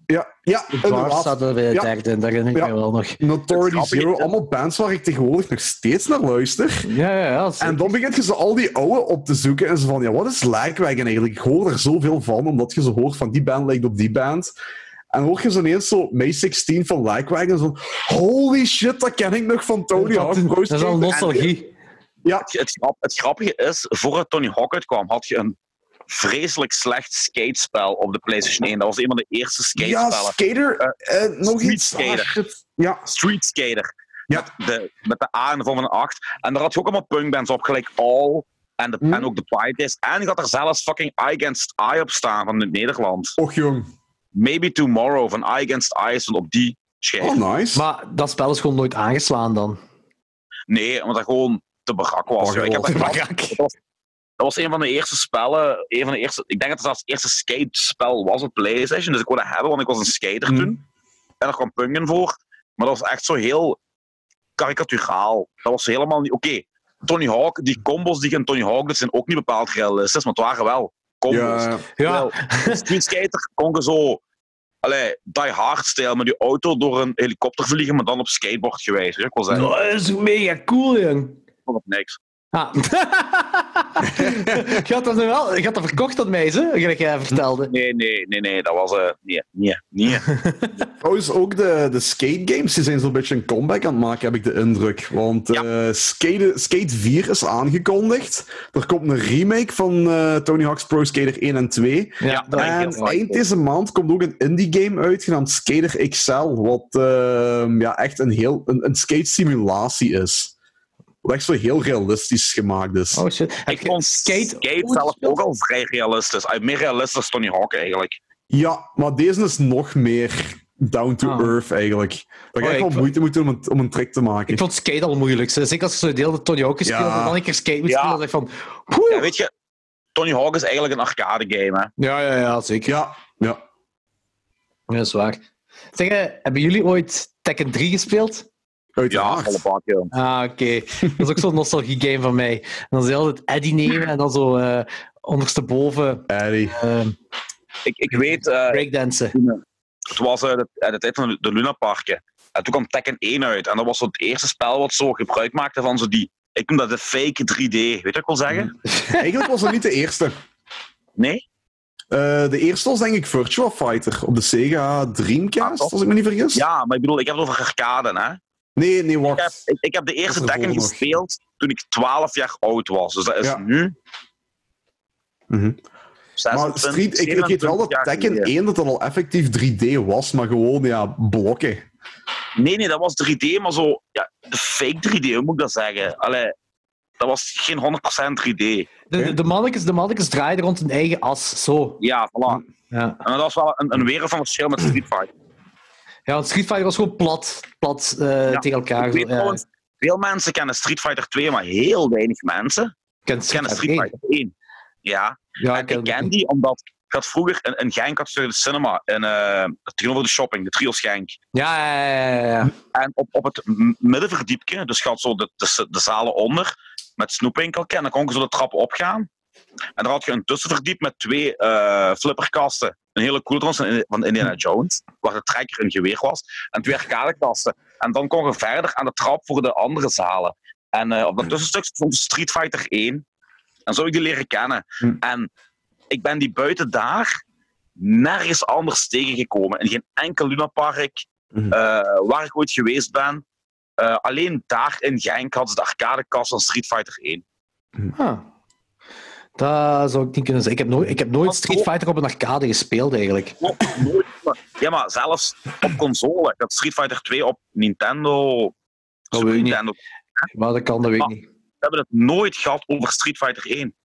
[SPEAKER 3] Ja, ja
[SPEAKER 2] De Dwarfs
[SPEAKER 3] inderdaad.
[SPEAKER 2] zaten bij de
[SPEAKER 3] Ja.
[SPEAKER 2] derde, en dat herinner ik
[SPEAKER 3] Ja.
[SPEAKER 2] me wel nog.
[SPEAKER 3] Notoriety
[SPEAKER 1] Het grappige
[SPEAKER 3] Zero,
[SPEAKER 1] is-
[SPEAKER 3] allemaal bands waar ik tegenwoordig nog steeds naar luister.
[SPEAKER 2] Ja, ja, ja. zeker.
[SPEAKER 3] En dan begint je ze al die oude op te zoeken en ze van, ja, wat is Lagwagon eigenlijk? Ik hoor er zoveel van, omdat je ze hoort van die band lijkt op die band. En hoor je zo ineens zo May 16 van Lagwagon en zo holy shit, dat ken ik nog van Tony Hawk. Pro
[SPEAKER 2] dat is al
[SPEAKER 3] Skater.
[SPEAKER 2] nostalgie.
[SPEAKER 1] Het, het, grap- het grappige is, voordat Tony Hawk uitkwam, had je een vreselijk slecht skatespel op de PlayStation 1. Dat was een van de eerste
[SPEAKER 3] En- Ja,
[SPEAKER 1] skatespellen.
[SPEAKER 3] skater. eh, nog
[SPEAKER 1] Street
[SPEAKER 3] iets. Ah,
[SPEAKER 1] Skater.
[SPEAKER 3] shit. ja.
[SPEAKER 1] Street Skater.
[SPEAKER 3] Ja.
[SPEAKER 1] Met, de, met de A in de vorm van een 8. En daar had je ook allemaal punkbands op, gelijk All en, de,
[SPEAKER 3] Hm.
[SPEAKER 1] en ook de Pythons. En je had er zelfs fucking Eye Against Eye op staan van het Nederland.
[SPEAKER 3] Och jong.
[SPEAKER 1] Maybe Tomorrow van Eye Against Eye stond op die schijf.
[SPEAKER 3] Oh, nice.
[SPEAKER 2] Maar dat spel is gewoon nooit aangeslaan dan.
[SPEAKER 1] Nee, omdat dat gewoon te barak
[SPEAKER 2] Oh,
[SPEAKER 1] was.
[SPEAKER 3] Barak
[SPEAKER 1] Ik heb dat,
[SPEAKER 3] was.
[SPEAKER 1] gehad. Dat was, dat was een van de eerste spellen. Een van de eerste, ik denk dat het zelfs het eerste skatespel was op PlayStation. Dus ik wilde hebben, want ik was een skater
[SPEAKER 3] Hm.
[SPEAKER 1] toen. En er kwam punken voor. Maar dat was echt zo heel karikaturaal. Dat was helemaal niet. Oké, Tony Hawk, die combos die je in Tony Hawk doet, zijn ook niet bepaald realistisch, maar het waren wel combos.
[SPEAKER 3] Ja,
[SPEAKER 2] Ja,
[SPEAKER 1] Wel, Street Skater kon je zo. Allee, die hard-stijl met die auto door een helikopter vliegen, maar dan op skateboard geweest. Ik wil zeggen,
[SPEAKER 2] dat is mega cool, jong.
[SPEAKER 1] ik vond het niks.
[SPEAKER 2] Ah. je, had dat nu wel, je had dat verkocht aan mij, hè? gelijk jij vertelde.
[SPEAKER 1] Nee, nee, nee, nee, dat was. eh nee, nee, nee.
[SPEAKER 3] Trouwens, ook de, de skate games die zijn zo'n beetje een comeback aan het maken, heb ik de indruk. Want
[SPEAKER 1] Ja.
[SPEAKER 3] eh, skate, skate 4 is aangekondigd. Er komt een remake van eh, Tony Hawk's Pro Skater 1 en 2.
[SPEAKER 2] Ja,
[SPEAKER 1] dat denk ik
[SPEAKER 3] en
[SPEAKER 1] heel mooi.
[SPEAKER 3] eind deze maand komt ook een indie game uit, genaamd Skater XL. Wat ehm, ja, echt een, heel, een, een skate simulatie is. Wat echt zo heel realistisch gemaakt is.
[SPEAKER 2] Oh shit. Heb
[SPEAKER 1] Ik
[SPEAKER 2] je
[SPEAKER 1] vond skate,
[SPEAKER 2] skate ooit
[SPEAKER 1] zelf
[SPEAKER 2] gespeeld?
[SPEAKER 1] ook al vrij realistisch. Ah, Meer realistisch dan Tony Hawk eigenlijk.
[SPEAKER 3] Ja, maar deze is nog meer down to
[SPEAKER 2] Ah.
[SPEAKER 3] earth eigenlijk. Dat
[SPEAKER 2] Oh,
[SPEAKER 3] je
[SPEAKER 2] ik
[SPEAKER 3] echt wel
[SPEAKER 2] vond-
[SPEAKER 3] moeite moet doen om een, om een trick te maken.
[SPEAKER 2] Ik vond skate al moeilijk. hè. Zeker als je zo'n deel dat Tony Hawk gespeeld
[SPEAKER 3] Ja.
[SPEAKER 2] en dan een keer skate moet
[SPEAKER 1] Ja.
[SPEAKER 2] spelen, dan dacht ik van... poeh.
[SPEAKER 1] Ja, weet je, Tony Hawk is eigenlijk een arcade game. Hè.
[SPEAKER 2] Ja, ja, ja, zeker.
[SPEAKER 3] Ja, ja.
[SPEAKER 2] Ja, dat is waar. Zeg, eh, hebben jullie ooit Tekken 3 gespeeld?
[SPEAKER 1] Ja,
[SPEAKER 3] Uiteraard.
[SPEAKER 1] alle paar keer.
[SPEAKER 2] Ah, oké. Dat is ook zo'n nostalgie game van mij. En dan zou je altijd Eddie nemen en dan zo eh, ondersteboven
[SPEAKER 3] Eddie.
[SPEAKER 2] eh
[SPEAKER 1] Ik, ik weet, eh,
[SPEAKER 2] breakdansen.
[SPEAKER 1] het was eh, de, eh, de tijd van de Luna Parken. En toen kwam Tekken 1 uit. En dat was zo het eerste spel wat zo gebruik maakte van zo die. Ik noem dat de fake 3D. Weet je wat ik wil
[SPEAKER 3] Mhm.
[SPEAKER 1] zeggen?
[SPEAKER 3] Eigenlijk was dat niet de eerste.
[SPEAKER 1] Nee?
[SPEAKER 3] Eh, de eerste was denk ik Virtua Fighter op de Sega
[SPEAKER 1] Ah,
[SPEAKER 3] Dreamcast,
[SPEAKER 1] toch?
[SPEAKER 3] als ik me niet vergis.
[SPEAKER 1] Ja, maar ik bedoel, ik heb het over arcade, hè?
[SPEAKER 3] Nee, nee,
[SPEAKER 1] Ik heb,
[SPEAKER 3] wacht.
[SPEAKER 1] ik, ik heb de eerste
[SPEAKER 3] Dat is
[SPEAKER 1] Tekken
[SPEAKER 3] ervoor nog.
[SPEAKER 1] gespeeld toen ik 12 jaar oud was. Dus dat is
[SPEAKER 3] Ja.
[SPEAKER 1] nu
[SPEAKER 3] Mhm.
[SPEAKER 1] 26,
[SPEAKER 3] Maar Street, ik, ik weet wel
[SPEAKER 1] 27
[SPEAKER 3] dat
[SPEAKER 1] jaar
[SPEAKER 3] Tekken
[SPEAKER 1] geleden.
[SPEAKER 3] 1 dat dat al effectief 3D was, maar gewoon ja, blokken.
[SPEAKER 1] Nee, nee, dat was 3D, maar zo... Ja, fake 3D, hoe moet ik dat zeggen? Allee, dat was geen 100% 3D.
[SPEAKER 2] De, de, de, mannetjes, de mannetjes draaiden rond hun eigen as, zo.
[SPEAKER 1] Ja, voilà.
[SPEAKER 2] Ja,
[SPEAKER 1] En dat was wel een, een wereld van verschil met Street Fighter.
[SPEAKER 2] ja want Street Fighter was gewoon plat, plat eh,
[SPEAKER 1] Ja,
[SPEAKER 2] tegen elkaar.
[SPEAKER 1] Ik weet
[SPEAKER 2] zo, ja.
[SPEAKER 1] trouwens, Veel mensen kennen Street Fighter 2, maar heel weinig mensen
[SPEAKER 2] Ken
[SPEAKER 1] kennen Street Fighter 1. Ja,
[SPEAKER 2] Ja,
[SPEAKER 1] En ik ken
[SPEAKER 2] hem.
[SPEAKER 1] die omdat ik had vroeger in, in Genk had ik de cinema in eh, tegenover de shopping, de Trios Genk.
[SPEAKER 2] Ja, ja, ja, ja, ja.
[SPEAKER 1] En op, op het m- middenverdiepje, dus je had zo de, de, de zalen onder, met snoepwinkelken, en dan kon je zo de trappen opgaan. En daar had je een tussenverdiep met twee eh, flipperkasten. Een hele coole trouwens van Indi- van Indiana Jones, waar de trekker een geweer was. En twee arcadekasten. En dan kon je verder aan de trap voor de andere zalen. En eh, op dat tussenstuk stond Street Fighter 1. En zo heb ik die leren kennen.
[SPEAKER 3] Hm.
[SPEAKER 1] En ik ben die buiten daar nergens anders tegengekomen. In geen enkel lunapark
[SPEAKER 3] Hm.
[SPEAKER 1] eh, waar ik ooit geweest ben. Eh, alleen daar in Genk hadden ze de arcadekast van Street Fighter 1.
[SPEAKER 2] Ah. Dat zou ik niet kunnen zeggen. Ik heb nooit, ik heb nooit Street Fighter op een arcade gespeeld, eigenlijk.
[SPEAKER 1] Nooit, maar- ja, maar zelfs op console. Ik had Street Fighter 2 op Nintendo.
[SPEAKER 2] Dat
[SPEAKER 1] Super
[SPEAKER 2] Oh, weet ik niet.
[SPEAKER 1] Nintendo.
[SPEAKER 2] Maar dat kan, dat weet ik
[SPEAKER 1] Ah.
[SPEAKER 2] niet.
[SPEAKER 1] We hebben het nooit gehad over Street Fighter 1.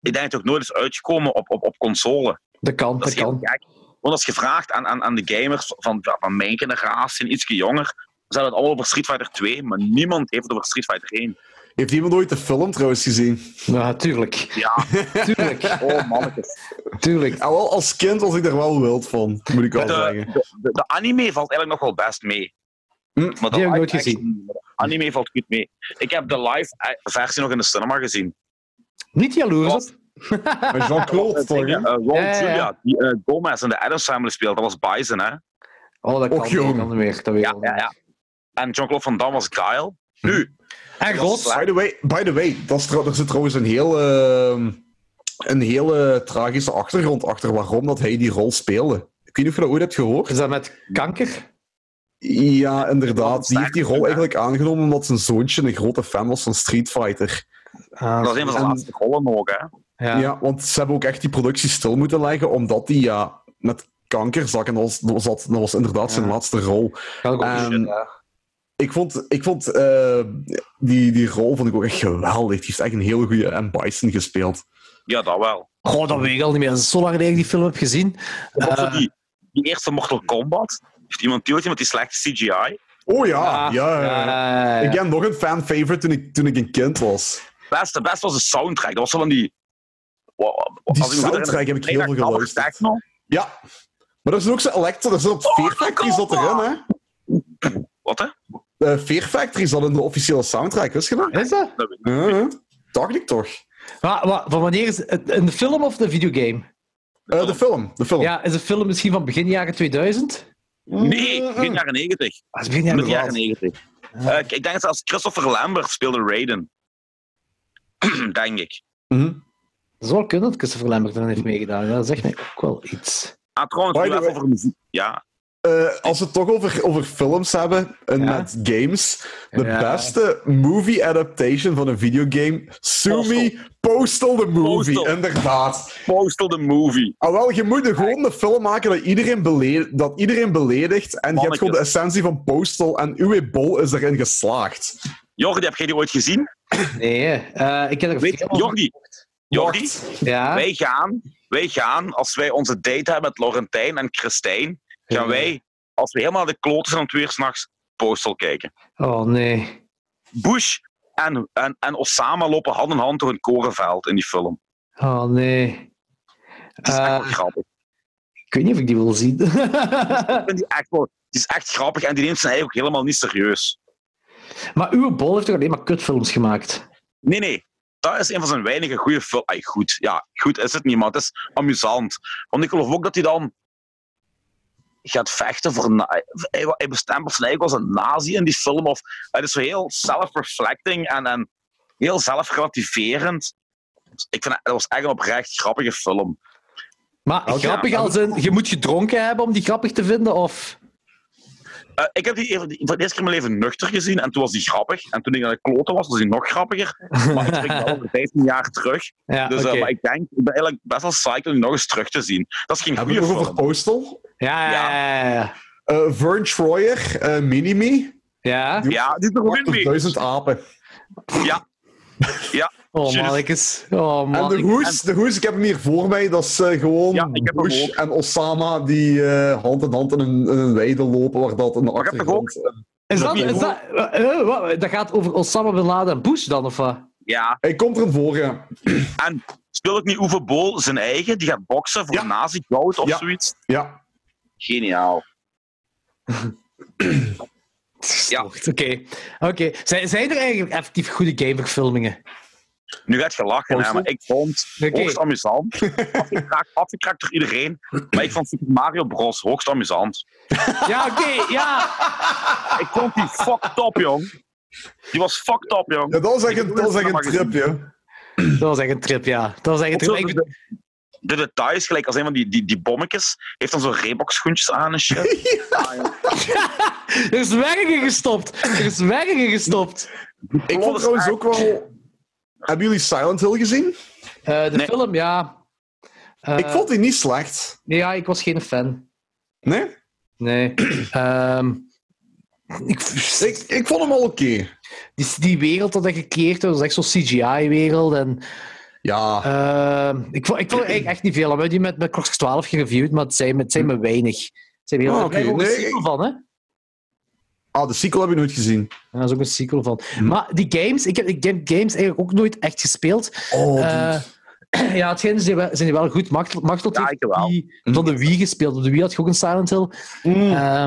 [SPEAKER 1] Ik denk dat het ook nooit is uitgekomen op, op, op console.
[SPEAKER 2] Dat kan,
[SPEAKER 1] Dat
[SPEAKER 2] dat
[SPEAKER 1] is heel
[SPEAKER 2] kan.
[SPEAKER 1] gek. Want als je vraagt aan, aan, aan de gamers van, ja, van mijn generatie en ietsje jonger, ze hebben het allemaal over Street Fighter 2, maar niemand heeft het over Street Fighter 1.
[SPEAKER 3] Heeft iemand ooit de film trouwens gezien?
[SPEAKER 2] Ja, tuurlijk.
[SPEAKER 1] Ja,
[SPEAKER 2] Tuurlijk.
[SPEAKER 1] oh mannetjes.
[SPEAKER 2] tuurlijk.
[SPEAKER 3] Ah, wel, als kind was ik daar wel wild van, moet ik wel
[SPEAKER 1] De,
[SPEAKER 3] zeggen.
[SPEAKER 1] de, de- de anime valt eigenlijk nog wel best mee.
[SPEAKER 3] Hm,
[SPEAKER 1] Maar de
[SPEAKER 2] die heb ik nooit
[SPEAKER 1] live action-
[SPEAKER 2] gezien.
[SPEAKER 1] de Anime valt goed mee. Ik heb de live eh, versie nog in de cinema gezien.
[SPEAKER 2] Niet jaloers op.
[SPEAKER 3] Maar Jean-Claude,
[SPEAKER 1] Het
[SPEAKER 3] toch?
[SPEAKER 1] ding,
[SPEAKER 3] hè?
[SPEAKER 1] eh, Raul
[SPEAKER 2] Ja, ja, ja.
[SPEAKER 1] Julia, die eh, Gomez in de Adams Family speelt, dat was Bison, hè?
[SPEAKER 2] Oh, dat kan,
[SPEAKER 3] Och, jong.
[SPEAKER 2] dat kan niet meer. Dat weet ik
[SPEAKER 1] Ja,
[SPEAKER 2] wel
[SPEAKER 1] ja, ja. En Jean-Claude Van Damme was Kyle. Nu,
[SPEAKER 2] En God.
[SPEAKER 3] By the way, by the way dat is trouw- er zit trouwens een heel, ehm, een heel eh, tragische achtergrond achter waarom dat hij die rol speelde. Ik weet niet of je dat ooit hebt gehoord.
[SPEAKER 2] Is dat met kanker?
[SPEAKER 3] Ja, inderdaad. Die heeft die rol
[SPEAKER 1] Ja.
[SPEAKER 3] eigenlijk aangenomen omdat zijn zoontje een grote fan was van Street Fighter.
[SPEAKER 2] Ah,
[SPEAKER 1] dat was een van zijn
[SPEAKER 3] en-
[SPEAKER 1] laatste rollen ook, hè?
[SPEAKER 2] ja.
[SPEAKER 3] Ja. want ze hebben ook echt die productie stil moeten leggen omdat hij ja, met kanker zat. En dat was, dat was, dat was inderdaad zijn
[SPEAKER 2] Ja.
[SPEAKER 3] laatste rol.
[SPEAKER 2] Kan ik ook
[SPEAKER 3] Ehm,
[SPEAKER 2] niet, ja.
[SPEAKER 3] Ik vond, ik vond eh, die, die rol vond ik ook echt geweldig. Die heeft echt een hele goede M. Bison gespeeld.
[SPEAKER 1] Ja, dat wel.
[SPEAKER 2] Goh, dat weet ik al niet meer. Dat is zo lang geleden dat ik die film heb gezien.
[SPEAKER 1] En ook zo
[SPEAKER 2] Eh.
[SPEAKER 1] die, die eerste Mortal Kombat. Heeft iemand die ooit met die slechte CGI?
[SPEAKER 3] Oh ja,
[SPEAKER 2] Ah,
[SPEAKER 3] ja. ja, ja.
[SPEAKER 2] ja, ja.
[SPEAKER 3] Ik heb nog een fan-favorite toen ik, toen ik een kind was.
[SPEAKER 1] Best, de best was de soundtrack. Dat was zo van die...
[SPEAKER 3] Die soundtrack heb ik heel veel geluisterd.
[SPEAKER 1] Techno.
[SPEAKER 3] Ja. Maar er is ook zo'n elektro... Er zat Fear Factory zat erin, hè.
[SPEAKER 1] Wat, hè?
[SPEAKER 3] Eh, Fear Factory zat in de officiële soundtrack, wist je dat?
[SPEAKER 2] Is dat?
[SPEAKER 1] Dat weet ik.
[SPEAKER 3] Ja, ja. Dacht ik toch.
[SPEAKER 2] Wa- wa- van wanneer is het? In de film of de videogame?
[SPEAKER 3] Eh, de film, de film.
[SPEAKER 2] Ja, is de film misschien van begin jaren 2000?
[SPEAKER 3] Mm.
[SPEAKER 1] Nee, begin jaren 90.
[SPEAKER 2] Ah, is begin
[SPEAKER 1] In
[SPEAKER 2] jaren
[SPEAKER 1] het jaren
[SPEAKER 2] 2000.
[SPEAKER 1] 90. Eh, ik ik denk dat als Christopher Lambert speelde Raiden. denk ik.
[SPEAKER 3] Mhm.
[SPEAKER 2] Dat zou wel kunnen dat Christopher Lambert dan heeft meegedaan. Ja, dat zegt mij ook wel iets.
[SPEAKER 1] Ah, trouwens,
[SPEAKER 3] By
[SPEAKER 1] nu
[SPEAKER 3] the
[SPEAKER 1] even
[SPEAKER 3] way-
[SPEAKER 1] over muziek. Ja.
[SPEAKER 3] Eh, als we het toch over, over films hebben en
[SPEAKER 2] Ja.
[SPEAKER 3] met games. De
[SPEAKER 2] Ja.
[SPEAKER 3] beste movie adaptation van een videogame. Sumi Postal the Movie,
[SPEAKER 1] Postal.
[SPEAKER 3] inderdaad.
[SPEAKER 1] Postal the Movie.
[SPEAKER 3] Ah, wel, je moet er gewoon een film maken dat iedereen, bele- dat iedereen beledigt. En je hebt
[SPEAKER 1] Mannetjes.
[SPEAKER 3] gewoon de essentie van Postal. En Uwe Bol is erin geslaagd.
[SPEAKER 1] Jordi, heb jij die ooit gezien?
[SPEAKER 2] Nee, eh, ik heb er
[SPEAKER 1] Weet,
[SPEAKER 2] veel over
[SPEAKER 1] Jordi, Jordi
[SPEAKER 3] Wacht.
[SPEAKER 2] Ja.
[SPEAKER 1] wij, gaan, wij gaan, als wij onze date hebben met Laurentijn en Christijn, gaan
[SPEAKER 2] Ja.
[SPEAKER 1] wij, als we helemaal de kloten zijn om twee uur s'nachts, Postal kijken.
[SPEAKER 2] Oh nee.
[SPEAKER 1] Bush en, en, en Osama lopen hand in hand door een korenveld in die film.
[SPEAKER 2] Oh nee.
[SPEAKER 1] Het is echt wel
[SPEAKER 2] Eh,
[SPEAKER 1] grappig.
[SPEAKER 2] ik weet niet of ik die wil zien.
[SPEAKER 1] Ik vind die echt wel- die is echt grappig en die neemt zijn eigen ook helemaal niet serieus.
[SPEAKER 2] maar uw bol heeft toch alleen maar kutfilms gemaakt?
[SPEAKER 1] Nee, nee. Dat is een van zijn weinige goede films. Ay, goed. Ja, goed is het niet, maar het is amusant. Want ik geloof ook dat hij dan gaat vechten voor... na- Hij, hij bestempelt zijn eigen als een nazi in die film. Of, het is zo heel self-reflecting en, en heel zelfrelativerend. Dus Ik vind, dat was echt een oprecht grappige film.
[SPEAKER 2] Maar
[SPEAKER 1] Oké,
[SPEAKER 2] grappig als in, je moet gedronken hebben om die grappig te vinden? Of...
[SPEAKER 1] Eh, ik heb die even, die- voor de eerste keer in mijn leven nuchter gezien en toen was die grappig. En toen ik aan de kloten was, was die nog grappiger. Maar ik denk wel over 15 jaar terug.
[SPEAKER 2] Ja,
[SPEAKER 1] Dus, eh,
[SPEAKER 2] oké.
[SPEAKER 1] maar ik denk, ik ben eigenlijk best wel psyched om die nog eens terug te zien. Dat is geen
[SPEAKER 3] Hebben we
[SPEAKER 1] goede
[SPEAKER 3] het nog over
[SPEAKER 1] film.
[SPEAKER 3] Postal?
[SPEAKER 2] ja, ja, ja, ja, ja.
[SPEAKER 3] Eh Vern Troyer, eh Minimi.
[SPEAKER 2] Ja?
[SPEAKER 1] Ja, die is er goed mee.
[SPEAKER 3] 80.000 apen.
[SPEAKER 2] Oh,
[SPEAKER 1] Shit.
[SPEAKER 2] mannetjes. Oh,
[SPEAKER 3] En de
[SPEAKER 2] man.
[SPEAKER 3] hoes, de hoes, ik heb hem hier voor mij. Dat is eh, gewoon
[SPEAKER 1] Ja, ik heb hem
[SPEAKER 3] Bush
[SPEAKER 1] ook.
[SPEAKER 3] en Osama die eh, hand in hand in een, in een weide lopen. Waar dat in de
[SPEAKER 1] Maar ik heb toch ook
[SPEAKER 3] achtergrond...
[SPEAKER 2] Is dat, is dat, eh, eh, wat? dat gaat over Osama Bin Laden en Bush dan, of wat?
[SPEAKER 1] Ja,
[SPEAKER 3] Hij komt erin voor, ja.
[SPEAKER 1] en speel ik niet Uwe Bol zijn eigen? Die gaat boksen voor
[SPEAKER 3] Ja.
[SPEAKER 1] nazi-goud of
[SPEAKER 3] Ja.
[SPEAKER 1] zoiets.
[SPEAKER 3] Ja.
[SPEAKER 1] Geniaal. Ja.
[SPEAKER 2] Oké. Oké. Zijn, zijn er eigenlijk effectief goede gamerfilmingen?
[SPEAKER 1] Nu gaat je lachen, hè, maar ik vond het
[SPEAKER 2] Oké.
[SPEAKER 1] hoogst amusant. Afgekraakt, afgekraakt door iedereen. Maar ik vond Super Mario Bros. hoogst amusant.
[SPEAKER 2] Ja, oké, ja.
[SPEAKER 3] Ah.
[SPEAKER 1] Ik vond die fucked up, jong. Die was fucked up, jong.
[SPEAKER 3] ja dat was echt een, dat was echt een
[SPEAKER 1] Magazine.
[SPEAKER 3] trip, ja.
[SPEAKER 2] Dat was echt een trip, ja. Dat was echt een
[SPEAKER 1] Ook zo
[SPEAKER 2] trip.
[SPEAKER 1] de,
[SPEAKER 2] Ik-
[SPEAKER 1] de details, gelijk als een van die, die, die bommetjes, heeft dan zo'n Reebok schoentjes aan en shit.
[SPEAKER 2] Er is werken gestopt. Er is werken gestopt.
[SPEAKER 3] Ik vond
[SPEAKER 1] vond het
[SPEAKER 3] trouwens ook wel... Hebben jullie Silent Hill gezien?
[SPEAKER 2] Eh, de
[SPEAKER 1] Nee.
[SPEAKER 2] film, ja. Eh,
[SPEAKER 3] ik vond die niet slecht.
[SPEAKER 2] nee, Ja, ik was geen fan.
[SPEAKER 3] Nee?
[SPEAKER 2] Nee. Ehm, ik,
[SPEAKER 3] Ik, ik vond hem wel oké.
[SPEAKER 2] die, die wereld dat hij gecreëerd had, was echt zo'n CGI-wereld. En,
[SPEAKER 3] Ja.
[SPEAKER 2] ehm, ik, vond- ik vond er eigenlijk echt niet veel. aan. We hebben die met, met Crocs 12 gereviewd, maar het zijn, me- het zijn me weinig. Het zijn me heel
[SPEAKER 3] Ah,
[SPEAKER 2] veel.
[SPEAKER 3] oké.
[SPEAKER 2] Er is ook
[SPEAKER 3] Nee,
[SPEAKER 2] een sequel
[SPEAKER 3] ik-
[SPEAKER 2] van, hè?
[SPEAKER 3] ah, de sequel heb ik nooit gezien.
[SPEAKER 2] Ja, er is ook een sequel van.
[SPEAKER 3] Hm.
[SPEAKER 2] Maar die games, ik heb die game- games eigenlijk ook nooit echt gespeeld.
[SPEAKER 3] Oh,
[SPEAKER 2] Eh, ja, het schijnt zijn die wel- zijn die wel goed. Machtel, Machtel
[SPEAKER 1] Ja,
[SPEAKER 2] heeft
[SPEAKER 1] ik wel.
[SPEAKER 2] die van de Wii gespeeld. Op de Wii had je ook een Silent Hill. Eh,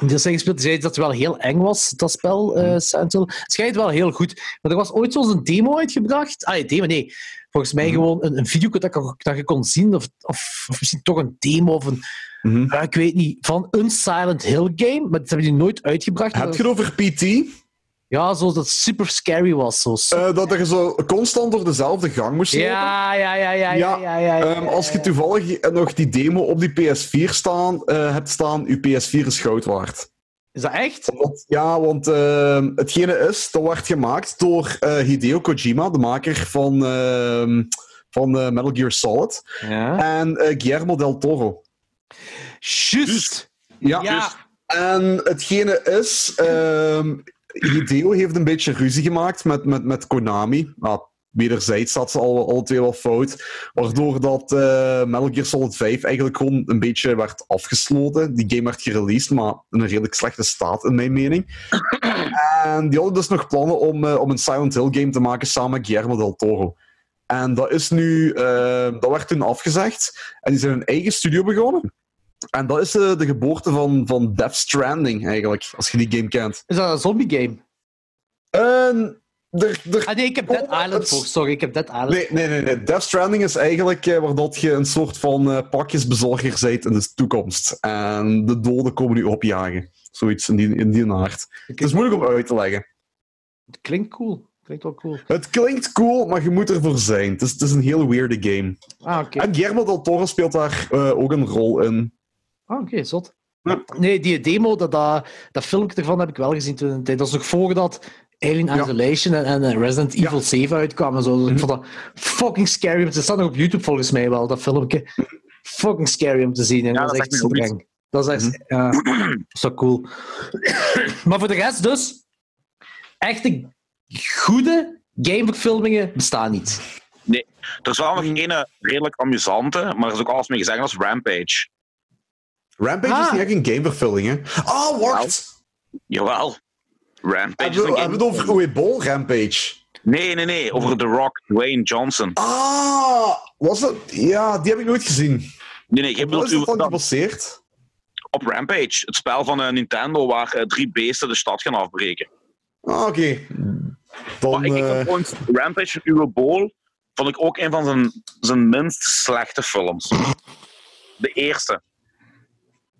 [SPEAKER 2] die had zij gespeeld. Die zei dat het wel heel eng was, dat spel, eh Silent Hill. Het schijnt wel heel goed. Maar er was ooit zo'n demo uitgebracht. Ah, nee, demo, nee. Volgens mij gewoon een, een video dat, ik- dat je kon zien. Of, of, of misschien toch een demo of een...
[SPEAKER 3] Mhm.
[SPEAKER 2] Ja, ik weet niet. Van een Silent Hill game. Maar dat hebben die nooit uitgebracht.
[SPEAKER 3] Heb je het over PT?
[SPEAKER 2] Ja, zoals dat super scary was. Zo.
[SPEAKER 3] Eh, dat je zo constant door dezelfde gang moest lopen?
[SPEAKER 2] ja, ja, ja, ja, ja,
[SPEAKER 3] Ja,
[SPEAKER 2] ja, ja, ja,
[SPEAKER 3] Ehm, als je toevallig nog die demo op die PS4 staan, eh, hebt staan, je PS4 is goud waard.
[SPEAKER 2] Is dat echt?
[SPEAKER 3] Want- ja, want ehm, hetgene is, dat werd gemaakt door eh, Hideo Kojima, de maker van, ehm, van eh, Metal Gear Solid,
[SPEAKER 2] Ja.
[SPEAKER 3] en eh, Guillermo del Toro.
[SPEAKER 2] Juist.
[SPEAKER 3] Ja,
[SPEAKER 2] Ja.
[SPEAKER 3] en hetgene is, ehm Hideo heeft een beetje ruzie gemaakt met, met, met Konami. Nou, wederzijds zat ze al, alle twee wel fout. Waardoor dat eh, Metal Gear Solid 5 eigenlijk gewoon een beetje werd afgesloten. Die game werd gereleased, maar in een redelijk slechte staat, in mijn mening. en die hadden dus nog plannen om, eh, om een Silent Hill game te maken samen met Guillermo del Toro. En dat is nu, eh, dat werd toen afgezegd. En die zijn hun eigen studio begonnen. En dat is eh, de geboorte van, van Death Stranding, eigenlijk, als je die game kent.
[SPEAKER 2] Is dat een zombie game?
[SPEAKER 3] En er, er...
[SPEAKER 2] Ah nee, ik heb Dead
[SPEAKER 3] Oh,
[SPEAKER 2] Island
[SPEAKER 3] het-
[SPEAKER 2] voor. Sorry, ik heb Dead Island.
[SPEAKER 3] Nee, nee, nee, nee. Death Stranding is eigenlijk eh, waar dat je een soort van eh, pakjesbezorger bent in de toekomst. En de doden komen u opjagen. Zoiets in die, in die aard. Het is moeilijk om uit te leggen.
[SPEAKER 2] Het klinkt cool. Klinkt wel cool.
[SPEAKER 3] Het klinkt cool, maar je moet ervoor zijn. Het is, het is een heel weirde game.
[SPEAKER 2] Ah, oké.
[SPEAKER 3] En Guillermo del Toro speelt daar eh, ook een rol in.
[SPEAKER 2] Ah, oké, zot.
[SPEAKER 3] Ja.
[SPEAKER 2] Nee, die demo, dat, dat, dat filmpje ervan heb ik wel gezien toen in de tijd. Dat was nog voordat Alien
[SPEAKER 3] Ja.
[SPEAKER 2] Isolation en, en eh, Resident Evil 7 uitkwamen. en Zo. Dus ik vond dat fucking scary. om te- Het staat nog op YouTube volgens mij wel, dat filmpje. Fucking scary om te zien. En
[SPEAKER 1] Ja,
[SPEAKER 2] dat is
[SPEAKER 1] dat
[SPEAKER 2] echt
[SPEAKER 1] zegt me ook
[SPEAKER 2] super eng. Dat is echt... ja, dat is wel cool. maar voor de rest dus, echte goede gameverfilmingen bestaan niet.
[SPEAKER 1] Er is wel
[SPEAKER 3] Hmm.
[SPEAKER 1] nog ene redelijk amusante, maar er is ook alles mee gezegd, dat is Rampage.
[SPEAKER 3] Rampage
[SPEAKER 2] Ah.
[SPEAKER 3] is niet echt een gamevervulling, hè? Ah, wacht!
[SPEAKER 1] Jawel. Rampage is
[SPEAKER 3] hebben
[SPEAKER 1] een
[SPEAKER 3] we
[SPEAKER 1] game.
[SPEAKER 3] hebben we het over Uebol Rampage?
[SPEAKER 1] Nee, nee, nee. Over The Rock, Dwayne Johnson.
[SPEAKER 3] Ah, was dat? Ja, die heb ik nooit gezien.
[SPEAKER 1] Nee, nee. Je
[SPEAKER 3] Wat
[SPEAKER 1] bedoelt
[SPEAKER 3] is dat dan
[SPEAKER 1] dat-
[SPEAKER 3] gebaseerd?
[SPEAKER 1] op Rampage. Het spel van eh, Nintendo waar eh, drie beesten de stad gaan afbreken.
[SPEAKER 3] Ah, oké. Dan,
[SPEAKER 1] Maar ik, ik vond
[SPEAKER 3] eh,
[SPEAKER 1] trouwens Rampage van Uwe Boll vond ik ook een van zijn, zijn minst slechte films. De eerste.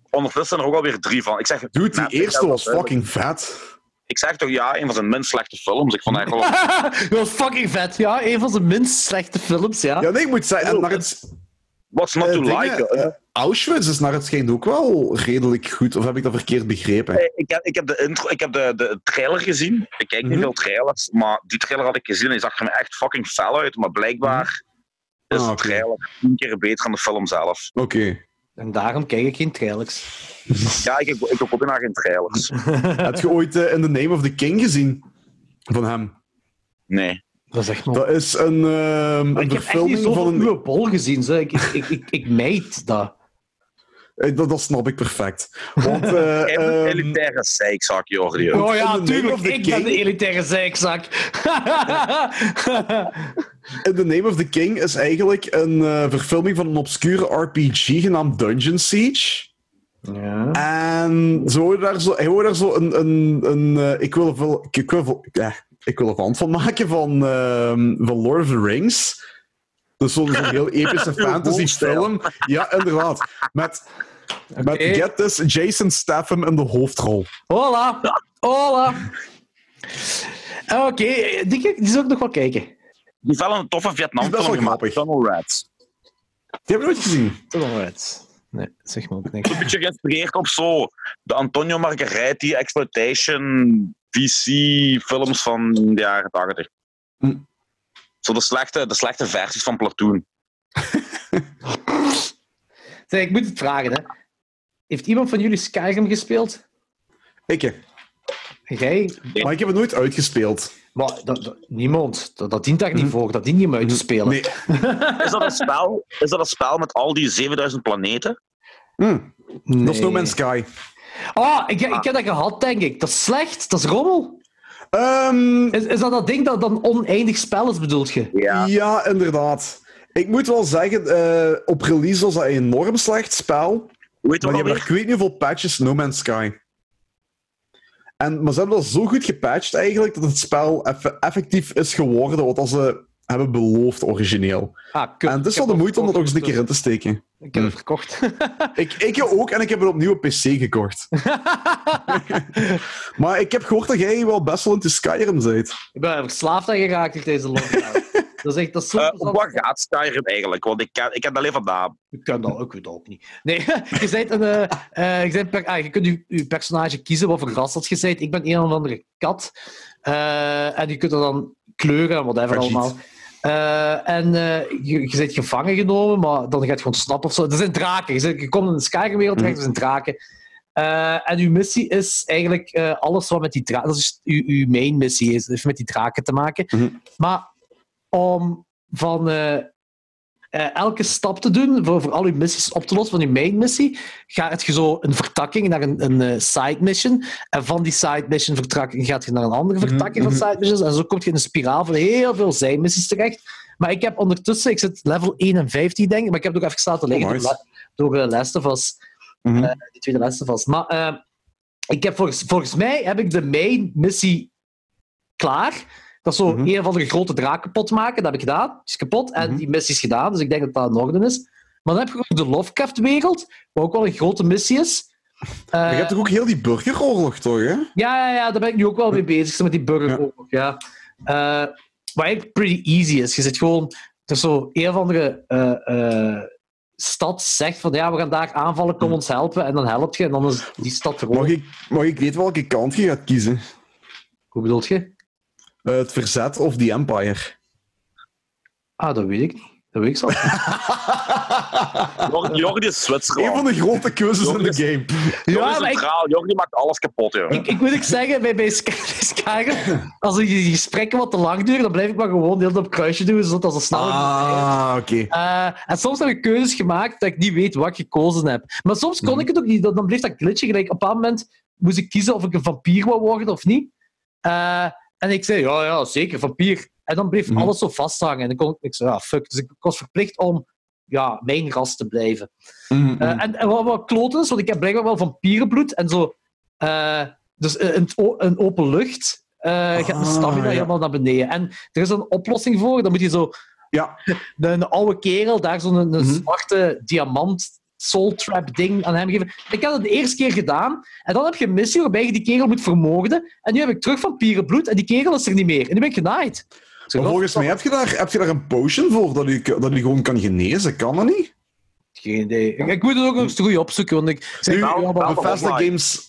[SPEAKER 1] Ondertussen zijn er ook alweer drie van. Ik zeg,
[SPEAKER 3] dude, die
[SPEAKER 1] Net, ik
[SPEAKER 3] eerste
[SPEAKER 1] heb
[SPEAKER 3] was
[SPEAKER 1] dat wel.
[SPEAKER 3] fucking vet.
[SPEAKER 1] ik zeg toch ja, een van zijn minst slechte films. Ik vond het eigenlijk wel...
[SPEAKER 2] dat was fucking vet. Ja, een van de minst slechte films, ja.
[SPEAKER 3] Ja, nee, ik moet zeggen, en naar het,
[SPEAKER 1] What's not
[SPEAKER 3] eh,
[SPEAKER 1] to
[SPEAKER 3] dingen,
[SPEAKER 1] like?
[SPEAKER 3] eh, Auschwitz is naar het schijnt ook wel redelijk goed, of heb ik dat verkeerd begrepen?
[SPEAKER 1] Eh, Ik heb, ik heb, de, intro, ik heb de, de trailer gezien. Ik kijk niet
[SPEAKER 3] Mhm.
[SPEAKER 1] veel trailers, maar die trailer had ik gezien en die zag er me echt fucking fel uit. Maar blijkbaar is
[SPEAKER 3] Ah,
[SPEAKER 1] de
[SPEAKER 3] oké.
[SPEAKER 1] trailer tien keer beter dan de film zelf.
[SPEAKER 3] Oké.
[SPEAKER 2] En daarom kijk ik geen trailers.
[SPEAKER 1] Ja, ik, ik, ik hoop naar geen trailers.
[SPEAKER 3] Mhm. Heb je ooit eh, In the Name of the King gezien? Van hem.
[SPEAKER 1] Nee.
[SPEAKER 2] Dat is echt nog...
[SPEAKER 3] Dat is een, ehm, een
[SPEAKER 2] ik heb echt niet
[SPEAKER 3] verfilming
[SPEAKER 2] zoveel
[SPEAKER 3] van een...
[SPEAKER 2] uwe bol gezien. Zo. Ik, ik, ik, ik, ik meid dat.
[SPEAKER 3] Eh, Dat, dat snap ik perfect. Want, eh,
[SPEAKER 1] Jij bent een
[SPEAKER 3] ehm,
[SPEAKER 1] elitaire zeikzak, Jordi.
[SPEAKER 3] Ja.
[SPEAKER 2] Oh ja,
[SPEAKER 3] In the name
[SPEAKER 2] tuurlijk.
[SPEAKER 3] of the
[SPEAKER 2] Ik ben
[SPEAKER 3] king?
[SPEAKER 2] de elitaire zeikzak.
[SPEAKER 3] In the Name of the King is eigenlijk een eh, verfilming van een obscure RPG genaamd Dungeon Siege.
[SPEAKER 2] ja.
[SPEAKER 3] En ze hoorden daar zo, hij hoorde daar zo een, een, een eh, equival- equival- eh, equivalent van maken van, ehm, van Lord of the Rings. Dus zo'n zo'n heel epische fantasy film. Ja, inderdaad. Met, met
[SPEAKER 2] Oké.
[SPEAKER 3] get this, Jason Statham in de hoofdrol.
[SPEAKER 2] Hola. Hola. Oké, die, die zal ik nog wel kijken.
[SPEAKER 1] Die is wel een toffe Vietnam
[SPEAKER 3] Is best
[SPEAKER 1] film
[SPEAKER 3] wel
[SPEAKER 1] gemaakt.
[SPEAKER 3] grappig.
[SPEAKER 1] Tunnel Rats.
[SPEAKER 3] Die heb ik nooit gezien.
[SPEAKER 2] Alright. Nee, zeg maar ook niks.
[SPEAKER 1] Een beetje geïnspireerd op zo de Antonio Margaretti exploitation VC films van de jaren 80.
[SPEAKER 3] Hm.
[SPEAKER 1] Zo de slechte, de slechte versies van Platoon.
[SPEAKER 2] Zeg, ik moet het vragen, hè. Heeft iemand van jullie Skyrim gespeeld?
[SPEAKER 3] Ik, eh,
[SPEAKER 2] Jij?
[SPEAKER 3] maar ik heb het nooit uitgespeeld.
[SPEAKER 2] Maar, dat, dat- niemand. Dat, dat dient daar niet voor. Dat dient niet om uit te spelen.
[SPEAKER 3] Nee.
[SPEAKER 1] Is dat een spel, is dat een spel met al die 7000 planeten?
[SPEAKER 3] Hm, Dat is
[SPEAKER 2] Nee.
[SPEAKER 3] No Man's Sky.
[SPEAKER 2] Ah, ik, ik heb dat gehad, denk ik. Dat is slecht. Dat is rommel.
[SPEAKER 3] Ehm,
[SPEAKER 2] Is, is dat dat ding dat dan oneindig spel is, bedoelt je?
[SPEAKER 1] Ja.
[SPEAKER 3] Ja, inderdaad. Ik moet wel zeggen, eh, op release was dat een enorm slecht spel.
[SPEAKER 1] Hoe heet dat
[SPEAKER 3] Maar die hebben
[SPEAKER 1] alweer?
[SPEAKER 3] er, ik weet niet hoeveel patches No Man's Sky. En, maar ze hebben dat zo goed gepatcht eigenlijk, dat het spel eff- effectief is geworden wat als ze hebben beloofd origineel.
[SPEAKER 2] Ah, kut.
[SPEAKER 3] En het is
[SPEAKER 2] Ik
[SPEAKER 3] wel de
[SPEAKER 2] heb
[SPEAKER 3] moeite om dat ook eens een keer
[SPEAKER 2] verkocht.
[SPEAKER 3] in te steken.
[SPEAKER 2] Ik heb het verkocht.
[SPEAKER 3] Ik, ik ook, en ik heb het opnieuw op PC gekocht. Maar ik heb gehoord dat jij wel best wel into Skyrim bent.
[SPEAKER 2] ik ben verslaafd aan geraakt door deze lockdown. dat is echt... Dat is zo
[SPEAKER 1] Eh, op
[SPEAKER 2] plezant.
[SPEAKER 1] wat gaat Skyrim eigenlijk? Want ik ken, ik ken dat alleen vandaan.
[SPEAKER 2] Ik kan dat ook, ik weet dat ook niet. Nee, je, bent een, eh, eh, je, bent per- ah, je kunt je, je personage kiezen wat voor ras dat je bent. Ik ben een of andere kat. Eh, en je kunt er dan kleuren en whatever
[SPEAKER 3] Vagit.
[SPEAKER 2] allemaal. Eh, en eh, je, je bent gevangen genomen, maar dan gaat je ontsnappen of zo. Er zijn draken. Je, zit- je komt in een Skyrim-wereld terecht, er zijn dus draken. Eh, en uw missie is eigenlijk eh, alles wat met die draken... Dat is uw, uw main missie, is, heeft met die draken te maken.
[SPEAKER 3] Mhm.
[SPEAKER 2] Maar om van... eh, eh, elke stap te doen, voor, voor al uw missies op te lossen, van uw main missie, gaat je zo een vertakking naar een, een eh, side mission. En van die side mission vertakking gaat je naar een andere
[SPEAKER 3] Mhm,
[SPEAKER 2] vertakking van side missions. En zo kom je in een spiraal van heel veel zijmissies terecht. Maar ik heb ondertussen, ik zit level 51 denk ik, maar ik heb het ook even laten liggen
[SPEAKER 3] Oh, nice.
[SPEAKER 2] door, door eh, Last of Us.
[SPEAKER 3] Mhm.
[SPEAKER 2] Eh, die tweede Last of Us. Maar eh, ik heb volgens, volgens mij heb ik de main missie klaar. Dat is zo
[SPEAKER 3] Mhm.
[SPEAKER 2] een van de grote draak kapot maken. Dat heb ik gedaan. Die is kapot en
[SPEAKER 3] Mhm.
[SPEAKER 2] die missie is gedaan. Dus ik denk dat dat in orde is. Maar dan heb je ook de Lovecraft-wereld, wat ook wel een grote missie is. Eh,
[SPEAKER 3] Maar je hebt toch ook heel die burgeroorlog, toch? Hè?
[SPEAKER 2] ja, ja, ja, daar ben ik nu ook wel mee bezig, zo met die burgeroorlog. Ja. Eh, wat eigenlijk pretty easy is. Je zit gewoon, er is zo een of andere eh, eh, stad zegt van ja, we gaan daar aanvallen, kom ons helpen. En dan helpt je en dan is die stad
[SPEAKER 3] Mhm. Mag
[SPEAKER 2] verwoord.
[SPEAKER 3] ik, mag ik weten welke kant je gaat kiezen?
[SPEAKER 2] Hoe bedoel je?
[SPEAKER 3] Eh, het verzet of The Empire?
[SPEAKER 2] Ah, dat weet ik niet. Dat weet ik zo.
[SPEAKER 1] Jordi, Jordi is
[SPEAKER 3] Een van
[SPEAKER 1] Zwitserland.
[SPEAKER 3] de grote keuzes in de game.
[SPEAKER 1] Jordi is
[SPEAKER 2] maar ik-
[SPEAKER 1] centraal. Jordi maakt alles kapot, joh.
[SPEAKER 2] Ik, ik moet ook zeggen, bij, bij Sky- bij Skyrim, als die- die gesprekken wat te lang duren, dan blijf ik maar gewoon de hele tijd op kruisje doen, zodat dat zo snel...
[SPEAKER 3] Ah, oké.
[SPEAKER 2] Eh, en soms heb ik keuzes gemaakt dat ik niet weet wat ik gekozen heb. Maar soms
[SPEAKER 3] Mhm.
[SPEAKER 2] kon ik het ook niet, dan dan bleef dat glitchen. Gelijk, op een bepaald moment moest ik kiezen of ik een vampier wou worden of niet. Eh, en ik zei, ja, ja, zeker, vampier. En dan bleef
[SPEAKER 3] Mhm.
[SPEAKER 2] alles zo vasthangen. En dan kon ik niks, ja, fuck. Dus ik was verplicht om ja, mijn ras te blijven.
[SPEAKER 3] Mm,
[SPEAKER 2] Eh, en, en wat, wat kloten is, want ik heb blijkbaar wel vampierenbloed en zo. eh, dus een, een open lucht eh, gaat de
[SPEAKER 3] Ah,
[SPEAKER 2] stamina
[SPEAKER 3] ja.
[SPEAKER 2] helemaal naar beneden. En er is een oplossing voor. Dan moet je zo
[SPEAKER 3] Ja.
[SPEAKER 2] een, een oude kerel daar zo'n een,
[SPEAKER 3] Mhm.
[SPEAKER 2] zwarte diamant soul trap ding aan hem geven. Ik had het de eerste keer gedaan. En dan heb je een missie waarbij je die kerel moet vermoorden. En nu heb ik terug vampierenbloed en die kerel is er niet meer. En nu ben ik genaaid. Ik zeg,
[SPEAKER 3] Maar volgens
[SPEAKER 2] wat-
[SPEAKER 3] mij heb je, daar, heb je daar een potion voor dat je, dat je gewoon kan genezen. Kan dat niet?
[SPEAKER 2] Geen idee. Ik, ik moet het ook nog eens goed opzoeken, want ik...
[SPEAKER 3] Nu,
[SPEAKER 2] Ja, maar-
[SPEAKER 3] Bethesda
[SPEAKER 1] online.
[SPEAKER 3] Games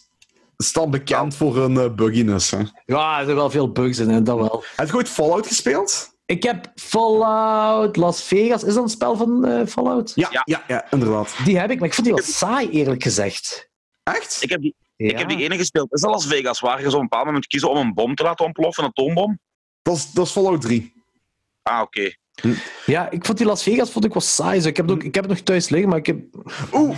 [SPEAKER 3] staat bekend voor hun eh, bugginess. Hè.
[SPEAKER 2] Ja, er zijn wel veel bugs in, hè, dat wel.
[SPEAKER 3] Heb je ooit Fallout gespeeld?
[SPEAKER 2] Ik heb Fallout Las Vegas. Is dat een spel van eh, Fallout?
[SPEAKER 3] Ja,
[SPEAKER 1] Ja.
[SPEAKER 3] ja. ja, inderdaad.
[SPEAKER 2] Die heb ik, maar ik vond die wel saai, eerlijk gezegd.
[SPEAKER 3] Echt?
[SPEAKER 1] Ik heb, die,
[SPEAKER 2] Ja.
[SPEAKER 1] ik heb die ene gespeeld. Is dat Las Vegas, waar je zo op een bepaald moment kiezen om een bom te laten ontploffen, een atoombom?
[SPEAKER 3] Dat, is, dat is Fallout 3.
[SPEAKER 1] Ah, oké.
[SPEAKER 2] ja, ik vond die Las Vegas vond ik wel saai. Zo. Ik, heb het ook, ik heb het nog thuis liggen, maar ik heb...
[SPEAKER 3] Oeh,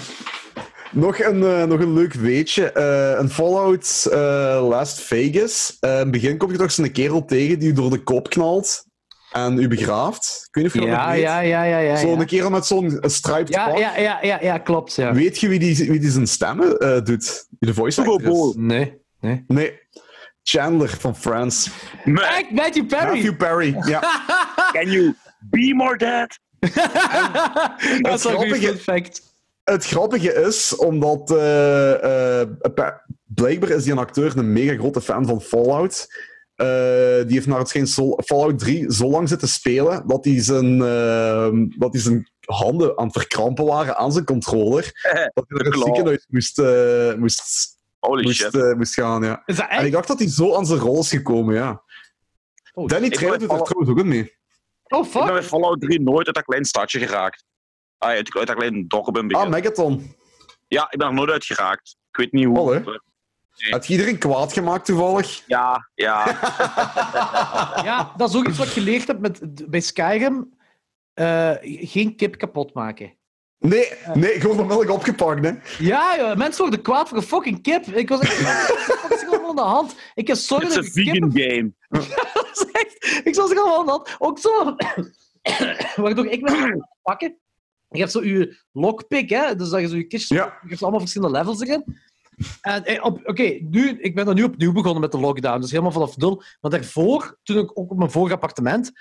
[SPEAKER 3] Nog een, eh, nog een leuk weetje. Eh, een Fallout eh, Last Vegas. Eh, in het begin kom je toch zo'n kerel tegen die u door de kop knalt en u begraaft. Ik weet niet of je dat nog
[SPEAKER 2] Ja,
[SPEAKER 3] weet.
[SPEAKER 2] ja, ja, ja. ja,
[SPEAKER 3] Zo'n
[SPEAKER 2] ja.
[SPEAKER 3] kerel met zo'n eh, striped
[SPEAKER 2] Ja,
[SPEAKER 3] pak.
[SPEAKER 2] ja, ja, ja, ja, klopt. Ja.
[SPEAKER 3] Weet je wie die, wie die zijn stemmen eh, doet? Die de voice actor is?
[SPEAKER 2] Nee. nee.
[SPEAKER 3] Nee. Chandler van Friends. Eh,
[SPEAKER 1] Man,
[SPEAKER 2] Echt, Matthew Perry!
[SPEAKER 3] Matthew Perry. Ja.
[SPEAKER 1] can you be more dead?
[SPEAKER 2] dat is wel een
[SPEAKER 3] grappige-
[SPEAKER 2] goed fact.
[SPEAKER 3] Het grappige is, omdat eh, eh, pa- blijkbaar is die een acteur een mega grote fan van Fallout. Eh, die heeft naar het schijn zo- Fallout 3 zo lang zitten spelen dat hij zijn, eh, dat hij zijn handen aan het verkrampen waren aan zijn controller. Dat hij naar het
[SPEAKER 1] Klopt.
[SPEAKER 3] ziekenhuis moest, eh, moest,
[SPEAKER 1] Holy
[SPEAKER 3] moest,
[SPEAKER 1] shit.
[SPEAKER 3] eh, moest gaan. Ja.
[SPEAKER 2] Is dat echt?
[SPEAKER 3] En ik dacht dat hij zo aan zijn rol is gekomen, ja. Danny
[SPEAKER 1] Ik
[SPEAKER 3] Trejo
[SPEAKER 1] ben
[SPEAKER 3] doet er
[SPEAKER 1] Fallout-
[SPEAKER 3] trouwens ook een mee.
[SPEAKER 2] Oh,
[SPEAKER 1] Ik ben
[SPEAKER 2] fuck.
[SPEAKER 1] bij Fallout 3 nooit uit dat klein stadje geraakt. Ah, uit, uit dat klein dorp in het
[SPEAKER 3] Ah,
[SPEAKER 1] begin.
[SPEAKER 3] Megaton.
[SPEAKER 1] ja, ik ben er nooit uit geraakt. Ik weet niet hoe.
[SPEAKER 3] Alle. Had je iedereen kwaad gemaakt toevallig?
[SPEAKER 1] Ja, ja.
[SPEAKER 2] Ja, dat is ook iets wat ik geleerd heb met, bij Skyrim. Eh, geen kip kapot maken.
[SPEAKER 3] Nee, nee, gewoon onmiddellijk opgepakt, hè.
[SPEAKER 2] Ja, joh, mensen worden kwaad voor een fucking kip. Ik was echt. Wat is er allemaal aan de hand? Ik heb zorgen
[SPEAKER 1] Het is
[SPEAKER 2] Oh, dat
[SPEAKER 1] een
[SPEAKER 2] ik kippen
[SPEAKER 1] vegan game.
[SPEAKER 2] Dat is echt- Ik zat er allemaal aan de hand. Ook zo. Waardoor ik me aan het pakken. Je hebt zo je lockpick, hè? Dus dat je zo je kistjes.
[SPEAKER 3] Ja.
[SPEAKER 2] Je hebt allemaal verschillende levels erin. En eh, op- oké, nu, ik ben dan nu opnieuw begonnen met de lockdown. Dus helemaal vanaf nul. Maar daarvoor, toen ik ook op mijn vorige appartement.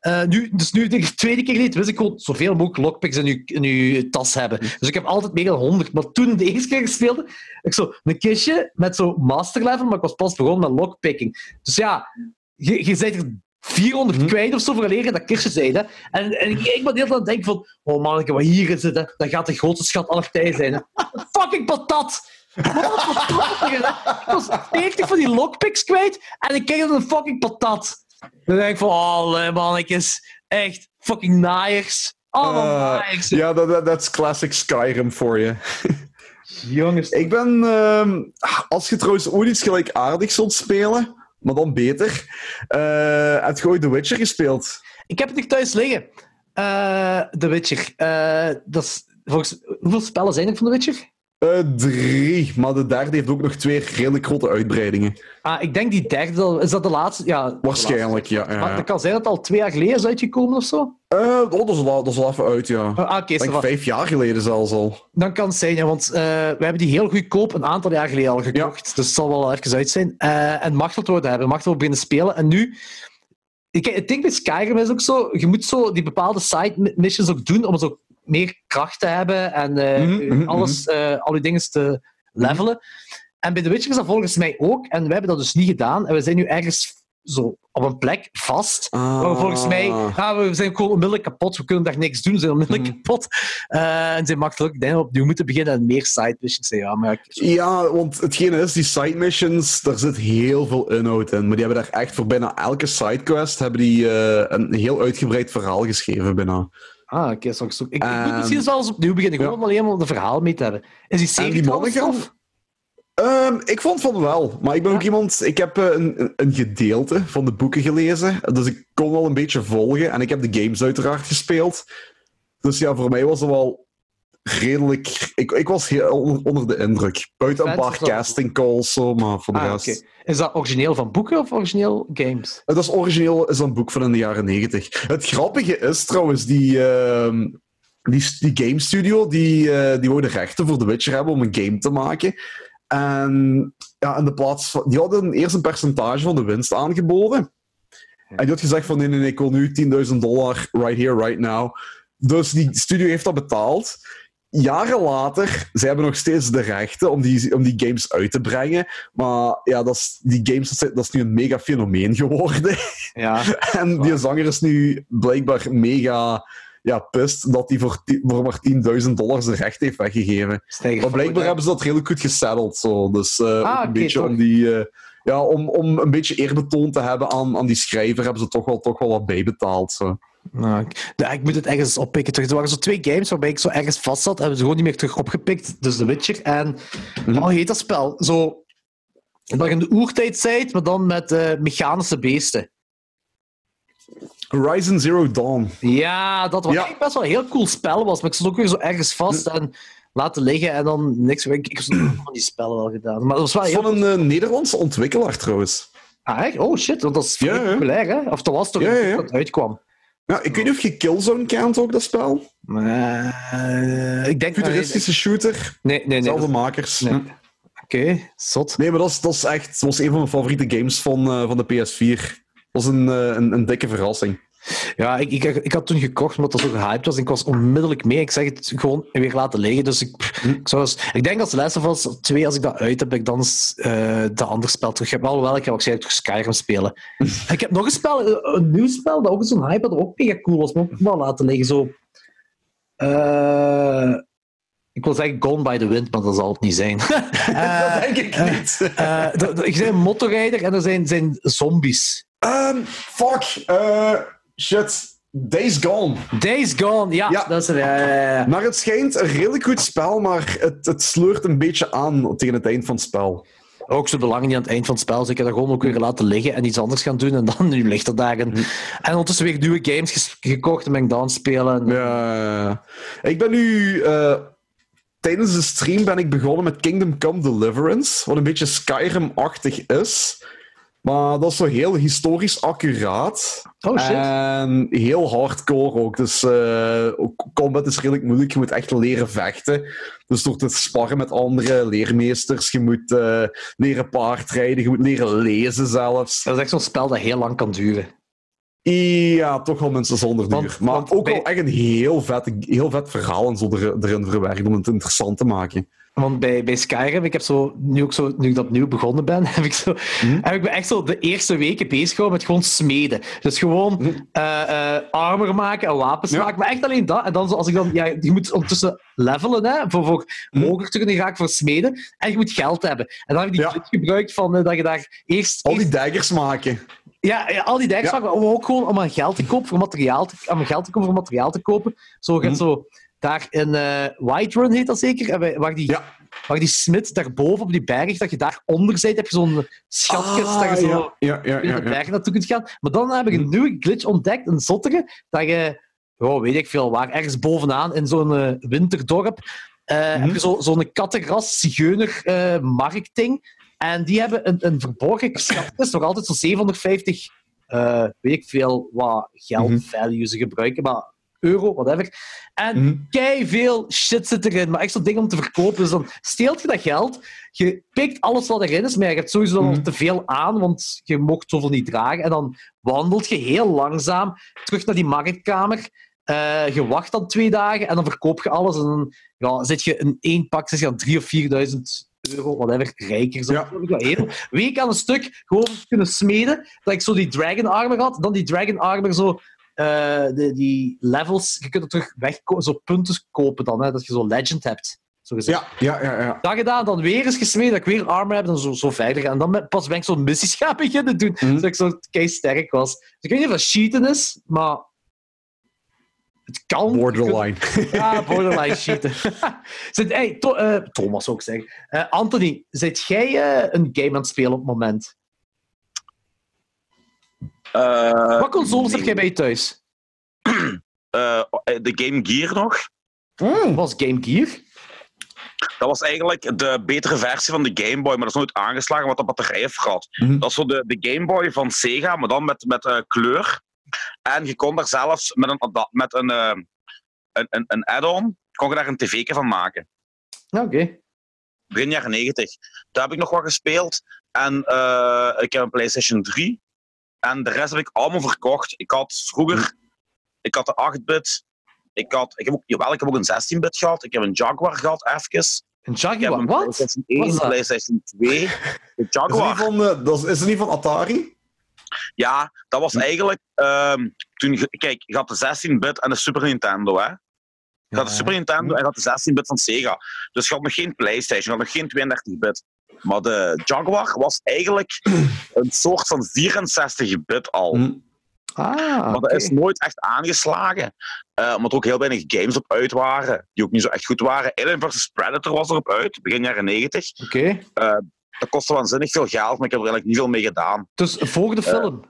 [SPEAKER 2] eh, nu, dus nu denk ik de tweede keer niet, wist ik gewoon zoveel mogelijk lockpicks in je, in je tas hebben. Dus ik heb altijd meer dan 100. Maar toen de eerste keer gespeeld, ik zo een kistje met zo master level, maar ik was pas begonnen met lockpicking. Dus ja, je, je bent er 400 kwijt of zo voor leren dat kistje zijn. Hè? En, en ik, ik ben de hele tijd aan het denken van, oh manneke, wat hier is, dat, dat gaat de grootste schat aller tijden zijn. Hè? Fucking patat! Wat een patat, hè? Ik was 40 van die lockpicks kwijt en ik kreeg dan een fucking patat. Dan denk ik van, oh mannetjes, echt fucking naaiers. Allemaal
[SPEAKER 3] Eh,
[SPEAKER 2] naaiers.
[SPEAKER 3] Ja, dat- dat dat is classic Skyrim voor je.
[SPEAKER 2] Jongens,
[SPEAKER 3] Ik ben... ehm, als je trouwens ooit iets gelijkaardigs zult spelen, maar dan beter, eh heb je ooit The Witcher gespeeld?
[SPEAKER 2] Ik heb het nog thuis liggen. Eh The Witcher. Eh, dat is, volgens, hoeveel spellen zijn er van The Witcher?
[SPEAKER 3] Eh, drie, maar de derde heeft ook nog twee redelijk grote uitbreidingen.
[SPEAKER 2] Ah, ik denk die derde. al- Is dat de laatste? Ja, de
[SPEAKER 3] Waarschijnlijk, ja. ja,
[SPEAKER 2] laatste. Maar
[SPEAKER 3] ja.
[SPEAKER 2] dat kan zijn dat het al twee jaar geleden is uitgekomen of zo.
[SPEAKER 3] Eh, oh, dat is, wel, dat is wel even uit, ja.
[SPEAKER 2] Ah, oké,
[SPEAKER 3] Ik
[SPEAKER 2] ça
[SPEAKER 3] denk
[SPEAKER 2] va.
[SPEAKER 3] vijf jaar geleden zelfs al.
[SPEAKER 2] dan kan het zijn, ja, want eh, we hebben die heel goedkoop een aantal jaar geleden al gekocht. Dus het zal wel even uit zijn. Eh, en machteld worden hebben, machteld beginnen spelen. En nu, ik, ik denk bij Skyrim is het ook zo, je moet zo die bepaalde side mi- missions ook doen om zo meer kracht te hebben en eh,
[SPEAKER 3] Mhm, mhm,
[SPEAKER 2] alles, eh, al die dingen te levelen. En bij The Witcher is dat volgens mij ook. En we hebben dat dus niet gedaan. En we zijn nu ergens zo op een plek vast. Maar volgens mij, ah, we zijn gewoon onmiddellijk kapot. We kunnen daar niks doen, we zijn onmiddellijk
[SPEAKER 3] Hmm.
[SPEAKER 2] kapot. Eh, en zijn makkelijk ik denk dat we opnieuw moeten beginnen en meer side missions. Ja, maar ik-
[SPEAKER 3] Ja, want hetgene is, die side missions, daar zit heel veel inhoud in. Maar die hebben daar echt voor bijna elke sidequest hebben die, eh, een heel uitgebreid verhaal geschreven bijna.
[SPEAKER 2] ah, oké, zo ik zoek. Ik, ik moet
[SPEAKER 3] Ehm,
[SPEAKER 2] misschien zelfs opnieuw beginnen, gewoon
[SPEAKER 3] ja.
[SPEAKER 2] om alleen maar een verhaal mee te hebben. Is die
[SPEAKER 3] En
[SPEAKER 2] serie
[SPEAKER 3] die
[SPEAKER 2] trouwens
[SPEAKER 3] monniken?
[SPEAKER 2] af?
[SPEAKER 3] Ehm, ik vond van wel, maar ik ben ook iemand... Ik heb eh, een, een- een gedeelte van de boeken gelezen, dus ik kon wel een beetje volgen. En ik heb de games uiteraard gespeeld. Dus ja, voor mij was het wel redelijk... Ik, ik was heel on- onder de indruk. Buiten een
[SPEAKER 2] Fans
[SPEAKER 3] paar
[SPEAKER 2] of zo?
[SPEAKER 3] casting calls, zo, maar voor de
[SPEAKER 2] Ah,
[SPEAKER 3] rest...
[SPEAKER 2] oké. Is dat origineel van boeken of origineel games?
[SPEAKER 3] Het is origineel is een boek van in de jaren negentig. Het grappige is trouwens, die, ehm, die, die game studio, die, eh, die wou de rechten voor The Witcher hebben om een game te maken. En ja, in de plaats van, die hadden eerst een percentage van de winst aangeboden. En die had gezegd van nee, nee, nee, ik wil nu 10.000 dollar, right here, right now. Dus die studio heeft dat betaald. Jaren later, zij hebben nog steeds de rechten om die, om die games uit te brengen. Maar ja, dat is, die games, dat is- dat is nu een mega fenomeen geworden.
[SPEAKER 2] Ja.
[SPEAKER 3] En die zanger is nu blijkbaar mega ja, pist dat hij voor, ti- voor maar 10.000 dollar zijn recht heeft weggegeven. Maar blijkbaar hebben ze dat heel goed gesetteld. Zo. Dus eh, ook een
[SPEAKER 2] Ah, oké,
[SPEAKER 3] beetje
[SPEAKER 2] toch.
[SPEAKER 3] om die. eh, ja, om, om een beetje eerbetoon te hebben aan, aan die schrijver, hebben ze toch wel, toch wel wat bijbetaald. Zo.
[SPEAKER 2] Nou, ik, ja, ik moet het ergens oppikken. terug. Er waren zo twee games waarbij ik zo ergens vast zat. Hebben ze gewoon niet meer terug opgepikt. Dus The Witcher en...
[SPEAKER 3] Mhm.
[SPEAKER 2] oh, Hoe heet dat spel? Zo... Dat je in de oertijd zijt, maar dan met eh, mechanische beesten.
[SPEAKER 3] Horizon Zero Dawn.
[SPEAKER 2] Ja, dat was
[SPEAKER 3] Ja. Mhm.
[SPEAKER 2] eigenlijk best wel een heel cool spel was. Maar ik zat ook weer zo ergens vast. En laten liggen en dan niks meer. Ik, ik heb zo'n van die spellen wel gedaan. Maar dat was wel
[SPEAKER 3] Dat is
[SPEAKER 2] heel...
[SPEAKER 3] van een eh, Nederlandse ontwikkelaar trouwens.
[SPEAKER 2] Ah, echt? Oh shit, want dat is vrij
[SPEAKER 3] Ja, ja.
[SPEAKER 2] populair, hè? Of dat was toch
[SPEAKER 3] Ja, ja, ja.
[SPEAKER 2] dat het uitkwam?
[SPEAKER 3] Ja,
[SPEAKER 2] Oh.
[SPEAKER 3] ik weet niet of je Killzone kent ook, dat spel.
[SPEAKER 2] Eh, ik denk...
[SPEAKER 3] Futuristische shooter,
[SPEAKER 2] Nee, nee, nee.
[SPEAKER 3] dezelfde
[SPEAKER 2] dat-
[SPEAKER 3] makers. Hm.
[SPEAKER 2] nee.
[SPEAKER 3] Ja.
[SPEAKER 2] Oké, zot.
[SPEAKER 3] Nee, maar dat is, dat is echt dat was een van mijn favoriete games van, eh, van de PS4. Dat was een, eh, een, een dikke verrassing.
[SPEAKER 2] Ja, ik, ik, ik had toen gekocht omdat dat zo gehyped was. En ik was onmiddellijk mee. Ik zeg het gewoon weer laten liggen. Dus ik, ik, zou eens- ik denk als Last of Us 2, als ik dat uit heb, ik dan eens, eh dat andere spel terug heb. Alhoewel, ik ga waarschijnlijk toch Skyrim spelen. ik heb nog een spel, eh, een nieuw spel, dat ook zo'n hype had, dat ook mega cool was. Maar ook wel laten liggen, zo... Eh, ik wil zeggen Gone by the Wind, maar dat zal het niet zijn. Eh,
[SPEAKER 3] denk ik
[SPEAKER 2] eh,
[SPEAKER 3] niet.
[SPEAKER 2] eh, d- d- ik ben een motorrijder en er zijn, zijn zombies.
[SPEAKER 3] Ehm, fuck. eh, shit. Days Gone.
[SPEAKER 2] Days Gone, ja,
[SPEAKER 3] Ja.
[SPEAKER 2] dat is er. ja, ja, ja, ja.
[SPEAKER 3] Maar het schijnt een redelijk goed spel, maar het, het sleurt een beetje aan tegen het eind van het spel.
[SPEAKER 2] Ook zo belangrijk niet aan het eind van het spel. Dus ik heb dat gewoon ook weer laten liggen en iets anders gaan doen. En dan nu ligt er daar. een- En ondertussen weer nieuwe games ges- gekocht en ben ik dan aan het spelen.
[SPEAKER 3] Ja. Ik ben nu... eh, tijdens de stream ben ik begonnen met Kingdom Come Deliverance, wat een beetje Skyrim-achtig is. Maar dat is zo heel historisch accuraat.
[SPEAKER 2] Oh shit.
[SPEAKER 3] En Ehm, heel hardcore ook. Dus eh, ook combat is redelijk moeilijk. Je moet echt leren vechten. Dus door te sparren met andere leermeesters. Je moet eh, leren paardrijden. Je moet leren lezen zelfs.
[SPEAKER 2] dat is echt zo'n spel dat heel lang kan duren.
[SPEAKER 3] Ja, toch wel mensen zonder duur.
[SPEAKER 2] Want-
[SPEAKER 3] maar
[SPEAKER 2] want
[SPEAKER 3] ook
[SPEAKER 2] bij-
[SPEAKER 3] wel echt een heel vet, heel vet verhaal en zo er- erin verwerkt om het interessant te maken.
[SPEAKER 2] Want bij, bij Skyrim, ik heb zo, nu, ook zo, nu ik dat opnieuw begonnen ben, heb ik, zo,
[SPEAKER 3] Mhm.
[SPEAKER 2] heb ik me echt zo de eerste weken bezig gehouden met gewoon smeden. Dus gewoon eh, eh, armor maken en wapens
[SPEAKER 3] Mhm. Ja.
[SPEAKER 2] maken, maar echt alleen dat. En dan zo, als ik dan, ja, je moet ondertussen levelen, hè, voor, voor
[SPEAKER 3] Mhm.
[SPEAKER 2] hoger te kunnen raken voor smeden. En je moet geld hebben. En dan heb ik die
[SPEAKER 3] Ja.
[SPEAKER 2] truc gebruikt van eh, dat je daar eerst...
[SPEAKER 3] Al die
[SPEAKER 2] eerst-
[SPEAKER 3] daggers maken.
[SPEAKER 2] ja, ja, al die dijks
[SPEAKER 3] Ja.
[SPEAKER 2] maken, maar ook gewoon om aan geld te kopen voor materiaal te, om aan geld te kopen voor materiaal te kopen. Zo, je hebt
[SPEAKER 3] Mhm.
[SPEAKER 2] zo daar in eh White Run heet dat zeker, en wij- waar die
[SPEAKER 3] Ja.
[SPEAKER 2] waar die smid daarboven op die berg, dat je daaronder zit, heb je zo'n schatkist dat je zo
[SPEAKER 3] Ah, ja, ja, ja,
[SPEAKER 2] in
[SPEAKER 3] ja,
[SPEAKER 2] de
[SPEAKER 3] ja.
[SPEAKER 2] berg naartoe kunt gaan. Maar dan heb ik een nieuwe glitch ontdekt, een zottere, dat je, oh, weet ik veel waar, ergens bovenaan in zo'n eh, winterdorp, eh,
[SPEAKER 3] Mhm.
[SPEAKER 2] heb je zo- zo'n kattenras, zigeuner eh, marktding. En die hebben een, een verborgen schatkist, nog altijd zo'n 750, eh, weet ik veel, wat geld,
[SPEAKER 3] Mhm.
[SPEAKER 2] value ze gebruiken, maar euro, whatever. En
[SPEAKER 3] Mhm.
[SPEAKER 2] kei veel shit zit erin, maar echt zo'n ding om te verkopen. Dus dan steelt je dat geld, je pikt alles wat erin is, maar je hebt sowieso al
[SPEAKER 3] Mhm.
[SPEAKER 2] te veel aan, want je mocht zoveel niet dragen. En dan wandelt je heel langzaam terug naar die marktkamer. Eh, je wacht dan twee dagen en dan verkoop je alles. En dan ja, zit je in één pak zit je aan 3.000 of 4.000 euro, whatever, rijker. Zo.
[SPEAKER 3] Ja.
[SPEAKER 2] Dat heb ik wel heel week aan een stuk gewoon kunnen smeden. Dat ik zo die Dragon Armor had, dan die Dragon Armor zo eh, de, die levels, je kunt er terug wegkopen, zo punten kopen dan, hè, dat je zo legend hebt. Zo gezegd.
[SPEAKER 3] Ja, ja, ja, ja.
[SPEAKER 2] Dat gedaan, dan weer eens gesmeed, dat ik weer armor heb, dan zo, zo verder. En dan ben- pas ben ik zo'n missies gaan beginnen doen,
[SPEAKER 3] Mhm.
[SPEAKER 2] zodat ik zo kei sterk was. Dus ik weet niet of dat cheaten is, maar het kan.
[SPEAKER 3] Borderline.
[SPEAKER 2] Ja, borderline cheaten. Zit, hey, To- eh, Thomas ook zeggen. Eh, Anthony, zit jij eh, een game aan het spelen op het moment?
[SPEAKER 1] Eh,
[SPEAKER 2] Wat consoles
[SPEAKER 1] nee.
[SPEAKER 2] heb jij bij je thuis?
[SPEAKER 1] Eh, de Game Gear nog.
[SPEAKER 2] Was Game Gear?
[SPEAKER 1] Dat was eigenlijk de betere versie van de Game Boy, maar dat is nooit aangeslagen wat de batterij heeft gehad.
[SPEAKER 3] Mhm.
[SPEAKER 1] Dat is zo de, de Game Boy van Sega, maar dan met, met eh, kleur. En je kon daar zelfs met een, ada- met een, eh, een, een, een add-on kon je daar een tv van maken.
[SPEAKER 2] Ja, Oké.
[SPEAKER 1] Begin jaren 90. Daar heb ik nog wat gespeeld. En eh, ik heb een PlayStation 3. En de rest heb ik allemaal verkocht. Ik had vroeger... Ik had de 8-bit. Ik, had, ik, heb ook, jawel, ik heb ook een 16-bit gehad. Ik heb een Jaguar gehad, eventjes.
[SPEAKER 2] Een
[SPEAKER 1] Ik heb
[SPEAKER 2] Jaguar,
[SPEAKER 1] een
[SPEAKER 2] wat?
[SPEAKER 1] PlayStation
[SPEAKER 2] Wat is
[SPEAKER 1] 1,
[SPEAKER 2] dat?
[SPEAKER 1] PlayStation 2, de
[SPEAKER 3] Is het, niet
[SPEAKER 1] Jaguar.
[SPEAKER 3] van, eh, dat is, is het niet van Atari?
[SPEAKER 1] Ja, dat was eigenlijk... ehm, toen, je- kijk, je had de 16-bit en de Super Nintendo, hè. Je had de Super Nintendo en je had de 16-bit van Sega. Dus je had nog geen PlayStation, je had nog geen 32-bit. Maar de Jaguar was eigenlijk een soort van 64-bit al.
[SPEAKER 3] Hm.
[SPEAKER 2] Ah,
[SPEAKER 1] Maar
[SPEAKER 2] oké.
[SPEAKER 1] dat is nooit echt aangeslagen. Eh omdat er ook heel weinig games op uit waren. Die ook niet zo echt goed waren. Alien vs. Predator was erop uit, begin jaren 90.
[SPEAKER 2] Oké.
[SPEAKER 1] Dat kostte waanzinnig veel geld, maar ik heb er eigenlijk niet veel mee gedaan.
[SPEAKER 2] Dus voor
[SPEAKER 1] Eh,
[SPEAKER 2] de film.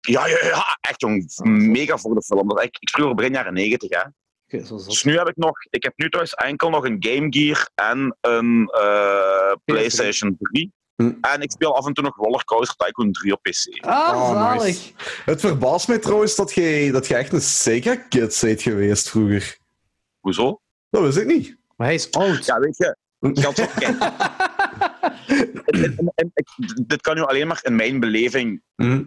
[SPEAKER 1] Ja, ja, ja, echt jong. Mega voor de film. Dat- Ik, ik spreek over begin jaren 90, hè.
[SPEAKER 2] Oké, zo zot.
[SPEAKER 1] Dus nu heb ik nog, ik heb nu thuis enkel nog een Game Gear en een eh, PlayStation 3.
[SPEAKER 3] Hm.
[SPEAKER 1] En ik speel af en toe nog Rollercoaster Tycoon 3 op PC.
[SPEAKER 2] Ah,
[SPEAKER 3] Oh,
[SPEAKER 2] zalig.
[SPEAKER 3] nice. Het verbaast mij trouwens dat jij dat jij echt een Sega-kid bent geweest vroeger.
[SPEAKER 1] Hoezo?
[SPEAKER 3] Dat wist ik niet.
[SPEAKER 2] Maar hij is oud.
[SPEAKER 1] Ja, weet je, ik had zo- kijk. En- en- en ik- dit kan nu alleen maar in mijn beleving
[SPEAKER 3] Hm.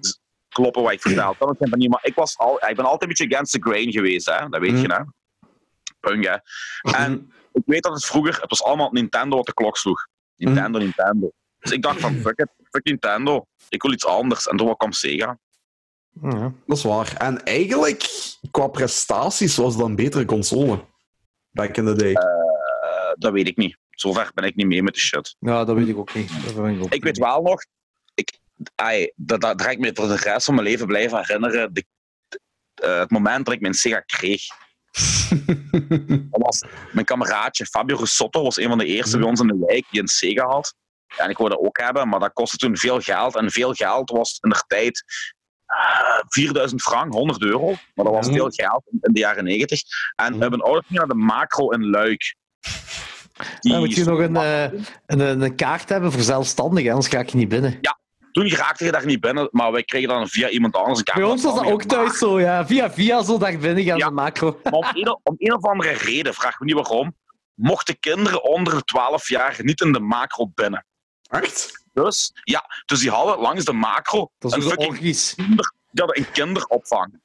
[SPEAKER 1] kloppen wat ik vertel. Dat is geen manier, maar ik, was al, ik ben altijd een beetje against the grain geweest, hè? dat weet
[SPEAKER 3] Hm.
[SPEAKER 1] je. Hè? Punk, hè. En ik weet dat het vroeger, het was allemaal Nintendo wat de klok sloeg. Nintendo, Nintendo. Dus ik dacht van, fuck it, fuck Nintendo. Ik wil iets anders. En toen kwam Sega.
[SPEAKER 2] Ja.
[SPEAKER 3] Dat is waar. En eigenlijk, qua prestaties, was dat een betere console. Back in the day.
[SPEAKER 1] Eh, dat weet ik niet. Zover ben ik niet mee met de shit.
[SPEAKER 2] ja, dat weet ik ook niet. Dat weet ik ook
[SPEAKER 1] Ik weet wel nog, ik, ai, dat, dat, dat ga ik me voor de rest van mijn leven blijven herinneren. De, eh, het moment dat ik mijn Sega kreeg. Dat was mijn kameraadje Fabio Russotto was een van de
[SPEAKER 2] Mhm.
[SPEAKER 1] eerste bij ons in de wijk die een Sega had. En ik wou dat ook hebben, maar dat kostte toen veel geld. En veel geld was in de tijd eh, 4000 frank, 100 euro. Maar dat was
[SPEAKER 3] Mhm.
[SPEAKER 1] veel geld in- in de jaren 90.
[SPEAKER 2] Mhm.
[SPEAKER 1] En we hebben ouders gingen naar de Macro in Luik. Die
[SPEAKER 2] Dan moet je nog een, eh, een, een, een kaart hebben voor zelfstandigen, anders ga ik je niet binnen.
[SPEAKER 1] Toen raakte je daar niet binnen, maar wij kregen dan via iemand anders een kaart.
[SPEAKER 2] Bij ons was dat ook thuis zo, ja. Via via zo daar binnen gaan,
[SPEAKER 1] Ja.
[SPEAKER 2] de macro.
[SPEAKER 1] Maar om een, om een of andere reden, vraag me niet waarom, mochten kinderen onder de 12 jaar niet in de macro binnen.
[SPEAKER 3] Echt?
[SPEAKER 1] Dus, ja, dus die hadden langs de macro
[SPEAKER 2] Dat
[SPEAKER 1] een
[SPEAKER 2] is dus zo
[SPEAKER 1] fucking
[SPEAKER 2] orgies.
[SPEAKER 1] die hadden een kinderopvang.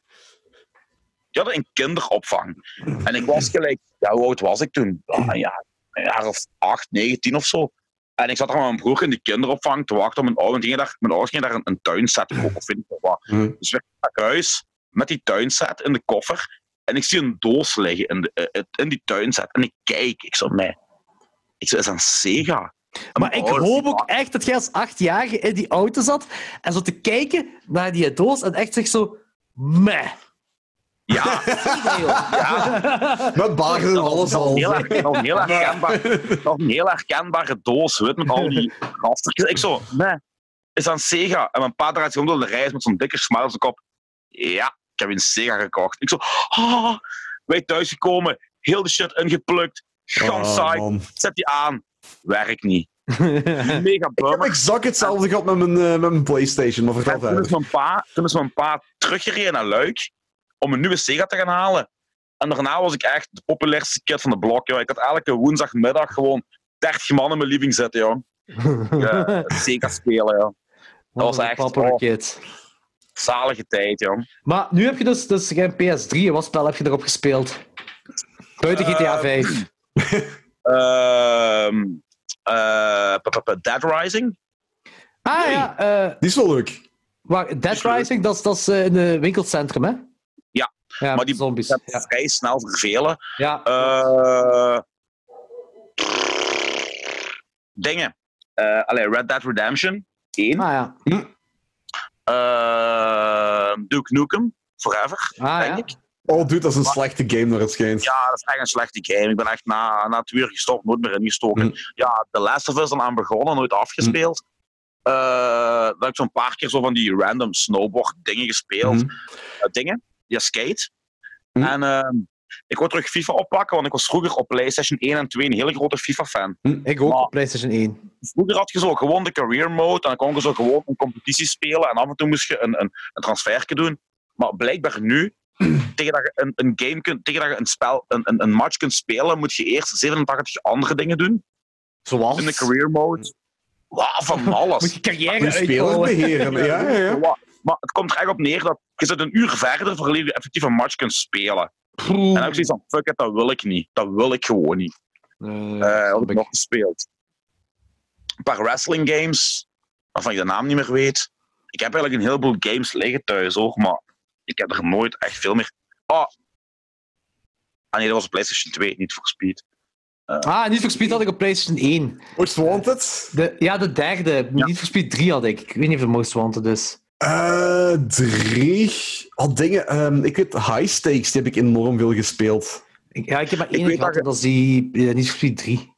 [SPEAKER 1] Die hadden een kinderopvang. En ik was gelijk, ja, hoe oud was ik toen? Ja, ja, een jaar of acht, negen, tien of zo. En ik zat daar met mijn broer in die kinderopvang te wachten op mijn ouders. Die gingen daar- Mijn ouders gingen daar een, een tuinset kopen, of weet ik veel wat.
[SPEAKER 3] Hm.
[SPEAKER 1] Dus ik ga naar huis met die tuinset in de koffer. En ik zie een doos liggen in, de, eh, in die tuinset. En ik kijk, ik zo, nee. Ik zo, is dat een Sega? Oh, En
[SPEAKER 2] Maar
[SPEAKER 1] mijn
[SPEAKER 2] ik
[SPEAKER 1] ouders,
[SPEAKER 2] hoop
[SPEAKER 1] die
[SPEAKER 2] ook echt dat jij als achtjarige in die auto zat en zo te kijken naar die doos en echt zegt zo... Meh.
[SPEAKER 1] Ja, ja.
[SPEAKER 3] Met bageren en alles al.
[SPEAKER 1] Heel erg- dat was een heel herkenbaar. dat was een heel herkenbare doos, weet, met al die rastertjes. Ik zo, nee, is dat een Sega? En mijn pa draait zich om door de reis met zo'n dikke smile op zijn kop. Ja, ik heb een Sega gekocht. Ik zo, ah, wij thuisgekomen, heel de shit ingeplukt, gans
[SPEAKER 3] Oh,
[SPEAKER 1] saai,
[SPEAKER 3] man.
[SPEAKER 1] zet die aan, werkt niet. Mega
[SPEAKER 3] Ik heb
[SPEAKER 1] bummer.
[SPEAKER 3] exact hetzelfde gehad met mijn, eh, met mijn PlayStation, maar
[SPEAKER 1] En
[SPEAKER 3] vertel
[SPEAKER 1] toen is
[SPEAKER 3] verder.
[SPEAKER 1] mijn pa, toen is mijn pa teruggereden naar Luik om een nieuwe Sega te gaan halen. En daarna was ik echt de populairste kid van de blok. Joh. Ik had elke woensdagmiddag gewoon 30 man in mijn living zitten, joh. Ja, Sega spelen, joh.
[SPEAKER 2] Wat
[SPEAKER 1] was
[SPEAKER 2] een
[SPEAKER 1] echt-
[SPEAKER 2] pappere
[SPEAKER 1] oh.
[SPEAKER 2] kid.
[SPEAKER 1] Zalige tijd, joh.
[SPEAKER 2] Maar nu heb je dus, dus geen PS3. Wat spel heb je erop gespeeld? Buiten
[SPEAKER 1] Eh,
[SPEAKER 2] GTA 5.
[SPEAKER 1] Ehm, eh, pa- pa- pa- Dead Rising?
[SPEAKER 2] Ah ja, eh,
[SPEAKER 3] Die is wel leuk.
[SPEAKER 2] waar, Dead
[SPEAKER 1] Is leuk.
[SPEAKER 2] Rising, dat is, dat is eh, in het winkelcentrum, hè?
[SPEAKER 1] Dus, Ja,
[SPEAKER 2] Ja,
[SPEAKER 1] maar die-
[SPEAKER 2] zombies.
[SPEAKER 1] Dat
[SPEAKER 2] Ja.
[SPEAKER 1] vrij snel vervelen.
[SPEAKER 2] Ja.
[SPEAKER 1] Eh, dingen. Eh, allee, Red Dead Redemption 1.
[SPEAKER 2] Ah ja.
[SPEAKER 1] Eh, Duke Nukem Forever.
[SPEAKER 2] Ah,
[SPEAKER 1] denk
[SPEAKER 2] ja.
[SPEAKER 1] ik.
[SPEAKER 3] Oh, dude, dat is een slechte game naar het schijnt.
[SPEAKER 1] Ja, dat is echt een slechte game. Ik ben echt na, na twee uur gestopt, nooit meer ingestoken.
[SPEAKER 3] Mm.
[SPEAKER 1] Ja, The Last of Us dan aan begonnen, nooit afgespeeld. Eh, dan heb ik zo'n paar keer zo van die random snowboard dingen gespeeld.
[SPEAKER 3] Mhm.
[SPEAKER 1] Eh, dingen, ja, skate.
[SPEAKER 3] Mm.
[SPEAKER 1] En ehm, ik wil terug FIFA oppakken, want ik was vroeger op PlayStation 1 en 2 een hele grote FIFA-fan.
[SPEAKER 2] Ik ook
[SPEAKER 1] Maar-
[SPEAKER 2] op PlayStation 1.
[SPEAKER 1] Vroeger had je zo gewoon de career mode en dan kon je zo gewoon een competitie spelen en af en toe moest je een, een, een transferje doen. Maar blijkbaar nu, tegen dat je een, een game kunt, tegen dat je een, spel, een, een, een match kunt spelen, moet je eerst 87 andere dingen doen
[SPEAKER 2] Zoals?
[SPEAKER 1] in de career mode. Wauw, van
[SPEAKER 2] Moet
[SPEAKER 1] alles.
[SPEAKER 2] je carrière
[SPEAKER 3] Die spelers
[SPEAKER 2] uitbouwen.
[SPEAKER 3] beheren. Ja, ja, ja.
[SPEAKER 1] Wauw. Maar het komt er echt op neer dat je zit een uur verder voor je effectief een match kunt spelen. En dan heb ik zoiets van, fuck it, dat wil ik niet. Dat wil ik gewoon niet.
[SPEAKER 2] Eh,
[SPEAKER 1] Eh, wat
[SPEAKER 2] snap
[SPEAKER 1] heb ik
[SPEAKER 2] ik.
[SPEAKER 1] nog gespeeld? Een paar wrestling games, waarvan ik de naam niet meer weet. Ik heb eigenlijk een heleboel games liggen thuis hoor, maar ik heb er nooit echt veel meer. Oh! Ah nee, dat was op PlayStation 2, niet voor Speed.
[SPEAKER 2] Ah, Need for Speed had ik op PlayStation 1.
[SPEAKER 3] Most Wanted?
[SPEAKER 2] De, ja, de derde. Need for Speed 3 had ik. Ik weet niet of de Most Wanted is.
[SPEAKER 3] Eh, drie. Al dingen. ehm, ik weet, High Stakes, die heb ik enorm veel gespeeld.
[SPEAKER 2] Ik, ja, ik heb maar
[SPEAKER 1] weet
[SPEAKER 2] één gehad,
[SPEAKER 1] dat je-
[SPEAKER 2] en dat is die eh, Need for Speed 3.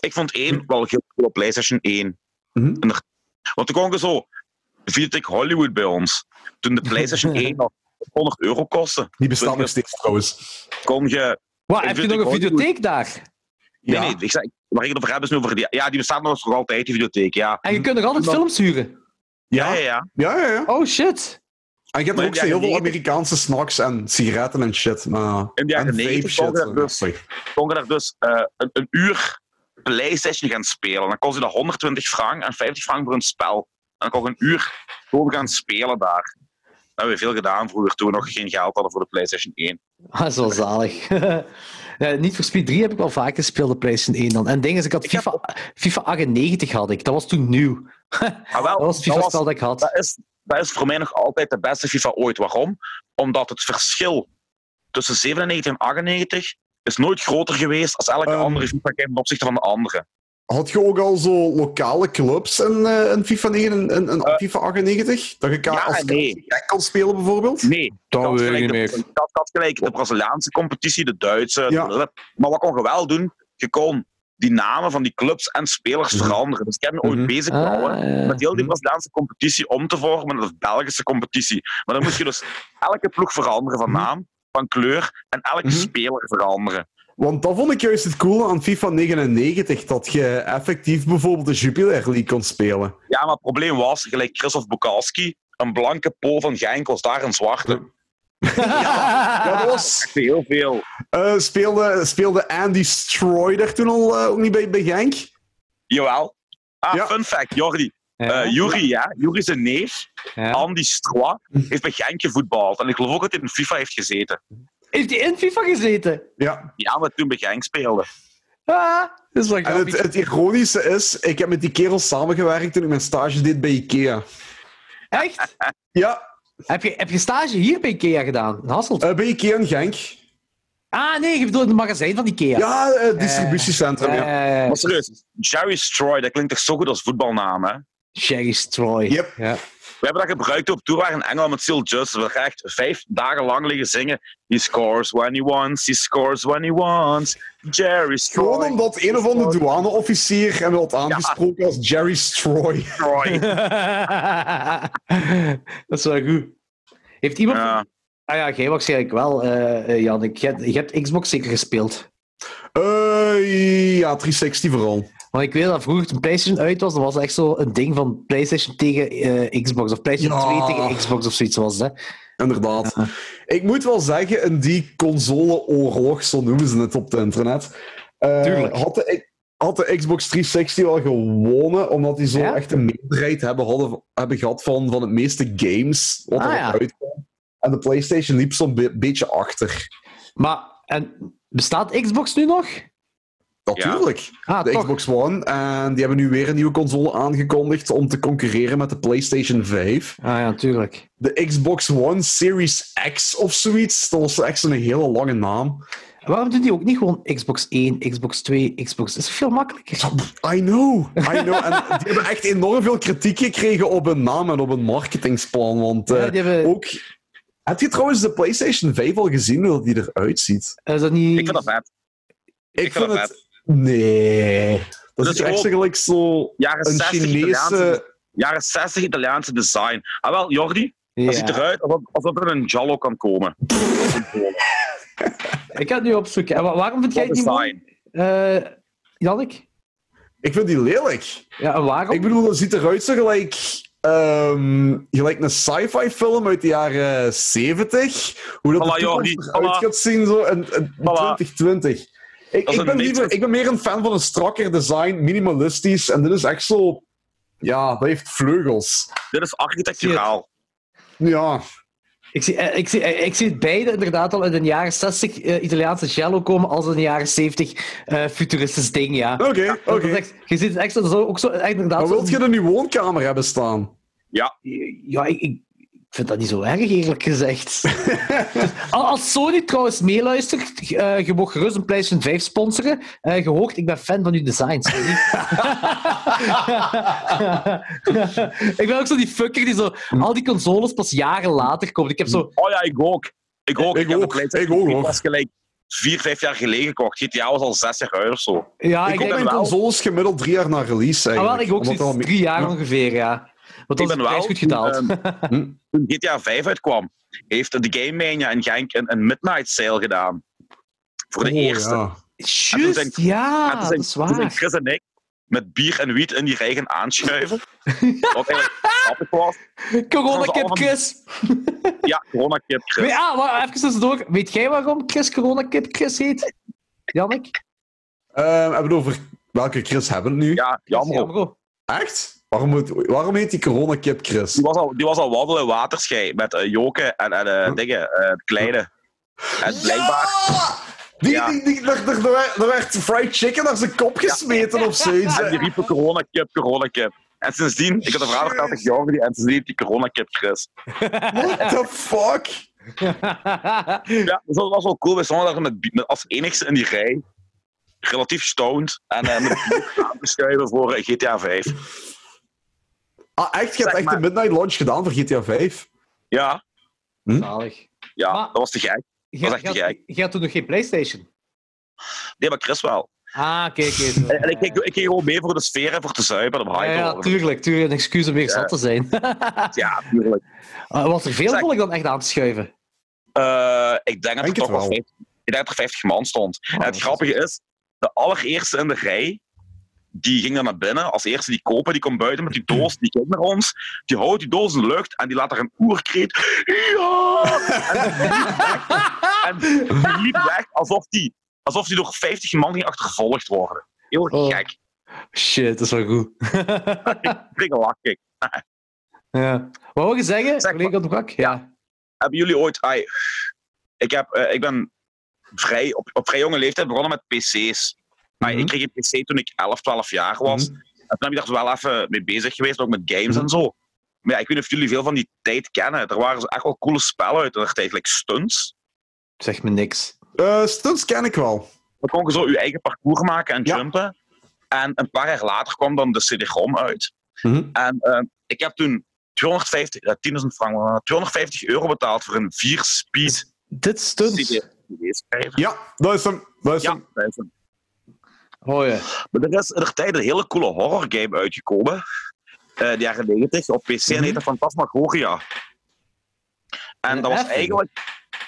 [SPEAKER 1] Ik vond één wel heel cool op PlayStation 1.
[SPEAKER 3] Mhm.
[SPEAKER 1] En er- Want toen kon ik zo, vierde ik Hollywood bij ons. Toen de PlayStation 1 nog 100 euro kosten.
[SPEAKER 3] Die bestaat nog steeds trouwens.
[SPEAKER 1] Kon je...
[SPEAKER 2] Wat,
[SPEAKER 1] Ik
[SPEAKER 2] heb je
[SPEAKER 1] vind
[SPEAKER 2] nog
[SPEAKER 1] het
[SPEAKER 2] een
[SPEAKER 1] ook goed.
[SPEAKER 2] videotheek daar?
[SPEAKER 1] Nee,
[SPEAKER 3] Ja.
[SPEAKER 1] nee, ik zeg, waar ik het over heb is nu over die... Ja, die bestaat nog nog altijd, die videotheek, ja.
[SPEAKER 2] En je kunt nog altijd films huren.
[SPEAKER 1] Ja, ja, ja.
[SPEAKER 3] Ja, ja, ja.
[SPEAKER 2] Oh shit.
[SPEAKER 3] En
[SPEAKER 1] Maar
[SPEAKER 3] je hebt er
[SPEAKER 1] in
[SPEAKER 3] ook
[SPEAKER 1] de
[SPEAKER 3] heel
[SPEAKER 1] jaren
[SPEAKER 3] veel
[SPEAKER 1] 90
[SPEAKER 3] Amerikaanse snacks en sigaretten en shit. Maar...
[SPEAKER 1] In de jaren
[SPEAKER 3] en
[SPEAKER 1] 90 konden daar dus, kon je daar dus eh, een, een uur PlayStation gaan spelen. Dan kostte dat 120 frank en 50 frank voor een spel. En dan kon je een uur gewoon gaan spelen daar. Dat hebben we veel gedaan vroeger, toen we nog geen geld hadden voor de PlayStation 1.
[SPEAKER 2] Ah, dat is wel zalig. Ja, niet voor Speed 3 heb ik wel vaak gespeeld, de PlayStation 1 dan. En ding is, ik had
[SPEAKER 1] Ik heb
[SPEAKER 2] FIFA, FIFA 98 had ik. Dat was toen nieuw.
[SPEAKER 1] Ah, wel,
[SPEAKER 2] Dat was het FIFA-spel Oh, dat ik had.
[SPEAKER 1] dat is, dat is voor mij nog altijd de beste FIFA ooit. Waarom? Omdat het verschil tussen 97 en 98 is nooit groter geweest als elke
[SPEAKER 3] Ehm.
[SPEAKER 1] andere FIFA-game ten opzichte van de andere.
[SPEAKER 3] Had je ook al zo lokale clubs in, eh, in FIFA, 9, en en- en FIFA 98? Dat je ka-
[SPEAKER 1] Eh. ja
[SPEAKER 3] als
[SPEAKER 1] en nee.
[SPEAKER 3] kaart kon spelen bijvoorbeeld?
[SPEAKER 1] Nee,
[SPEAKER 6] Dat
[SPEAKER 1] had
[SPEAKER 6] weet ik
[SPEAKER 1] gelijk
[SPEAKER 6] niet
[SPEAKER 1] de-
[SPEAKER 6] meer.
[SPEAKER 1] Dat, dat gelijk de Braziliaanse competitie, de Duitse. de-
[SPEAKER 3] Ja.
[SPEAKER 1] maar wat kon je wel doen? Je kon die namen van die clubs en spelers
[SPEAKER 3] Mhm.
[SPEAKER 1] veranderen. Dus ik heb me ooit
[SPEAKER 3] Mhm.
[SPEAKER 1] bezig gehouden
[SPEAKER 2] Ah, ja.
[SPEAKER 1] met heel die
[SPEAKER 3] Mhm.
[SPEAKER 1] Braziliaanse competitie om te vormen naar de Belgische competitie. Maar dan moest je dus elke ploeg veranderen van
[SPEAKER 3] Mhm.
[SPEAKER 1] naam, van kleur en elke
[SPEAKER 3] Mhm.
[SPEAKER 1] speler veranderen.
[SPEAKER 3] Want dat vond ik juist het coole aan FIFA 99, dat je effectief bijvoorbeeld de Jupiler League kon spelen.
[SPEAKER 1] Ja, maar het probleem was, gelijk Christophe Bukalski, een blanke Pool van Genk was daar een zwarte.
[SPEAKER 3] Ja,
[SPEAKER 2] Ah.
[SPEAKER 3] dat was...
[SPEAKER 1] Heel veel.
[SPEAKER 3] eh, speelde, speelde Andy Stroy daar toen al eh, ook niet bij, bij Genk?
[SPEAKER 1] Jawel. Ah,
[SPEAKER 3] Ja.
[SPEAKER 1] fun fact, Jordi.
[SPEAKER 2] Ja.
[SPEAKER 1] Eh, Juri, ja. Juri zijn neef,
[SPEAKER 2] Ja.
[SPEAKER 1] Andy Stroy, heeft bij Genk gevoetbald. En ik geloof ook dat hij in FIFA heeft gezeten.
[SPEAKER 2] Heeft hij in FIFA gezeten?
[SPEAKER 3] Ja.
[SPEAKER 1] Ja, maar toen bij Genk speelde.
[SPEAKER 2] Ah, dat is wel
[SPEAKER 3] En het,
[SPEAKER 2] grappig.
[SPEAKER 3] het ironische is, ik heb met die kerel samengewerkt toen ik mijn stage deed bij Ikea.
[SPEAKER 2] Echt?
[SPEAKER 3] Ja,
[SPEAKER 2] Heb je, heb je stage hier bij Ikea gedaan? In Hasselt?
[SPEAKER 3] eh, bij Ikea in Genk.
[SPEAKER 2] ah, nee, je bedoelt in het magazijn van Ikea.
[SPEAKER 3] Ja, eh, distributiecentrum, ja.
[SPEAKER 2] Eh,
[SPEAKER 1] Maar serieus, Jerry Stroy, dat klinkt toch zo goed als voetbalnaam, hè?
[SPEAKER 2] Sherry Stroy.
[SPEAKER 3] Yep.
[SPEAKER 2] Ja.
[SPEAKER 1] We hebben dat gebruikt op tour in Engeland met Seal Justice. We hebben echt vijf dagen lang liggen zingen. He scores when he wants, he scores when he wants. Jerry
[SPEAKER 3] Gewoon
[SPEAKER 1] Stroy.
[SPEAKER 3] omdat een of andere douaneofficier hem had aangesproken als Jerry Stroy.
[SPEAKER 1] Stroy.
[SPEAKER 2] dat is wel goed. Heeft iemand...
[SPEAKER 1] Ja.
[SPEAKER 2] Ah ja, jij waarschijnlijk wel, eh eh, Jannik. Je, hebt- je hebt Xbox zeker gespeeld.
[SPEAKER 3] Eh, ja, 360 vooral.
[SPEAKER 2] Want ik weet dat vroeger toen PlayStation uit was, dan was dat echt zo een ding van PlayStation tegen eh, Xbox. Of PlayStation
[SPEAKER 3] Ja.
[SPEAKER 2] 2 tegen Xbox of zoiets was het. hè.
[SPEAKER 3] Inderdaad. Ik moet wel zeggen, in die consoleoorlog, zo noemen ze het op het internet, eh,
[SPEAKER 2] Tuurlijk.
[SPEAKER 3] had de, had de Xbox 360 wel gewonnen, omdat die zo
[SPEAKER 2] Ja?
[SPEAKER 3] echt een meerderheid hebben, hadden, hebben gehad van, van het meeste games wat
[SPEAKER 2] Ah,
[SPEAKER 3] er
[SPEAKER 2] ja.
[SPEAKER 3] uitkwam. En de PlayStation liep zo'n be- beetje achter.
[SPEAKER 2] Maar, en bestaat Xbox nu nog?
[SPEAKER 3] Natuurlijk.
[SPEAKER 2] Ah,
[SPEAKER 3] de
[SPEAKER 2] toch.
[SPEAKER 3] Xbox One. En die hebben nu weer een nieuwe console aangekondigd om te concurreren met de PlayStation 5.
[SPEAKER 2] Ah ja, natuurlijk.
[SPEAKER 3] De Xbox One Series X of zoiets. Dat was echt zo'n hele lange naam.
[SPEAKER 2] Waarom doen die ook niet gewoon Xbox 1, Xbox 2, Xbox... Dat is veel makkelijker.
[SPEAKER 3] I know, I know. En die hebben echt enorm veel kritiek gekregen op hun naam en op hun marketingsplan. Want eh,
[SPEAKER 2] Ja, die hebben-
[SPEAKER 3] ook... Heb je trouwens de PlayStation 5 al gezien hoe die eruit ziet?
[SPEAKER 2] eh, Is dat niet...
[SPEAKER 1] Ik vind dat vet.
[SPEAKER 3] Ik,
[SPEAKER 1] vind dat
[SPEAKER 3] Nee. Dat
[SPEAKER 1] Dat
[SPEAKER 3] is
[SPEAKER 1] is ook-
[SPEAKER 3] eigenlijk zo
[SPEAKER 1] Jaren
[SPEAKER 3] een
[SPEAKER 1] 60 Italiaanse,
[SPEAKER 3] Chinese...
[SPEAKER 1] jaren 60 Italiaanse design. Ah wel, Jordi,
[SPEAKER 2] Ja.
[SPEAKER 1] dat ziet eruit alsof, alsof er een Jallo kan komen.
[SPEAKER 2] Ik ga het nu opzoeken. En wa- waarom vind jij
[SPEAKER 1] Wat
[SPEAKER 2] het niet mooi?
[SPEAKER 1] design.
[SPEAKER 2] Eh Jannik?
[SPEAKER 3] Ik vind die lelijk.
[SPEAKER 2] Ja, en waarom?
[SPEAKER 3] Ik bedoel, dat ziet eruit zo gelijk... ehm, gelijk een sci-fi film uit de jaren 70. Hoe dat
[SPEAKER 1] Voilà,
[SPEAKER 3] de toekomst
[SPEAKER 1] Jordi.
[SPEAKER 3] eruit
[SPEAKER 1] Voilà.
[SPEAKER 3] gaat zien zo in, in
[SPEAKER 1] Voilà.
[SPEAKER 3] 2020. Ik,
[SPEAKER 1] Dat is
[SPEAKER 3] ik,
[SPEAKER 1] een
[SPEAKER 3] ben
[SPEAKER 1] mix.
[SPEAKER 3] liever, ik ben meer een fan van een strakker design, minimalistisch. En dit is echt zo... Ja, dat heeft vleugels.
[SPEAKER 1] Dit is architecturaal.
[SPEAKER 3] Ja,
[SPEAKER 2] Ik zie, eh, ik, zie, eh, ik zie het beide inderdaad al in de jaren 60 eh, Italiaanse cello komen als in de jaren 70 eh, futuristisch ding, ja.
[SPEAKER 3] oké, oké.
[SPEAKER 2] Dat is echt- je ziet het echt zo, ook zo echt inderdaad...
[SPEAKER 3] Maar
[SPEAKER 2] zo-
[SPEAKER 3] wilt je er nu woonkamer hebben staan?
[SPEAKER 2] Ja, ik, ik ik vind dat niet zo erg, eerlijk gezegd. Dus, al- als Sony trouwens meeluistert, eh, je mag gerust een PlayStation 5 sponsoren. Eh, je hoort, ik ben fan van uw designs. Sony. ik ben ook zo die fucker die zo al die consoles pas jaren later komt. Ik heb zo
[SPEAKER 1] Oh ja, ik ook. Ik ook.
[SPEAKER 3] Ik
[SPEAKER 1] heb
[SPEAKER 3] ook.
[SPEAKER 1] de PlayStation
[SPEAKER 3] Ik ook,
[SPEAKER 1] 3
[SPEAKER 3] hoor.
[SPEAKER 1] pas gelijk vier, vijf jaar geleden gekocht. GTA was al zes jaar uit of zo.
[SPEAKER 2] Ja,
[SPEAKER 3] ik
[SPEAKER 2] ik
[SPEAKER 3] koop
[SPEAKER 2] denk
[SPEAKER 3] mijn
[SPEAKER 1] wel-
[SPEAKER 3] consoles gemiddeld drie jaar na release,
[SPEAKER 2] ah,
[SPEAKER 3] eigenlijk.
[SPEAKER 2] wel, ik ook
[SPEAKER 3] Omdat
[SPEAKER 2] zoiets
[SPEAKER 3] dat al-
[SPEAKER 2] drie jaar ongeveer, ja. Want
[SPEAKER 1] Ik
[SPEAKER 2] dat is
[SPEAKER 1] ben
[SPEAKER 2] prijs
[SPEAKER 1] wel- ehm,
[SPEAKER 2] goed gedaald.
[SPEAKER 1] Toen GTA 5 uitkwam, heeft de Game Mania in Genk een, een midnight sale gedaan. Voor
[SPEAKER 3] Oh,
[SPEAKER 2] Oh,
[SPEAKER 1] de eerste. toen zijn-
[SPEAKER 2] Juist,
[SPEAKER 3] Ah,
[SPEAKER 2] ja,
[SPEAKER 1] dus En dus toen zijn- toen zijn
[SPEAKER 2] dat is waar.
[SPEAKER 1] Chris en ik met bier en wiet in die rij gaan aanschuiven. Wat eigenlijk grappig was.
[SPEAKER 2] Corona Kip
[SPEAKER 1] allemaal-
[SPEAKER 2] Chris.
[SPEAKER 1] Ja, coronakip Chris.
[SPEAKER 2] Weet, ah, wacht, even tussendoor. Weet jij waarom Chris Corona Kip Chris heet? Jannik?
[SPEAKER 3] Ehm, hebben we het over welke Chris hebben we het nu?
[SPEAKER 1] Ja, jammer. ook.
[SPEAKER 2] Jamro.
[SPEAKER 3] Echt? Waarom, moet- waarom heet die coronakip Chris?
[SPEAKER 1] Die was al, die was al wandelen in waterschei met eh, Joke en, en eh, dingen, eh, de kleine. En blijkbaar...
[SPEAKER 3] Die,
[SPEAKER 1] Ja.
[SPEAKER 3] die, die, daar, daar- daar- daar werd fried chicken naar zijn kop gesmeten of zoiets.
[SPEAKER 1] En die riepen coronakip, coronakip. En sindsdien, ik had een verhaal verteld tegen Jordi, en sindsdien die coronakip Chris.
[SPEAKER 3] What the fuck?
[SPEAKER 2] Hm?
[SPEAKER 1] Ja, dus dat was wel cool. We stonden daar met, bi- met als enigste in die rij. Relatief stoned. En eh, met bier aan te schuiven voor eh, GTA 5.
[SPEAKER 3] Ah, echt? Je hebt
[SPEAKER 1] Zeg
[SPEAKER 3] echt
[SPEAKER 1] maar.
[SPEAKER 3] de midnight launch gedaan voor GTA 5?
[SPEAKER 1] Ja,
[SPEAKER 2] Zalig.
[SPEAKER 1] ja
[SPEAKER 2] Maar-
[SPEAKER 1] dat was te gek.
[SPEAKER 2] Je
[SPEAKER 1] echt niet gek.
[SPEAKER 2] had- je had toen nog geen PlayStation.
[SPEAKER 1] Nee, maar Chris wel.
[SPEAKER 2] Ah, kijk eens.
[SPEAKER 1] Eh, En, en ik, ging- ik ging gewoon mee voor de sfeer en voor te zuipen en om
[SPEAKER 2] Ja,
[SPEAKER 1] high te
[SPEAKER 2] ja,
[SPEAKER 1] worden.
[SPEAKER 2] tuurlijk, tuurlijk. Een excuus om weer zat te zijn.
[SPEAKER 1] Ja, tuurlijk.
[SPEAKER 2] Ah, was er veel
[SPEAKER 1] Zeg-
[SPEAKER 2] volk dan echt aan te schuiven?
[SPEAKER 1] Eh, ik denk dat
[SPEAKER 3] Denk
[SPEAKER 1] er toch
[SPEAKER 3] het
[SPEAKER 1] wel
[SPEAKER 3] wel.
[SPEAKER 1] 50, ik denk dat er 50 man stond. en
[SPEAKER 2] dat
[SPEAKER 1] het
[SPEAKER 2] is-
[SPEAKER 1] grappige is, de allereerste in de rij, die ging dan naar binnen. Als eerste die kopen, die komt buiten met die doos, die kijkt naar ons. Die houdt die doos in de lucht en die laat daar een oerkreet. Ja! En die liep weg, en die liep weg alsof die, alsof die door 50 man ging achtervolgd worden. Heel
[SPEAKER 2] Oh.
[SPEAKER 1] gek.
[SPEAKER 2] Shit, dat is wel goed.
[SPEAKER 1] Dikke lak, kijk.
[SPEAKER 2] ja. Wat wou je zeggen,
[SPEAKER 1] Zeg
[SPEAKER 2] collega de Brak? Ja.
[SPEAKER 1] Hebben jullie ooit... ai, ik, heb, eh, ik ben vrij, op, op vrij jonge leeftijd begonnen met pc's. Maar
[SPEAKER 3] Mhm.
[SPEAKER 1] Ik kreeg een pc toen ik 11, 12 jaar was. En toen ben ik daar wel even mee bezig geweest, ook met games
[SPEAKER 3] Mhm.
[SPEAKER 1] en zo. Maar ja, ik weet niet of jullie veel van die tijd kennen. Er waren zo echt wel coole spellen uit in de tijd, like stunts.
[SPEAKER 2] Zeg me niks.
[SPEAKER 3] Eh stunts ken ik wel.
[SPEAKER 1] Dan kon je zo je eigen parcours maken en
[SPEAKER 3] Ja.
[SPEAKER 1] jumpen. En een paar jaar later kwam dan de CD-ROM uit.
[SPEAKER 3] Mhm.
[SPEAKER 1] En eh, ik heb toen 250, eh, 10.000 frank, eh, 250 euro betaald voor een 4-speed
[SPEAKER 2] Dit
[SPEAKER 1] CD.
[SPEAKER 2] stunt.
[SPEAKER 1] CD-schrijver.
[SPEAKER 3] Ja, dat is hem. Dat is
[SPEAKER 1] Ja,
[SPEAKER 3] hem.
[SPEAKER 1] dat is hem.
[SPEAKER 2] Hoor je.
[SPEAKER 1] Maar er is er tijd een hele coole horrorgame uitgekomen. eh de jaren 90 op PC en heette Fantasmagoria. En
[SPEAKER 2] Een
[SPEAKER 1] dat was
[SPEAKER 2] F,
[SPEAKER 1] eigenlijk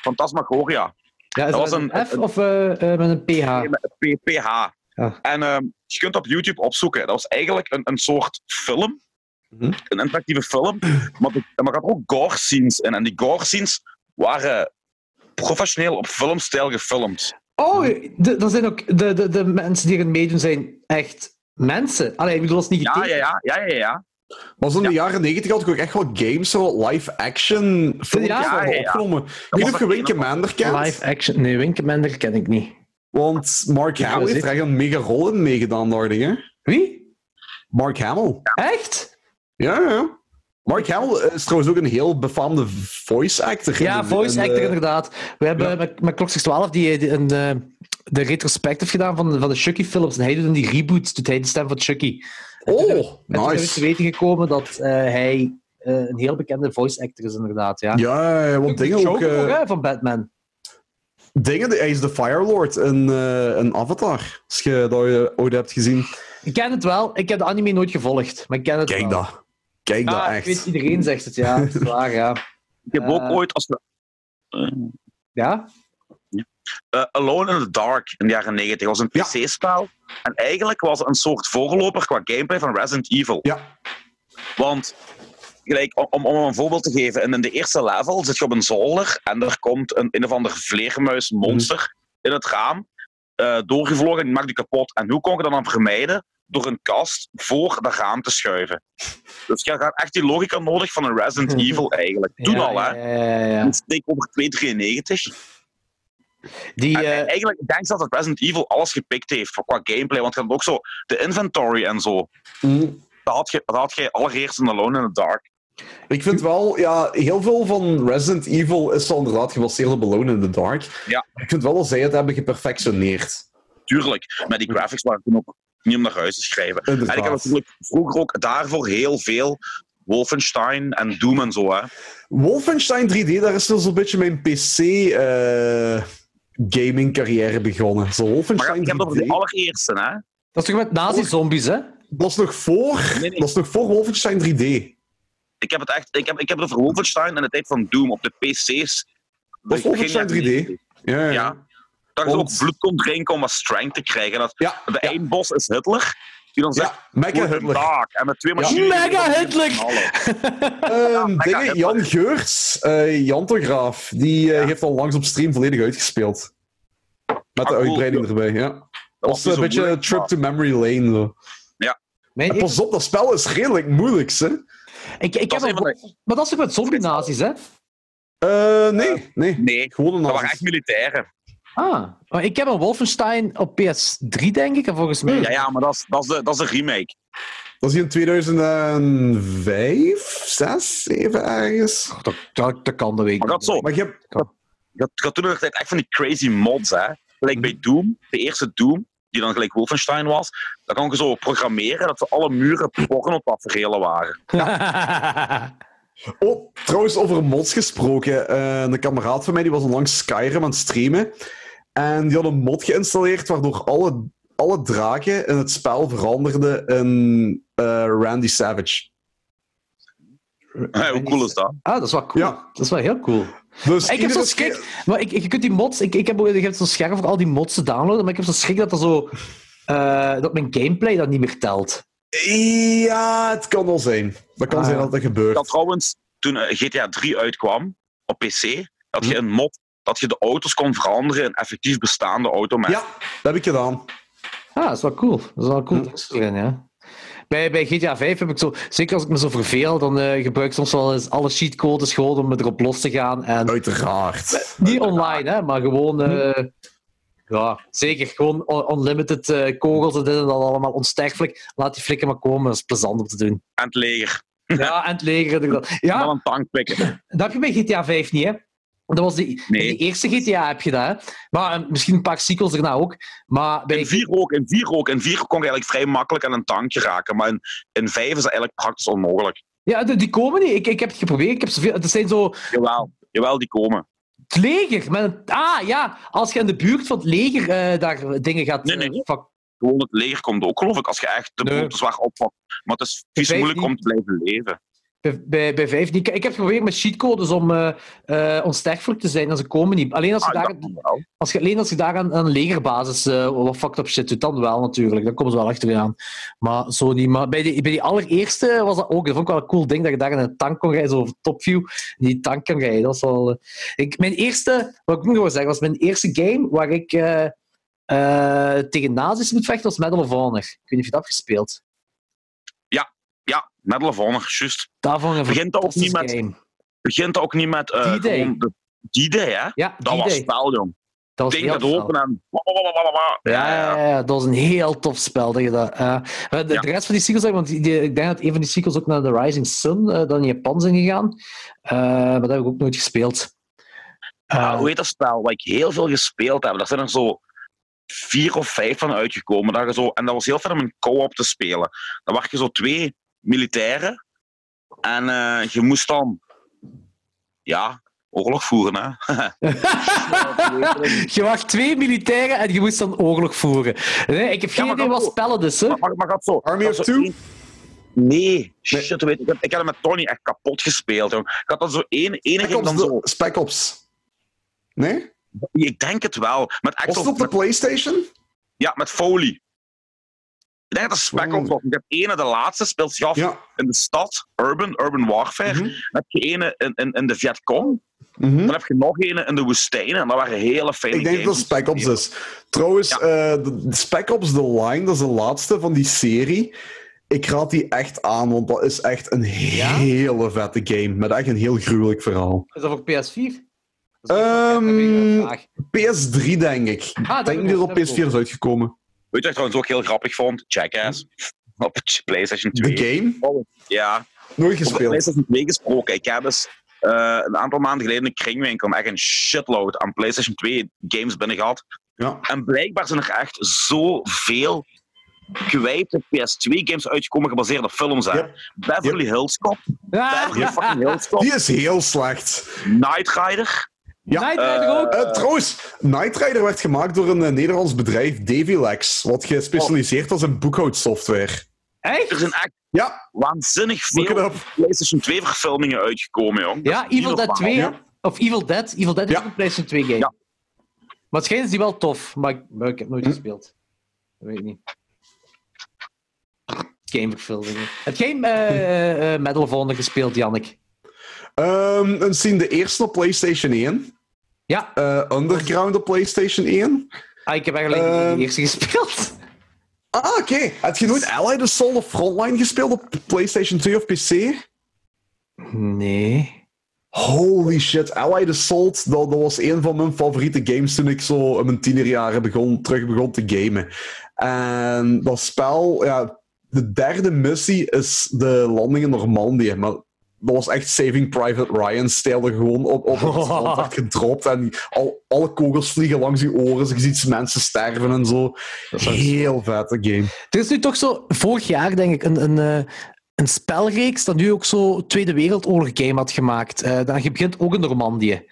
[SPEAKER 1] Fantasmagoria.
[SPEAKER 2] Ja,
[SPEAKER 1] Dat
[SPEAKER 2] is dat
[SPEAKER 1] was
[SPEAKER 2] met
[SPEAKER 1] een-
[SPEAKER 2] een F of eh, eh, met een PH?
[SPEAKER 1] Nee, met een P- PH.
[SPEAKER 2] Ja.
[SPEAKER 1] En ehm, je kunt op YouTube opzoeken. Dat was eigenlijk een, een soort film.
[SPEAKER 3] Mhm.
[SPEAKER 1] Een interactieve film. Maar, de- maar er had ook gore scenes in. En die gore scenes waren professioneel op filmstijl gefilmd.
[SPEAKER 2] Oh, de- dat zijn ook de, de, de mensen die erin meedoen zijn echt mensen. Allee, ik bedoel, dat is niet
[SPEAKER 1] Ja,
[SPEAKER 2] getekend.
[SPEAKER 1] ja, ja. ja, ja, ja.
[SPEAKER 3] Maar zo in de jaren negentig had ik ook echt wel games, zo live-action filmpjes
[SPEAKER 2] Ja,
[SPEAKER 3] ja,
[SPEAKER 1] ja, ja.
[SPEAKER 3] opgenomen. Ik weet niet of
[SPEAKER 1] was
[SPEAKER 3] je
[SPEAKER 1] er
[SPEAKER 3] Winke
[SPEAKER 1] een of
[SPEAKER 3] Mander kent,
[SPEAKER 2] Live action. Nee, Winkelmender ken ik niet.
[SPEAKER 3] want Mark Hamill
[SPEAKER 2] dat
[SPEAKER 3] heeft
[SPEAKER 2] is-
[SPEAKER 3] er echt een mega rol in meegedaan, dacht ik, hè?
[SPEAKER 2] Wie?
[SPEAKER 3] Mark Hamill.
[SPEAKER 2] Echt?
[SPEAKER 3] Ja, ja. Mark Hamill eh, is trouwens ook een heel befaamde voice actor.
[SPEAKER 2] Ja,
[SPEAKER 3] En-
[SPEAKER 2] voice
[SPEAKER 3] en,
[SPEAKER 2] actor
[SPEAKER 3] eh,
[SPEAKER 2] inderdaad. We hebben
[SPEAKER 3] ja.
[SPEAKER 2] met, met Klok 12 die, die een, eh, de retrospect heeft gedaan van, de- van de Chucky films. En hij doet in die reboot, doet hij de stem van Chucky.
[SPEAKER 3] Oh,
[SPEAKER 2] En toen is te
[SPEAKER 3] nice.
[SPEAKER 2] weten gekomen dat eh, hij eh, een heel bekende voice actor is inderdaad. Ja,
[SPEAKER 3] Ja, ja, want dingen ook...
[SPEAKER 2] Joker
[SPEAKER 3] eh,
[SPEAKER 2] hè, van Batman.
[SPEAKER 3] Dingen, hij is de Firelord in, eh in Avatar. Als je dat je ooit hebt gezien.
[SPEAKER 2] Ik ken het wel. Ik heb de anime nooit gevolgd, maar ik ken het
[SPEAKER 3] Kijk
[SPEAKER 2] wel.
[SPEAKER 3] dat. Kijk
[SPEAKER 2] Ja,
[SPEAKER 3] dat,
[SPEAKER 2] ik weet,
[SPEAKER 3] echt.
[SPEAKER 2] iedereen zegt het, ja. Dat is waar, ja.
[SPEAKER 1] Ik heb ook
[SPEAKER 2] Eh.
[SPEAKER 1] ooit als
[SPEAKER 2] Ja?
[SPEAKER 1] Eh, Alone in the Dark in de jaren 90 was een
[SPEAKER 3] Ja.
[SPEAKER 1] PC-spel. En eigenlijk was het een soort voorloper qua gameplay van Resident Evil.
[SPEAKER 3] Ja.
[SPEAKER 1] Want, gelijk, om- om, om een voorbeeld te geven, in de eerste level zit je op een zolder en er komt een, een of ander vleermuismonster
[SPEAKER 3] Mhm.
[SPEAKER 1] in het raam eh, doorgevlogen en die maakt die kapot. En hoe kon je dat dan vermijden? Door een kast voor dat raam te schuiven. Dus je had echt die logica nodig van een Resident Evil eigenlijk. Toen
[SPEAKER 2] Ja,
[SPEAKER 1] al, hè?
[SPEAKER 2] Ja, ja, ja, ja.
[SPEAKER 1] Een Takeover 293.
[SPEAKER 2] Die,
[SPEAKER 1] En
[SPEAKER 2] eh,
[SPEAKER 1] eigenlijk ik denk ik dat het Resident Evil alles gepikt heeft voor- qua gameplay. Want je had ook zo de inventory en zo.
[SPEAKER 3] Mm.
[SPEAKER 1] Dat had je, dat had je allereerst in Alone in the Dark.
[SPEAKER 3] Ik vind wel, ja, heel veel van Resident Evil is al inderdaad gebaseerd op Alone in the Dark.
[SPEAKER 1] Ja.
[SPEAKER 3] Ik vind wel dat zij het hebben geperfectioneerd.
[SPEAKER 1] Tuurlijk, maar die graphics waren toen ook niet om naar huis te schrijven. En ik heb
[SPEAKER 3] Inderdaad.
[SPEAKER 1] natuurlijk vroeger ook daarvoor heel veel Wolfenstein en Doom en zo. Hè.
[SPEAKER 3] Wolfenstein 3D, daar is dus een beetje mijn PC eh, gaming carrière begonnen. Zo
[SPEAKER 1] Maar
[SPEAKER 3] Wolfenstein
[SPEAKER 1] ik heb het over
[SPEAKER 3] 3D,
[SPEAKER 1] de allereerste. Hè.
[SPEAKER 2] dat is toch met nazi-zombies, hè?
[SPEAKER 3] dat is nog voor,
[SPEAKER 1] Nee, nee.
[SPEAKER 3] dat is nog voor Wolfenstein 3D.
[SPEAKER 1] Ik heb het echt... Ik heb, ik heb het over Wolfenstein in de tijd van Doom op de PC's.
[SPEAKER 3] Was Wolfenstein 3D? Ja, ja.
[SPEAKER 1] Ja. Dat je
[SPEAKER 3] Want-
[SPEAKER 1] ook bloed kon drinken om wat strength te krijgen. En dat,
[SPEAKER 3] Ja,
[SPEAKER 1] de eindbos is Hitler. Die dan zegt...
[SPEAKER 3] ja. Mega
[SPEAKER 1] "Guten
[SPEAKER 3] Hitler.
[SPEAKER 1] Tag," En met twee machines...
[SPEAKER 2] Mega Hitler!
[SPEAKER 3] Ehm, dingen,
[SPEAKER 1] Hitler.
[SPEAKER 3] Jan Geurts, eh Jantograaf, die eh,
[SPEAKER 1] Ja.
[SPEAKER 3] heeft al langs op stream volledig uitgespeeld. Met de
[SPEAKER 1] Ah, cool.
[SPEAKER 3] uitbreiding erbij, ja.
[SPEAKER 1] Dat
[SPEAKER 3] was
[SPEAKER 1] niet
[SPEAKER 3] een
[SPEAKER 1] zo
[SPEAKER 3] eh, beetje
[SPEAKER 1] dus moeilijk,
[SPEAKER 3] Trip
[SPEAKER 1] maar-
[SPEAKER 3] to Memory Lane. Zo.
[SPEAKER 2] Mijn,
[SPEAKER 3] En
[SPEAKER 2] ik,
[SPEAKER 3] pas op, dat spel is redelijk moeilijk, hè?
[SPEAKER 2] ik, ik
[SPEAKER 1] Dat
[SPEAKER 2] heb
[SPEAKER 1] is een van
[SPEAKER 2] een-
[SPEAKER 1] de...
[SPEAKER 2] maar dat is ook met zombie-nazi's, hè?
[SPEAKER 3] Eh, nee, nee.
[SPEAKER 1] Nee,
[SPEAKER 3] Gewoon een
[SPEAKER 1] dat
[SPEAKER 3] nazi.
[SPEAKER 1] waren echt militairen.
[SPEAKER 2] Ah, maar ik heb een Wolfenstein op PS3, denk ik, en volgens mij.
[SPEAKER 1] Ja, ja, maar dat is, dat is, de, dat is de remake.
[SPEAKER 3] Was die in 2005, 6, 7 ergens?
[SPEAKER 2] Dat, dat, dat kan de week.
[SPEAKER 1] Maar dat zo.
[SPEAKER 3] Maar je hebt...
[SPEAKER 1] Je had, je had toen nog tijd echt van die crazy mods, hè. Gelijk
[SPEAKER 3] Mhm.
[SPEAKER 1] bij Doom, de eerste Doom, die dan gelijk Wolfenstein was, dan kon je zo programmeren dat ze alle muren porno-tafereelen waren.
[SPEAKER 3] Oh, trouwens, over mods gesproken. Eh, een kameraad van mij die was onlangs Skyrim aan het streamen. En die had een mod geïnstalleerd waardoor alle, alle draken in het spel veranderden in eh, Randy Savage.
[SPEAKER 1] Hé, hoe cool is dat?
[SPEAKER 2] Ah, dat is wel cool.
[SPEAKER 3] Ja.
[SPEAKER 2] Dat is wel heel cool.
[SPEAKER 3] Dus
[SPEAKER 2] Ik heb
[SPEAKER 3] iedere
[SPEAKER 2] zo'n
[SPEAKER 3] keer-
[SPEAKER 2] schrik. Maar ik, ik- je kunt die mods. Ik, ik heb, ook- je hebt zo'n scherm voor al die mods te downloaden. Maar ik heb zo'n schrik dat dat zo. eh, dat mijn gameplay dat niet meer telt.
[SPEAKER 3] Ja, het kan wel zijn. Dat kan
[SPEAKER 2] Ah,
[SPEAKER 3] zijn
[SPEAKER 2] ja.
[SPEAKER 3] dat dat gebeurt.
[SPEAKER 1] Ik had trouwens, toen eh, GTA 3 uitkwam, op PC, had
[SPEAKER 3] Mhm.
[SPEAKER 1] je een mod dat je de auto's kon veranderen in effectief bestaande automerken.
[SPEAKER 3] Ja, dat heb ik gedaan.
[SPEAKER 2] Ah, dat is wel cool. Dat is wel cool.
[SPEAKER 3] Hm.
[SPEAKER 2] Dat is erin, ja. Bij, bij GTA 5 heb ik zo. Zeker als ik me zo verveel, dan eh, gebruik ik soms wel eens alle cheatcodes gewoon om erop los te gaan. En
[SPEAKER 3] Uiteraard.
[SPEAKER 2] Niet online, hè, maar gewoon. eh, ja, zeker. Gewoon on- unlimited eh, kogels en dit en dat allemaal. Onsterfelijk. Laat die flikken maar komen. Dat is plezant om te doen.
[SPEAKER 1] En het leger.
[SPEAKER 2] Ja, en het leger. inderdaad.
[SPEAKER 1] En
[SPEAKER 2] Ja,
[SPEAKER 1] dan een tank pikken.
[SPEAKER 2] dat heb je bij GTA 5 niet, hè? Dat was die,
[SPEAKER 1] Nee.
[SPEAKER 2] die eerste GTA heb je dat, hè? Maar eh, misschien een paar sequels daarna ook. Maar bij
[SPEAKER 1] In 4 ook, in 4 ook. In 4 kon je eigenlijk vrij makkelijk aan een tankje raken, maar in, in 5 is dat eigenlijk praktisch onmogelijk.
[SPEAKER 2] Ja, de- die komen niet. Ik, ik heb het geprobeerd. Ik heb zoveel, het zijn zo.
[SPEAKER 1] Jawel, jawel, die komen.
[SPEAKER 2] Het leger. Met een- ah ja, als je in de buurt van het leger eh, daar dingen gaat.
[SPEAKER 1] Nee, nee.
[SPEAKER 2] eh, fuck-
[SPEAKER 1] gewoon het leger komt ook, geloof ik, als je echt de
[SPEAKER 2] Nee.
[SPEAKER 1] boel te zwaar opvat. Maar het is
[SPEAKER 2] Ik
[SPEAKER 1] vies
[SPEAKER 2] weet
[SPEAKER 1] moeilijk
[SPEAKER 2] niet.
[SPEAKER 1] om te blijven leven.
[SPEAKER 2] Bij, bij, bij vijf niet. Ik heb het geprobeerd met cheatcodes om eh eh, onsterfelijk te zijn en ze komen niet. Alleen als je,
[SPEAKER 1] Ah,
[SPEAKER 2] daar,
[SPEAKER 1] dat kan wel.
[SPEAKER 2] als je, alleen als je daar aan aan een legerbasis eh, wat fucked up shit doet, dan wel natuurlijk. Dan komen ze wel achter je aan. Maar zo niet. Maar bij die, bij die allereerste was dat ook. Dat vond ik wel een cool ding dat je daar in een tank kon rijden, zo over topview. in Die tank kan rijden. Dat was wel. eh, ik, mijn eerste, wat ik nog wil zeggen, was mijn eerste game waar ik eh, eh, tegen nazi's moet vechten, was Medal of Honor. Ik weet niet of je dat hebt gespeeld.
[SPEAKER 1] Ja, Medal of Honor, juist.
[SPEAKER 2] Daarvan een
[SPEAKER 1] Begint dat ook niet
[SPEAKER 2] fantastische
[SPEAKER 1] met-
[SPEAKER 2] game.
[SPEAKER 1] Begint ook niet met... eh,
[SPEAKER 2] D-Day.
[SPEAKER 1] gewoon de- D-Day, hè?
[SPEAKER 2] Ja,
[SPEAKER 1] Dat was
[SPEAKER 2] D-Day.
[SPEAKER 1] spel, jong.
[SPEAKER 2] Dat was
[SPEAKER 1] Ding
[SPEAKER 2] heel
[SPEAKER 1] gaat
[SPEAKER 2] fel.
[SPEAKER 1] open en... wa- wa- wa- wa- wa- wa.
[SPEAKER 2] Ja, ja, ja, dat was een heel tof spel. Dat je dat, eh, maar de,
[SPEAKER 1] Ja.
[SPEAKER 2] de rest van die sequels, want die, die- ik denk dat een van die sequels ook naar The Rising Sun eh, dan in Japan zijn gegaan. Eh, maar dat heb ik ook nooit gespeeld. Eh,
[SPEAKER 1] Ah, hoe heet dat spel? Wat ik heel veel gespeeld heb. Daar zijn er zo vier of vijf van uitgekomen. Dat je zo, en dat was heel fijn om een co-op te spelen. Dan waren je zo twee militairen. En eh, je moest dan... Ja, oorlog voeren, hè.
[SPEAKER 2] je wacht twee militairen en je moest dan oorlog voeren. Nee, ik heb geen
[SPEAKER 1] maar
[SPEAKER 2] idee
[SPEAKER 1] dat
[SPEAKER 2] wat
[SPEAKER 1] ook.
[SPEAKER 2] spellen dus. Hè.
[SPEAKER 1] Maar, maar, maar gaat zo.
[SPEAKER 3] Army
[SPEAKER 1] gaat
[SPEAKER 3] of
[SPEAKER 1] zo
[SPEAKER 3] Two?
[SPEAKER 1] één- Nee, shit, weet ik. heb- Ik had hem met Tony echt kapot gespeeld. Jong. Ik had dan zo één, ene
[SPEAKER 3] Spec
[SPEAKER 1] ging dan
[SPEAKER 3] Ops,
[SPEAKER 1] zo.
[SPEAKER 3] de- Spec Ops. Nee?
[SPEAKER 1] Ik denk het wel. Met
[SPEAKER 3] Was het
[SPEAKER 1] Actor,
[SPEAKER 3] op de
[SPEAKER 1] met,
[SPEAKER 3] PlayStation?
[SPEAKER 1] ja, met Foley. Ik denk dat Spec
[SPEAKER 3] Wow.
[SPEAKER 1] Ops was. Ik heb ene, de laatste, speelt zich af
[SPEAKER 3] Ja.
[SPEAKER 1] in de stad, Urban, Urban Warfare.
[SPEAKER 3] Mhm.
[SPEAKER 1] Dan heb je ene in, in, in de Vietcong.
[SPEAKER 3] Mhm.
[SPEAKER 1] Dan heb je nog ene in de woestijnen. En dat waren hele fijne
[SPEAKER 3] Ik denk dat dat
[SPEAKER 1] games.
[SPEAKER 3] Spec Ops is. Trouwens,
[SPEAKER 1] Ja.
[SPEAKER 3] eh, de- de Spec Ops The Line, dat is de laatste van die serie. Ik raad die echt aan, want dat is echt een
[SPEAKER 2] Ja?
[SPEAKER 3] hele vette game. Met echt een heel gruwelijk verhaal.
[SPEAKER 2] Is dat voor PS4?
[SPEAKER 3] Ehm,
[SPEAKER 2] Dat is ook een vraag.
[SPEAKER 3] PS3, denk ik.
[SPEAKER 2] Ah, dat
[SPEAKER 3] Ik denk
[SPEAKER 2] heb ik
[SPEAKER 3] niet
[SPEAKER 2] ook,
[SPEAKER 3] dat
[SPEAKER 2] dat
[SPEAKER 3] op
[SPEAKER 2] heb ik
[SPEAKER 3] PS4
[SPEAKER 2] ook.
[SPEAKER 3] is uitgekomen.
[SPEAKER 1] Weet je wat ik trouwens ook heel grappig vond? Jackass. Op PlayStation 2.
[SPEAKER 3] De Mhm. game?
[SPEAKER 1] Ja.
[SPEAKER 3] Nooit
[SPEAKER 1] Over de
[SPEAKER 3] gespeeld.
[SPEAKER 1] PlayStation 2 gesproken. Ik heb dus eh, een aantal maanden geleden in een kringwinkel echt een shitload aan PlayStation 2 games binnen gehad.
[SPEAKER 3] Ja.
[SPEAKER 1] En blijkbaar zijn er echt zoveel kwijte PS2 games uitgekomen gebaseerd op films. Hè?
[SPEAKER 3] Yep.
[SPEAKER 1] Beverly Hills Cop, Beverly fucking Hills Cop,
[SPEAKER 3] Die is heel slecht.
[SPEAKER 1] Knight Rider.
[SPEAKER 3] Ja.
[SPEAKER 2] Night Rider ook.
[SPEAKER 3] Eh, trouwens, Knight Rider werd gemaakt door een eh,
[SPEAKER 1] Oh.
[SPEAKER 3] Nederlands bedrijf, Davilex, wat gespecialiseerd was in boekhoudsoftware.
[SPEAKER 2] Echt?
[SPEAKER 1] eh, Er zijn echt
[SPEAKER 3] Ja,
[SPEAKER 1] Waanzinnig
[SPEAKER 3] look it
[SPEAKER 1] veel
[SPEAKER 3] up.
[SPEAKER 1] PlayStation 2-verfilmingen uitgekomen, jong.
[SPEAKER 2] Ja, Evil Dead 2.
[SPEAKER 3] Ja.
[SPEAKER 2] Of Evil Dead. Evil Dead
[SPEAKER 3] Ja.
[SPEAKER 2] is ook een PlayStation 2 game.
[SPEAKER 1] Ja.
[SPEAKER 2] Waarschijnlijk is die wel tof, maar ik, maar ik heb nooit gespeeld. Dat weet ik niet. Gameverfilmingen. Heb jij eh, eh, eh, Medal of Honor gespeeld, Jannik?
[SPEAKER 3] Ehm en zien de eerste op PlayStation 1.
[SPEAKER 2] Ja,
[SPEAKER 3] eh, Underground op PlayStation 1.
[SPEAKER 2] ah, ik heb eigenlijk niet
[SPEAKER 3] Ehm.
[SPEAKER 2] de eerste gespeeld.
[SPEAKER 3] Ah, oké. Heb je nooit Allied Assault of Frontline gespeeld op PlayStation 2 of PC?
[SPEAKER 2] Nee.
[SPEAKER 3] Holy shit, Allied Assault, dat, dat was een van mijn favoriete games toen ik zo in mijn tienerjaren begon, terug begon te gamen. En dat spel, ja, de derde missie is de landing in Normandië, maar dat was echt Saving Private Ryan-stijl, dat je gewoon op, op het strand werd gedropt en al, alle kogels vliegen langs je oren, dus je ziet mensen sterven en zo. Heel vette game.
[SPEAKER 2] Er is nu toch zo, vorig jaar denk ik, een, een, eh, een spelreeks dat nu ook zo Tweede Wereldoorlog game had gemaakt. Eh, dan je begint ook in Normandië.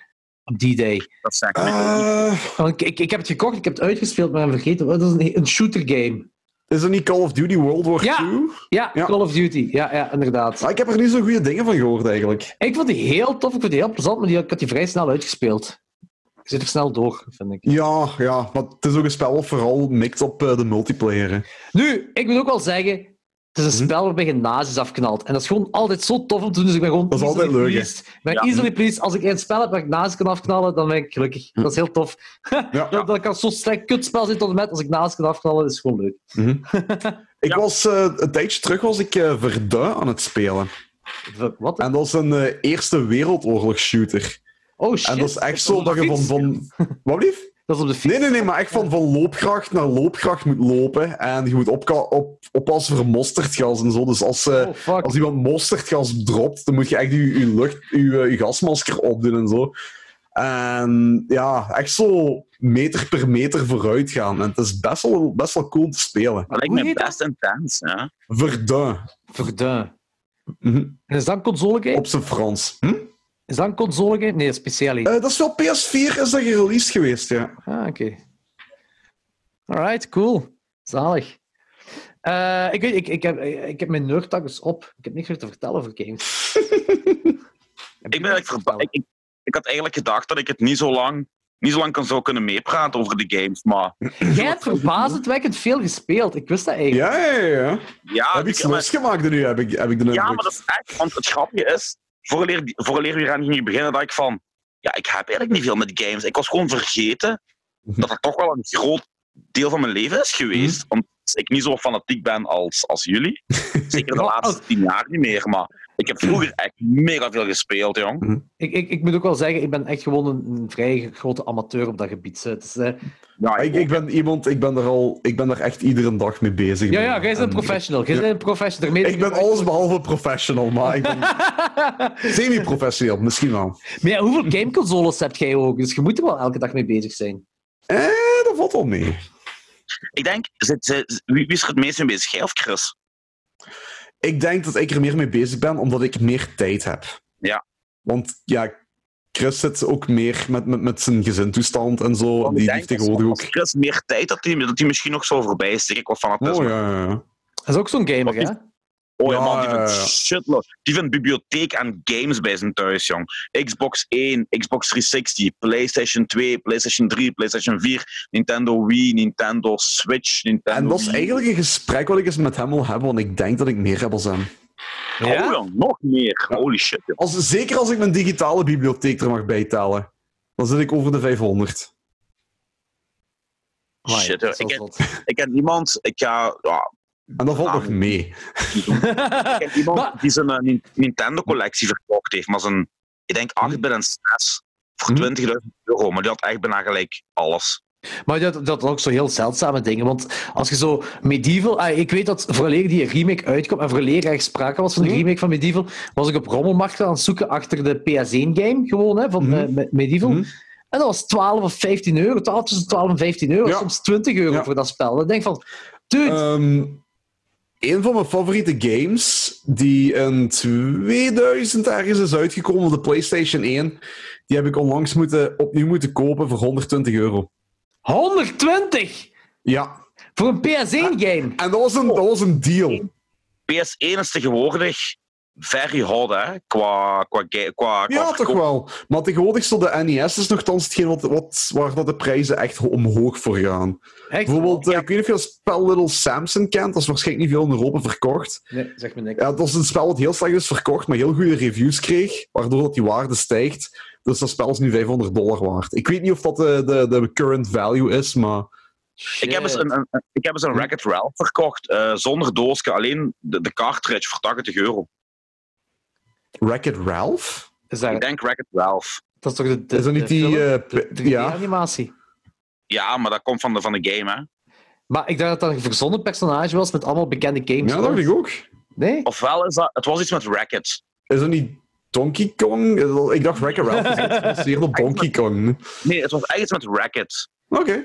[SPEAKER 2] Op die day.
[SPEAKER 1] Dat zegt mij ook niet.
[SPEAKER 3] Eh,
[SPEAKER 2] Want ik, ik, ik heb het gekocht, ik heb het uitgespeeld, maar ik heb vergeten. oh, Dat is een, een shooter game.
[SPEAKER 3] is dat niet Call of Duty World War
[SPEAKER 2] Ja.
[SPEAKER 3] II?
[SPEAKER 2] Ja,
[SPEAKER 3] Ja.
[SPEAKER 2] Call of Duty. Ja, ja inderdaad.
[SPEAKER 3] Ah, ik heb er niet zo goede dingen van gehoord eigenlijk.
[SPEAKER 2] Ik vond die heel tof, ik vond die heel plezant, maar die, ik had die vrij snel uitgespeeld. Ik zit er snel door, vind ik.
[SPEAKER 3] Ja, ja, maar het is ook een spel dat vooral mikt op eh, de multiplayer. hè.
[SPEAKER 2] Nu, ik moet ook wel zeggen, het is
[SPEAKER 3] Mhm.
[SPEAKER 2] een spel waarbij je nazi's afknalt. En dat is gewoon altijd zo tof om te doen, dus ik ben gewoon
[SPEAKER 3] Dat is
[SPEAKER 2] easily
[SPEAKER 3] altijd leuk, hè?
[SPEAKER 2] pleased. Ik ben
[SPEAKER 1] Ja.
[SPEAKER 2] easily pleased. Als ik een spel heb waar ik nazi's kan afknallen, dan ben ik gelukkig. Dat is heel tof.
[SPEAKER 3] Ja.
[SPEAKER 2] dat, dat kan zo'n slecht kutspel zijn tot en met, als ik nazi's kan afknallen, is gewoon leuk.
[SPEAKER 3] Ik was eh, een tijdje terug was ik eh Verdun aan het spelen.
[SPEAKER 2] Wat?
[SPEAKER 3] En dat is een eh, Eerste Wereldoorlog shooter.
[SPEAKER 2] Oh shit.
[SPEAKER 3] En dat is echt
[SPEAKER 2] op
[SPEAKER 3] zo
[SPEAKER 2] de
[SPEAKER 3] dat je van.
[SPEAKER 2] fiets.
[SPEAKER 3] van... Wat lief?
[SPEAKER 2] Dat is op de fiets.
[SPEAKER 3] Nee, nee, nee, maar echt van, van loopkracht naar loopkracht moet lopen. En je moet opka- op, oppassen voor mosterdgas en zo. Dus als, eh,
[SPEAKER 2] Oh fuck.
[SPEAKER 3] als iemand mosterdgas dropt, dan moet je echt je, je, lucht, je, eh, je gasmasker opdoen en zo. En ja, echt zo meter per meter vooruit gaan. En het is best wel, best wel cool te spelen.
[SPEAKER 1] Dat lijkt
[SPEAKER 2] Hoe
[SPEAKER 1] me
[SPEAKER 2] heet dat?
[SPEAKER 1] best intens, ja.
[SPEAKER 3] Verdun,
[SPEAKER 2] Verdun.
[SPEAKER 3] Mhm.
[SPEAKER 2] En is dat een console game?
[SPEAKER 3] op zijn Frans. Hm?
[SPEAKER 2] Is dat een console game? Nee, speciaal.
[SPEAKER 3] Eh, dat is wel PS4 is dat gereleased geweest, ja.
[SPEAKER 2] Ah, oké. Alright, cool. Zalig. Eh, ik, weet, ik, ik, heb, ik heb mijn nerdtak dus op. Ik heb niks meer te vertellen over games.
[SPEAKER 1] Ik, ben eigenlijk verba- ik, ik, ik had eigenlijk gedacht dat ik het niet zo lang, niet zo lang kan, zou kunnen meepraten over de games, maar...
[SPEAKER 2] Jij hebt verbazendwekkend veel gespeeld. Ik wist dat eigenlijk.
[SPEAKER 3] Ja, ja, ja. ja.
[SPEAKER 1] Ja,
[SPEAKER 3] heb ik
[SPEAKER 1] ik- Ah, maar-
[SPEAKER 3] losgemaakt nu, heb ik, heb ik de
[SPEAKER 1] Ja,
[SPEAKER 3] indruk.
[SPEAKER 1] maar dat is echt, want het grapje is, vooraleer, vooraleer we eraan gingen beginnen, dat ik van, ja, ik heb eigenlijk niet veel met games. Ik was gewoon vergeten
[SPEAKER 3] Mhm.
[SPEAKER 1] dat dat toch wel een groot deel van mijn leven is geweest. Omdat ik niet zo fanatiek ben als, als jullie. Zeker de
[SPEAKER 2] Ja,
[SPEAKER 1] laatste tien jaar niet meer, maar ik heb vroeger echt mega veel gespeeld, jong.
[SPEAKER 2] Ik, ik, ik moet ook wel zeggen, ik ben echt gewoon een, een vrij grote amateur op dat gebied. hè. Het is, eh,
[SPEAKER 1] Ja,
[SPEAKER 3] Maar ik, ik ben iemand, ik ben er al, ik ben er echt iedere dag mee bezig.
[SPEAKER 2] ja,
[SPEAKER 3] nu.
[SPEAKER 2] ja, jij bent een
[SPEAKER 3] En
[SPEAKER 2] professional. Jij bent een professional. Daarmee-
[SPEAKER 3] Ik ben alles behalve professional, maar ik ben semi-professioneel, misschien wel.
[SPEAKER 2] Maar ja, hoeveel gameconsoles heb jij ook? Dus je moet er wel elke dag mee bezig zijn.
[SPEAKER 3] Eh, dat valt wel mee.
[SPEAKER 1] ik denk, zit, zit- wie, wie is er het meest mee bezig? Jij of Chris?
[SPEAKER 3] Ik denk dat ik er meer mee bezig ben, omdat ik meer tijd heb.
[SPEAKER 1] Ja.
[SPEAKER 3] Want ja, Chris zit ook meer met, met, met zijn gezintoestand en zo.
[SPEAKER 1] Want ik
[SPEAKER 3] Oh, die
[SPEAKER 1] denk
[SPEAKER 3] heeft
[SPEAKER 1] als-
[SPEAKER 3] tegenwoordig
[SPEAKER 1] als
[SPEAKER 3] ook...
[SPEAKER 1] Chris meer tijd had, die- dat hij misschien nog zo voorbij stikken qua fanatisme.
[SPEAKER 3] Oh ja, ja, ja.
[SPEAKER 2] Dat is ook zo'n gamer, hè?
[SPEAKER 1] Oh ja,
[SPEAKER 3] Ja,
[SPEAKER 1] man, die vindt
[SPEAKER 3] ja, ja.
[SPEAKER 1] shitload. Die vindt bibliotheek aan games bij zijn thuis, jong. Xbox 1, Xbox 360, PlayStation 2, PlayStation 3, PlayStation 4, Nintendo Wii, Nintendo Switch, Nintendo
[SPEAKER 3] En dat is
[SPEAKER 1] Wii.
[SPEAKER 3] eigenlijk een gesprek wat ik eens met hem wil hebben, want ik denk dat ik meer heb als hem.
[SPEAKER 1] Oh, jong, nog meer.
[SPEAKER 3] Ja.
[SPEAKER 1] Holy shit. jong.
[SPEAKER 3] Als, zeker als ik mijn digitale bibliotheek er mag bijtellen. Dan zit ik over de 500.
[SPEAKER 2] Amai,
[SPEAKER 1] Shit,
[SPEAKER 2] dat is
[SPEAKER 1] ik
[SPEAKER 2] wel
[SPEAKER 1] heb-
[SPEAKER 2] zot.
[SPEAKER 1] Ik ken iemand, ik ga... Ja,
[SPEAKER 3] En dat valt
[SPEAKER 1] Ah.
[SPEAKER 3] nog mee.
[SPEAKER 1] ik ken iemand
[SPEAKER 2] Maar-
[SPEAKER 1] die zijn eh, Nin- Nintendo-collectie verkocht heeft, maar zijn... Ik denk
[SPEAKER 2] Hm.
[SPEAKER 1] 8 bit en 6 voor
[SPEAKER 3] Hm.
[SPEAKER 1] 20.000 euro, maar die had echt bijna gelijk alles.
[SPEAKER 2] Maar dat, dat ook zo heel zeldzame dingen. Want als je zo medieval. ah, ik weet dat vooraleer die remake uitkomt. En vooraleer er echt sprake was van de remake van medieval. Was ik op rommelmarkten aan het zoeken achter de PS1-game. Gewoon hè, van
[SPEAKER 3] Mhm.
[SPEAKER 2] eh, Me- medieval.
[SPEAKER 3] Mhm.
[SPEAKER 2] En dat was 12 of 15 euro. 12, tussen 12 en 15 euro.
[SPEAKER 3] Ja.
[SPEAKER 2] Soms 20 euro
[SPEAKER 3] Ja.
[SPEAKER 2] voor dat spel. Dan denk ik van. Dude,
[SPEAKER 3] Ehm, een van mijn favoriete games, die in 2000 ergens is uitgekomen op de PlayStation 1, die heb ik onlangs moeten, opnieuw moeten kopen voor 120 euro.
[SPEAKER 2] 120
[SPEAKER 3] Ja,
[SPEAKER 2] voor een PS1-game.
[SPEAKER 3] en dat was een, dat was een deal.
[SPEAKER 1] PS1 is tegenwoordig very hot, hè? Qua, qua, ga- qua, qua
[SPEAKER 3] Ja, toch
[SPEAKER 1] verkoop.
[SPEAKER 3] wel. Maar tegenwoordig stond de NES is nogthans hetgeen wat, wat, waar dat de prijzen echt omhoog voor gaan.
[SPEAKER 2] Echt?
[SPEAKER 3] Bijvoorbeeld, eh, ik weet niet of je het spel Little Samson kent. Dat is waarschijnlijk niet veel in Europa verkocht.
[SPEAKER 2] Nee, zeg me niks.
[SPEAKER 3] Ja, dat is een spel dat heel slecht is verkocht, maar heel goede reviews kreeg, waardoor dat die waarde stijgt. Dus dat spel is nu 500 dollar waard. Ik weet niet of dat de, de, de current value is, maar...
[SPEAKER 1] Ik heb, eens een, een- een- ik heb eens een Racket Ralph verkocht, eh, zonder doosje, alleen de, de cartridge voor 80 euro.
[SPEAKER 3] Wreck-It Ralph?
[SPEAKER 2] Is dat,
[SPEAKER 1] Ik denk Racket Ralph.
[SPEAKER 2] dat is toch de, de,
[SPEAKER 3] Is dat niet
[SPEAKER 2] de
[SPEAKER 3] die...
[SPEAKER 2] film?
[SPEAKER 3] eh,
[SPEAKER 2] De
[SPEAKER 3] p- ja.
[SPEAKER 2] 3D-animatie.
[SPEAKER 1] Ja, maar dat komt van de, van de game, hè?
[SPEAKER 2] Maar ik dacht dat dat een verzonnen personage was met allemaal bekende games.
[SPEAKER 3] ja, dat dacht ik ook.
[SPEAKER 2] Nee?
[SPEAKER 1] Ofwel is dat... Het was iets met Racket.
[SPEAKER 3] Is dat niet Donkey Kong? Ik dacht Wreck-It Ralph is geïnteresseerd op Donkey Kong.
[SPEAKER 1] Nee, het was echt iets met Racket.
[SPEAKER 3] Oké.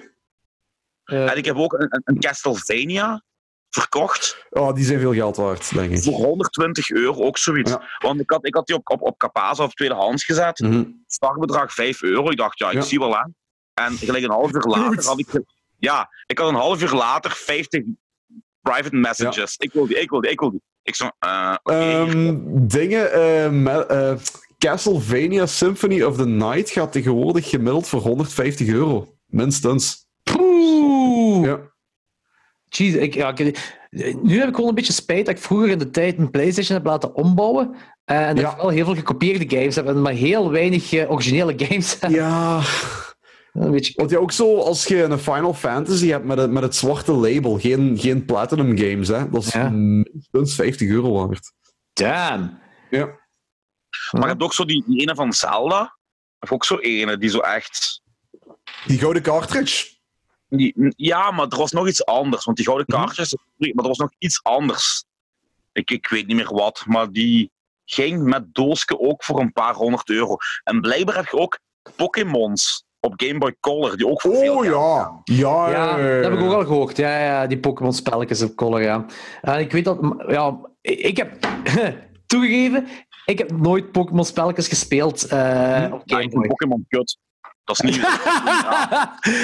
[SPEAKER 2] Eh,
[SPEAKER 1] En ik heb ook een, een- een Castlevania verkocht
[SPEAKER 3] Oh, die zijn veel geld waard, denk ik.
[SPEAKER 1] voor 120 euro, ook zoiets.
[SPEAKER 3] Ja.
[SPEAKER 1] Want ik had, ik had die op, op, op Capaza of tweedehands gezet.
[SPEAKER 3] Mhm.
[SPEAKER 1] startbedrag 5 euro. Ik dacht, ja, ik
[SPEAKER 3] Ja.
[SPEAKER 1] zie wel aan. En gelijk een half uur later had ik... ge- Ja, ik had een half uur later 50 private messages. Ik wil die, ik wil die, ik wil die. Ik zo, eh, oké, hier.
[SPEAKER 3] Ehm, dingen. eh, me- eh, Castlevania Symphony of the Night gaat tegenwoordig gemiddeld voor 150 euro. Minstens.
[SPEAKER 2] Poeh!
[SPEAKER 3] Ja.
[SPEAKER 2] Jeez, ik, ja, ik- nu heb ik gewoon een beetje spijt dat ik vroeger in de tijd een PlayStation heb laten ombouwen. eh, En dat
[SPEAKER 3] Ja.
[SPEAKER 2] ik wel heel veel gekopieerde games heb, en maar heel weinig eh, originele games heb.
[SPEAKER 3] ja.
[SPEAKER 2] Een beetje
[SPEAKER 3] Want ja, ook zo als je een Final Fantasy hebt met het, met het zwarte label. Geen, geen Platinum Games, hè. Dat is
[SPEAKER 2] Ja.
[SPEAKER 3] minstens 50 euro waard.
[SPEAKER 2] damn.
[SPEAKER 3] Ja.
[SPEAKER 1] Maar je hebt ook zo die, die ene van Zelda. Of ook zo ene die zo echt...
[SPEAKER 3] Die gouden cartridge.
[SPEAKER 1] die- ja, maar er was nog iets anders. Want die gouden
[SPEAKER 3] Mhm.
[SPEAKER 1] kaartjes... Maar er was nog iets anders. Ik, ik weet niet meer wat. Maar die ging met doosje ook voor een paar honderd euro. En blijkbaar heb je ook Pokémons op Game Boy Color. Die ook voor veel
[SPEAKER 3] Oh
[SPEAKER 1] geld
[SPEAKER 3] ja. Ja,
[SPEAKER 2] Ja,
[SPEAKER 3] ja, ja.
[SPEAKER 2] dat heb ik ook al gehoord. Ja, ja die Pokémon-spelletjes op Color, ja. En ik weet dat... Ja, ik heb... Toegegeven, ik heb nooit Pokémon-spelletjes gespeeld eh, op
[SPEAKER 1] Ja,
[SPEAKER 2] Game
[SPEAKER 1] Ah, ik vind
[SPEAKER 2] Boy.
[SPEAKER 1] Pokémon kut. Dat is niet.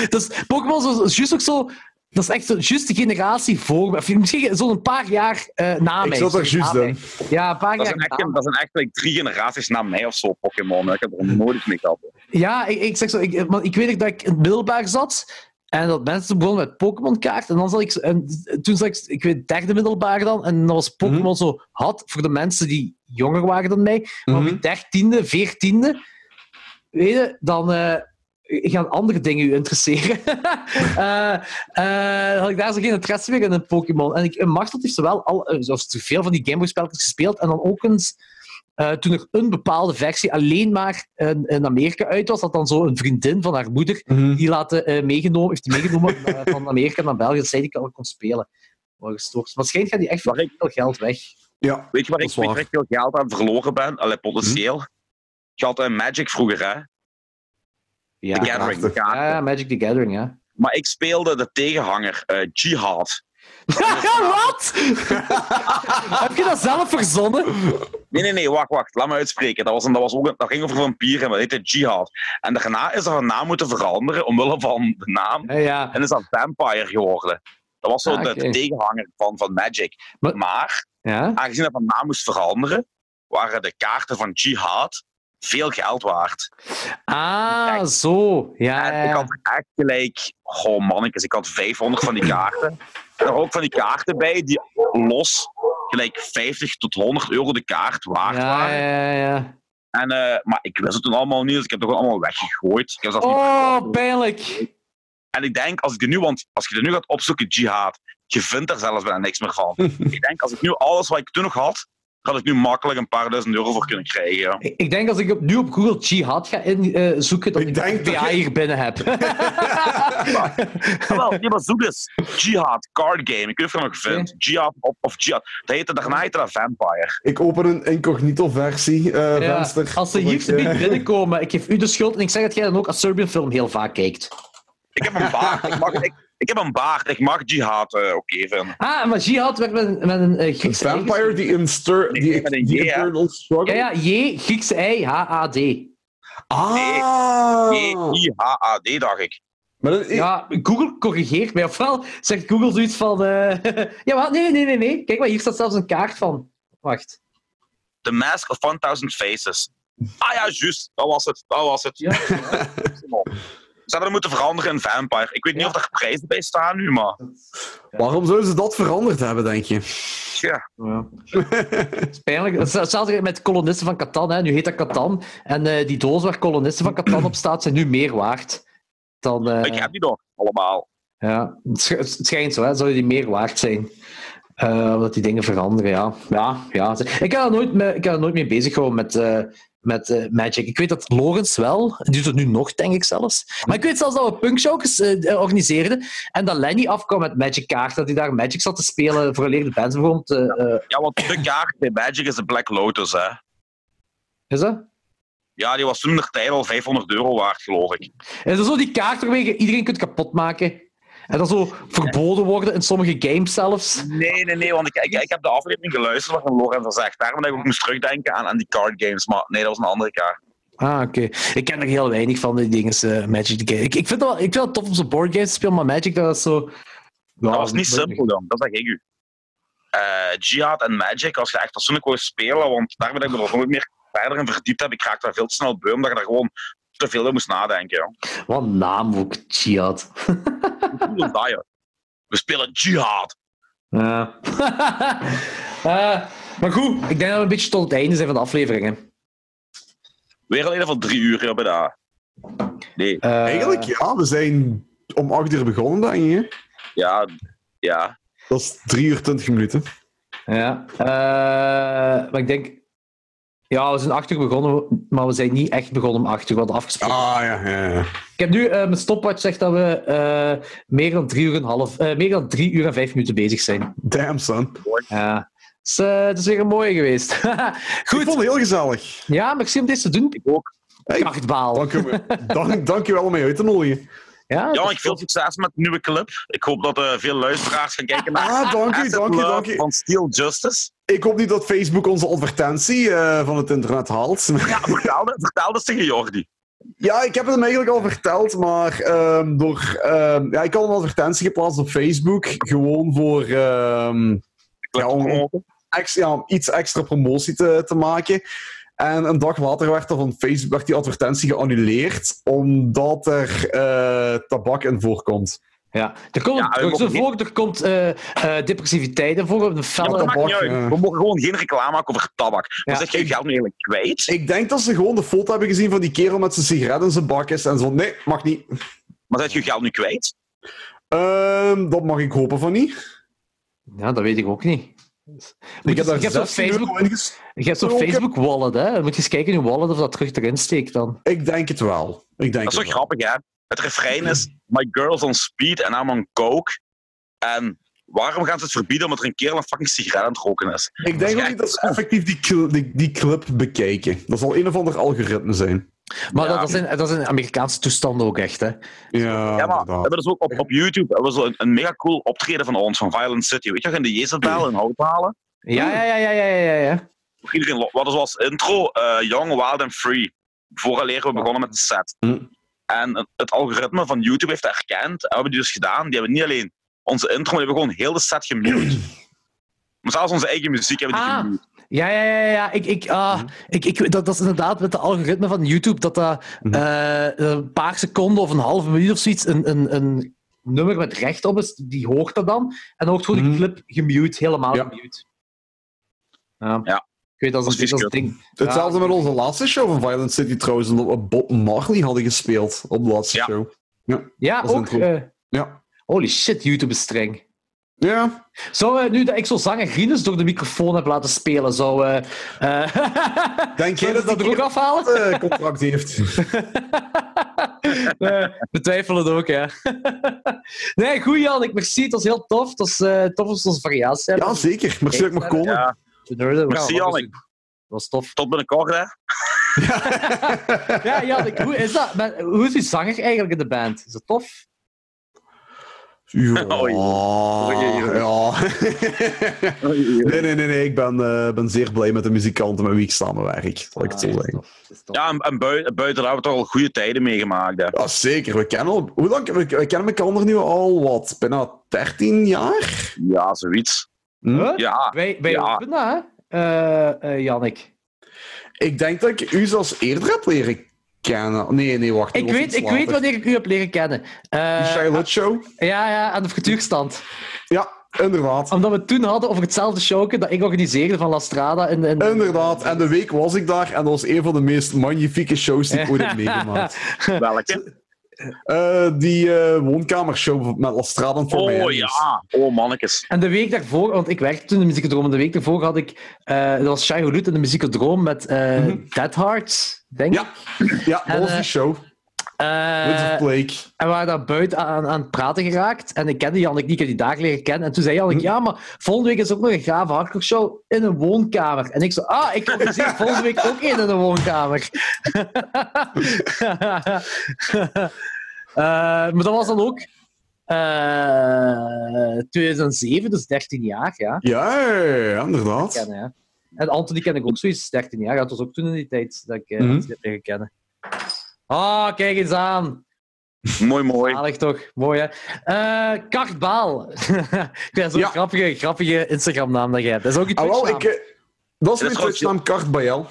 [SPEAKER 2] dus Pokémon is- is juist ook zo... Dat is echt zo, juist de generatie voor me. Of Misschien zo'n paar jaar eh, na
[SPEAKER 3] Ik
[SPEAKER 2] mij.
[SPEAKER 3] zat er
[SPEAKER 2] Sorry,
[SPEAKER 3] juist
[SPEAKER 2] na
[SPEAKER 3] in.
[SPEAKER 2] mij. Ja, een paar
[SPEAKER 1] Dat
[SPEAKER 2] jaar
[SPEAKER 1] zijn echt,
[SPEAKER 2] na
[SPEAKER 1] dat zijn echt like, drie generaties na mij of zo, Pokémon. Ik heb er nooit mee gehad.
[SPEAKER 2] Ja, ik, ik zeg zo, ik, want ik weet nog dat ik in het middelbaar zat en dat mensen begonnen met Pokémon-kaart. En, dan zat ik, zo- en toen zat ik, ik weet, derde middelbaar dan, en dan was Pokémon zo had voor de mensen die jonger waren dan mij. Maar op je
[SPEAKER 3] Mhm.
[SPEAKER 2] dertiende, veertiende, weet je, dan eh, gaan andere dingen u interesseren. Eh, eh, dan had ik daar zo geen interesse meer in, in Pokémon. En ik, en Martel heeft ze wel al, eh, zelfs te veel van die Gameboy-spelletjes gespeeld. En dan ook eens eh, toen er een bepaalde versie alleen maar in, in Amerika uit was, had dan zo een vriendin van haar moeder
[SPEAKER 3] Mhm.
[SPEAKER 2] die laten, eh, meegenomen, heeft die meegenomen eh, van Amerika naar België, dat zij die al kon spelen. Maar gestoord. Waarschijnlijk gaat die echt
[SPEAKER 1] Maar
[SPEAKER 2] wel veel geld weg.
[SPEAKER 3] Ja.
[SPEAKER 1] Weet je waar
[SPEAKER 3] Dat
[SPEAKER 1] ik, weet je
[SPEAKER 3] is waar. Hm?
[SPEAKER 1] waar ik veel geld aan verloren ben? Allee, potentieel. Je had eh, Magic vroeger, hè?
[SPEAKER 2] Ja,
[SPEAKER 1] The Gathering.
[SPEAKER 3] prachtig.
[SPEAKER 1] kaarten.
[SPEAKER 2] Ja, Magic the Gathering, ja.
[SPEAKER 1] Maar ik speelde de tegenhanger, eh, Jihad.
[SPEAKER 2] Wat? Heb je dat zelf verzonnen?
[SPEAKER 1] Nee, nee, nee, wacht, wacht. Laat me uitspreken. Dat, was een, dat, was ook een- dat ging over vampieren, maar dat heette Jihad. En daarna is er een naam moeten veranderen, omwille van de naam.
[SPEAKER 2] Ja, ja.
[SPEAKER 1] En is dat Vampire geworden. Dat was zo
[SPEAKER 2] Ah,
[SPEAKER 1] de,
[SPEAKER 2] oké.
[SPEAKER 1] de tegenhanger van, van Magic.
[SPEAKER 2] Maar-
[SPEAKER 1] maar
[SPEAKER 2] ja.
[SPEAKER 1] aangezien dat van naam moest veranderen, waren de kaarten van Jihad veel geld waard.
[SPEAKER 2] Ah, zo. Ja, Ah, ja,
[SPEAKER 1] En ik
[SPEAKER 2] ja.
[SPEAKER 1] had echt gelijk, oh mannetjes, ik had 500 van die kaarten. En er ook van die kaarten bij die los gelijk 50 tot 100 euro de kaart waard
[SPEAKER 2] Ja,
[SPEAKER 1] waren.
[SPEAKER 2] ja, ja.
[SPEAKER 1] En, eh, maar ik wist het toen allemaal niet, dus ik heb het gewoon allemaal weggegooid. Ik heb zelfs niet
[SPEAKER 2] Oh,
[SPEAKER 1] verkocht.
[SPEAKER 2] pijnlijk.
[SPEAKER 1] en ik denk, als ik er nu, want als je er nu gaat opzoeken, Jihad, je vindt er zelfs bijna niks meer van. ik denk, als ik nu alles wat ik toen nog had, had ik nu makkelijk een paar duizend euro voor kunnen krijgen.
[SPEAKER 2] Ik ik denk als ik op, nu op Google Jihad ga inzoeken, zoeken dat
[SPEAKER 3] Ik
[SPEAKER 2] ik,
[SPEAKER 3] denk
[SPEAKER 2] de
[SPEAKER 3] dat
[SPEAKER 2] PA
[SPEAKER 3] je-
[SPEAKER 2] hier binnen heb.
[SPEAKER 1] Jawel, nee, maar zoek eens. Jihad, card game. Ik weet niet of je dat nog vindt. Jihad of, of Jihad. Dat heette, daarna heette dat Vampire.
[SPEAKER 3] Ik open een incognito-versie. eh
[SPEAKER 2] Ja,
[SPEAKER 3] venster.
[SPEAKER 2] als ze hier
[SPEAKER 3] Zodat
[SPEAKER 2] zo
[SPEAKER 3] ik, eh,
[SPEAKER 2] niet binnenkomen, ik geef u de schuld en ik zeg dat jij dan ook als Serbian film heel vaak kijkt.
[SPEAKER 1] Ik heb een baard. Ik, mag, ik, ik heb een baard. Ik mag Jihad eh, oké vinden.
[SPEAKER 2] Ah, maar Jihad werd met een, met een eh,
[SPEAKER 3] Een
[SPEAKER 2] Griekse ei
[SPEAKER 3] vampire die in stir,
[SPEAKER 1] Nee,
[SPEAKER 3] die,
[SPEAKER 1] met een
[SPEAKER 3] die
[SPEAKER 1] J, hè?
[SPEAKER 3] internal struggle.
[SPEAKER 2] Ja, ja, J, Griekse ei, H-A-D.
[SPEAKER 3] Ah. Oh.
[SPEAKER 1] Nee, I-H-A-D, dacht ik.
[SPEAKER 3] Maar dat-
[SPEAKER 2] Ja, Eh, Google corrigeert mij. Ofwel zegt Google zoiets van... eh, ja, wat? Nee, nee, nee, nee. Kijk maar, hier staat zelfs een kaart van. Wacht.
[SPEAKER 1] The Mask of 1000 Faces. Ah ja, juist. Dat was het. Dat was het.
[SPEAKER 2] Ja.
[SPEAKER 1] Ze hadden moeten veranderen in Vampire. Ik weet niet of er prijzen bij staan nu, maar...
[SPEAKER 3] Waarom zouden ze dat veranderd hebben, denk je?
[SPEAKER 1] Ja.
[SPEAKER 2] Dat is pijnlijk. Het is Hetzelfde met kolonisten van Catan. Hè. Nu heet dat Catan. En eh, die doos waar kolonisten van Catan op staat, zijn nu meer waard. Dan, eh,
[SPEAKER 1] Ik heb die nog, allemaal.
[SPEAKER 2] ja. het, sch- het schijnt zo, hè. Zouden die meer waard zijn? Eh, omdat die dingen veranderen, ja. ja, ja. Ik heb er nooit, me, ik heb er nooit mee bezig gehouden met, eh, met eh, Magic. Ik weet dat Lorenz wel, die doet het nu nog, denk ik zelfs. Maar ik weet zelfs dat we punkshows eh organiseerden en dat Lenny afkwam met Magic kaarten, dat hij daar Magic zat te spelen voor de bands bijvoorbeeld. eh, eh,
[SPEAKER 1] Ja, want de kaart bij Magic is de Black Lotus, hè.
[SPEAKER 2] is dat?
[SPEAKER 1] Ja, die was toen de tijd al 500 euro waard, geloof ik.
[SPEAKER 2] En dat is zo die kaart waarmee je iedereen kunt kapotmaken. En dat zo verboden worden in sommige games zelfs.
[SPEAKER 1] Nee, nee, nee, want ik, ik, ik heb de aflevering geluisterd waarin Lorenz dat zegt. Daarom dat ik ook moest terugdenken aan, aan die card games. Maar nee, dat was een andere kaart.
[SPEAKER 2] Ah, oké. Ik ken er heel weinig van, die dingen, eh, Magic the Gathering. Ik, ik, vind dat wel, ik vind dat tof om zo'n boardgames te spelen, maar Magic, dat is zo...
[SPEAKER 1] Dat was niet simpel dan, dat zeg ik u. Eh, Jihad en Magic, als je echt fatsoenlijk wil spelen, want daar ben ik me nog nooit meer verder in verdiept heb, ik raak daar veel te snel beu, omdat je daar gewoon te veel in moest nadenken. Ja.
[SPEAKER 2] Wat een naam ook, Jihad.
[SPEAKER 1] Hoe wil dat, joh? We spelen Jihad.
[SPEAKER 2] Ja. Eh, maar goed, ik denk dat we een beetje tot het einde zijn van de afleveringen.
[SPEAKER 1] Weer al in ieder geval drie uur ja, bij dat. Nee,
[SPEAKER 2] Eh.
[SPEAKER 3] Eigenlijk, ja. We zijn om 8 uur begonnen, denk je.
[SPEAKER 1] ja, ja.
[SPEAKER 3] Dat is 3 uur 20 minuten.
[SPEAKER 2] Ja. Eh, maar ik denk... Ja, we zijn acht uur begonnen, maar we zijn niet echt begonnen om acht uur. We hadden afgesproken
[SPEAKER 3] Ah, ja, ja, ja.
[SPEAKER 2] Ik heb nu, eh, mijn stopwatch zegt dat we eh, meer, dan drie uur en half, eh, meer dan drie uur en vijf minuten bezig zijn.
[SPEAKER 3] Damn, son.
[SPEAKER 2] Ja. Dus, eh, het is weer een mooie geweest.
[SPEAKER 3] Ik vond
[SPEAKER 2] Goed.
[SPEAKER 3] het heel gezellig.
[SPEAKER 2] Ja, merci om dit te doen. Ik ook.
[SPEAKER 3] Hey.
[SPEAKER 2] Krachtbaal.
[SPEAKER 3] Dank je, dank, dank je wel om mij uit te nodigen.
[SPEAKER 2] Ja,
[SPEAKER 1] Jan,
[SPEAKER 2] dat-
[SPEAKER 1] ik veel succes met de nieuwe clip. Ik hoop dat eh, veel luisteraars gaan kijken naar
[SPEAKER 3] Ah, dank u,
[SPEAKER 1] Asset
[SPEAKER 3] dank u,
[SPEAKER 1] Love
[SPEAKER 3] dank u.
[SPEAKER 1] van Steel Justice.
[SPEAKER 3] Ik hoop niet dat Facebook onze advertentie eh, van het internet haalt.
[SPEAKER 1] Ja, vertel, dat- vertel dat tegen Jordi.
[SPEAKER 3] Ja, ik heb het hem eigenlijk al verteld, maar ehm, door, ehm, ja, ik had een advertentie geplaatst op Facebook. Gewoon voor ehm,
[SPEAKER 1] Clip
[SPEAKER 3] Ja, om-
[SPEAKER 1] promoten.
[SPEAKER 3] ex- ja, om iets extra promotie te, te maken. En een dag later werd, er van Facebook, werd die advertentie geannuleerd, omdat er eh, tabak in voorkomt.
[SPEAKER 2] ja. Er komt
[SPEAKER 1] Ja, we
[SPEAKER 2] drugs
[SPEAKER 1] mogen
[SPEAKER 2] in voor, er komt eh, eh, depressiviteit in voor, een felle...
[SPEAKER 1] dat maakt niet uit.
[SPEAKER 3] eh.
[SPEAKER 1] We mogen gewoon geen reclame maken over tabak. Dan
[SPEAKER 2] Ja.
[SPEAKER 1] zeg je je geld nu eigenlijk kwijt.
[SPEAKER 3] Ik denk dat ze gewoon de foto hebben gezien van die kerel met zijn sigaret in zijn bak is en zo. Nee, mag niet.
[SPEAKER 1] Maar zet je je geld nu kwijt?
[SPEAKER 3] Ehm, dat mag ik hopen van niet.
[SPEAKER 2] Ja, dat weet ik ook niet. Moet je- je hebt zo'n
[SPEAKER 3] 16 euro
[SPEAKER 2] Facebook-
[SPEAKER 3] in ges-
[SPEAKER 2] Je hebt zo'n
[SPEAKER 3] euro op.
[SPEAKER 2] Facebook-wallet, hè. Dan moet je eens kijken in je wallet of dat terug erin steekt dan.
[SPEAKER 3] Ik denk het wel. Ik denk
[SPEAKER 1] Dat is
[SPEAKER 3] het
[SPEAKER 1] wel
[SPEAKER 3] wel.
[SPEAKER 1] grappig, hè? Het refrein is: My girl's on speed and I'm on coke. En waarom gaan ze het verbieden omdat er een kerel een fucking sigaret aan het roken is?
[SPEAKER 3] Ik denk ook niet dat ze effectief die, cl- die, die clip bekijken. Dat zal een of ander algoritme zijn.
[SPEAKER 2] Maar
[SPEAKER 1] Ja.
[SPEAKER 2] dat, dat, zijn, dat zijn Amerikaanse toestanden ook echt, hè.
[SPEAKER 3] Ja,
[SPEAKER 1] Ja, maar we
[SPEAKER 3] inderdaad.
[SPEAKER 1] hebben dus ook op, op YouTube hebben we zo een, een mega cool optreden van ons, van Violent City. Weet je, we gaan de Jezebel in hout halen.
[SPEAKER 2] Ja, ja, ja, ja, ja, ja, ja.
[SPEAKER 1] Iedereen lo- wat is als intro eh, Young, Wild and Free. Vooraleer we begonnen met de set.
[SPEAKER 3] Hm.
[SPEAKER 1] En het- het algoritme van YouTube heeft dat herkend. En we hebben die dus gedaan. Die hebben niet alleen onze intro, maar die hebben gewoon heel de set gemute. Maar zelfs onze eigen muziek hebben die
[SPEAKER 2] Ah.
[SPEAKER 1] gemute.
[SPEAKER 2] Ja, ja, ja, ja, ja. Ik, ik, ah,
[SPEAKER 3] Mhm.
[SPEAKER 2] ik, ik, dat, dat is inderdaad met de algoritme van YouTube dat dat
[SPEAKER 3] Mhm.
[SPEAKER 2] eh, een paar seconden of een halve minuut of zoiets een, een, een nummer met recht op is, die hoort dat dan. En dan hoort gewoon die
[SPEAKER 3] Mhm.
[SPEAKER 2] clip gemute, helemaal
[SPEAKER 3] Ja.
[SPEAKER 2] gemute. Ja.
[SPEAKER 1] Ja.
[SPEAKER 2] Ik weet, dat is,
[SPEAKER 1] Dat
[SPEAKER 2] een,
[SPEAKER 1] is
[SPEAKER 2] dat is een ding.
[SPEAKER 3] Hetzelfde
[SPEAKER 2] Ja.
[SPEAKER 3] met onze laatste show van Violent City trouwens, omdat we Bob Marley hadden gespeeld op de laatste
[SPEAKER 1] Ja.
[SPEAKER 3] show.
[SPEAKER 2] Ja,
[SPEAKER 3] dat is
[SPEAKER 2] ook.
[SPEAKER 3] een
[SPEAKER 2] eh,
[SPEAKER 3] Ja.
[SPEAKER 2] holy shit, YouTube is streng.
[SPEAKER 3] Ja,
[SPEAKER 2] Zou eh, nu dat ik zo zanger Guinness door de microfoon heb laten spelen, zou... eh eh,
[SPEAKER 3] Denk jij
[SPEAKER 2] zou ze
[SPEAKER 3] dat
[SPEAKER 2] dat er
[SPEAKER 3] die
[SPEAKER 2] ook
[SPEAKER 3] kerel-
[SPEAKER 2] afhalen?
[SPEAKER 3] wat eh, contract die heeft.
[SPEAKER 2] nee, we twijfelen het ook, ja. nee, goed Jan, ik merci. Het was heel tof. Het was eh, tof dat we onze variatie hebben.
[SPEAKER 3] Ja, zeker. Merci dat ik mag komen.
[SPEAKER 1] Ja,
[SPEAKER 2] We nerden. We
[SPEAKER 1] Merci,
[SPEAKER 2] gaan wat
[SPEAKER 1] Jan.
[SPEAKER 2] doen. Dat was tof.
[SPEAKER 1] tot binnenkort, hè.
[SPEAKER 2] Ja, Jan, ik- hoe is dat? Met- hoe is uw zanger eigenlijk in de band? Is dat tof?
[SPEAKER 3] Ja,
[SPEAKER 1] Oei. Oei, oei.
[SPEAKER 3] ja. Oh, nee, nee, nee, nee. Ik ben, eh, ben zeer blij met de muzikanten met wie ik samenwerk, zal
[SPEAKER 1] Ah,
[SPEAKER 3] ik het
[SPEAKER 2] Ah,
[SPEAKER 3] zo zeggen.
[SPEAKER 1] Ja, en, en buiten, buiten daar hebben we toch al goede tijden meegemaakt. Hè.
[SPEAKER 3] Ja, zeker. We kennen, al- hoe lang, we, we kennen elkaar nu al, wat, bijna 13 jaar?
[SPEAKER 1] Ja, zoiets.
[SPEAKER 3] Hm?
[SPEAKER 1] Ja,
[SPEAKER 2] Wij, wij
[SPEAKER 1] Ja.
[SPEAKER 2] hopen dat, hè, eh, eh, Jannik.
[SPEAKER 3] Ik denk dat ik u zelfs eerder heb leren kennen. Nee, nee, wacht.
[SPEAKER 2] Ik weet, ik weet wanneer ik u heb leren kennen.
[SPEAKER 3] De
[SPEAKER 2] Eh,
[SPEAKER 3] Charlotte Show?
[SPEAKER 2] ja, ja, aan de frituurstand.
[SPEAKER 3] Ja, inderdaad.
[SPEAKER 2] Omdat we het toen hadden over hetzelfde showke dat ik organiseerde van La Strada. In, in...
[SPEAKER 3] Inderdaad. En de week was ik daar en dat was een van de meest magnifieke shows die ik ooit heb meegemaakt.
[SPEAKER 1] welke?
[SPEAKER 3] Eh, die eh woonkamershow met Lastradan voor mij.
[SPEAKER 1] Oh ja, oh mannetjes.
[SPEAKER 2] En de week daarvoor, want ik werkte toen in de Muziekodroom, en de week daarvoor had ik, eh dat was Shai Hulud in de Muziekodroom met eh Dead Hearts, denk ik.
[SPEAKER 3] Ja, ja dat
[SPEAKER 2] En,
[SPEAKER 3] was
[SPEAKER 2] eh,
[SPEAKER 3] die show.
[SPEAKER 2] Eh,
[SPEAKER 3] Winter Blake.
[SPEAKER 2] en we waren daar buiten aan, aan het praten geraakt. En ik kende Jannik niet, ik had die dagen leren kennen. En toen zei Jannik, ja, maar volgende week is ook nog een gave hardcore show in een woonkamer. En ik zo, ah, ik organiseer volgende week ook één in een woonkamer. Eh, maar dat was dan ook eh 2007, dus 13 jaar, ja.
[SPEAKER 3] Ja, ja, ja, inderdaad.
[SPEAKER 2] kennen. Ja. En Anthony ken ik ook zoiets 13 jaar. Dat was ook toen in die tijd dat ik eh
[SPEAKER 3] Mhm.
[SPEAKER 2] Anthony heb leren kennen. Ah, kijk eens aan.
[SPEAKER 1] Mooi, mooi.
[SPEAKER 2] Zalig toch? Mooi, hè? Eh Kartbaal. ik vind dat zo'n
[SPEAKER 3] Ja.
[SPEAKER 2] grappige, grappige Instagram-naam dat jij hebt. Dat is ook iets
[SPEAKER 3] Ah, wel, ik, eh, dat
[SPEAKER 1] Dit
[SPEAKER 3] is mijn
[SPEAKER 1] is gewoon-
[SPEAKER 3] Twitch-naam, Kart
[SPEAKER 2] Oh.
[SPEAKER 3] Bayel.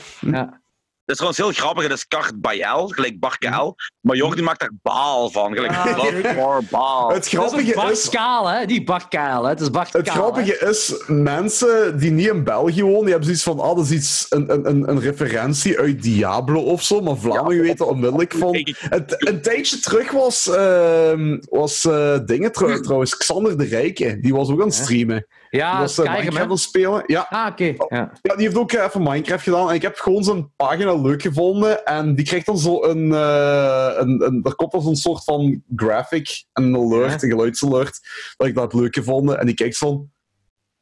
[SPEAKER 1] Dat is trouwens heel grappig. Dat is kart bij L, gelijk Barkel.
[SPEAKER 3] Hm.
[SPEAKER 1] Maar Jordi maakt daar baal van. Gelijk
[SPEAKER 2] Ja,
[SPEAKER 1] blood for baal.
[SPEAKER 3] Het
[SPEAKER 2] Dat is een
[SPEAKER 3] grappige
[SPEAKER 2] Bart
[SPEAKER 3] is...
[SPEAKER 2] Kaal, hè? Die Bart Kaal, hè? Het is Bart
[SPEAKER 3] Het
[SPEAKER 2] Kaal, hè.
[SPEAKER 3] grappige is, mensen die niet in België wonen, die hebben zoiets van, ah, dat is iets, een, een, een, een referentie uit Diablo of zo, maar Vlamingen weten onmiddellijk van...
[SPEAKER 1] Kijk, ik-
[SPEAKER 3] Het, een tijdje terug was, ehm, was eh, dingen
[SPEAKER 2] Hm.
[SPEAKER 3] trouw- trouwens, Xander de Rijke, die was ook aan het streamen. Die
[SPEAKER 2] Ja,
[SPEAKER 3] was eh, Oh.
[SPEAKER 2] Skyrim,
[SPEAKER 3] Minecraft
[SPEAKER 2] Ah, hè?
[SPEAKER 3] aan het spelen. Ja.
[SPEAKER 2] Ah, oké. Ja.
[SPEAKER 3] ja, die heeft ook eh, even Minecraft gedaan. En ik heb gewoon zijn pagina leuk gevonden. En die krijgt dan zo een... eh een, een daar komt dan zo'n soort van graphic. En een alert, een geluidsalert. Dat ik dat heb leuk gevonden. En die kijkt zo van...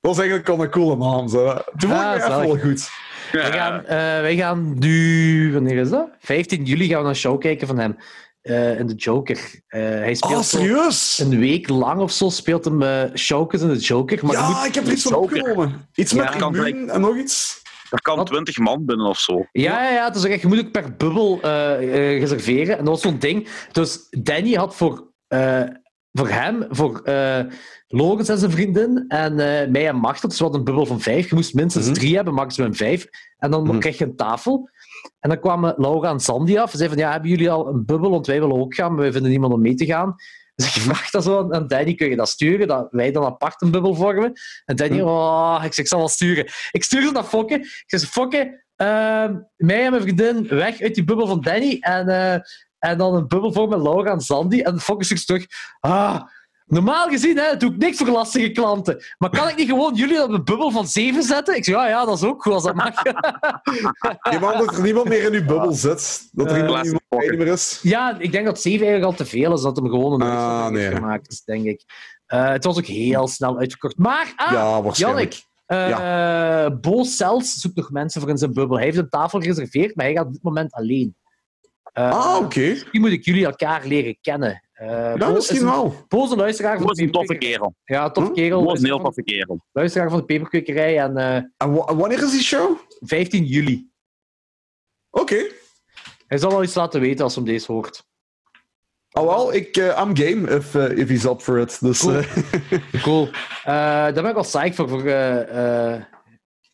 [SPEAKER 3] Dat is eigenlijk al een coole naam. Zo. Toen vond ik
[SPEAKER 2] Ah,
[SPEAKER 3] me echt
[SPEAKER 2] zalig.
[SPEAKER 3] wel goed.
[SPEAKER 2] Wij, gaan, eh, wij gaan nu... Wanneer is dat? 15 juli gaan we een show kijken van hem. eh, in de Joker. Eh, hij
[SPEAKER 3] Ah,
[SPEAKER 2] speelt zo-
[SPEAKER 3] serieus?
[SPEAKER 2] een week lang of zo speelt hem eh showcase in de Joker. Maar je
[SPEAKER 3] Ja,
[SPEAKER 2] moet-
[SPEAKER 3] ik heb er iets van
[SPEAKER 1] Joker.
[SPEAKER 3] opgenomen. Iets
[SPEAKER 2] Ja,
[SPEAKER 3] met
[SPEAKER 1] kan
[SPEAKER 3] immuun en nog iets.
[SPEAKER 1] Er kan
[SPEAKER 2] Wat?
[SPEAKER 1] twintig man binnen of zo.
[SPEAKER 2] ja, ja, ja, het is ook echt, je moet ook per bubbel eh, eh, reserveren. En dat was zo'n ding. Dus Danny had voor, eh, voor hem, voor eh Logans en zijn vriendin, en eh, mij en Machtel, dus we hadden een bubbel van vijf. Je moest minstens
[SPEAKER 3] Mhm.
[SPEAKER 2] drie hebben, maximum vijf. En dan
[SPEAKER 3] Mhm.
[SPEAKER 2] kreeg je een tafel. En dan kwamen Laura en Sandy af. Ze zeiden van, ja, hebben jullie al een bubbel? Want wij willen ook gaan, maar wij vinden niemand om mee te gaan. Dus ik vraag dat zo aan- aan Danny, kun je dat sturen? Dat wij dan apart een bubbel vormen. En Danny,
[SPEAKER 3] Mhm.
[SPEAKER 2] oh, ik, zeg, ik zal wel sturen. Ik stuur ze naar Fokke. Ik zeg, Fokke, ehm, mij en mijn vriendin weg uit die bubbel van Danny. En, eh, en dan een bubbel voor met Laura en Sandy. En Fokke stuurt terug, ah, normaal gezien hè, doe ik niks voor lastige klanten. Maar kan ik niet gewoon jullie op een bubbel van zeven zetten? Ik zeg, "Ah, ja, ja, dat is ook goed als dat mag.
[SPEAKER 3] Je wou dat er niemand meer in uw bubbel zit. Dat er
[SPEAKER 2] Eh,
[SPEAKER 3] iemand
[SPEAKER 1] Plastic
[SPEAKER 3] niemand bij
[SPEAKER 1] pocket.
[SPEAKER 3] meer is.
[SPEAKER 2] Ja, ik denk dat 7 eigenlijk al te veel is. Dat hem gewoon een
[SPEAKER 3] Ah,
[SPEAKER 2] uitzondering heeft
[SPEAKER 3] nee.
[SPEAKER 2] gemaakt is, denk ik. Eh, het was ook heel snel uitverkocht. Maar, ah,
[SPEAKER 3] Ja, waarschijnlijk.
[SPEAKER 2] Jannik, eh, Bo Cels zoekt nog mensen voor in zijn bubbel. Hij heeft een tafel gereserveerd, maar hij gaat op dit moment alleen. Eh,
[SPEAKER 3] Ah, oké.
[SPEAKER 2] Misschien moet ik jullie elkaar leren kennen. Eh
[SPEAKER 3] Ja,
[SPEAKER 2] Bo
[SPEAKER 3] misschien
[SPEAKER 2] is een,
[SPEAKER 3] wel.
[SPEAKER 2] Bo is een luisteraar
[SPEAKER 1] Dat
[SPEAKER 2] van
[SPEAKER 1] was
[SPEAKER 2] de
[SPEAKER 1] een toffe
[SPEAKER 2] peperkwekerij.
[SPEAKER 1] kerel.
[SPEAKER 2] Ja, toffe
[SPEAKER 3] Hm?
[SPEAKER 2] kerel.
[SPEAKER 1] Dat was een heel
[SPEAKER 2] luisteraar,
[SPEAKER 1] toffe kerel.
[SPEAKER 2] van, luisteraar van de peperkwekerij. En eh,
[SPEAKER 3] En wa- wanneer is die show? Oké.
[SPEAKER 2] 15 juli. Hij zal wel iets laten weten als hem deze hoort.
[SPEAKER 3] Ah, wel, ik, eh, I'm game if, eh, if he's up for it. Dus,
[SPEAKER 2] Cool.
[SPEAKER 3] eh,
[SPEAKER 2] Cool. Eh, daar ben ik wel psyched voor, voor, eh, eh,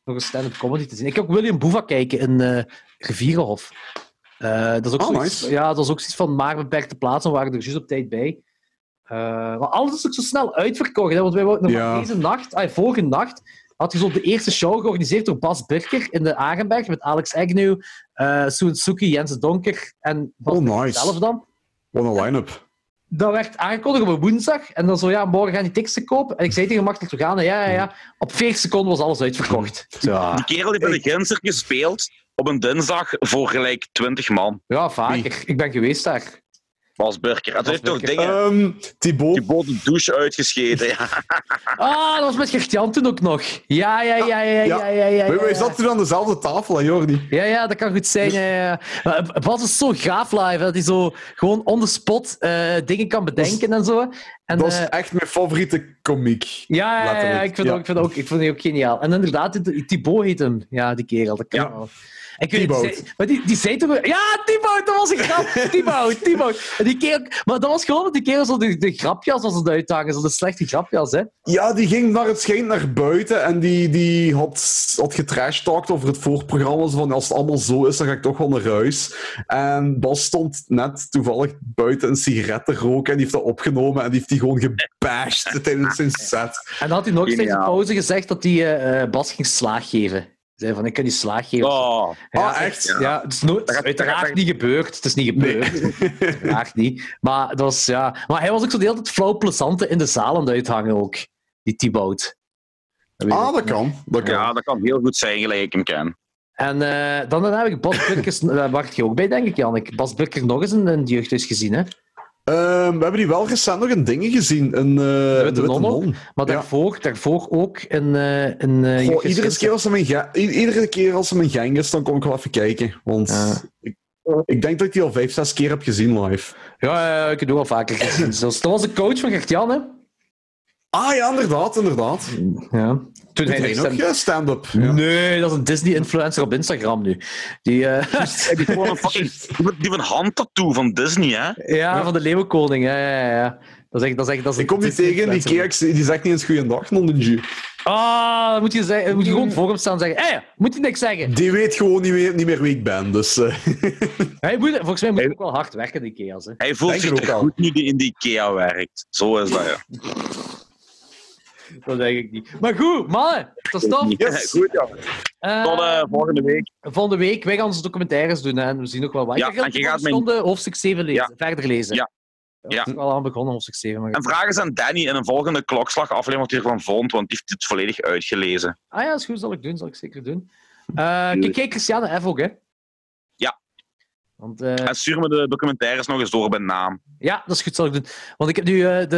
[SPEAKER 2] voor een stand-up comedy te zien. Ik heb ook William Boeva kijken in eh Rivierenhof. Eh, dat is ook
[SPEAKER 3] Oh,
[SPEAKER 2] zoiets,
[SPEAKER 3] nice.
[SPEAKER 2] Ja, dat is ook zoiets van maar beperkte plaatsen. We waren er juist op tijd bij. Eh, maar alles is ook zo snel uitverkocht. Hè, want wij wouden
[SPEAKER 3] Ja.
[SPEAKER 2] deze nacht, ah, vorige nacht, had je zo de eerste show georganiseerd door Bas Birker in de Arenberg met Alex Agnew, eh Soen Suki, Jens Donker en Bas
[SPEAKER 3] Oh,
[SPEAKER 2] Birker
[SPEAKER 3] nice.
[SPEAKER 2] zelf dan.
[SPEAKER 3] wat een line-up.
[SPEAKER 2] Dat werd aangekondigd op een woensdag. En dan zo, ja, morgen gaan die tickets te kopen. En ik zei tegen Martel te gaan, en ja, ja, ja. Op 40 seconden was alles uitverkocht.
[SPEAKER 3] Ah.
[SPEAKER 1] Die kerel heeft bij de Ginster gespeeld op een dinsdag voor gelijk 20 man.
[SPEAKER 2] Ja, vaker. Ik ben geweest daar.
[SPEAKER 1] Bas Burker. En toen heeft toch
[SPEAKER 2] Burker.
[SPEAKER 1] dingen.
[SPEAKER 3] Ehm, Thibaut.
[SPEAKER 1] Die bood de douche uitgescheten. Ja.
[SPEAKER 2] Ah, dat was met Gert-Jan toen ook nog. Ja, ja, ja, ja, ja, ja, ja. ja,
[SPEAKER 3] Wij- wij
[SPEAKER 2] ja.
[SPEAKER 3] zaten toen aan dezelfde tafel, hè, Jordi.
[SPEAKER 2] Ja, ja, dat kan goed zijn. Ja, ja. Maar dus Bas is zo gaaf live, hè, dat hij zo gewoon on the spot eh, dingen kan bedenken en zo. En,
[SPEAKER 3] dat is
[SPEAKER 2] eh,
[SPEAKER 3] echt mijn favoriete komiek.
[SPEAKER 2] ja, ja, ja,
[SPEAKER 3] letterlijk,
[SPEAKER 2] ik vind,
[SPEAKER 3] ja.
[SPEAKER 2] Ook, ik, vind ook, ik vind die ook geniaal. En inderdaad, die- Thibaut heet hem. Ja, die kerel, dat kan
[SPEAKER 3] Ja.
[SPEAKER 2] wel. Ik weet,
[SPEAKER 3] Thibaut.
[SPEAKER 2] die zei- maar die, die zei toch... Ja, Thibaut, dat was een grap. Thibaut, Thibaut. En die kerel, maar dat was gewoon dat die kerel zo de, de grapjas was aan het uithangen. Zo de slechte grapjas, hè.
[SPEAKER 3] Ja, die ging naar het schijnt naar buiten en die, die had, had getrashtalkt over het voorprogramma. Zo van, als het allemaal zo is, dan ga ik toch wel naar huis. En Bas stond net toevallig buiten een sigaret te roken en die heeft dat opgenomen en die heeft die gewoon gebashed tijdens zijn set.
[SPEAKER 2] En dan had hij nog steeds in
[SPEAKER 1] Geniaal.
[SPEAKER 2] pauze gezegd dat hij eh, eh, Bas ging slaag geven. Hij zei van, ik kan die slaag geven.
[SPEAKER 1] Oh,
[SPEAKER 2] Ja,
[SPEAKER 3] Ah, echt?
[SPEAKER 2] Ja, het is nooit,
[SPEAKER 1] Dat gaat-
[SPEAKER 2] uiteraard
[SPEAKER 1] dat gaat-
[SPEAKER 2] niet gebeurd. Het is niet gebeurd. Uiteraard niet. Maar, dat was, ja. maar hij was ook zo de hele tijd flauw plezante in de zaal aan het uithangen ook. Die Thibaut. Dat weet ik.
[SPEAKER 3] Ah, dat kan. Dat kan.
[SPEAKER 1] ja, dat kan heel goed zijn, gelijk ik hem ken.
[SPEAKER 2] En eh, dan daarna heb ik Bas Burkers... Daar wacht je ook bij, denk ik, Jannik. Bas Burkers nog eens in een jeugdhuis gezien, hè?
[SPEAKER 3] Ehm, we hebben die wel recent nog in dingen gezien. Een, eh de Witte
[SPEAKER 2] Nonnen?
[SPEAKER 3] Non.
[SPEAKER 2] Maar
[SPEAKER 3] Ja.
[SPEAKER 2] daarvoor, daarvoor ook in... eh in eh,
[SPEAKER 3] Goh,
[SPEAKER 2] jeugdhuis
[SPEAKER 3] iedere,
[SPEAKER 2] Kinster.
[SPEAKER 3] keer als er mijn ga- i- iedere keer als er mijn gang is, dan kom ik wel even kijken. Want
[SPEAKER 2] Ja.
[SPEAKER 3] ik, ik denk dat ik die al vijf, zes keer heb gezien live.
[SPEAKER 2] Ja, ja, ja, ik heb het ook al vaker gezien. zelfs. dat was de coach van Gert-Jan, hè?
[SPEAKER 3] Ah ja, inderdaad, inderdaad.
[SPEAKER 2] Ja. Toen
[SPEAKER 3] Doet
[SPEAKER 2] hij
[SPEAKER 3] hij
[SPEAKER 2] nog
[SPEAKER 3] nog
[SPEAKER 2] stem-
[SPEAKER 3] eh, stand-up?
[SPEAKER 2] Nee, dat is een Disney-influencer op Instagram nu. Die... eh,
[SPEAKER 1] Die gewoon een fucking- die van handtattoo van Disney, hè?
[SPEAKER 2] Ja, van de Leeuwenkoning. Ja, ja, ja, ja. Dat is echt, dat is echt, dat is
[SPEAKER 3] Ik kom die
[SPEAKER 2] dat is
[SPEAKER 3] tegen in die
[SPEAKER 2] influencer.
[SPEAKER 3] kerk, die zegt niet eens goeiedag, Nonnenju.
[SPEAKER 2] Ah, dan moet je, zeggen, dan moet je gewoon voor hem staan en zeggen: Hé, moet je niks zeggen.
[SPEAKER 3] Die weet gewoon niet meer, niet meer wie ik ben, dus... eh,
[SPEAKER 2] Hij moet, volgens mij moet hij
[SPEAKER 1] Hij-
[SPEAKER 2] ook wel hard werken, die keels. Hè.
[SPEAKER 1] Hij voelt
[SPEAKER 3] Denk
[SPEAKER 1] zich
[SPEAKER 3] er ook
[SPEAKER 1] terug
[SPEAKER 3] aan.
[SPEAKER 1] goed nu die in de IKEA werkt. Zo is dat, ja.
[SPEAKER 2] Dat denk ik niet. Maar goed, mannen, dat is tof.
[SPEAKER 3] Yes.
[SPEAKER 1] Goed, ja.
[SPEAKER 2] Eh,
[SPEAKER 1] Tot eh, volgende week.
[SPEAKER 2] Van de week, wij gaan onze documentaires doen hè, en we zien nog wel wat.
[SPEAKER 1] Ja,
[SPEAKER 2] Ik ga
[SPEAKER 1] en je
[SPEAKER 2] de
[SPEAKER 1] gaat mijn-
[SPEAKER 2] volgende hoofdstuk 7 lezen,
[SPEAKER 1] Ja.
[SPEAKER 2] verder lezen.
[SPEAKER 1] Ja. Ja.
[SPEAKER 2] Ik ben al aan begonnen, hoofdstuk 7. Maar...
[SPEAKER 1] En vraag eens aan Danny in een volgende klokslagaflevering wat hij ervan vond, want die heeft het volledig uitgelezen.
[SPEAKER 2] Ah ja, is goed, zal ik doen, zal ik zeker doen. Eh, kijk, kijk, Christiane F. ook, hè?
[SPEAKER 1] Ja.
[SPEAKER 2] Want, eh,
[SPEAKER 1] En stuur me de documentaires nog eens door bij naam.
[SPEAKER 2] Ja, dat is goed, zal ik doen. Want ik heb nu eh, de...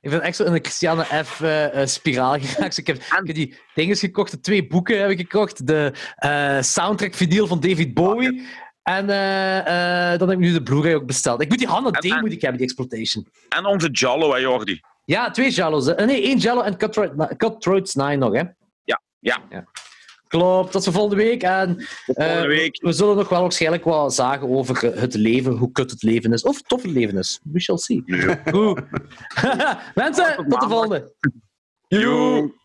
[SPEAKER 2] Ik ben echt zo in een Christiane F. eh, eh, spiraal geraakt. Dus ik, heb, ik heb die dingen gekocht, de twee boeken heb ik gekocht. De eh, soundtrack vinyl van David
[SPEAKER 1] Ah,
[SPEAKER 2] Bowie. En eh, eh, dan heb ik nu de Blu-ray ook besteld. Ik moet die Hannah
[SPEAKER 1] En-
[SPEAKER 2] D.
[SPEAKER 1] en-
[SPEAKER 2] moet ik hebben, die Exploitation.
[SPEAKER 1] En onze Jallo, hè, Jordi.
[SPEAKER 2] Ja, twee Jello's. hè. Eh, Nee, één Jello en Cutthroat Ni- Cutthroat's Nine nog, hè?
[SPEAKER 1] Ja, ja.
[SPEAKER 2] Klopt, tot de volgende week. En
[SPEAKER 1] volgende
[SPEAKER 2] eh,
[SPEAKER 1] week.
[SPEAKER 2] we zullen nog wel waarschijnlijk wat zagen over eh, het leven, hoe kut het leven is. Of het tof het leven is. We shall see. Goed. Mensen, tot de volgende.
[SPEAKER 1] Joe.